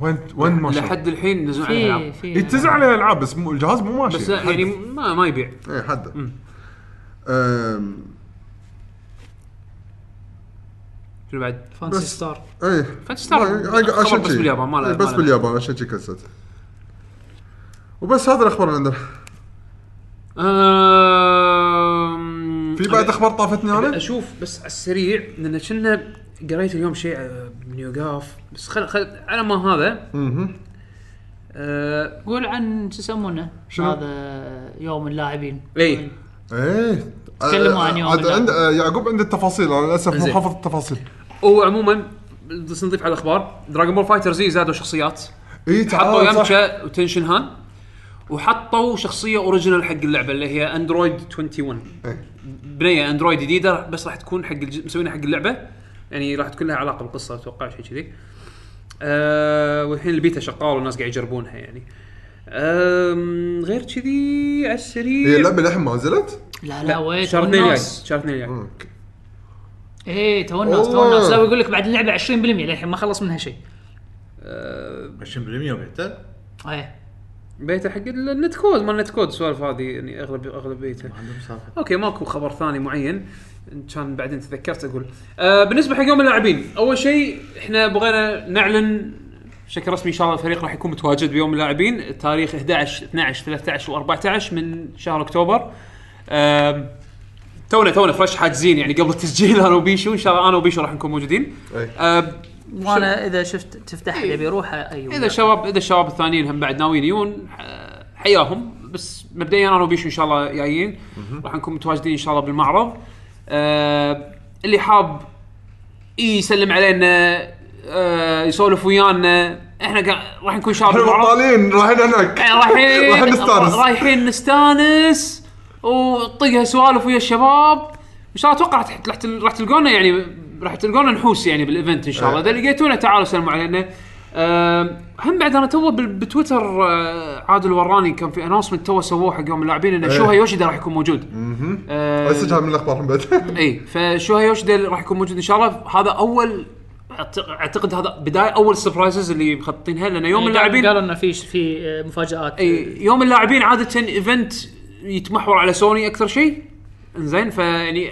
Speaker 2: وين وين ما شاء
Speaker 1: لحد الحين نزلوا عليها العاب
Speaker 2: يتزع عليه العاب بس مو الجهاز مو ماشي
Speaker 1: بس لا، يعني ما ما يبيع
Speaker 2: اي إيه، حد أم،
Speaker 1: شنو بعد؟
Speaker 5: فانسي
Speaker 2: بس-
Speaker 5: ستار
Speaker 2: اي
Speaker 1: فتستار
Speaker 2: عق-
Speaker 1: خبر
Speaker 2: إيه. عشان
Speaker 1: بس
Speaker 2: شي.
Speaker 1: باليابان ما له-
Speaker 2: إي،
Speaker 1: ما
Speaker 2: بس
Speaker 1: له-
Speaker 2: باليابان عشان شي كسرت وبس هذا الاخبار اللي عندنا
Speaker 1: أم،
Speaker 2: في بعد اخبار طافتني انا؟
Speaker 1: اشوف بس على السريع لان كنا قريت اليوم شيء آه، بنيوغاف بس خل خل على ما هذا
Speaker 2: مهم.
Speaker 1: آه،
Speaker 5: قول عن شو يسمونه
Speaker 2: شنو؟
Speaker 5: هذا يوم اللاعبين
Speaker 1: اي
Speaker 2: ايه
Speaker 5: تكلموا عن يوم
Speaker 2: عاد
Speaker 5: اللعبة.
Speaker 2: عند آه، يعقوب عنده التفاصيل انا للاسف مو
Speaker 1: زين.
Speaker 2: حافظ التفاصيل
Speaker 1: هو عموما بس نضيف على الاخبار دراجون بول فايتر زي زادوا شخصيات
Speaker 2: اي
Speaker 1: حطوا
Speaker 2: إيه، تعال آه، صح
Speaker 1: يامشا وتنشن هان وحطوا شخصيه اوريجينال حق اللعبه اللي هي اندرويد 21
Speaker 2: إيه.
Speaker 1: بنيه اندرويد جديده بس راح تكون حق الج... مسوينها حق اللعبه يعني راح تكون لها علاقه بالقصه اتوقع شيء كذي أه والحين البيتا شغال والناس قاعد يجربونها يعني أم غير كذي على
Speaker 2: هي
Speaker 1: السريع
Speaker 2: اللعبه للحين إيه، ما نزلت؟
Speaker 5: لا لا ويت
Speaker 1: شهر اثنين الجاي
Speaker 5: والناس
Speaker 1: شهر اثنين الجاي
Speaker 2: مم.
Speaker 5: ايه تو الناس تو
Speaker 2: والله.
Speaker 5: الناس لا يقول لك بعد اللعبه 20% للحين ما خلص منها شيء
Speaker 8: 20% بيتا
Speaker 5: ايه
Speaker 1: بيتا حق النت كود مال النت كود سوالف هذه يعني اغلب اغلب بيتا
Speaker 8: عندهم سالفه
Speaker 1: اوكي ماكو خبر ثاني معين إن كان بعدين تذكرت اقول آه بالنسبه حق يوم اللاعبين اول شيء احنا بغينا نعلن بشكل رسمي ان شاء الله الفريق راح يكون متواجد بيوم اللاعبين تاريخ 11 12 13 و14 من شهر اكتوبر آم، تونا تونا فرش حاجزين يعني قبل التسجيل انا وبيشو ان شاء الله انا وبيشو راح نكون موجودين
Speaker 2: أي.
Speaker 1: آم،
Speaker 5: وانا اذا شفت تفتح أيوة. اللي بيروح اي
Speaker 1: اذا الشباب اذا الشباب الثانيين هم بعد ناويين يجون آه، حياهم بس مبدئيا انا وبيشو ان شاء الله جايين راح نكون متواجدين ان شاء الله بالمعرض آه، اللي حاب يسلم علينا آه، يسولف ويانا احنا قا- راح نكون شباب
Speaker 2: احنا
Speaker 1: بالمعرض
Speaker 2: بطالين رايحين هناك
Speaker 1: إحنا رايحين
Speaker 2: راح نستانس.
Speaker 1: رايحين نستانس وطقها سوالف ويا الشباب ان شاء الله اتوقع راح تح- راح تل- راح تلقونا يعني راح تلقونا نحوس يعني بالايفنت ان شاء
Speaker 2: إيه.
Speaker 1: الله اذا لقيتونا تعالوا سلموا علينا أم، هم بعد انا تو بال- بتويتر أه، عادل وراني كان في اناونسمنت تو سووه حق يوم اللاعبين ان شوها يوشيدا راح يكون موجود. أه،
Speaker 2: إيه. بس كان من الاخبار من بعد
Speaker 1: اي فشوها يوشيدا راح يكون موجود ان شاء الله هذا اول أعت- اعتقد هذا بدايه اول سربرايزز اللي مخططينها لان يوم اللاعبين
Speaker 5: إيه،
Speaker 1: إيه.
Speaker 5: قالوا انه في في آه، مفاجات
Speaker 2: إيه.
Speaker 1: اي يوم اللاعبين عاده ايفنت يتمحور على سوني اكثر شيء زين فيعني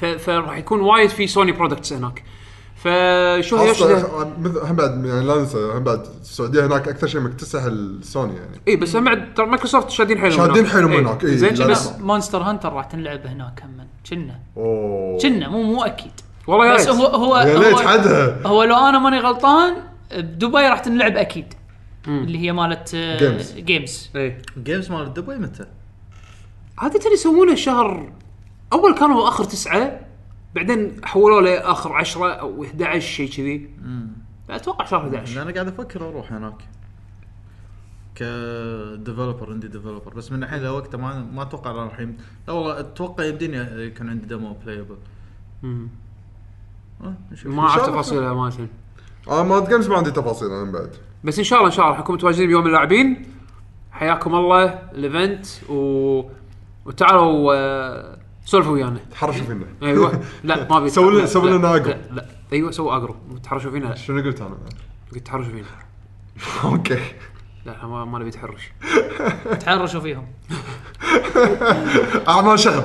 Speaker 1: ف- فراح يكون وايد في سوني برودكتس هناك فشو هي
Speaker 2: اصلا مثل- هم بعد يعني لا ننسى هم بعد السعوديه هناك اكثر شيء مكتسح السوني يعني
Speaker 1: اي إيه، بس هم بعد ترى مايكروسوفت شادين حيلهم
Speaker 2: شادين حيلهم
Speaker 1: إي.
Speaker 2: هناك، إي،
Speaker 1: زين
Speaker 2: لا
Speaker 1: بس
Speaker 2: لا.
Speaker 5: بس مونستر هانتر راح تنلعب هناك كمان كنا
Speaker 2: اوه
Speaker 5: كنا مو مو اكيد
Speaker 1: والله يا
Speaker 5: بس
Speaker 1: ريت.
Speaker 5: هو هو
Speaker 2: يا
Speaker 5: هو-
Speaker 2: ليت حدها
Speaker 5: هو لو انا ماني غلطان بدبي راح تنلعب اكيد اللي هي مالت آه،
Speaker 2: Games.
Speaker 5: جيمز
Speaker 1: اي
Speaker 8: جيمز مال دبي متى؟
Speaker 1: عاده يسوونه شهر اول كانوا اخر تسعه بعدين حولوه لاخر 10 او 11 شيء كذي اتوقع شهر 11
Speaker 8: انا قاعد افكر اروح هناك كديفلوبر عندي ديفلوبر بس من الحين لوقته ما ما اتوقع أنا راح يم... لا والله اتوقع يمديني يكون عندي ديمو بلايبل أه نشوف
Speaker 1: ما اعرف
Speaker 2: شاء الله.
Speaker 1: تفاصيلها مالتهم
Speaker 2: انا ما جيمز ما عندي تفاصيل انا من بعد
Speaker 1: بس ان شاء الله ان شاء الله راح نكون متواجدين بيوم اللاعبين حياكم الله الايفنت و... وتعالوا آه، سولفوا ويانا
Speaker 2: تحرشوا فينا
Speaker 1: ايوه لا ما ابي
Speaker 2: سووا لنا-
Speaker 1: لا،
Speaker 2: سووا
Speaker 1: لا،
Speaker 2: لنا أقرب.
Speaker 1: لا لا ايوه سووا اقرب تحرشوا فينا لا
Speaker 2: شنو قلت انا؟
Speaker 1: قلت تحرشوا فينا
Speaker 2: اوكي
Speaker 1: لا إحنا ما, ما نبي تحرش
Speaker 5: تحرشوا فيهم
Speaker 2: اعمال شغب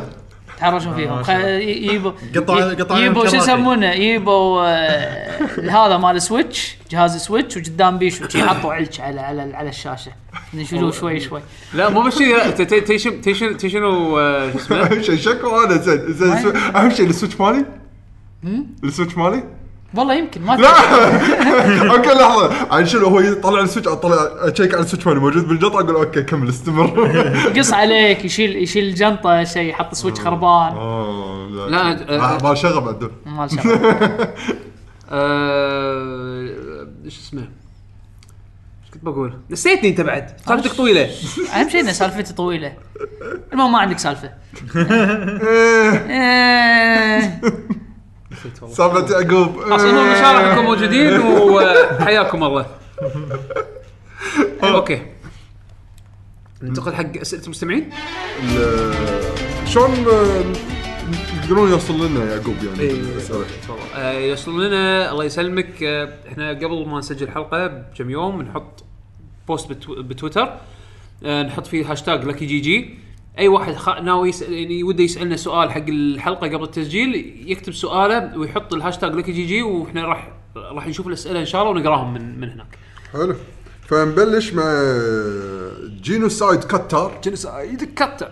Speaker 5: تحرشوا فيهم خ- يجيبوا
Speaker 8: قطع- قطع لهم
Speaker 5: يجيبوا شو
Speaker 8: كراتي.
Speaker 5: يسمونه يجيبوا آه، هذا مال سويتش جهاز سويتش وقدام بيشو شي حطوا علش على على على الشاشه نشيلوه شوي شوي
Speaker 1: لا مو بس كذي لا ت- ت- تيشن تيشن تيشنو آه، شو اسمه
Speaker 2: اهم شيء شكله انا زين زين السو- اهم شيء السويتش مالي السويتش مالي؟
Speaker 5: والله يمكن ما
Speaker 2: لا اوكي لحظه عن شنو هو يطلع السويتش اطلع اتشيك على السويتش مالي موجود بالجط اقول اوكي كمل استمر
Speaker 5: تقص عليك يشيل يشيل الجنطه شيء يحط سويتش خربان
Speaker 2: آه،
Speaker 1: لا،
Speaker 2: مع-
Speaker 1: آه،
Speaker 2: مع شغب عدل
Speaker 5: مال شغل
Speaker 1: آه، شو اسمه ايش كنت بقول نسيتني انت بعد سالفتك طويله
Speaker 5: اهم شيء ان سالفتي طويله إيه. المهم ما عندك سالفه
Speaker 1: نسيت والله
Speaker 2: سالفه عقوب
Speaker 1: خلاص المهم ان شاء الله نكون موجودين وحياكم الله اوكي ننتقل حق اسئله المستمعين
Speaker 2: ال- شلون آه، يقدرون يوصل لنا يعقوب يعني
Speaker 1: إيه.
Speaker 2: بالأسئلة؟
Speaker 1: آه، يوصل لنا الله يسلمك آه، احنا قبل ما نسجل حلقه بكم يوم نحط بوست بتو- بتويتر آه، نحط فيه هاشتاج لكي جي جي اي واحد خ... ناوي يسأل يعني وده يسالنا سؤال حق الحلقه قبل التسجيل يكتب سؤاله ويحط الهاشتاج لكي جي جي واحنا راح راح نشوف الاسئله ان شاء الله ونقراهم من من هناك
Speaker 2: حلو فنبلش مع آه، جينوسايد كتار
Speaker 1: جنس آه، يتكتع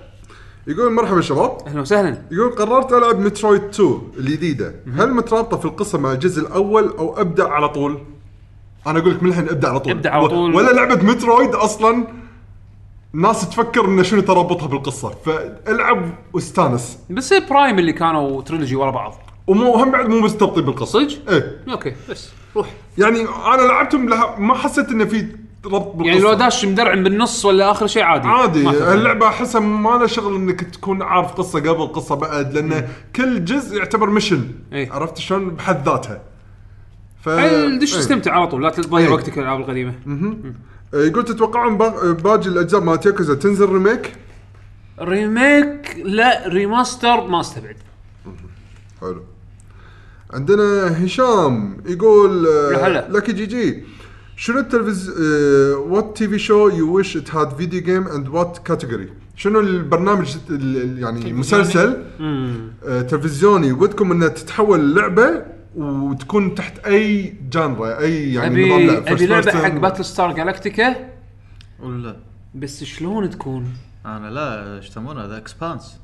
Speaker 2: يقول مرحبا شباب
Speaker 1: اهلا وسهلا
Speaker 2: يقول قررت العب مترويد 2 الجديده هل مترابطه في القصه مع الجزء الاول او ابدا على طول؟ انا اقول لك من الحين ابدا على طول
Speaker 1: ابدأ على
Speaker 2: و-
Speaker 1: طول.
Speaker 2: ولا لعبه مترويد اصلا ناس تفكر انه شنو ترابطها بالقصه فالعب واستانس
Speaker 1: بس برايم اللي كانوا تريلوجي ورا بعض
Speaker 2: ومو هم بعد مو مستبطي بالقصه
Speaker 1: صدق؟
Speaker 2: ايه
Speaker 1: اوكي بس روح
Speaker 2: يعني انا لعبتهم لها ما حسيت انه في ربط بالقصه
Speaker 1: يعني لو داش مدرعم بالنص ولا اخر شيء عادي
Speaker 2: عادي
Speaker 1: ما تفرق.
Speaker 2: اللعبه احسها ما لها شغل انك تكون عارف قصه قبل قصه بعد لان كل جزء يعتبر ميشن
Speaker 1: إيه.
Speaker 2: عرفت شلون بحد ذاتها ف
Speaker 1: حل دش
Speaker 2: إيه.
Speaker 1: استمتع على طول لا تضيع
Speaker 2: إيه.
Speaker 1: وقتك الالعاب القديمه
Speaker 2: يقول تتوقعون با- باقي الاجزاء مالت ياكوزا تنزل ريميك؟
Speaker 1: ريميك لا ريماستر ما استبعد
Speaker 2: حلو عندنا هشام يقول آه،
Speaker 1: يا هلا.
Speaker 2: لكي جي جي شنو التلفز آه، وات تي في شو يو ويش ات هاد فيديو جيم اند وات كاتيجوري شنو البرنامج ال- ال- يعني المسلسل آه، تلفزيوني ودكم انها تتحول لعبه وتكون تحت اي جانرا اي يعني
Speaker 1: ابي
Speaker 2: نظام لعب
Speaker 1: ابي
Speaker 2: First
Speaker 1: لعبه
Speaker 2: person.
Speaker 1: حق باتل ستار جالكتيكا
Speaker 8: ولا
Speaker 1: بس شلون تكون؟
Speaker 8: انا لا ايش يسمونه ذا اكسبانس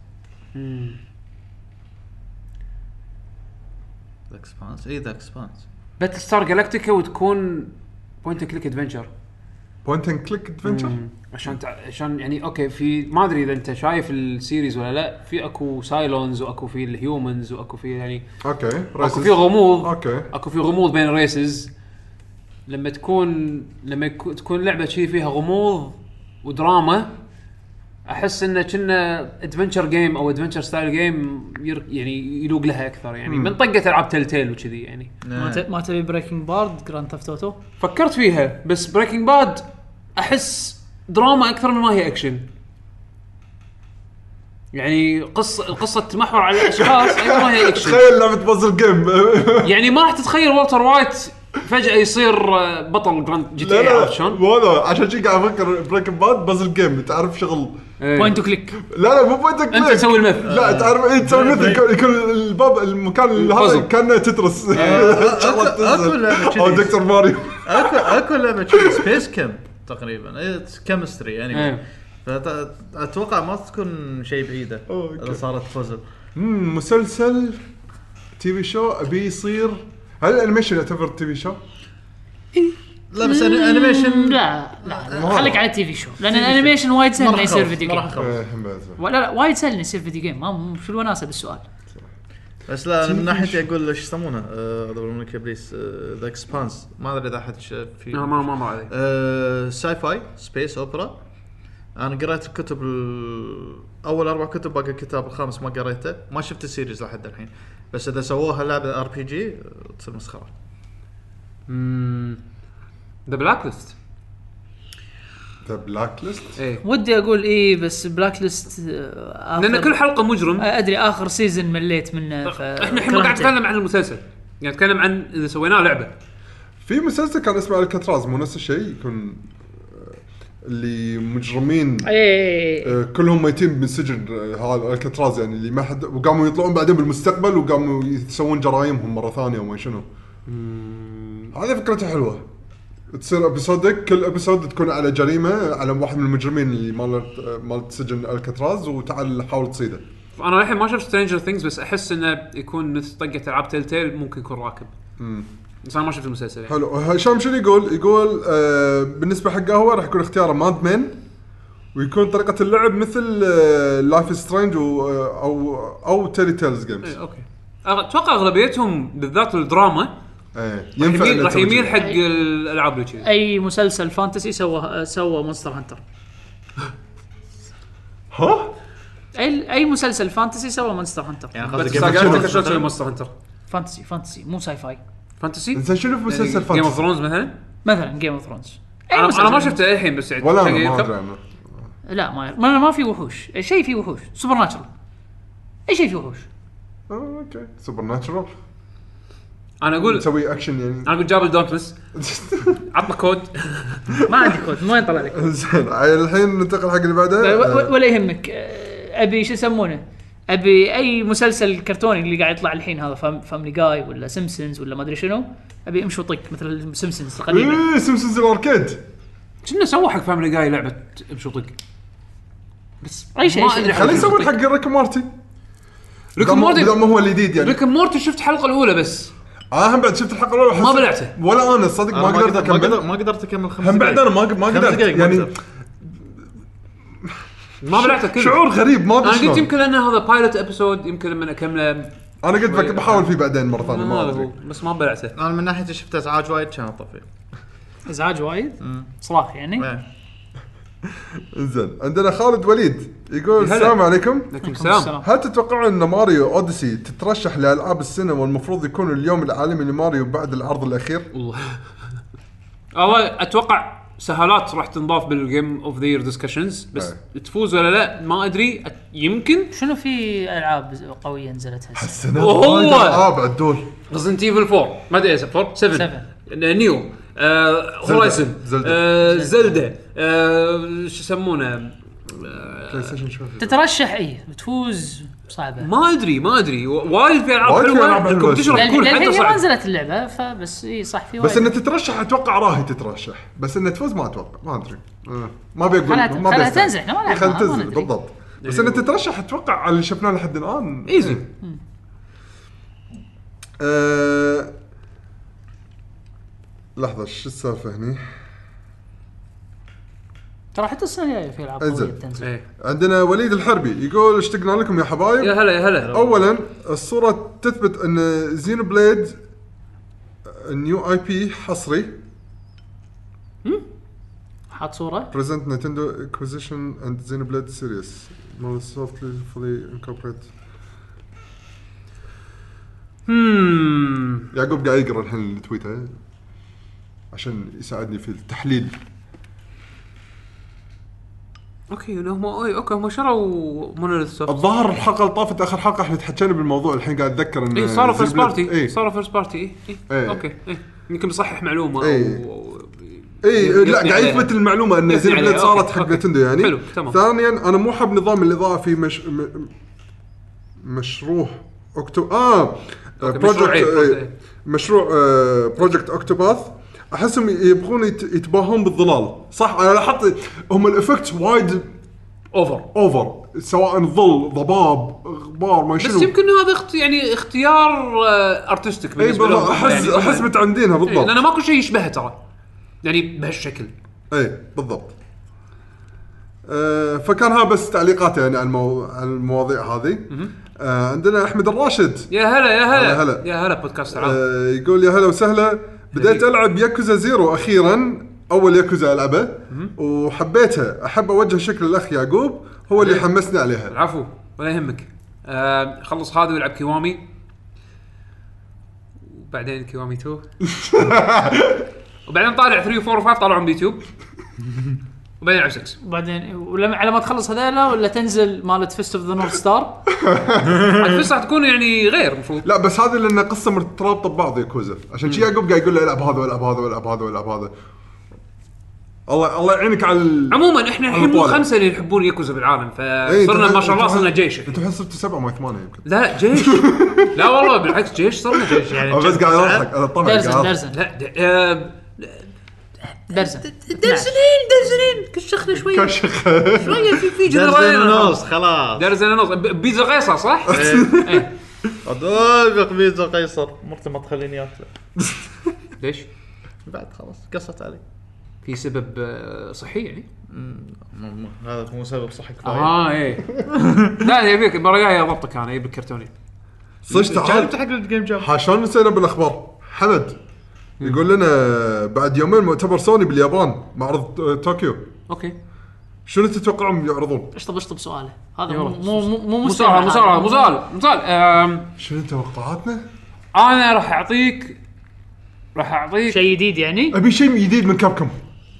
Speaker 8: ذا اكسبانس اي ذا اكسبانس
Speaker 1: باتل ستار جالكتيكا وتكون بوينت كليك ادفنشر
Speaker 2: بوينت اند كليك ادفنشر
Speaker 1: عشان تع... عشان يعني اوكي في ما ادري اذا انت شايف السيريز ولا لا في اكو سايلونز واكو في الهيومنز واكو في يعني
Speaker 2: اوكي
Speaker 1: اكو
Speaker 2: races.
Speaker 1: في غموض
Speaker 2: اوكي
Speaker 1: اكو في غموض بين الريسز لما تكون لما يكو- تكون لعبه شي فيها غموض ودراما احس انه كنا ادفنشر جيم او ادفنشر ستايل جيم ير- يعني يلوق لها اكثر يعني من طقه العاب تل تيل وكذي يعني
Speaker 5: ما ت- ما تبي بريكنج بارد جراند ثفت اوتو
Speaker 1: فكرت فيها بس بريكنج باد احس دراما اكثر من ما هي اكشن يعني قصه القصه تتمحور على اشخاص اكثر ما هي اكشن
Speaker 2: تخيل لعبه بازل جيم
Speaker 1: يعني ما راح تتخيل والتر وايت فجاه يصير آه، بطل جراند جي تي اي عرفت شلون؟
Speaker 2: ولا عشان شي قاعد افكر بريك باد بازل جيم تعرف شغل
Speaker 1: إيه.
Speaker 5: بوينت كليك
Speaker 2: لا لا مو بوينتك
Speaker 1: انت تسوي المثل
Speaker 2: لا تعرف ايه تسوي مثل يكون- يكون الباب المكان هذا
Speaker 1: البازل.
Speaker 2: كانه تترس آه،
Speaker 3: أكو- أكو لعبة كذي.
Speaker 2: او دكتور ماريو
Speaker 3: اكو اكو لعبه كذي سبيس كم تقريبا كيمستري انمي
Speaker 1: إيه.
Speaker 3: اتوقع ما تكون شيء بعيده
Speaker 2: أوكي.
Speaker 3: اذا صارت بوزل
Speaker 2: مم، مسلسل تي في شو ابي يصير هل الانيميشن يعتبر تي في شو؟
Speaker 3: لا بس انيميشن
Speaker 5: لا لا خليك على التي في شو لان الانيميشن وايد سهل انه يصير فيديو جيم
Speaker 2: إيه، هم بعد.
Speaker 5: ولا لا وايد سهل انه يصير فيديو جيم ما مو- شو الوناسه بالسؤال
Speaker 3: بس لا أنا من ناحيتي اقول ايش يسمونه آه، هذا الملك ابليس ذا اكسبانس آه، ما ادري اذا حد شاف فيه
Speaker 1: لا، ما ما مر علي
Speaker 3: آه، ساي فاي سبيس اوبرا انا قريت الكتب ال- اول اربع كتب باقي الكتاب الخامس ما قريته ما شفت السيريز لحد الحين بس اذا سووها لعبه ار بي جي تصير مسخره
Speaker 1: ذا بلاك ليست
Speaker 2: ذا بلاك ليست
Speaker 1: اي
Speaker 5: ودي اقول ايه بس بلاك ليست آه، آخر-
Speaker 1: لان كل حلقه
Speaker 5: آه،
Speaker 1: مجرم
Speaker 5: ادري اخر سيزون مليت منه ف
Speaker 1: احنا الحين ما قاعد نتكلم عن المسلسل قاعد نتكلم عن اذا سويناه لعبه
Speaker 2: في مسلسل كان اسمه الكاتراز مو نفس الشيء يكون آه، اللي مجرمين
Speaker 5: ايه
Speaker 2: آه، كلهم ميتين من سجن هذا الكتراز يعني اللي ما حد وقاموا يطلعون بعدين بالمستقبل وقاموا يسوون جرايمهم مره ثانيه وما شنو. هذه فكرته حلوه. تصير ابيسودك كل ابيسود تكون على جريمه على واحد من المجرمين اللي مال مال سجن الكتراز وتعال حاول تصيده.
Speaker 1: انا الحين ما شفت سترينجر ثينجز بس احس انه يكون مثل طقه العاب تيل تيل ممكن يكون راكب بس انا ما شفت المسلسل يعني.
Speaker 2: حلو آه، هشام شنو يقول؟ يقول آه بالنسبه حق قهوه راح يكون اختياره ماد مان ويكون طريقه اللعب مثل آه، لايف سترينج او او تيلي تيلز جيمز.
Speaker 1: إيه، اوكي أغ- اتوقع اغلبيتهم بالذات الدراما
Speaker 2: ايه
Speaker 1: راح يميل-
Speaker 2: إنه
Speaker 1: راح
Speaker 2: تسوي
Speaker 1: يميل
Speaker 2: كذا.
Speaker 1: حق الالعاب اللي كذي
Speaker 5: اي مسلسل فانتسي سوى سوى مونستر هانتر
Speaker 2: ها؟
Speaker 5: اي اي مسلسل فانتسي سوى مونستر هانتر
Speaker 1: بس
Speaker 3: Game of
Speaker 1: قاعد
Speaker 3: Thrones.
Speaker 1: أفكر شلون اسوي مونستر هانتر
Speaker 5: فانتسي فانتسي مو ساي فاي
Speaker 6: فانتسي
Speaker 2: زين شنو في مسلسل
Speaker 6: جيم اوف
Speaker 2: فانتسي؟
Speaker 6: ثرونز مثلا
Speaker 5: مثلا جيم اوف ثرونز
Speaker 6: انا أنا ما شفته الحين بس يعني
Speaker 2: ولا انا ما
Speaker 6: شكل-
Speaker 2: ادري عنه
Speaker 5: لا ما ما, ما في وحوش شيء في وحوش سوبر ناتشرال اي شيء في وحوش
Speaker 2: آه، اوكي سوبر ناتشرال
Speaker 6: انا اقول
Speaker 2: نسوي اكشن يعني
Speaker 6: انا اقول جابل دونتلس عطنا كود
Speaker 4: ما عندي كود من وين طلع لك؟
Speaker 2: زين الحين ننتقل حق اللي بعده
Speaker 5: و- و-
Speaker 2: آه،
Speaker 5: ولا يهمك آه، ابي شو يسمونه ابي اي مسلسل كرتوني اللي قاعد يطلع الحين هذا فام فاملي جاي ولا سيمسونز ولا ما ادري شنو ابي امشي وطق مثل سيمسونز القديمه
Speaker 2: ايه سمسمز الاركيد
Speaker 1: كنا سووا حق فاميلي جاي لعبه بشوطك بس
Speaker 5: أي شيء-
Speaker 1: ما
Speaker 5: أي شيء.
Speaker 1: ادري
Speaker 2: خليه يسوون حق ريك مارتي
Speaker 6: ريك مورتي
Speaker 2: بدام هو الجديد يعني
Speaker 6: ريك مورتي شفت الحلقه الاولى بس
Speaker 2: انا هم بعد شفت الحلقه الاولى وحسيت-
Speaker 6: ما بلعته.
Speaker 2: ولا انا صدق ما
Speaker 3: أنا
Speaker 2: قدرت
Speaker 3: ما قدرت
Speaker 2: اكمل
Speaker 3: ما قدرت اكمل خمس
Speaker 2: هم بعد
Speaker 3: دقايق.
Speaker 2: انا ما ما
Speaker 3: خمس
Speaker 2: قدرت
Speaker 3: دقايق ما
Speaker 2: يعني
Speaker 3: قدرت.
Speaker 6: ما بلعته كله
Speaker 2: شعور غريب ما
Speaker 6: انا
Speaker 2: ادري
Speaker 6: قلت
Speaker 2: شلون
Speaker 6: يمكن لان هذا بايلوت ابيسود يمكن لما اكمله
Speaker 2: انا قلت بك- بحاول فيه بعدين مره ثانيه ما
Speaker 6: ما هو
Speaker 2: ادري
Speaker 6: بس ما بلعته
Speaker 3: انا من ناحيتي شفت ازعاج وايد كان اطفي
Speaker 5: ازعاج وايد صراحه يعني
Speaker 3: إيه.
Speaker 2: زين عندنا خالد وليد يقول
Speaker 6: هلا.
Speaker 2: السلام عليكم
Speaker 6: لكن سلام
Speaker 2: هل تتوقعون ان ماريو اوديسي تترشح لالعاب السنه والمفروض يكون اليوم العالمي لماريو بعد العرض الاخير؟
Speaker 1: والله اتوقع سهالات راح تنضاف بالجيم اوف ذا يير ديسكشنز بس تفوز ولا لا ما ادري أت- يمكن
Speaker 5: شنو في العاب قويه نزلت هسه
Speaker 2: السنه
Speaker 1: وهو-
Speaker 2: وايد العاب عدول
Speaker 1: ريزنت ايفل 4 ما ادري ايش 4 7 نيو هورايزن
Speaker 2: زلدة.
Speaker 1: Eh, زلدا شو يسمونه
Speaker 2: بلاي ستيشن شوف
Speaker 5: تترشح اي بتفوز صعبه
Speaker 1: ما ادري ما ادري و- وايد في العاب
Speaker 2: وايد في ألعاب
Speaker 1: حلوه
Speaker 2: حلوة.
Speaker 1: الكومبتيشن راح
Speaker 5: لأن-
Speaker 1: يكون
Speaker 5: لأن
Speaker 1: حتى
Speaker 5: هي ما
Speaker 1: صعب
Speaker 5: نزلت اللعبه فبس اي صح في
Speaker 2: بس
Speaker 5: وايد
Speaker 2: انها تترشح اتوقع راهي تترشح بس انها تفوز ما اتوقع ما ادري آه. ما ابي اقول
Speaker 5: خلها-
Speaker 2: ما أبي
Speaker 5: خلها
Speaker 2: أستعجل.
Speaker 5: تنزل، إحنا ما لعبنا،
Speaker 2: خلها
Speaker 5: ما
Speaker 2: تنزل
Speaker 5: ندري.
Speaker 2: بالضبط بس انها تترشح اتوقع على اللي شفناه لحد الان
Speaker 1: ايزي
Speaker 2: آه، لحظه شو السالفه هني؟
Speaker 5: ترى حتى السنه الجايه في العاب قويه
Speaker 2: انزل.
Speaker 5: تنزل
Speaker 1: إيه.
Speaker 2: عندنا وليد الحربي يقول اشتقنا لكم يا
Speaker 1: Eh,
Speaker 6: يا
Speaker 2: حبايب
Speaker 6: هلا يا هلا
Speaker 2: اولا الصوره تثبت ان زينو بليد نيو اي بي حصري
Speaker 5: حاط صوره
Speaker 2: بريزنت نينتندو اكوزيشن اند زينو بليد سيريس مال سوفتلي فولي انكوربريت
Speaker 1: هم
Speaker 2: يعقوب قاعد يقرا الحين التويتر عشان يساعدني في التحليل
Speaker 1: اوكي هم أوي، اوكي هم شروا مونوليث سوفت
Speaker 2: الظاهر الحلقه اللي طافت اخر حلقه احنا تحكينا بالموضوع الحين قاعد اتذكر ان
Speaker 1: اي إيه، صاروا فيرست بارتي
Speaker 2: اي
Speaker 1: صاروا فيرست بارتي
Speaker 2: إيه.
Speaker 1: اي اوكي إيه. يمكن بصحح معلومه
Speaker 2: إيه.
Speaker 1: او
Speaker 2: اي
Speaker 1: يعني يبني
Speaker 2: إيه، لا قاعد
Speaker 1: عليها.
Speaker 2: يثبت المعلومه ان
Speaker 1: يبني
Speaker 2: زين
Speaker 1: عليها،
Speaker 2: بليد صارت
Speaker 1: أوكي،
Speaker 2: حق
Speaker 1: أوكي.
Speaker 2: نتندو يعني
Speaker 1: حلو، تمام.
Speaker 2: ثانيا انا مو حاب نظام الاضاءه في مش م... مشروع اكتو اه بروجكت
Speaker 1: مشروعين.
Speaker 2: إيه، مشروع آه، بروجكت اوكتوباث احسهم يبغون يت- يتباهون بالظلال صح انا لاحظت هم الافكت وايد
Speaker 1: اوفر
Speaker 2: اوفر سواء ظل ضباب غبار ما شنو
Speaker 1: بس يمكن هذا اخت يعني اختيار ارتستيك
Speaker 2: اي
Speaker 1: بالنسبه لهم
Speaker 2: بالضبط احس
Speaker 1: يعني.
Speaker 2: احس متعمدينها
Speaker 1: إيه، لان
Speaker 2: بالضبط
Speaker 1: ماكو شيء يشبهه ترى يعني بهالشكل
Speaker 2: اي إيه، بالضبط آه، فكان ها بس تعليقات يعني على المو... على المواضيع هذه آه، عندنا احمد الراشد
Speaker 1: يا هلا يا
Speaker 2: هلا
Speaker 1: هلا
Speaker 2: هلا.
Speaker 1: يا هلا بودكاست العاب
Speaker 2: آه، يقول يا هلا وسهلا بديت
Speaker 1: حبيبي.
Speaker 2: العب ياكوزا زيرو اخيرا اول ياكوزا العبه وحبيتها احب اوجه شكر الاخ يعقوب هو اللي حمسني عليها
Speaker 1: العفو ولا يهمك آه خلص هذا ويلعب كيوامي وبعدين كيوامي 2 وبعدين طالع 3 و 4 و 5 طالعهم بيوتيوب وبعدين العب 6
Speaker 5: وبعدين ولما على ما تخلص هذيلا ولا تنزل مالت فيست اوف ذا نورث ستار
Speaker 1: عاد بس راح تكون يعني غير المفروض
Speaker 2: لا بس هذه لان قصه مرتبطه ببعض ياكوزا عشان شي يعقوب قاعد يقول له العب هذا والعب هذا والعب هذا والعب هذا الله الله يعينك على ال-
Speaker 1: عموما احنا الحين مو
Speaker 2: طالع.
Speaker 1: خمسه اللي يحبون ياكوزا بالعالم
Speaker 2: إيه،
Speaker 1: فصرنا
Speaker 2: أنت-
Speaker 1: ما شاء الله
Speaker 2: أنت-
Speaker 1: صرنا جيش
Speaker 2: انتم الحين صرتوا سبعه ما ثمانيه يمكن
Speaker 1: لا لا جيش لا والله بالعكس جيش صرنا جيش يعني
Speaker 2: أنا بس قاعد اضحك انا طبعا قاعد
Speaker 1: طيب،
Speaker 5: درزن
Speaker 2: أضحك.
Speaker 5: درزن
Speaker 1: لا د- آه،
Speaker 5: درزن
Speaker 1: درزنين كشخنا شوي
Speaker 2: كشخ
Speaker 1: شويه في في
Speaker 3: درزين
Speaker 1: جدران
Speaker 3: ونص خلاص
Speaker 1: درزنا نص ب- بيتزا قيصر صح؟
Speaker 3: ادق بيتزا قيصر مرتي ما تخليني اكله
Speaker 1: ليش؟
Speaker 3: بعد خلاص قصت علي
Speaker 1: في سبب آه، صحي يعني؟
Speaker 3: م- م- هذا مو سبب صحي كفايه
Speaker 2: آه،
Speaker 1: اه
Speaker 2: إيه.
Speaker 1: ايه لا يبيك المره الجايه اضبطك انا يبيك كرتوني
Speaker 2: صدق تعال
Speaker 3: جربت حق الجيم جام
Speaker 2: ها شلون نسينا بالاخبار؟ حمد يقول لنا بعد يومين مؤتمر سوني باليابان معرض آه، طوكيو
Speaker 1: اوكي
Speaker 2: شنو تتوقعون يعرضون؟
Speaker 5: اشطب اشطب سؤاله هذا
Speaker 1: يلا.
Speaker 5: مو مو مو مو
Speaker 1: مصارعه
Speaker 5: سؤال
Speaker 1: مصارعه
Speaker 5: هذا.
Speaker 1: مصارعه مصارعه
Speaker 2: شنو توقعاتنا؟
Speaker 1: انا راح اعطيك راح اعطيك
Speaker 5: شيء جديد يعني
Speaker 2: ابي شيء جديد من كابكم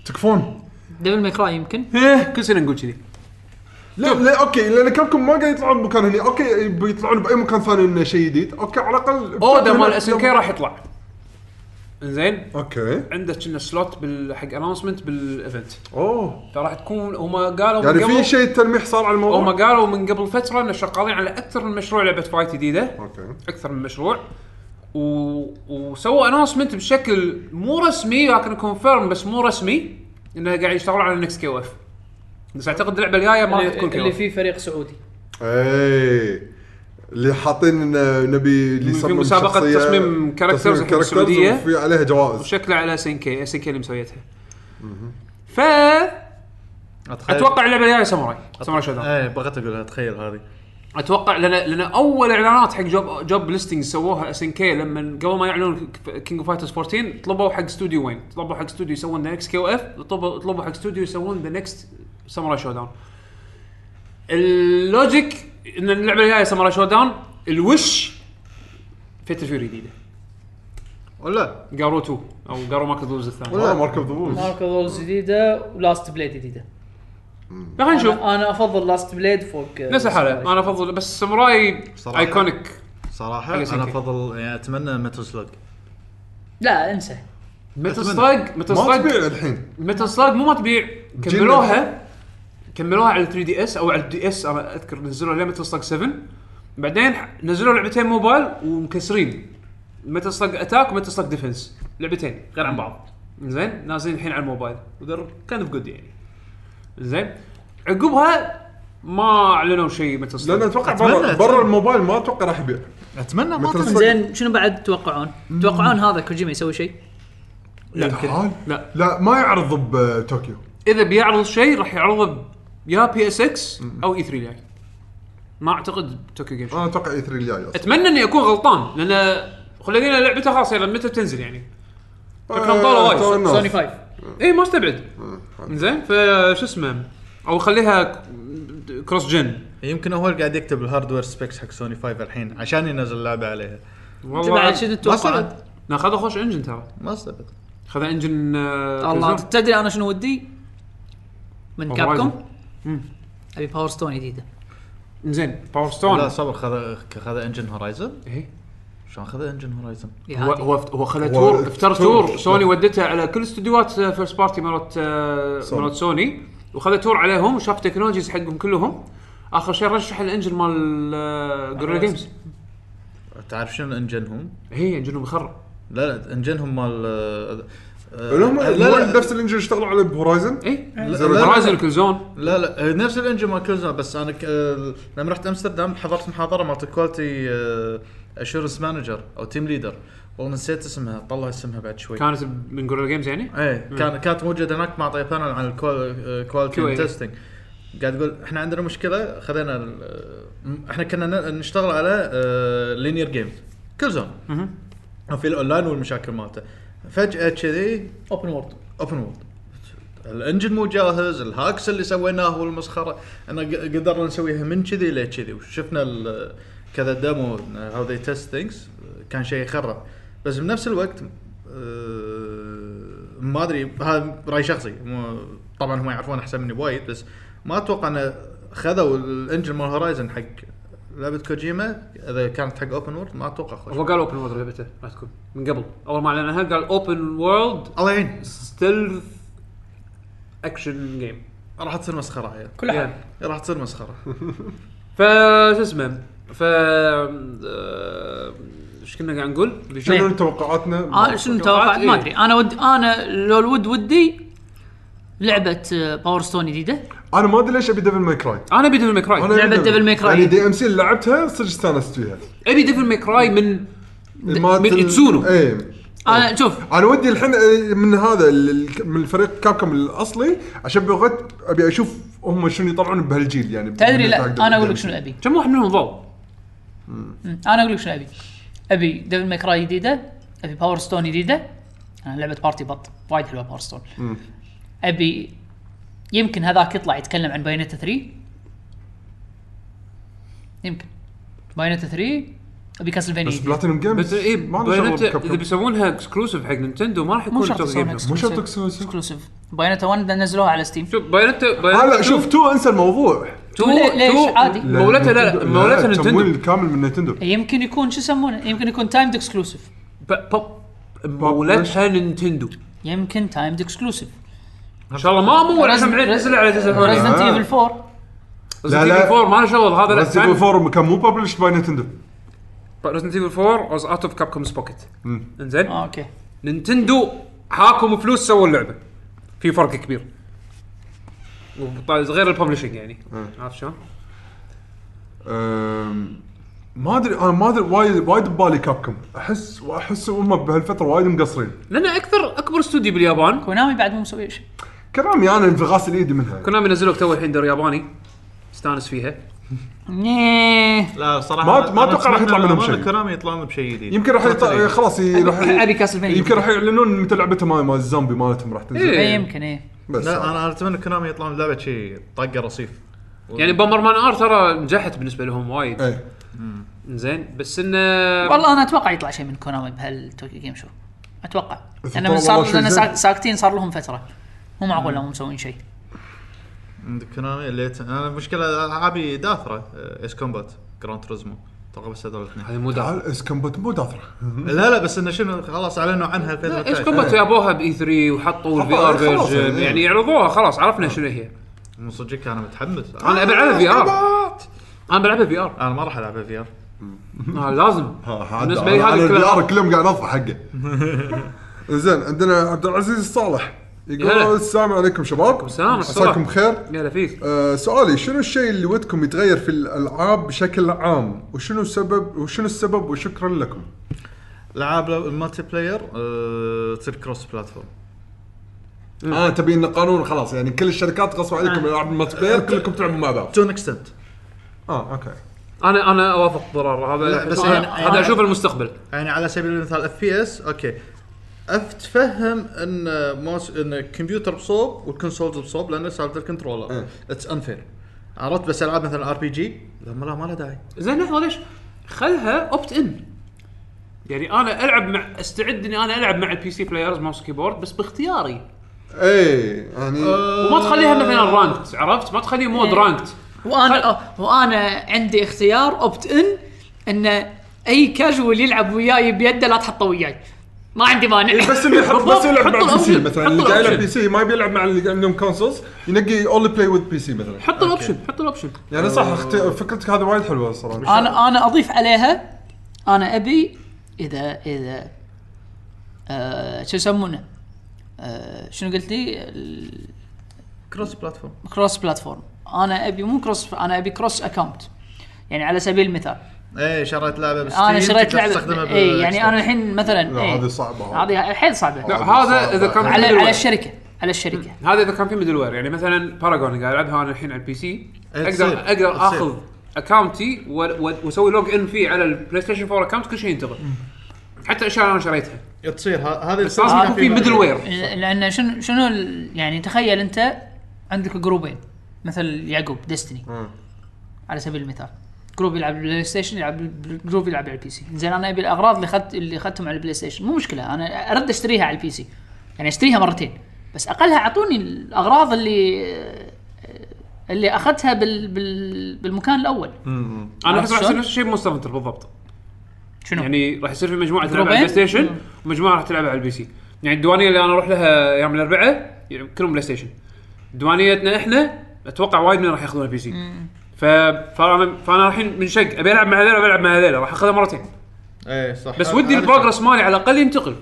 Speaker 2: تكفون
Speaker 5: ديفل ماي كراي يمكن
Speaker 1: إيه، كل سنه نقول كذي
Speaker 2: لا لا اوكي لان كابكم ما قاعد يطلعون بمكان هني اوكي بيطلعون باي مكان ثاني انه شيء جديد اوكي على الاقل
Speaker 1: اودا مال اس ان كي راح يطلع زين
Speaker 2: اوكي
Speaker 1: عنده كنا سلوت بال- حق اناونسمنت بالايفنت
Speaker 2: اوه
Speaker 1: فراح تكون هم قالوا
Speaker 2: يعني
Speaker 1: من قبل
Speaker 2: في شيء تلميح صار على الموضوع
Speaker 1: هم قالوا من قبل فتره انه شغالين على اكثر من مشروع لعبه فايت جديده
Speaker 2: اوكي
Speaker 1: اكثر من مشروع و... وسووا اناونسمنت بشكل مو رسمي لكن كونفيرم بس مو رسمي انه قاعد يشتغلون على النكس كيو اف بس اعتقد اللعبه الجايه ما راح تكون
Speaker 4: اللي
Speaker 1: كيو
Speaker 4: فيه فريق سعودي
Speaker 2: اي إيه. اللي حاطين إن نبي اللي
Speaker 1: في
Speaker 2: يصمم
Speaker 1: مسابقة
Speaker 2: شخصية-
Speaker 1: تصميم كاركترز
Speaker 2: تصميم
Speaker 1: حق
Speaker 2: كاركترز
Speaker 1: السعودية.
Speaker 2: وفي عليها جوائز
Speaker 1: شكله على اس ان كي اس ان كي اللي مسويتها ف
Speaker 3: اتوقع
Speaker 1: اتوقع اللعبه الجايه ساموراي ساموراي شوداون
Speaker 3: ايه بغيت اقولها تخيل هذه
Speaker 1: اتوقع لان لان اول اعلانات حق جوب جوب ليستنج سووها اس ان كي لما قبل ما يعلنون كينج اوف فايترز 14 طلبوا حق استوديو وين؟ طلبوا حق استوديو يسوون ذا نكست كيو اف طلبوا طلبوا حق استوديو يسوون ذا نكست ساموراي شو داون. اللوجيك ان اللعبه الجايه ساموراي شو داون الوش فيت فيوري جديده
Speaker 3: ولا
Speaker 1: جارو 2 او جارو ماركت لوز الثاني
Speaker 2: والله مركب ضبوط
Speaker 4: ماركو رولز جديده ولاست بليد جديده
Speaker 1: خلينا نشوف
Speaker 4: انا أنا افضل لاست بليد فوق
Speaker 1: نفس
Speaker 5: آه،
Speaker 1: الحاله انا افضل بس ساموراي
Speaker 3: صراحة.
Speaker 1: ايكونيك
Speaker 3: صراحه
Speaker 1: على
Speaker 3: انا
Speaker 1: سنكي.
Speaker 3: افضل يعني اتمنى متل سلج
Speaker 4: لا انسى
Speaker 1: متل سترايك متل
Speaker 2: ما
Speaker 1: سترايك
Speaker 2: تبيع الحين
Speaker 1: ميتال سلاج مو ما تبيع كملوها كملوها على 3 دي اس او على الدي اس انا اذكر نزلوا لها ميتال سلاج 7 بعدين ح- نزلوا لعبتين موبايل ومكسرين ميتال سلاج اتاك وميتال سلاج ديفنس لعبتين غير عن بعض زين نازلين الحين على الموبايل كان اوف جود يعني زين عقبها ما اعلنوا شيء ميتال
Speaker 2: لان
Speaker 1: سلاج
Speaker 2: اتوقع
Speaker 3: أتمنى-
Speaker 2: برا
Speaker 3: أتمنى.
Speaker 2: برا الموبايل ما اتوقع راح يبيع
Speaker 3: اتمنى ما
Speaker 2: متل
Speaker 3: تنزل.
Speaker 2: صدق.
Speaker 5: زين شنو بعد تتوقعون؟ تتوقعون هذا كوجيما يسوي شيء؟
Speaker 2: لا
Speaker 1: لا.
Speaker 2: لا ما يعرض آه، بطوكيو
Speaker 1: اذا بيعرض شيء راح يعرضه ب- يا بي اس اكس او اي 3 يعني ما اعتقد توكيو جيم شو
Speaker 2: انا اتوقع اي 3 E الجاي اصلا
Speaker 1: اتمنى اني اكون غلطان لان خلينا لعبتها خلاص يلا متى تنزل يعني كان طالع آه.
Speaker 2: آه،
Speaker 1: وايد.
Speaker 2: تو الناس.
Speaker 4: سوني 5
Speaker 1: اي ما استبعد زين فشو اسمه او خليها ك- كروس جن
Speaker 3: يمكن هو اللي قاعد يكتب الهاردوير سبيكس حق سوني 5 الحين عشان ينزل لعبه عليها
Speaker 5: انت بعد شنو
Speaker 1: والله
Speaker 3: ما
Speaker 5: تتوقعون؟
Speaker 3: استبعد
Speaker 1: ناخذ خوش انجن ترى
Speaker 3: ما استبعد
Speaker 1: خذ انجن آه،
Speaker 5: الله
Speaker 1: كلزون.
Speaker 5: تدري انا شنو ودي؟ من
Speaker 1: Horizon.
Speaker 5: كابكم ابي باور ستون جديده
Speaker 1: زين باور
Speaker 3: لا
Speaker 1: ستون
Speaker 3: صبر خذ خذ انجن هورايزن
Speaker 1: إيه.
Speaker 3: شلون خذ انجن هورايزن
Speaker 5: يا
Speaker 1: هو
Speaker 5: هادي.
Speaker 1: هو هو خلى
Speaker 2: هو
Speaker 1: تور افتر
Speaker 2: تور.
Speaker 1: تور سوني ودتها على كل استديوهات فيرست بارتي مرات آه، مرات سوني وخذ تور عليهم وشاف تكنولوجيز حقهم كلهم اخر شيء رشح الانجن مال آه، جوريلا جيمز
Speaker 3: تعرف شنو انجنهم؟
Speaker 1: هي انجنهم إيه، مخرب
Speaker 3: لا لا انجنهم مال آه، آه،
Speaker 2: هم
Speaker 3: لا لا
Speaker 2: نفس الانجن اشتغلوا عليه بهورايزن
Speaker 5: إيه؟
Speaker 1: اي
Speaker 3: لا، لا.
Speaker 1: هورايزن كل زون
Speaker 3: لا لا آه، نفس الانجن مال كلزون بس انا ك... آه، لما رحت امستردام حضرت محاضره مالت آه، كواليتي اشورنس مانجر او تيم ليدر والله نسيت اسمها طلع اسمها بعد شوي
Speaker 1: كانت من جوريلا جيمز يعني
Speaker 3: ايه كان كانت موجوده هناك معطيه بانل عن الكواليتي
Speaker 1: QA.
Speaker 3: تيستنج قاعد تقول احنا عندنا مشكله خذينا ال- م- احنا كنا ن- نشتغل على لينير جيمز كل زون في الاونلاين والمشاكل مالته فجاه كذي
Speaker 4: اوبن وورد
Speaker 3: اوبن وورد الانجن مو جاهز الهاكس اللي سويناه والمسخره انا ق- قدرنا نسويها من كذي لكذي وشفنا ال- كذا ديمو هاو ذي تيست ثينكس كان شيء يخرب بس بنفس الوقت آه، ما ادري هذا راي شخصي مو- طبعا هم يعرفون احسن مني بوايد بس ما اتوقع انه خذوا الانجن مال هورايزن حق لعبه كوجيما اذا كانت حق اوبن وورد ما اتوقع خوش
Speaker 1: هو قال اوبن وورلد لعبته راح تكون من قبل اول ما اعلنها قال اوبن وورلد
Speaker 3: الله يعين
Speaker 1: ستيلث اكشن جيم
Speaker 3: راح تصير مسخره هي
Speaker 4: كل حاجه
Speaker 3: راح تصير مسخره
Speaker 1: ف شو اسمه ف آه، ايش كنا قاعد نقول؟
Speaker 2: شنو توقعاتنا؟
Speaker 5: انا آه، شنو توقعت ما ادري انا ود انا لو الود ودي آه، لعبه باور ستون جديده
Speaker 2: انا ما ادري ليش ابي ديفل ماي كراي
Speaker 1: انا ابي ديفل ميكراي
Speaker 5: لعبة Devil May Cry.
Speaker 2: يعني دي ام سي اللي لعبتها صدق استانست فيها
Speaker 1: ابي ديفل ميكراي من
Speaker 2: مالت
Speaker 1: من
Speaker 2: ال-
Speaker 1: إتسونو.
Speaker 2: ايه
Speaker 5: انا آه، شوف
Speaker 2: انا ودي الحين آه، من هذا ال- ال- من الفريق كابكم الاصلي عشان بغيت ابي اشوف هم شنو يطلعون بهالجيل يعني
Speaker 5: تدري لا انا اقول لك شنو ابي
Speaker 1: كم واحد منهم ضل؟
Speaker 5: مم. انا اقول لك شنو ابي ابي ديفل ماكراي جديده ابي باور ستون جديده انا لعبه بارتي بط وايد حلوه باور ستون ابي يمكن هذاك يطلع يتكلم عن بايونيتا 3 يمكن بايونيتا 3 ابي كاسلفينيا
Speaker 2: بس
Speaker 5: جديد.
Speaker 2: بلاتينوم جيمز
Speaker 1: بس إيه، اي
Speaker 2: ما له شغل
Speaker 1: بايونيتا
Speaker 2: بكاب
Speaker 1: اذا
Speaker 2: كاب.
Speaker 1: بيسوونها اكسكلوسيف حق نينتندو ما راح
Speaker 5: مو
Speaker 1: يكون
Speaker 5: شرط
Speaker 1: توب جيم
Speaker 5: يسوون
Speaker 1: بلاي.
Speaker 2: مو شرط
Speaker 5: اكسكلوسيف بايونيتا 1 نزلوها على ستيم
Speaker 1: شوف بايونيتا
Speaker 2: هلا
Speaker 1: بايونيتا
Speaker 2: شوف تو انسى الموضوع
Speaker 5: تو ليه- ليش
Speaker 1: تو-
Speaker 5: عادي
Speaker 2: لا،
Speaker 1: مولتها لا-
Speaker 2: نينتندو-
Speaker 1: مولتها نينتندو.
Speaker 2: تمويل كامل من نينتندو
Speaker 5: يمكن يكون شو يسمونه يمكن يكون تايمد اكسكلوسيف
Speaker 1: ب- بوب مولتها نينتندو
Speaker 5: يمكن تايمد اكسكلوسيف
Speaker 1: ان شاء الله ما مو ولا سمعت نزلها على اساس
Speaker 5: ريزنت
Speaker 2: آه.
Speaker 5: ايفل 4
Speaker 2: لا،
Speaker 1: ريزنت
Speaker 2: لا.
Speaker 1: ايفل 4 ما له شغل هذا لا
Speaker 2: ريزنت ايفل 4 كان مو ببلش باي نينتندو
Speaker 1: ريزنت ايفل 4 واز اوت اوف كاب كومز بوكيت انزين
Speaker 5: آه، اوكي
Speaker 1: نينتندو حاكم فلوس سووا اللعبه في فرق كبير وبط- غير الببلشنج يعني عرفت شلون؟
Speaker 2: أم، ما ادري انا ما ادري وايد وايد ببالي كابكم احس واحس هم بهالفتره وايد مقصرين
Speaker 1: لان اكثر اكبر استوديو باليابان
Speaker 5: كونامي بعد مو مسوي شيء
Speaker 2: كلامي انا انفغاس الايد منها
Speaker 1: كونامي نزلوا تو الحين دور ياباني استانس فيها
Speaker 5: نيه.
Speaker 3: لا صراحه
Speaker 2: ما-
Speaker 3: أنا-
Speaker 2: ما
Speaker 3: أنا
Speaker 2: أتوقع راح
Speaker 3: أتمنى
Speaker 2: يطلع منهم
Speaker 3: لما
Speaker 2: شيء.
Speaker 3: كونامي يطلع لنا بشيء جديد طيب.
Speaker 2: يمكن راح يط- خلاص ي- راح ي-
Speaker 5: ابي كاسلفينيا
Speaker 2: يمكن راح يعلنون متى لعبته ما- ما الزومبي مالتهم راح تنزل
Speaker 5: اي
Speaker 1: إيه.
Speaker 5: يمكن اي
Speaker 2: بس
Speaker 3: لا انا أنا اتمنى كونامي يطلع من لعبه شيء طقه رصيف
Speaker 1: يعني بامر مان ار ترى نجحت بالنسبه لهم وايد
Speaker 2: ايه
Speaker 1: زين بس انه
Speaker 5: والله انا اتوقع يطلع شيء من كونامي بهالتوكي جيم شو اتوقع
Speaker 2: بس
Speaker 5: لان
Speaker 2: طبعاً
Speaker 5: من صار
Speaker 2: والله شيء
Speaker 5: لان
Speaker 2: زين.
Speaker 5: ساك- ساكتين صار لهم فتره مو معقول لو مو مسوين شيء
Speaker 3: عند كونامي اللي يت- انا المشكله العابي داثره ايس كومبات جراند تريزمو اتوقع بس هذول الاثنين
Speaker 1: هذه مو دعوه
Speaker 2: تعال اس كومبات مو داثره
Speaker 3: لا لا بس انه شنو خلاص اعلنوا عنها الفتره
Speaker 1: ايش
Speaker 3: الجاية.
Speaker 1: كومبات جابوها باي 3 وحطوا الفي
Speaker 2: حطوا-
Speaker 1: ار
Speaker 2: طيب. خلاص
Speaker 1: فيرجن
Speaker 2: يعني.
Speaker 1: يعني يعرضوها خلاص عرفنا شنو هي
Speaker 3: من صدقك انا متحمس
Speaker 1: انا ابي العبها في ار انا بلعبها في ار
Speaker 3: انا ما راح العبها في ار
Speaker 1: آه، لازم بالنسبه لي هذا
Speaker 2: الكلام
Speaker 1: الكلام
Speaker 2: كلهم قاعد اضحك حقه زين عندنا عبد العزيز الصالح
Speaker 1: هلا.
Speaker 2: يقول السلام عليكم شباب
Speaker 1: السلام،
Speaker 2: عساكم
Speaker 1: الصباح.
Speaker 2: بخير
Speaker 1: يلا فيك
Speaker 2: آه، سؤالي شنو الشيء اللي ودكم يتغير في الالعاب بشكل عام وشنو السبب وشنو السبب وشكرا لكم
Speaker 3: العاب لو- المالتي بلاير آه، تصير كروس بلاتفورم
Speaker 1: إيه.
Speaker 2: اه تبي ان قانون خلاص يعني كل الشركات غصوا
Speaker 1: آه.
Speaker 2: عليكم العاب المالتي بلاير كلكم تلعبوا مع بعض
Speaker 3: تو ان اكستنت
Speaker 1: آه،
Speaker 2: اه اوكي
Speaker 1: انا انا اوافق ضرر هذا
Speaker 3: لا، بس
Speaker 1: بس
Speaker 3: يعني-
Speaker 1: هذا اشوف المستقبل
Speaker 3: يعني على سبيل المثال اف بي اس اوكي اتفهم ان موس ان الكمبيوتر بصوب والكونسولز بصوب لان سالفه الكنترولر
Speaker 2: إيه.
Speaker 3: اتس انفير عرفت بس العاب مثلا ار بي جي لا ما لا ما لها داعي
Speaker 1: زين لحظه ليش؟ خلها اوبت ان يعني انا العب مع استعد اني انا العب مع البي سي بلايرز ماوس كيبورد بس باختياري
Speaker 2: ايه يعني
Speaker 1: وما تخليها مثلا رانكت عرفت؟ ما تخليه
Speaker 3: إيه.
Speaker 1: مود رانكت
Speaker 5: وانا آه، وانا عندي اختيار اوبت ان ان اي كاجوال يلعب وياي بيده لا تحطه وياي ما عندي مانع
Speaker 2: إيه، بس اللي يحط بس يلعب مع
Speaker 1: حطوا
Speaker 2: البي سي
Speaker 1: الأوبشن.
Speaker 2: مثلا
Speaker 1: حطوا
Speaker 2: اللي قاعد يلعب
Speaker 1: الأوبشن.
Speaker 2: بي سي ما يبي يلعب مع اللي عندهم كونسولز ينقي اونلي بلاي وذ بي سي مثلا
Speaker 1: حط الاوبشن حط الاوبشن
Speaker 2: يعني صح اختي... فكرتك هذه وايد حلوه صراحه
Speaker 5: انا انا اضيف عليها انا ابي اذا اذا آه شو يسمونه آه شنو قلت لي ال-
Speaker 3: كروس بلاتفورم
Speaker 5: كروس بلاتفورم انا ابي مو كروس انا ابي كروس اكونت يعني على سبيل المثال
Speaker 3: اي إيه، شريت لعبه بس
Speaker 5: انا شريت لعبه اي يعني انا الحين مثلا
Speaker 2: لا،
Speaker 5: إيه،
Speaker 2: هذه صعبة. أيوة.
Speaker 5: هذه حيل صعبه
Speaker 1: لا هذا اذا كان
Speaker 5: على على الشركه على الشركه
Speaker 1: هذا اذا كان في ميدل وير يعني مثلا باراجون قاعد العبها انا الحين على البي سي اقدر
Speaker 3: إيه، تصير.
Speaker 1: اقدر
Speaker 3: تصير.
Speaker 1: اخذ اكونتي و- و- واسوي لوج ان فيه على البلاي ستيشن 4 اكونت كل شيء ينتظر حتى اشياء انا شريتها
Speaker 3: تصير هذه
Speaker 1: بس لازم يكون في ميدل وير
Speaker 5: لان شنو شنو ال- يعني تخيل انت عندك جروبين مثل يعقوب ديستني على سبيل المثال جروب يلعب بلاي ستيشن يلعب بال- جروب يلعب على البي سي زين انا ابي الاغراض اللي اخذت اللي اخذتهم على البلاي ستيشن مو مشكله انا ارد اشتريها على البي سي يعني اشتريها مرتين بس اقلها اعطوني الاغراض اللي اللي اخذتها بال... بال... بالمكان الاول
Speaker 1: انا احس راح يصير
Speaker 5: شلون؟
Speaker 1: نفس الشيء بمونستر هنتر بالضبط
Speaker 5: شنو يعني
Speaker 1: يعني راح يصير في مجموعه تلعب على
Speaker 5: جروبين؟
Speaker 1: البلاي ستيشن ومجموعه راح تلعب على البي سي يعني الديوانيه اللي انا اروح لها يوم الاربعاء يعني كلهم بلاي ستيشن ديوانيتنا احنا اتوقع وايد من راح ياخذون البي سي ف... فانا فانا الحين منشق ابي العب مع هذيلا بلعب مع هذيلا راح اخذها مرتين
Speaker 3: اي إيه، صح
Speaker 1: بس ودي البروجرس مالي على الاقل ينتقل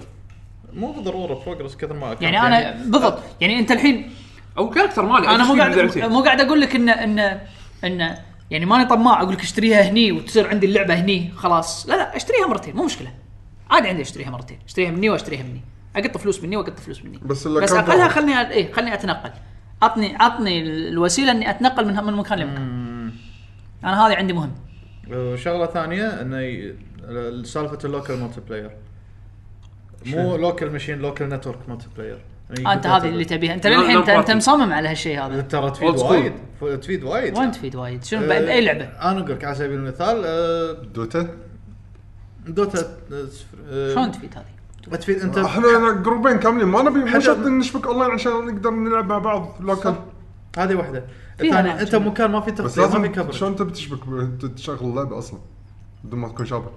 Speaker 3: مو بالضروره بروجرس كثر ما
Speaker 5: يعني انا بالضبط يعني انت الحين
Speaker 1: او الكاركتر مالي
Speaker 5: انا مو
Speaker 1: أشتري
Speaker 5: قاعد
Speaker 1: بدعتين.
Speaker 5: مو قاعد اقول لك ان ان ان يعني ماني طماع اقول لك اشتريها هني وتصير عندي اللعبه هني خلاص لا لا اشتريها مرتين مو مشكله عادي عندي اشتريها مرتين اشتريها مني واشتريها مني اقط فلوس مني واقط فلوس مني
Speaker 2: بس
Speaker 5: بس
Speaker 2: الأكونت
Speaker 5: اقلها
Speaker 2: واحد.
Speaker 5: خلني أ- ايه خلني اتنقل عطني عطني الوسيله اني اتنقل من من مكان لمكان انا هذه عندي مهم
Speaker 3: وشغله ثانيه انه ي- سالفه اللوكل مالتي بلاير مو لوكل مشين لوكال نتورك مالتي بلاير
Speaker 5: آه انت هذه اللي تبيها انت
Speaker 1: لا-
Speaker 5: للحين
Speaker 1: لا
Speaker 5: انت انت
Speaker 1: party.
Speaker 5: مصمم على هالشيء هذا
Speaker 3: ترى تفيد
Speaker 1: Old school.
Speaker 3: وايد ف- تفيد وايد آه،
Speaker 5: وين تفيد وايد شنو بعد اي لعبه
Speaker 3: انا اقول لك على سبيل المثال آه،
Speaker 2: دوتا
Speaker 3: دوتا آه، صفر. آه،
Speaker 5: شلون تفيد هذه؟
Speaker 3: تفيد انت
Speaker 2: احنا يعني جروبين كاملين ما نبي مو
Speaker 3: حتى-
Speaker 2: شرط نشبك اونلاين عشان نقدر نلعب مع بعض لوكال
Speaker 3: هذه واحده
Speaker 9: فيها
Speaker 3: الثانيه
Speaker 9: ناس.
Speaker 3: انت مكان ما في
Speaker 2: بس
Speaker 3: تغطيه إيه، ما في
Speaker 2: لازم
Speaker 3: كفر
Speaker 2: شلون تبي تشبك ب- تشغل اللعبه اصلا بدون ما تكون شابك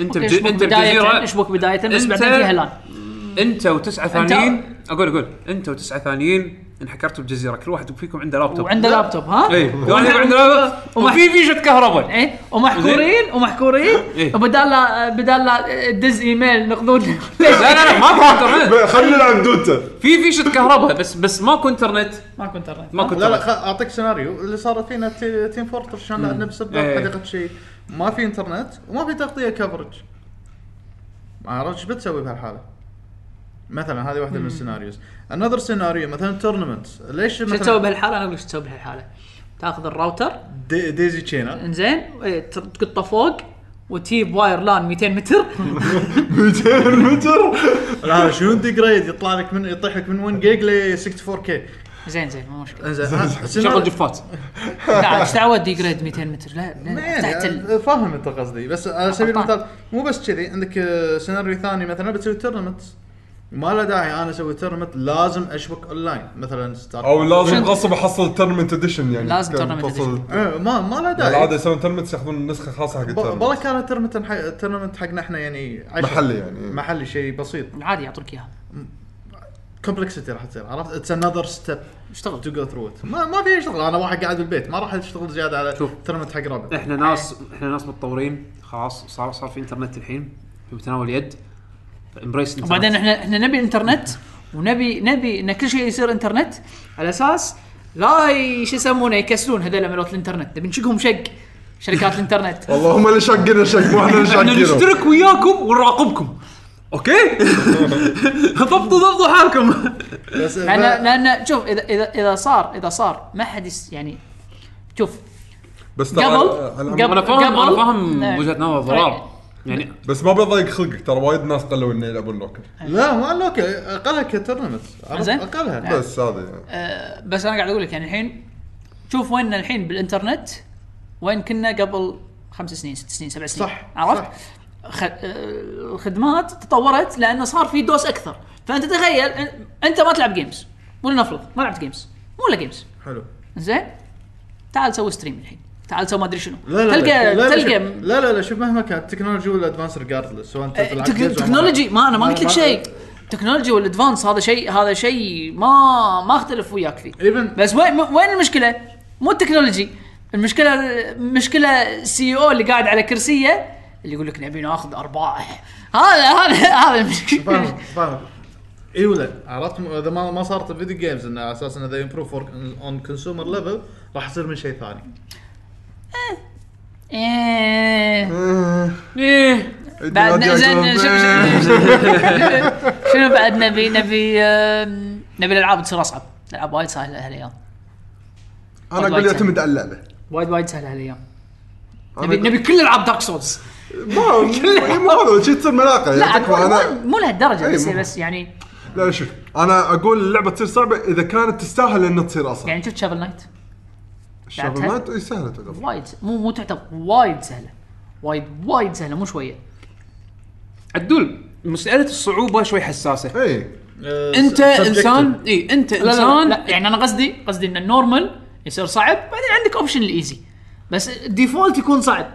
Speaker 1: انت
Speaker 5: أوكي،
Speaker 1: بج...
Speaker 5: يشبك
Speaker 1: انت
Speaker 5: بداية
Speaker 1: بجزيره
Speaker 5: يشبك بداية بس
Speaker 1: أنت-
Speaker 5: بعدين في هلان
Speaker 1: انت وتسعه ثانيين اقول اقول انت وتسعه ثانيين انحكرتوا بجزيره كل واحد فيكم عنده لابتوب
Speaker 5: وعنده لابتوب ها؟
Speaker 1: اي كل واحد يكون عنده لابتوب
Speaker 5: وما-
Speaker 1: وفي فيشه كهرباء
Speaker 5: ايه ومحكورين ومحكورين
Speaker 1: إيه.
Speaker 5: وبدال لا بدال لا تدز ايميل نقضون
Speaker 1: لا لا لا ما في انترنت
Speaker 2: خلينا نلعب دوتا
Speaker 1: في فيشه كهرباء بس بس ماكو انترنت
Speaker 5: ماكو انترنت
Speaker 1: ماكو
Speaker 3: لا لا
Speaker 1: انترنت
Speaker 3: خ- اعطيك سيناريو اللي صار فينا تي- تيم فورتر عشان لعبنا
Speaker 1: إيه.
Speaker 3: بسرداب حديقه شيء ما في انترنت وما في تغطيه كفرج ما عرفت ايش بتسوي بهالحاله مثلا هذه واحده من السيناريوز انذر سيناريو مثلا تورنمنت ليش
Speaker 5: شو تسوي
Speaker 3: مثلا
Speaker 5: بهالحاله؟ انا اقول لك شو تسوي بهالحاله؟ تاخذ الراوتر
Speaker 3: دي ديزي تشينل
Speaker 5: انزين إيه، ت- تقطه فوق وتجيب واير لان 200 متر
Speaker 2: 200 متر
Speaker 3: لا هذا شنو ديجريد يطلع لك من يطيح لك من 1 جيج ل 64 كي
Speaker 5: زين زين مو مشكله
Speaker 3: انزين
Speaker 1: شغل جفات
Speaker 5: لا ايش دعوه ديجريد 200 متر لا, لا
Speaker 3: ما
Speaker 5: تحت ال...
Speaker 3: يعني فاهم انت قصدي بس على سبيل
Speaker 5: إيه، غلطان.
Speaker 3: المثال مو بس كذي عندك آه، سيناريو ثاني مثلا بتسوي تورنمنت ما له داعي انا اسوي تورنمنت لازم اشبك اونلاين مثلا ستار
Speaker 2: او لازم
Speaker 5: شنو؟
Speaker 2: غصب احصل تورنمنت اديشن يعني
Speaker 5: لازم
Speaker 2: كان
Speaker 5: tournament
Speaker 2: توصل-
Speaker 3: آه، ما ما له
Speaker 2: بالعاده
Speaker 3: داعي
Speaker 2: يسوون تورنمنت ياخذون نسخه خاصه حق
Speaker 3: والله
Speaker 2: التورنمنت
Speaker 3: كان تورنمنت حق تورنمنت حقنا احنا يعني عشرة.
Speaker 2: محلي يعني
Speaker 3: محلي شيء بسيط
Speaker 5: العادي يعطوك اياها
Speaker 3: كومبلكسيتي راح تصير عرفت اتس انذر ستيب
Speaker 5: اشتغل
Speaker 3: تو جو ثرو ات ما ما في شغل انا واحد قاعد بالبيت ما راح اشتغل زياده على تورنمنت حق ربع
Speaker 1: احنا ناس احنا ناس متطورين خلاص صار صار في انترنت الحين في متناول اليد امبريس
Speaker 5: وبعدين احنا احنا نبي الانترنت ونبي نبي ان كل شيء يصير انترنت على اساس لا ي- شو يسمونه يكسلون هذول عملوت الانترنت نبي نشقهم شق شركات الانترنت
Speaker 2: والله هم اللي شقنا شق مو احنا اللي
Speaker 1: احنا
Speaker 2: شقنا
Speaker 1: نشترك وياكم ونراقبكم اوكي ضبطوا ضبطوا حالكم
Speaker 3: بس
Speaker 5: لان لان شوف اذا اذا اذا صار اذا صار ما حد يس- يعني شوف
Speaker 2: بس ترى
Speaker 5: قبل
Speaker 2: على- على-
Speaker 5: قبل
Speaker 1: انا فاهم انا
Speaker 5: قبل-
Speaker 1: فاهم
Speaker 5: نعم.
Speaker 1: وجهه نظر ضرار يعني
Speaker 2: بس ما بضيق خلقك ترى وايد ناس قالوا انه يلعبون لوكل
Speaker 3: لا ما لوك اقلها كتورنمنت عرفت؟
Speaker 5: زين.
Speaker 3: اقلها
Speaker 2: بس هذا يعني
Speaker 5: آه، بس انا قاعد اقول لك يعني الحين شوف وين الحين بالانترنت وين كنا قبل خمس سنين ست سنين سبع سنين
Speaker 3: صح،
Speaker 5: عرفت؟
Speaker 3: صح.
Speaker 5: خ... آه، الخدمات تطورت لانه صار في دوس اكثر فانت تخيل أن- انت ما تلعب جيمز ولنفرض ما لعبت جيمز مو ولا جيمز
Speaker 3: حلو
Speaker 5: زين تعال سوي ستريم الحين تعال سوي ما ادري شنو
Speaker 3: لا لا لا
Speaker 5: تلقى
Speaker 3: لا
Speaker 5: تلقى
Speaker 3: شوف- لا لا لا شوف مهما كانت التكنولوجي ولا ادفانس ريجاردلس سواء انت
Speaker 5: آه،
Speaker 3: تلعب
Speaker 5: تك-
Speaker 3: جيمز أو
Speaker 5: تكنولوجي ما انا ما قلت لك
Speaker 3: ما-
Speaker 5: شيء تكنولوجي والادفانس هذا شيء هذا شيء ما ما اختلف وياك فيه
Speaker 3: ايفن
Speaker 5: بس وين وين المشكله؟ مو التكنولوجي المشكله مشكله سي او E اللي قاعد على كرسيه اللي يقول لك نبي ناخذ ارباح هذا هذا هذا المشكله
Speaker 3: فاهم فاهم اي إيه ولا عرفت م- اذا ما ما صارت الفيديو جيمز انه على اساس انه اذا يمبروف اون كونسيومر ليفل راح يصير من شيء ثاني
Speaker 5: إيه.
Speaker 1: ايه
Speaker 5: بعد
Speaker 2: ينادي
Speaker 5: زين
Speaker 2: عليهم،
Speaker 5: شنو-
Speaker 2: "إيه".
Speaker 5: شنو- شنو بعد نبي نبي آم، نبي الالعاب تصير اصعب الالعاب وايد سهله هالايام
Speaker 2: انا اقول يعتمد على اللعبه
Speaker 5: وايد وايد سهله هالايام نبي نبي كل العاب دارك سولز
Speaker 2: ما إي مو هذا شي تصير ملاقه
Speaker 5: لا
Speaker 2: يعني تكفى
Speaker 5: مو-
Speaker 2: انا
Speaker 5: مو لهالدرجه
Speaker 2: إي،
Speaker 5: بس
Speaker 2: مو-
Speaker 5: بس يعني
Speaker 2: لا شوف انا اقول اللعبه تصير صعبه اذا كانت تستاهل انها تصير اصعب
Speaker 5: يعني شفت شافل نايت
Speaker 2: الشغل
Speaker 5: لعبتها؟
Speaker 2: ما ت- إي سهله تعتبر
Speaker 5: وايد مو مو تعتبر وايد سهله وايد وايد سهله مو شويه
Speaker 1: عدول مساله الصعوبه شوي حساسه
Speaker 2: اي
Speaker 5: إيه،
Speaker 3: إيه،
Speaker 1: انت انسان اي انت
Speaker 5: لا لا,
Speaker 1: انسان
Speaker 5: لا يعني انا قصدي قصدي ان النورمال يصير صعب بعدين عندك اوبشن الايزي بس الديفولت يكون صعب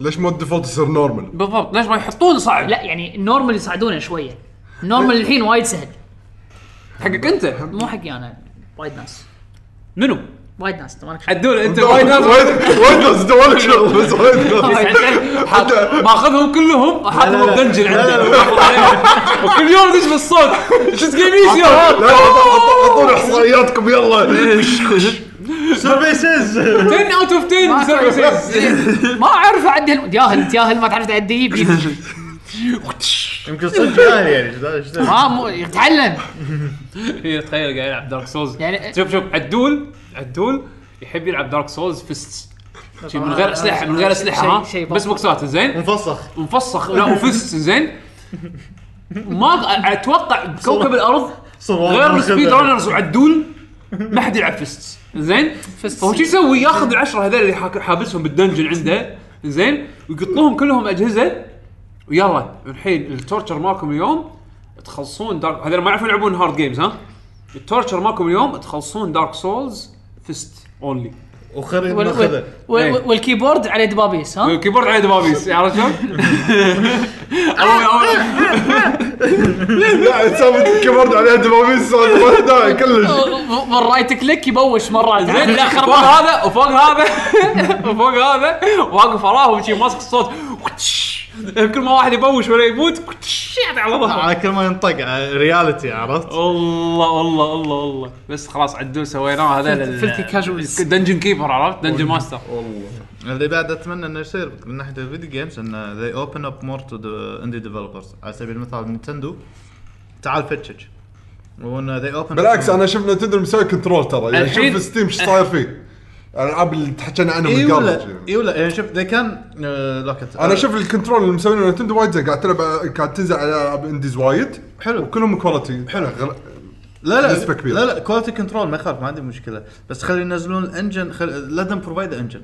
Speaker 2: ليش ما الديفولت يصير نورمال؟
Speaker 1: بالضبط ليش ما يحطون صعب
Speaker 5: لا يعني النورمال يصعدونه شويه النورمال الحين وايد سهل
Speaker 1: حقك انت
Speaker 5: مو حقي انا وايد ناس
Speaker 1: منو
Speaker 5: وايد ناس أنت مالك شغل.
Speaker 1: عدول انت وايد ناس
Speaker 2: وايد وايد ناس دوالك شغل بس وايد ناس
Speaker 1: حاط- ماخذهم كلهم حاطهم بدنجن عندنا وكل يوم دش بالصوت شو تقيميش يا
Speaker 2: لا لا، حطوا- حطوا احصائياتكم يلا
Speaker 3: سيرفيسز
Speaker 1: 10 اوت اوف 10 سيرفيسز
Speaker 5: ما اعرف اعدي هال- ياهل انت ياهل ما تعرف تعدي يبي
Speaker 3: يمكن صدق جاهل يعني شو- شو-
Speaker 5: ما مو يتعلم
Speaker 1: تخيل قاعد يلعب دارك سولز
Speaker 5: يعني-
Speaker 1: شوف شوف عدول عدول يحب يلعب دارك سولز فيستس من غير اسلحه من غير اسلحه
Speaker 5: شيء-
Speaker 1: ها
Speaker 5: شيء
Speaker 1: بس بوكسات زين
Speaker 3: مفسخ
Speaker 1: مفسخ لا وفيست زين ما اتوقع بكوكب الارض
Speaker 3: صراخ
Speaker 1: غير
Speaker 3: مخبأ.
Speaker 1: السبيد رانرز وعدول ما حد يلعب فيست زين فهو شو يسوي ياخذ العشره هذول اللي حاك- حابسهم بالدنجن عنده زين ويقطلوهم كلهم اجهزه ويلا الحين التورتشر مالكم اليوم تخلصون دارك هذول ما يعرفون يلعبون هارد جيمز ها التورتشر مالكم اليوم تخلصون دارك سولز فيست اونلي
Speaker 3: وخري
Speaker 5: وال- وال-
Speaker 3: ناخذه
Speaker 5: وال-
Speaker 1: إيه.
Speaker 5: والكيبورد على دبابيس ها
Speaker 1: الكيبورد على دبابيس عرفت شلون؟ أول- أول-
Speaker 2: لا حساب الكيبورد عليه دبابيس ولا داعي كلش
Speaker 5: والرايت كليك يبوش مرات
Speaker 1: زين لا
Speaker 5: يخرب
Speaker 1: فوق هذا وفوق هذا وفوق هذا واقف وراه وشي ماسك الصوت كل ما واحد يبوش ولا يموت على ظهره
Speaker 3: على كل ما ينطق على رياليتي عرفت؟
Speaker 1: والله والله والله والله بس خلاص عدو سويناه هذا
Speaker 5: فلتي كاجوالز.
Speaker 1: دنجن كيبر عرفت دنجن ماستر
Speaker 3: اللي بعد اتمنى انه يصير من ناحيه الفيديو جيمز انه they open up more to the indie developers على سبيل المثال نينتندو تعال فتشك وانه they open up
Speaker 2: بالعكس
Speaker 3: more.
Speaker 2: انا شفنا تدري مسوي كنترول ترى يعني
Speaker 1: الحين-
Speaker 2: شوف ستيم ايش صاير فيه الالعاب اللي تحكينا عنهم
Speaker 3: اي
Speaker 2: الجارج
Speaker 3: ولا
Speaker 2: يعني.
Speaker 3: اي ولا يعني شوف they can آه، لوكت
Speaker 2: انا اشوف الكنترول اللي مسوينه نتندو وايد زين قاعد تلعب قاعد تنزل على العاب انديز وايد
Speaker 3: حلو.
Speaker 2: وكلهم كواليتي حلو غل...
Speaker 3: لا لا
Speaker 2: نسبة كبيرة.
Speaker 3: لا لا كواليتي كنترول ما يخالف ما عندي مشكله بس خلي ينزلون الانجن خل... let them provide انجن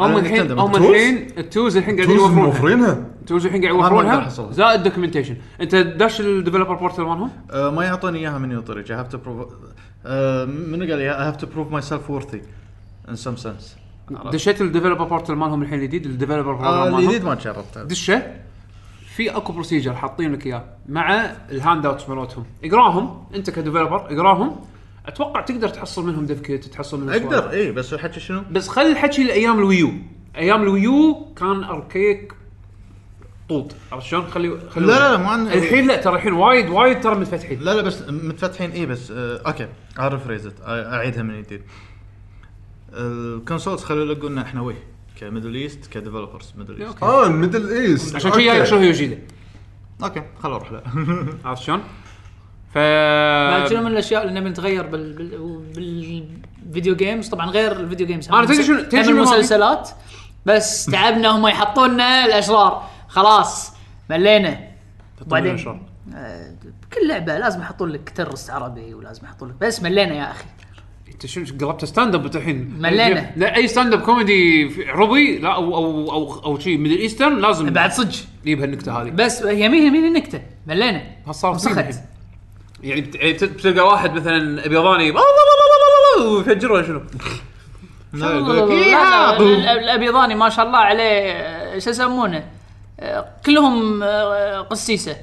Speaker 1: هم
Speaker 3: أنا
Speaker 1: الحين
Speaker 3: نتندم.
Speaker 1: هم
Speaker 2: التوز؟
Speaker 1: الحين التوز الحين قاعدين
Speaker 2: توز
Speaker 1: يوفرونها
Speaker 2: موفرينها
Speaker 1: التوز الحين قاعد
Speaker 3: ما أقدر
Speaker 1: يوفرونها
Speaker 3: أحصلها.
Speaker 1: زائد دوكيومنتيشن انت داش الديفلوبر بورتل مالهم؟
Speaker 3: آه، ما يعطوني اياها من يطرج I have to prove آه، منو قال لي I have to prove myself worthy in some sense
Speaker 1: دشيت الديفلوبر بورتل مالهم الحين الجديد الديفلوبر
Speaker 3: آه،
Speaker 1: بروجرام مالهم
Speaker 3: الجديد ما جربته
Speaker 1: دشه في اكو بروسيجر حاطين لك اياه مع الهاند اوت مالتهم اقراهم انت كديفلوبر اقراهم اتوقع تقدر تحصل منهم ديف كيت تحصل منهم
Speaker 3: اقدر
Speaker 1: سوالف.
Speaker 3: اي إيه، بس الحكي شنو؟
Speaker 1: بس خلي الحكي لايام الويو ايام الويو كان اركيك طوط عرفت شلون خلي خلي
Speaker 3: لا لا لا مو عن
Speaker 1: الحين لا ترى الحين وايد وايد ترى متفتحين
Speaker 3: لا لا بس متفتحين اي بس آه اوكي اعرف ريزت اعيدها من جديد الكونسولز خلوا يلقون احنا ويه كميدل ايست كديفلوبرز ميدل ايست
Speaker 1: اوكي
Speaker 2: اه الميدل ايست
Speaker 1: عشان كذا جاي شو يوشيدا
Speaker 3: اوكي خلوا اروح له
Speaker 1: عرفت شلون؟ ف آه.
Speaker 5: بعد شنو من الاشياء اللي نبي نتغير بال... بال... بالفيديو جيمز طبعا غير الفيديو جيمز هم
Speaker 1: أنا آه، تدري شنو-
Speaker 5: هم
Speaker 1: تدري شنو
Speaker 5: المسلسلات بس تعبنا هم يحطوننا الاشرار خلاص ملينا
Speaker 1: الأشرار.
Speaker 5: آه، كل لعبه لازم يحطون لك ترست عربي ولازم يحطون لك بس ملينا يا اخي
Speaker 1: انت شنو قلبت ستاند اب انت الحين
Speaker 5: ملينا.
Speaker 1: لا اي ستاند اب كوميدي في- عربي لا او او او او شيء ميدل ايسترن لازم
Speaker 5: بعد صدق
Speaker 1: يجيب هالنكته هذه
Speaker 5: بس يمين يمين النكته ملينا
Speaker 1: هالصار كثير
Speaker 5: وسخت.
Speaker 1: الحين.
Speaker 6: يعني بت- يعني بت- بتلقى واحد مثلا ابيضاني "الله، الله، الله، الله، الله، الله" ويفجر ولا شنو
Speaker 5: لا، لا، لا، لا، لا، الابيضاني ما شاء الله عليه آه، شو يسمونه آه، كلهم آه، قسيسه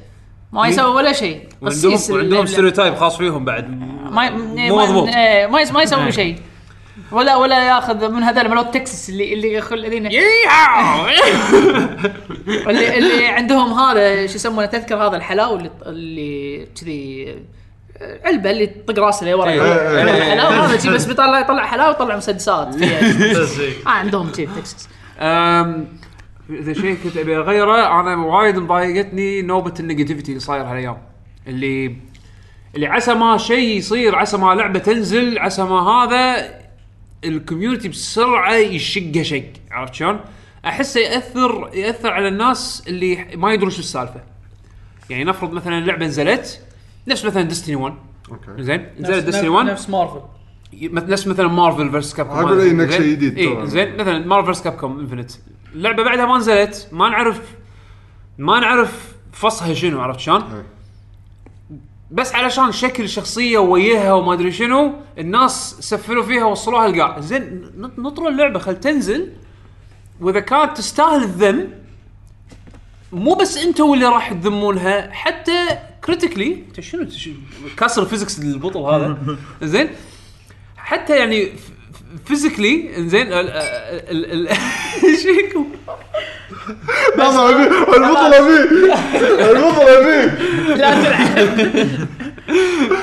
Speaker 5: ما يسوي ولا شيء
Speaker 6: وعندهم
Speaker 5: قسيس
Speaker 6: وعندهم
Speaker 5: ال- ال-
Speaker 6: ستيريوتايب خاص فيهم بعد
Speaker 5: ما
Speaker 6: مو
Speaker 5: ما-
Speaker 6: مضبوط.
Speaker 5: آه، ما يس- ما يسوي شيء ولا ولا ياخذ من هذول مالوت تكساس اللي اللي يخل الذين اللي اللي عندهم هذا شو يسمونه تذكر هذا الحلاوه اللي اللي كذي آه، علبه اللي تطق راسه لورا حلاوه هذا شي بس بيطلع يطلع حلاوه ويطلع مسدسات فيها.
Speaker 3: إيه.
Speaker 5: آه، عندهم كذي بتكساس
Speaker 1: أم، اذا شيء كنت ابي اغيره انا وايد مضايقتني نوبه النيجاتيفيتي اللي صاير هالايام اللي اللي عسى ما شيء يصير عسى ما لعبه تنزل عسى ما هذا الكوميونتي بسرعه يشقه شق عرفت شلون؟ احسه ياثر ياثر على الناس اللي ما يدرون شو السالفه. يعني نفرض مثلا لعبه نزلت نفس مثلا ديستني 1
Speaker 2: اوكي
Speaker 1: زين نزلت
Speaker 4: نفس,
Speaker 1: ديستني 1
Speaker 4: نفس مارفل
Speaker 1: مث- نفس مثلا مارفل فيرس كاب كوم
Speaker 2: أقول إيه إنك شيء جديد
Speaker 1: اي
Speaker 2: طبعاً.
Speaker 1: زين مثلا مارفل فيرس كاب كوم انفنت اللعبه بعدها ما نزلت ما نعرف ما نعرف فصها شنو عرفت شلون؟
Speaker 2: إيه.
Speaker 1: بس علشان شكل شخصيه ووجهها وما ادري شنو الناس سفلوا فيها وصلوها القاع زين نط- نطروا اللعبه خل تنزل واذا كانت تستاهل الذم مو بس انتوا اللي راح تذمونها حتى كريتيكلي شنو كسر فيزكس البطل هذا زين حتى يعني فيزيكلي زين ال- ال- ال- ايش فيكم؟
Speaker 2: لازم ابي البطل ابي البطل ابي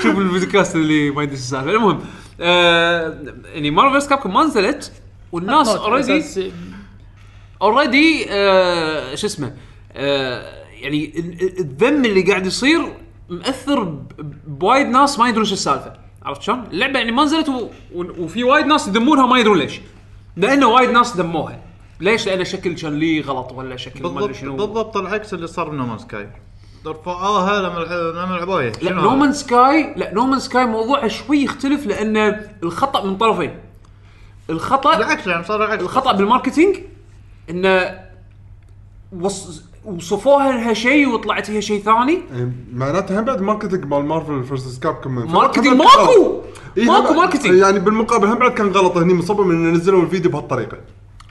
Speaker 1: شوف البودكاست اللي ما يدري ايش السالفه المهم آه، يعني مارفلز كاب ما نزلت والناس اوريدي اوريدي شو اسمه آه، يعني ال- ال- الذم اللي قاعد يصير مأثر ب- بوايد ناس ما يدرون شو السالفه عرفت شلون؟ اللعبه يعني ما نزلت و- و- وفي وايد ناس يذمونها ما يدرون ليش لانه وايد ناس ذموها ليش؟ لان شكل شان لي غلط ولا شكل ما ادري
Speaker 3: بالضبط
Speaker 1: شنو
Speaker 3: بالضبط العكس اللي صار بنومان سكاي رفعوها لما لما لعبوها
Speaker 1: لا نومان سكاي لا نومان سكاي موضوعه شوي يختلف لان الخطا من طرفين الخطا
Speaker 3: العكس يعني صار العكس
Speaker 1: الخطا بالماركتينج انه وص... وصفوها انها شيء وطلعت هي شيء ثاني
Speaker 2: إيه، معناتها هم بعد ماركتنج مال مارفل فيرسس كاب كم
Speaker 1: ماركتينج ماكو ماكو ماركتينج
Speaker 2: يعني بالمقابل هم بعد كان غلط هني مصمم انه نزلوا الفيديو بهالطريقه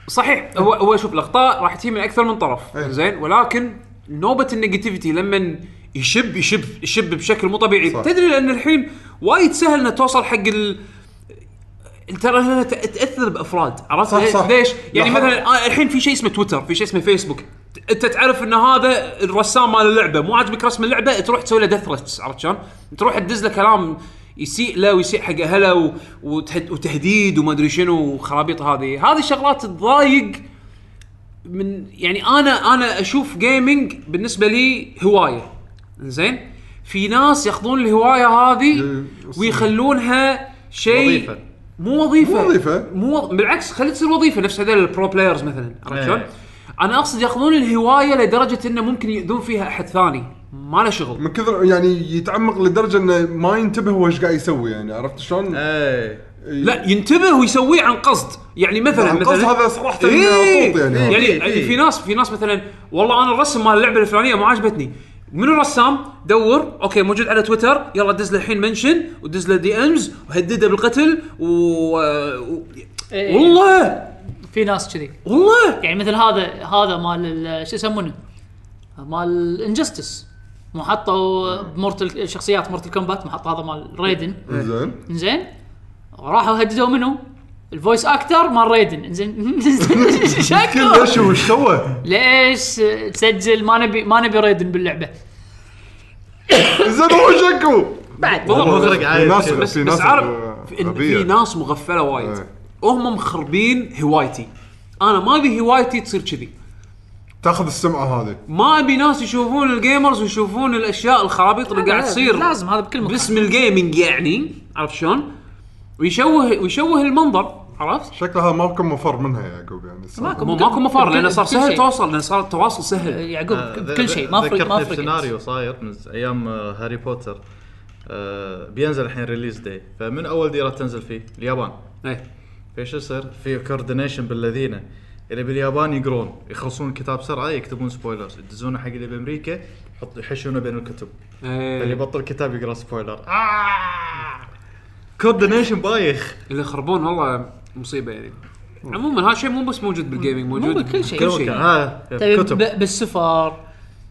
Speaker 1: صحيح هو هو شوف الاخطاء راح تجي من اكثر من طرف
Speaker 2: إيه.
Speaker 1: زين ولكن نوبه النيجاتيفيتي لما يشب يشب يشب بشكل مو طبيعي
Speaker 2: صح.
Speaker 1: تدري لان الحين وايد سهل انه توصل حق ال ترى إنها ت- تاثر بافراد عرفت
Speaker 2: صح، صح.
Speaker 1: ليش؟ يعني
Speaker 2: لاحظ.
Speaker 1: مثلا آه، الحين في شيء اسمه تويتر في شيء اسمه فيسبوك ت- انت تعرف ان هذا الرسام مال اللعبه مو عاجبك رسم اللعبه تروح تسوي له ديث عرفت شلون؟ تروح تدز له كلام يسيء له ويسيء حق اهله و- وتحد- وتهديد وما ادري شنو وخرابيط هذه، هذه الشغلات تضايق من يعني انا انا اشوف جيمنج بالنسبه لي هوايه زين في ناس ياخذون الهوايه هذه ويخلونها شيء
Speaker 3: وظيفة.
Speaker 1: مو وظيفه
Speaker 2: مو وظيفة.
Speaker 1: مو بالعكس خلي تصير وظيفه نفس هذول البرو بلايرز مثلا عرفت
Speaker 3: إيه.
Speaker 1: شلون؟ انا اقصد ياخذون الهوايه لدرجه انه ممكن ياذون فيها احد ثاني ما له شغل
Speaker 2: من كثر يعني يتعمق لدرجه انه ما ينتبه هو ايش قاعد يسوي يعني عرفت شلون؟
Speaker 3: آه. اي
Speaker 1: لا ينتبه ويسويه عن قصد يعني مثلا
Speaker 2: عن قصد
Speaker 1: مثلا
Speaker 2: هذا صراحه
Speaker 1: إيه.
Speaker 2: طوط يعني
Speaker 1: يعني,
Speaker 3: إيه،
Speaker 1: يعني
Speaker 3: إيه.
Speaker 1: في ناس في ناس مثلا والله انا الرسم مال اللعبه الفلانيه ما عجبتني من الرسام دور اوكي موجود على تويتر يلا دز له الحين منشن ودز له دي امز وهدده بالقتل و... و...
Speaker 5: إيه.
Speaker 1: والله
Speaker 5: في ناس كذي
Speaker 1: والله
Speaker 5: يعني مثل هذا هذا مال ال- شو يسمونه؟ مال انجستس مو حطوا بمورتل شخصيات مورتل كومبات محط هذا مال ريدن
Speaker 1: إيه.
Speaker 2: زين
Speaker 5: زين راحوا هددوا منو؟ الفويس اكتر مال ريدن زين شكله
Speaker 2: كل شيء وش سوى؟
Speaker 5: ليش تسجل ما نبي ما نبي ريدن باللعبه
Speaker 2: زين هو شكو
Speaker 5: بعد
Speaker 1: والله
Speaker 3: مغرق عادي.
Speaker 2: في ناس-
Speaker 1: بس
Speaker 2: في
Speaker 1: بس
Speaker 2: ناس
Speaker 1: عارف في, إن-
Speaker 2: غبية.
Speaker 1: في ناس مغفله وايد
Speaker 2: إيه.
Speaker 1: وهم مخربين هوايتي انا ما ابي هوايتي تصير كذي
Speaker 2: تاخذ السمعه هذه
Speaker 1: ما ابي ناس يشوفون الجيمرز ويشوفون الاشياء الخرابيط اللي قاعد تصير
Speaker 5: لازم هذا بكل مكان
Speaker 1: باسم الجيمنج يعني عرفت شلون؟ ويشوه ويشوه المنظر عرفت؟
Speaker 2: شكلها هذا ما كان مفر منها يا يعقوب يعني
Speaker 5: ماكو.
Speaker 1: مو- ماكو مفر لانه صار
Speaker 5: بكل
Speaker 1: سهل
Speaker 5: شيء. إيه.
Speaker 1: توصل لان صار التواصل سهل
Speaker 5: يعقوب
Speaker 3: آه، ذ-
Speaker 5: بكل شيء ما فرق ما
Speaker 3: ذكرتني
Speaker 5: فرق
Speaker 3: بسيناريو صاير من ز- ايام آه، هاري بوتر آه، بينزل الحين ريليز داي فمن اول ديره تنزل فيه اليابان
Speaker 1: إيه.
Speaker 3: فايش يصير؟ في كوردينيشن بالذين اللي باليابان يقرون يخلصون الكتاب بسرعه يكتبون سبويلرز يدزونه حق اللي بامريكا يحط يحشونه بين الكتب اللي
Speaker 2: طيب.
Speaker 1: إيه.
Speaker 3: يبطل كتاب يقرا سبويلر آه! كوردينيشن بايخ
Speaker 1: اللي يخربون والله مصيبه يعني عموما هذا شيء مو بس موجود بالجيمنج موجود
Speaker 5: بكل شيء.
Speaker 1: كل
Speaker 3: كان
Speaker 1: شيء
Speaker 3: ها
Speaker 5: طيب
Speaker 3: كتب
Speaker 5: ب- بالسفر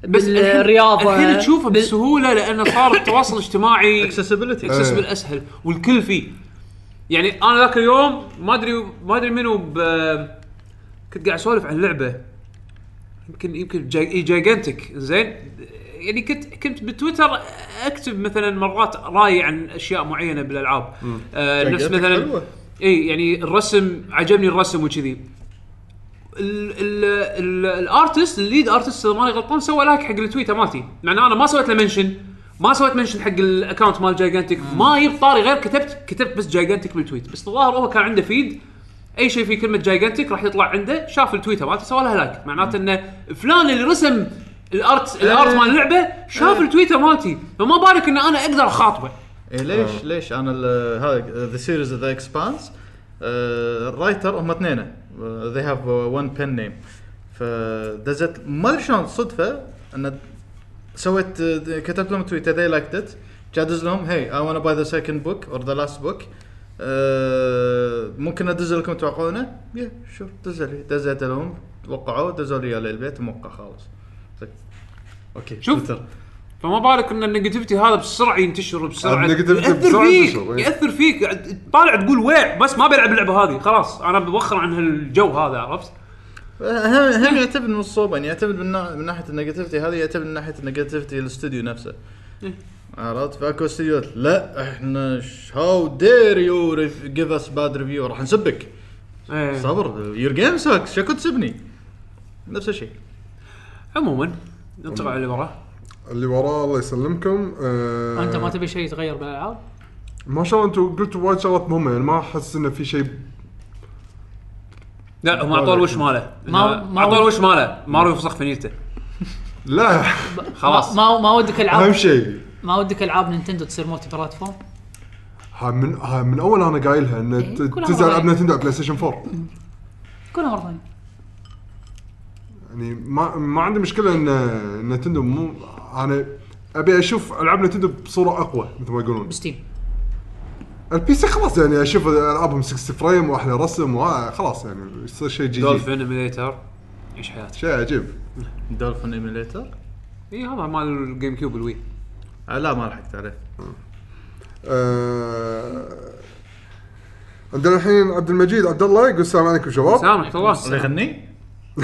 Speaker 1: بس الحين-
Speaker 5: بالرياضه
Speaker 1: الحين تشوفه
Speaker 5: بال-
Speaker 1: بسهوله لانه صار التواصل الاجتماعي
Speaker 3: اكسسبيلتي
Speaker 1: اكسسبل اسهل والكل فيه يعني انا ذاك اليوم ما ادري ما ادري منو ب كنت قاعد اسولف عن لعبه يمكن يمكن جايجانتك زين يعني كنت كنت بتويتر اكتب مثلا مرات راي عن اشياء معينه بالالعاب آه نفس
Speaker 3: Gigantic
Speaker 1: مثلا
Speaker 3: حلوة.
Speaker 1: اي يعني الرسم عجبني الرسم وكذي ال- ال- ال- الارتست الليد ارتست اذا ماني غلطان سوى لايك حق التويته مالتي مع ان انا ما سويت له منشن ما سويت منشن حق الاكونت مال جايجانتك ما يب طاري غير كتبت كتبت بس جايجانتك بالتويت بس الظاهر هو كان عنده فيد اي شيء فيه كلمه جايجانتك راح يطلع عنده شاف التويته مالته سوى لها لايك معناته انه فلان اللي رسم الارت الارت مال اللعبه شاف التويته مالتي فما بالك ان انا اقدر اخاطبه
Speaker 3: إيه ليش ليش انا ال- هذا ذا سيريز ذا اكسبانس الرايتر آه، هم اثنين ذي هاف وان بن نيم فدزت ما ادري شلون صدفه ان سويت آه، كتبت لهم تويتر ذي لايكت ات جادز لهم هي اي ونا باي ذا سكند بوك اور ذا لاست بوك آه، ممكن ادز لكم توقعونه؟ يا شوف دز لي دزيت لهم وقعوا دزوا لي إياه للبيت موقع خالص زين. اوكي
Speaker 1: شوف.
Speaker 3: تويتر.
Speaker 1: فما بالك ان النيجاتيفيتي هذا بسرعه ينتشر بسرعه
Speaker 2: النيجاتيفيتي
Speaker 1: ياثر
Speaker 2: بسرعة
Speaker 1: فيك
Speaker 2: ينتشر، إيه.
Speaker 1: ياثر فيك قاعد تطالع تقول ويع بس ما بلعب اللعبه هذه خلاص انا بوخر عن هالجو هذا عرفت؟
Speaker 3: هم هم يعتمد من الصوبه يعني يعتمد من, نا- من ناحيه النيجاتيفيتي هذه يعتمد من ناحيه النيجاتيفيتي الاستوديو نفسه
Speaker 1: إيه.
Speaker 3: عرفت فاكو استديوهات لا احنا هاو دير يو جيف اس باد ريفيو راح نسبك
Speaker 1: ايه
Speaker 3: صبر يور جيم ساكس شكو تسبني نفس الشيء
Speaker 1: عموما ننتقل على اللي وراه
Speaker 2: اللي وراه الله يسلمكم آه
Speaker 5: انت ما تبي شيء يتغير بالالعاب
Speaker 2: ما شاء الله انتم قلتوا وايد شغلات مهمه يعني ما احس انه في شيء
Speaker 1: لا هم اعطوه الوش ماله
Speaker 5: ما-
Speaker 1: إنه
Speaker 5: ما-
Speaker 1: اعطوه الوش ماله مارو يفسخ في نيته
Speaker 2: لا
Speaker 1: خلاص.
Speaker 5: ما ما- ما ودك
Speaker 2: اهم
Speaker 5: العاب
Speaker 2: شيء
Speaker 5: ما ودك العاب نينتندو تصير مولتي بلاتفورم
Speaker 2: ها من ها من اول انا قايلها ان
Speaker 5: إيه،
Speaker 2: ت-
Speaker 5: كلها
Speaker 2: تنزل
Speaker 5: مرة
Speaker 2: العاب نتندو على بلاي ستيشن 4
Speaker 5: كلها مره ثانيه
Speaker 2: يعني ما ما عندي مشكله ان نتندو مو يعني انا ابي اشوف العاب نتندو بصوره اقوى مثل ما يقولون
Speaker 5: بستيم
Speaker 2: البي سي خلاص يعني اشوف العابهم 60 فريم واحلى رسم وها- خلاص يعني يصير شيء جديد
Speaker 1: دولفين ايميليتر ايش حياتك
Speaker 2: شيء عجيب
Speaker 8: دولفين ايميليتر
Speaker 1: اي إيه، هذا مال الجيم كيوب الوي
Speaker 8: آه لا ما لحقت عليه
Speaker 2: آه، عندنا الحين عبد المجيد عبد الله يقول السلام عليكم شباب
Speaker 1: سامح الله
Speaker 8: اللي يغني؟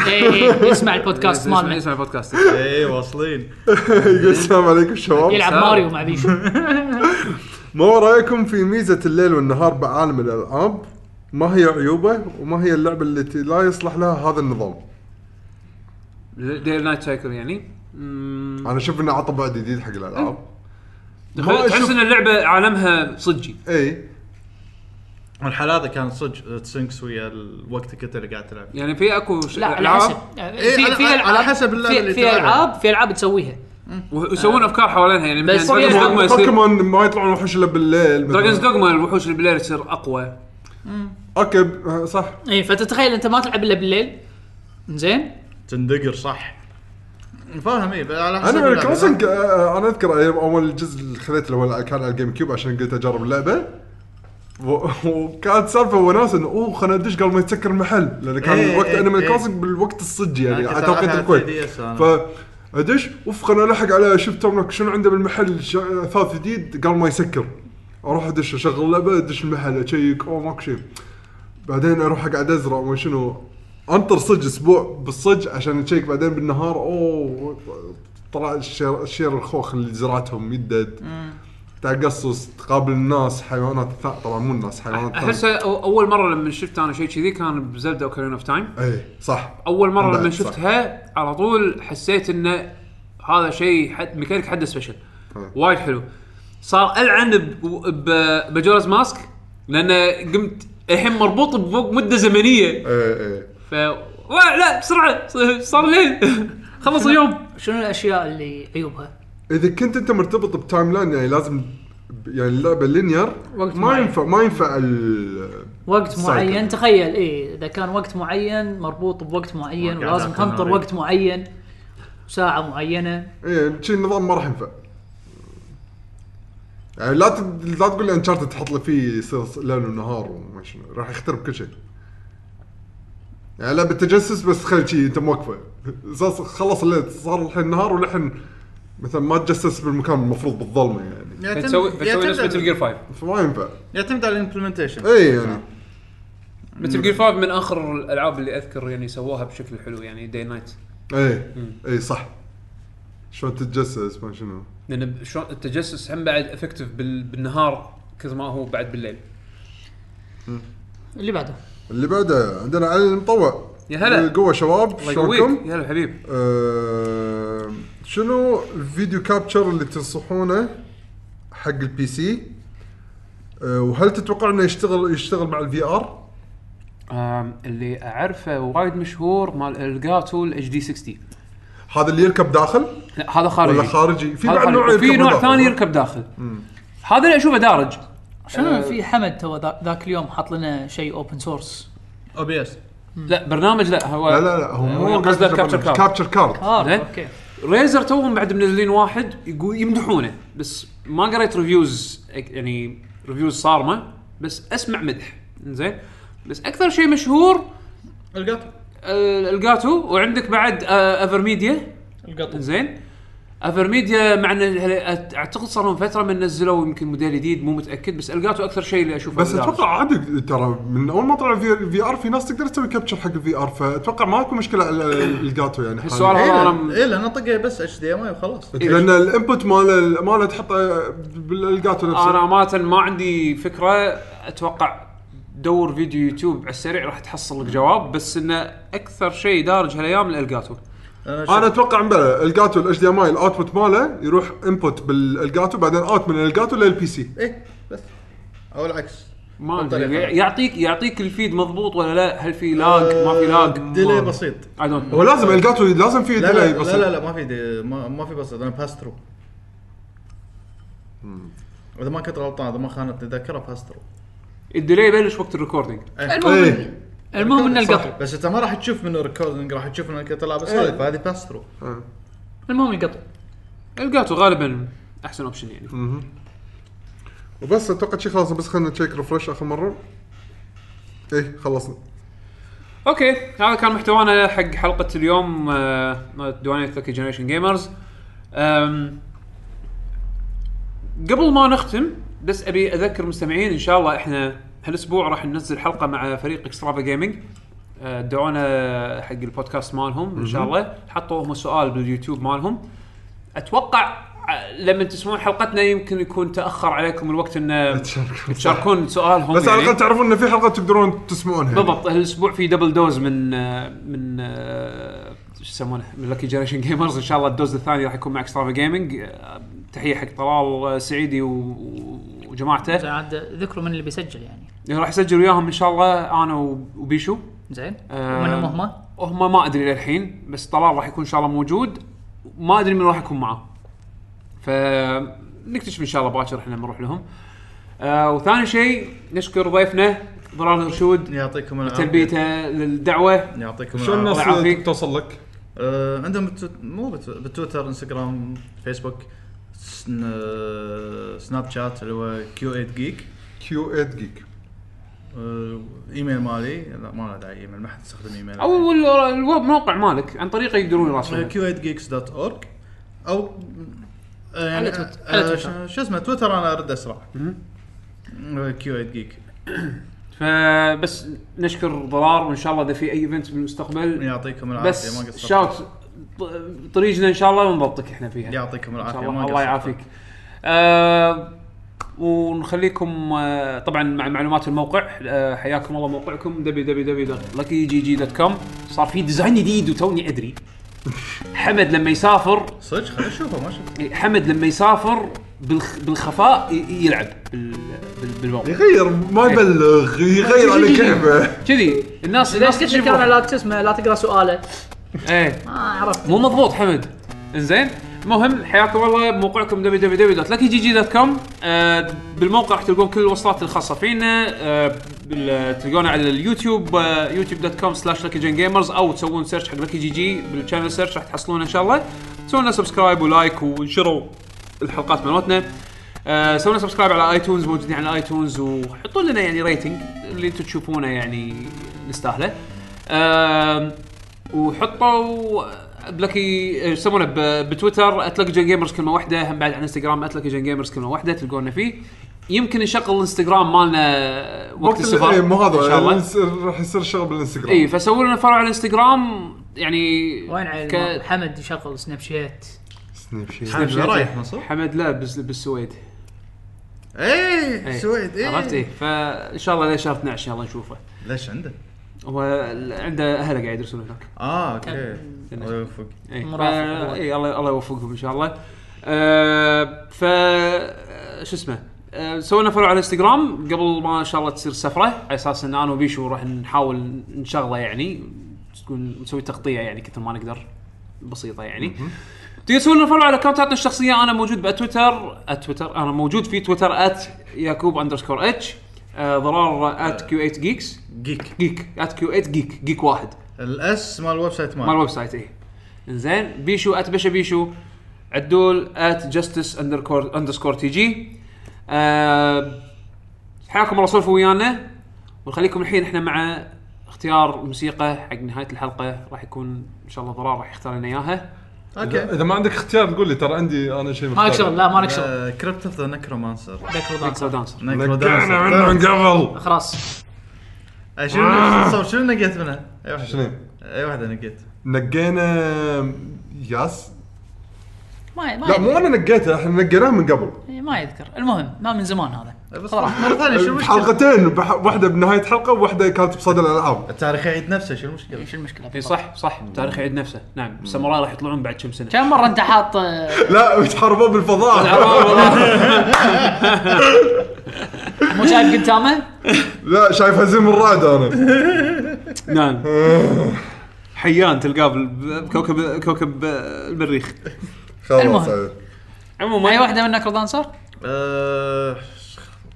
Speaker 5: إيه، يسمع البودكاست
Speaker 8: إيه،
Speaker 1: اسمع
Speaker 5: مالنا
Speaker 1: اسمع البودكاست
Speaker 8: اي إيه، واصلين
Speaker 2: يقول السلام عليكم شباب
Speaker 5: يلعب
Speaker 8: إيه،
Speaker 1: سامع.
Speaker 5: ماريو مع بيشو
Speaker 2: ما هو رايكم في ميزه الليل والنهار بعالم الالعاب ما هي عيوبه وما هي اللعبه التي لا يصلح لها هذا النظام
Speaker 1: ديل نايت سايكل يعني مم.
Speaker 2: انا اشوف انه عطى بعد جديد حق الالعاب ما
Speaker 1: تحس
Speaker 2: أشوف-
Speaker 1: ان اللعبه عالمها صجي
Speaker 2: اي
Speaker 8: والحلاذه كان صدق تسنكس ويا الوقت انت اللي قاعد تلعب فيه.
Speaker 1: يعني في اكو
Speaker 5: لا على حسب في
Speaker 8: على-
Speaker 5: في
Speaker 8: إيه، على
Speaker 5: العاب
Speaker 8: حسب اللعبة
Speaker 5: في-
Speaker 8: اللي
Speaker 5: في
Speaker 8: تلعبها.
Speaker 5: العاب في العاب تسويها
Speaker 1: ويسوون افكار حوالينها يعني
Speaker 5: بس
Speaker 1: مثلا
Speaker 5: في
Speaker 1: Dragon's Dogma يصير-
Speaker 2: بوكيمون ما يطلعون وحوش الا بالليل
Speaker 1: دراجونز دوغما الوحوش اللي بالليل تصير
Speaker 2: آه،
Speaker 1: اقوى
Speaker 2: اوكي آه، صح
Speaker 5: اي إيه، فتتخيل انت ما تلعب الا بالليل زين
Speaker 8: تندقر صح فاهم
Speaker 3: إيه،
Speaker 8: اي على حسب
Speaker 2: انا
Speaker 8: اللعبة.
Speaker 2: كروسنج آه، انا اذكر أيام اول جزء اللي خذيته الاول كان على الجيم كيوب عشان قلت اجرب اللعبه و- وكانت سالفه وناس انه اوه خلينا ندش قبل ما يتسكر المحل لان كان
Speaker 8: إيه،
Speaker 2: وقت
Speaker 8: إيه،
Speaker 2: انمي
Speaker 8: إيه.
Speaker 2: كروسنج بالوقت الصجي يعني
Speaker 8: أنا كنت
Speaker 2: على توقيت
Speaker 8: ألعبها على
Speaker 2: الكويت
Speaker 8: 3DS أنا.
Speaker 2: ف ادش اوف خلينا الحق على شوف تومنك شنو عنده بالمحل شا- اثاث جديد قبل ما يسكر اروح ادش اشغل اللعبه ادش المحل اشيك اوه ماكو شيء بعدين اروح اقعد ازرع وما شنو انطر صج اسبوع بالصج عشان نشيك بعدين بالنهار اوه طلع الشير, الشير الخوخ اللي زرعتهم يدد تقصص تقابل الناس حيوانات ثا- طبعا مو الناس حيوانات
Speaker 1: احس
Speaker 2: ثانية.
Speaker 1: أو- اول مره لما شفت انا شيء كذي كان بزلدا اوكرين اوف تايم
Speaker 2: ايه صح
Speaker 1: اول مره
Speaker 2: بعد
Speaker 1: لما
Speaker 2: صح.
Speaker 1: شفتها على طول حسيت انه هذا شيء حد ميكانيك حده سبيشل
Speaker 2: ها.
Speaker 1: وايد حلو صار العن ب- ب- بجورز ماسك لان قمت الحين مربوط بفوق مده زمنيه
Speaker 2: ايه ايه
Speaker 1: ف وا- لا بسرعه ص- صار الليل خلص اليوم
Speaker 5: شنو الاشياء اللي عيوبها؟
Speaker 2: اذا كنت انت مرتبط بتايم لاين يعني لازم ب- يعني اللعبه لينير
Speaker 5: وقت
Speaker 2: ما
Speaker 5: معين.
Speaker 2: ينفع ما ينفع ال
Speaker 5: وقت
Speaker 2: سايكل.
Speaker 5: معين تخيل اي اذا كان وقت معين مربوط بوقت معين
Speaker 8: قاعد
Speaker 5: ولازم
Speaker 8: أعطي
Speaker 5: تنطر
Speaker 8: ناري.
Speaker 5: وقت معين ساعة معينة
Speaker 2: ايه شي النظام ما راح ينفع يعني لا تد... لا تقول لي انشارتد تحط لي فيه يصير ليل ونهار وما شنو راح يخترب كل شيء يعني لعبه تجسس بس خلي شي انت موقفه أساس خلص الليل صار الحين نهار ولحن مثلا ما تجسس بالمكان المفروض بالظلمه يعني
Speaker 8: يعتمد-
Speaker 1: بتسوي بتسوي نفس
Speaker 8: يعتمد-
Speaker 1: متل جير 5
Speaker 2: فما ينفع
Speaker 8: يعتمد على الامبلمنتيشن
Speaker 1: إيه.
Speaker 2: اي يعني
Speaker 1: متل جير 5 من اخر الالعاب اللي اذكر يعني سووها بشكل حلو يعني داي نايت
Speaker 2: اي اي إيه. صح شلون تتجسس ما شنو
Speaker 1: لان شلون التجسس هم بعد افكتيف بالنهار كثر ما هو بعد بالليل
Speaker 5: اللي بعده
Speaker 2: اللي بعده عندنا علي المطوع
Speaker 1: يا هلا.
Speaker 2: قوة شباب
Speaker 1: الله يقويك
Speaker 2: شلونكم؟
Speaker 1: يا هلا حبيب
Speaker 2: آه، شنو الفيديو كابتشر اللي تنصحونه حق البي سي؟ آه، وهل تتوقع انه يشتغل يشتغل مع الفي ار؟
Speaker 1: اللي اعرفه وايد مشهور مال الجاتو الاتش دي 60
Speaker 2: هذا اللي يركب داخل
Speaker 1: لا هذا خارجي
Speaker 2: ولا خارجي؟ في
Speaker 1: هذا
Speaker 2: بعد
Speaker 1: خارجي.
Speaker 2: نوع
Speaker 1: وفي
Speaker 2: يركب
Speaker 1: نوع
Speaker 2: داخل.
Speaker 1: ثاني يركب داخل هذا اللي اشوفه دارج
Speaker 5: شنو في حمد تو ذا- ذاك اليوم حاط لنا شيء اوبن سورس
Speaker 8: او بي اس
Speaker 1: لا برنامج لا هو
Speaker 2: لا لا لا هو مو
Speaker 1: قصده آه. كابتشر كارد.
Speaker 2: كابتشر كارد
Speaker 5: اه
Speaker 1: زين.
Speaker 5: اوكي
Speaker 1: ريزر توهم بعد منزلين واحد يقول يمدحونه بس ما قريت ريفيوز يعني ريفيوز صارمه بس اسمع مدح زين بس اكثر شيء مشهور
Speaker 8: القطو
Speaker 1: آه، الجاتو وعندك بعد آه، افر ميديا
Speaker 4: القطو
Speaker 1: زين افر ميديا مع إن هل- اعتقد صار لهم فتره من نزلوا يمكن موديل جديد مو متاكد بس الجاتو اكثر شيء اللي اشوفه
Speaker 2: بس
Speaker 1: بالدارج.
Speaker 2: اتوقع عادي ترى من اول ما طلع في في ار في ناس تقدر تسوي كابتشر حق الفي ار فاتوقع ما اكو مشكله على الجاتو يعني حاليا.
Speaker 1: السؤال
Speaker 8: اي
Speaker 1: هذا انا
Speaker 8: لأن-
Speaker 1: م-
Speaker 8: إي، لان طقه بس اتش دي ام اي وخلاص
Speaker 2: لان الانبوت ماله ماله تحطه بالجاتو نفسه
Speaker 1: انا امانه ما عندي فكره اتوقع دور فيديو يوتيوب على السريع راح تحصل لك جواب بس انه اكثر شيء دارج هالايام الالجاتو
Speaker 2: انا اتوقع امبلا الجاتو الاتش دي ام اي الاوتبوت ماله يروح انبوت بالجاتو بعدين اوت من الجاتو للبي سي
Speaker 8: ايه بس او العكس
Speaker 1: ما
Speaker 8: بالطريقة
Speaker 1: أدري،
Speaker 8: هذه.
Speaker 1: يعطيك يعطيك الفيد مضبوط ولا لا هل في
Speaker 3: آه،
Speaker 1: لاج ما في لاج
Speaker 8: ديلي آه، بسيط
Speaker 1: I don't know.
Speaker 2: هو لازم الجاتو لازم فيه
Speaker 8: لا
Speaker 2: ديلي
Speaker 8: لا,
Speaker 2: بس
Speaker 8: لا لا لا ما في دي ما, ما في بسيط انا باس ثرو اذا ما كنت غلطان اذا ما خانتني ذاكره باس ثرو
Speaker 1: الديلي يبلش وقت الريكوردينج
Speaker 2: ايه
Speaker 5: المهم ان
Speaker 3: صح،
Speaker 5: القطو
Speaker 3: بس انت ما راح تشوف من الريكوردنج راح تشوف من القطع
Speaker 1: إيه.
Speaker 3: بس هذه فهذه باس ثرو
Speaker 5: المهم القطو
Speaker 1: القاتو غالبا احسن اوبشن يعني
Speaker 2: وبس اتوقع شي خلاص بس خلينا نشيك ريفرش اخر مره ايه خلصنا
Speaker 1: اوكي هذا كان محتوانا حق حلقه اليوم آه، ديوانيه ذكي جنريشن جيمرز أم، قبل ما نختم بس ابي اذكر المستمعين ان شاء الله احنا هالاسبوع راح ننزل حلقه مع فريق اكسترافا جيمنج دعونا حق البودكاست مالهم ان شاء الله حطوا هم سؤال باليوتيوب مالهم اتوقع آه، لما تسمعون حلقتنا يمكن يكون تاخر عليكم الوقت ان
Speaker 2: تشاركون.
Speaker 1: تشاركون سؤالهم
Speaker 2: بس على
Speaker 1: يعني.
Speaker 2: الاقل تعرفون ان في حلقه تقدرون تسمعونها
Speaker 1: بالضبط هالاسبوع في دبل دوز من آه، من آه، شو يسمونه من لكي جنريشن جيمرز ان شاء الله الدوز الثاني راح يكون مع اكسترافا جيمنج تحيه حق طلال آه، سعيدي و- و- وجماعته
Speaker 5: زين عاد ذكروا من اللي بيسجل يعني
Speaker 1: راح يسجل وياهم ان شاء الله انا و- وبيشو
Speaker 5: زين
Speaker 1: آه.
Speaker 5: ومنهم هم
Speaker 1: هم ما ادري للحين بس طلال راح يكون ان شاء الله موجود ما ادري من راح يكون معاه فنكتشف ان شاء الله باكر احنا لما نروح لهم آه وثاني شيء نشكر ضيفنا ضلال
Speaker 8: يعني
Speaker 1: الرشود
Speaker 3: يعطيكم العافيه
Speaker 1: تلبيته للدعوه
Speaker 3: يعطيكم
Speaker 2: شلون
Speaker 3: العافيه
Speaker 1: الله يعافيك.
Speaker 2: الناس توصل لك؟
Speaker 3: آه عندهم بتو... مو بت... بتويتر انستغرام فيسبوك سن... آه، سناب شات اللي هو كيو 8 جيك
Speaker 2: كيو 8 جيك
Speaker 3: آه ايميل مالي لا ما له داعي ايميل ما حد يستخدم ايميل
Speaker 1: او ال- الويب موقع مالك عن طريقه يقدرون يراسلونك
Speaker 3: كيو 8 جيكس دوت اورج او آه، يعني
Speaker 5: على تويتر- على
Speaker 3: آه،
Speaker 5: تويتر.
Speaker 3: شو اسمه تويتر انا ارد اسرع آه، كيو 8 جيك
Speaker 1: فبس نشكر ضرار وان شاء الله اذا في اي ايفنت بالمستقبل
Speaker 3: يعطيكم العافيه ما
Speaker 1: بس
Speaker 3: قصرت.
Speaker 1: شاوت ط- طريقنا ان شاء الله ونضبطك احنا فيها
Speaker 3: يعطيكم
Speaker 1: ان
Speaker 3: العافيه
Speaker 1: شاء
Speaker 3: ما
Speaker 1: الله الله
Speaker 3: قصرتوا.
Speaker 1: يعافيك آه ونخليكم آه طبعا مع معلومات الموقع آه حياكم الله موقعكم www.luckygg.com صار في ديزاين جديد وتوني ادري حمد لما يسافر
Speaker 3: صدق خلينا نشوفه ما شفت
Speaker 1: حمد لما يسافر بالخ بالخفاء ي- يلعب بال بال- بالموقع
Speaker 2: يغير ما يبلغ يغير على كيفه
Speaker 1: كذي الناس
Speaker 4: ليش
Speaker 1: الناس
Speaker 4: قلت لك
Speaker 1: تشوفه.
Speaker 4: انا لا شو اسمه لا تقرا سؤاله
Speaker 1: ايه
Speaker 4: ما عرفت
Speaker 1: مو مضبوط حمد انزين المهم حياكم الله بموقعكم www.luckygg.com آه بالموقع راح تلقون كل الوصلات الخاصه فينا آه بال- تلقونا على اليوتيوب آه youtube.com slash luckygengamers او تسوون سيرش حق لكي جي جي بالشانل سيرش راح تحصلونه ان شاء الله تسوون سبسكرايب ولايك وانشروا الحلقات مالتنا آه سوينا سبسكرايب على ايتونز موجودين على ايتونز وحطوا لنا يعني ريتنج اللي انتم تشوفونه يعني نستاهله آم، وحطوا بلكي إيش يسمونه ب- بتويتر اتلكجن جيمرز كلمه واحده هم بعد على انستغرام اتلكجن جيمرز كلمه واحده تلقونا فيه يمكن نشغل الانستغرام مالنا وقت السفر
Speaker 2: إيه، مو
Speaker 1: ان شاء الله
Speaker 2: هذا الإنس- راح يصير شغل بالانستغرام
Speaker 1: اي فسووا لنا فرع على الانستغرام يعني
Speaker 5: وين عيل
Speaker 1: ك-
Speaker 5: حمد يشغل سناب شات
Speaker 2: سناب شيت.
Speaker 3: حمد وين رايح مصر؟
Speaker 1: حمد لا بس- بالسويد
Speaker 3: ايه
Speaker 1: إيه.
Speaker 3: سويد ايه
Speaker 1: عرفت ايه فان شاء الله لين شهر 12 يلا نشوفه
Speaker 3: ليش عنده؟
Speaker 1: هو ال- عنده اهله قاعد يدرسون هناك
Speaker 3: اه اوكي الله يوفقك
Speaker 1: اي
Speaker 5: مرافق
Speaker 1: إيه، فا- إي، الله الله يوفقهم ان شاء الله آه، ف شو اسمه آه، سوينا فرع على الانستغرام قبل ما ان شاء الله تصير سفره على اساس ان انا وبيشو راح نحاول نشغله يعني تكون نسوي تغطيه يعني كثر ما نقدر بسيطه يعني تقدر تسوي لنا فولو على اكونتاتنا الشخصيه انا موجود بتويتر تويتر انا موجود في تويتر ات يعقوب اندرسكور اتش ضرار ات كيو 8 جيكس
Speaker 3: جيك
Speaker 1: جيك ات كيو 8 جيك جيك واحد
Speaker 3: الاس مال الويب سايت
Speaker 1: مال
Speaker 3: مال
Speaker 1: الويب سايت اي زين بيشو ات بشا بيشو عدول ات جستس اندرسكور تي جي آه، حياكم الله سولفوا ويانا ونخليكم الحين احنا مع اختيار موسيقى حق نهايه الحلقه راح يكون ان شاء الله ضرار راح يختار لنا اياها
Speaker 2: إذا- اذا ما عندك اختيار قول لي ترى عندي انا شيء
Speaker 5: ما لك شغل لا ما لك شغل
Speaker 3: كريبت اوف ذا نكرومانسر
Speaker 5: ذكروا
Speaker 1: ميكسر
Speaker 5: دانسر.
Speaker 1: دانسر
Speaker 3: نكرو
Speaker 2: نقعنا منه من قبل
Speaker 5: خلاص
Speaker 3: طيب. آه، شنو صور شنو نقيت منها؟ اي واحده
Speaker 2: آه. شنو؟
Speaker 3: اي واحده نقيت
Speaker 2: نقينا ياس
Speaker 5: ما ما
Speaker 2: لا مو
Speaker 5: يذكر.
Speaker 2: انا نقيته احنا نقيناه من قبل
Speaker 5: ما يذكر المهم ما من زمان هذا
Speaker 3: بس
Speaker 5: خلاص.
Speaker 3: مره ثانيه شو المشكله؟
Speaker 2: حلقتين بح- واحده بنهايه حلقه وواحده كانت بصدى الالعاب
Speaker 3: التاريخ يعيد نفسه شو المشكله؟
Speaker 5: ايش المشكله
Speaker 1: اي إيه، صح صح تاريخ يعيد نفسه نعم الساموراي راح يطلعون بعد كم سنه
Speaker 5: كم مره انت حاط آه،
Speaker 2: لا يتحاربون بالفضاء
Speaker 1: العراق والله.
Speaker 5: مو شايف قدامه؟
Speaker 2: لا شايف هزيم الرعد انا
Speaker 1: نعم حيان تلقاه بال- بكوكب كوكب آه، المريخ
Speaker 2: خلاص
Speaker 5: المهم.
Speaker 2: عاد.
Speaker 5: أيوة،
Speaker 1: عموما
Speaker 5: اي واحده من نكرو دانسر؟
Speaker 3: آه،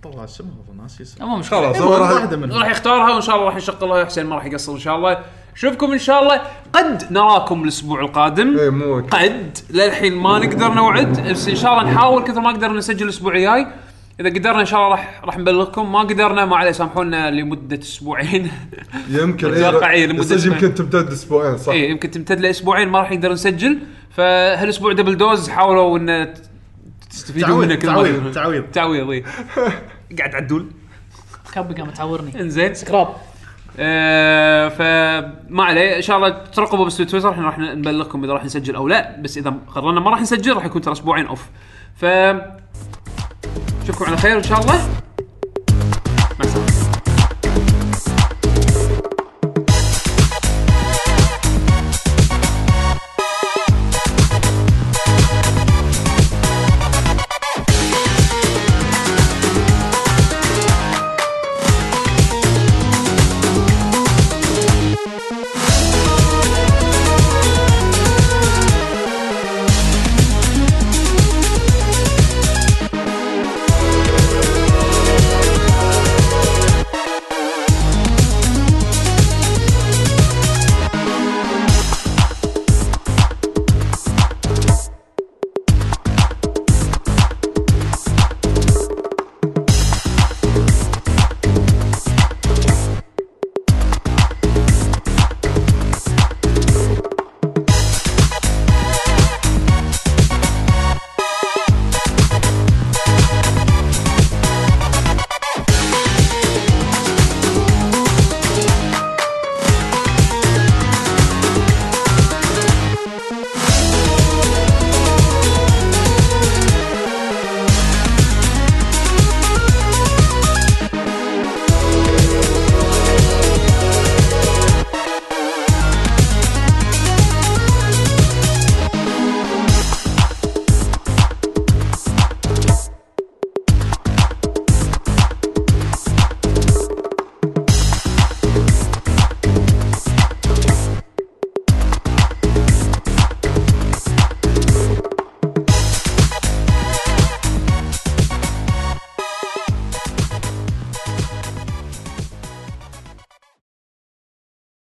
Speaker 8: والله اسمها والله ناسي اسمها
Speaker 5: مو مشكله
Speaker 2: خلاص هو
Speaker 8: والله
Speaker 2: راح
Speaker 8: واحده منهم
Speaker 1: راح يختارها وان شاء الله راح يشغلها حسين ما راح يقصر ان شاء الله نشوفكم ان شاء الله قد نراكم الاسبوع القادم
Speaker 8: إيه.
Speaker 2: اي إيه، مو
Speaker 1: قد للحين ما نقدر نوعد بس ان شاء الله نحاول كثر ما قدرنا نسجل الاسبوع الجاي اذا قدرنا ان شاء الله راح راح نبلغكم ما قدرنا ما عليه سامحونا لمده اسبوعين
Speaker 2: يمكن
Speaker 1: أتوقع إيه، لمدة
Speaker 2: يصير
Speaker 1: أسبوعين.
Speaker 2: يمكن تمتد اسبوعين صح
Speaker 1: اي إيه، يمكن تمتد لاسبوعين ما راح نقدر نسجل فهالاسبوع دبل دوز حاولوا ان ت- تستفيدوا منه
Speaker 8: تعويض
Speaker 1: كل ما
Speaker 8: تعويض
Speaker 1: تقدرون.
Speaker 8: تعويض
Speaker 1: تعويض اي قاعد عدول
Speaker 5: كابي قام تعورني
Speaker 1: انزين
Speaker 4: سكراب
Speaker 1: آه، فما عليه ان شاء الله ترقبوا بس في تويتر احنا راح نبلغكم اذا راح نسجل او لا بس اذا قررنا ما راح نسجل راح يكون ترى اسبوعين اوف ف نشوفكم على خير ان شاء الله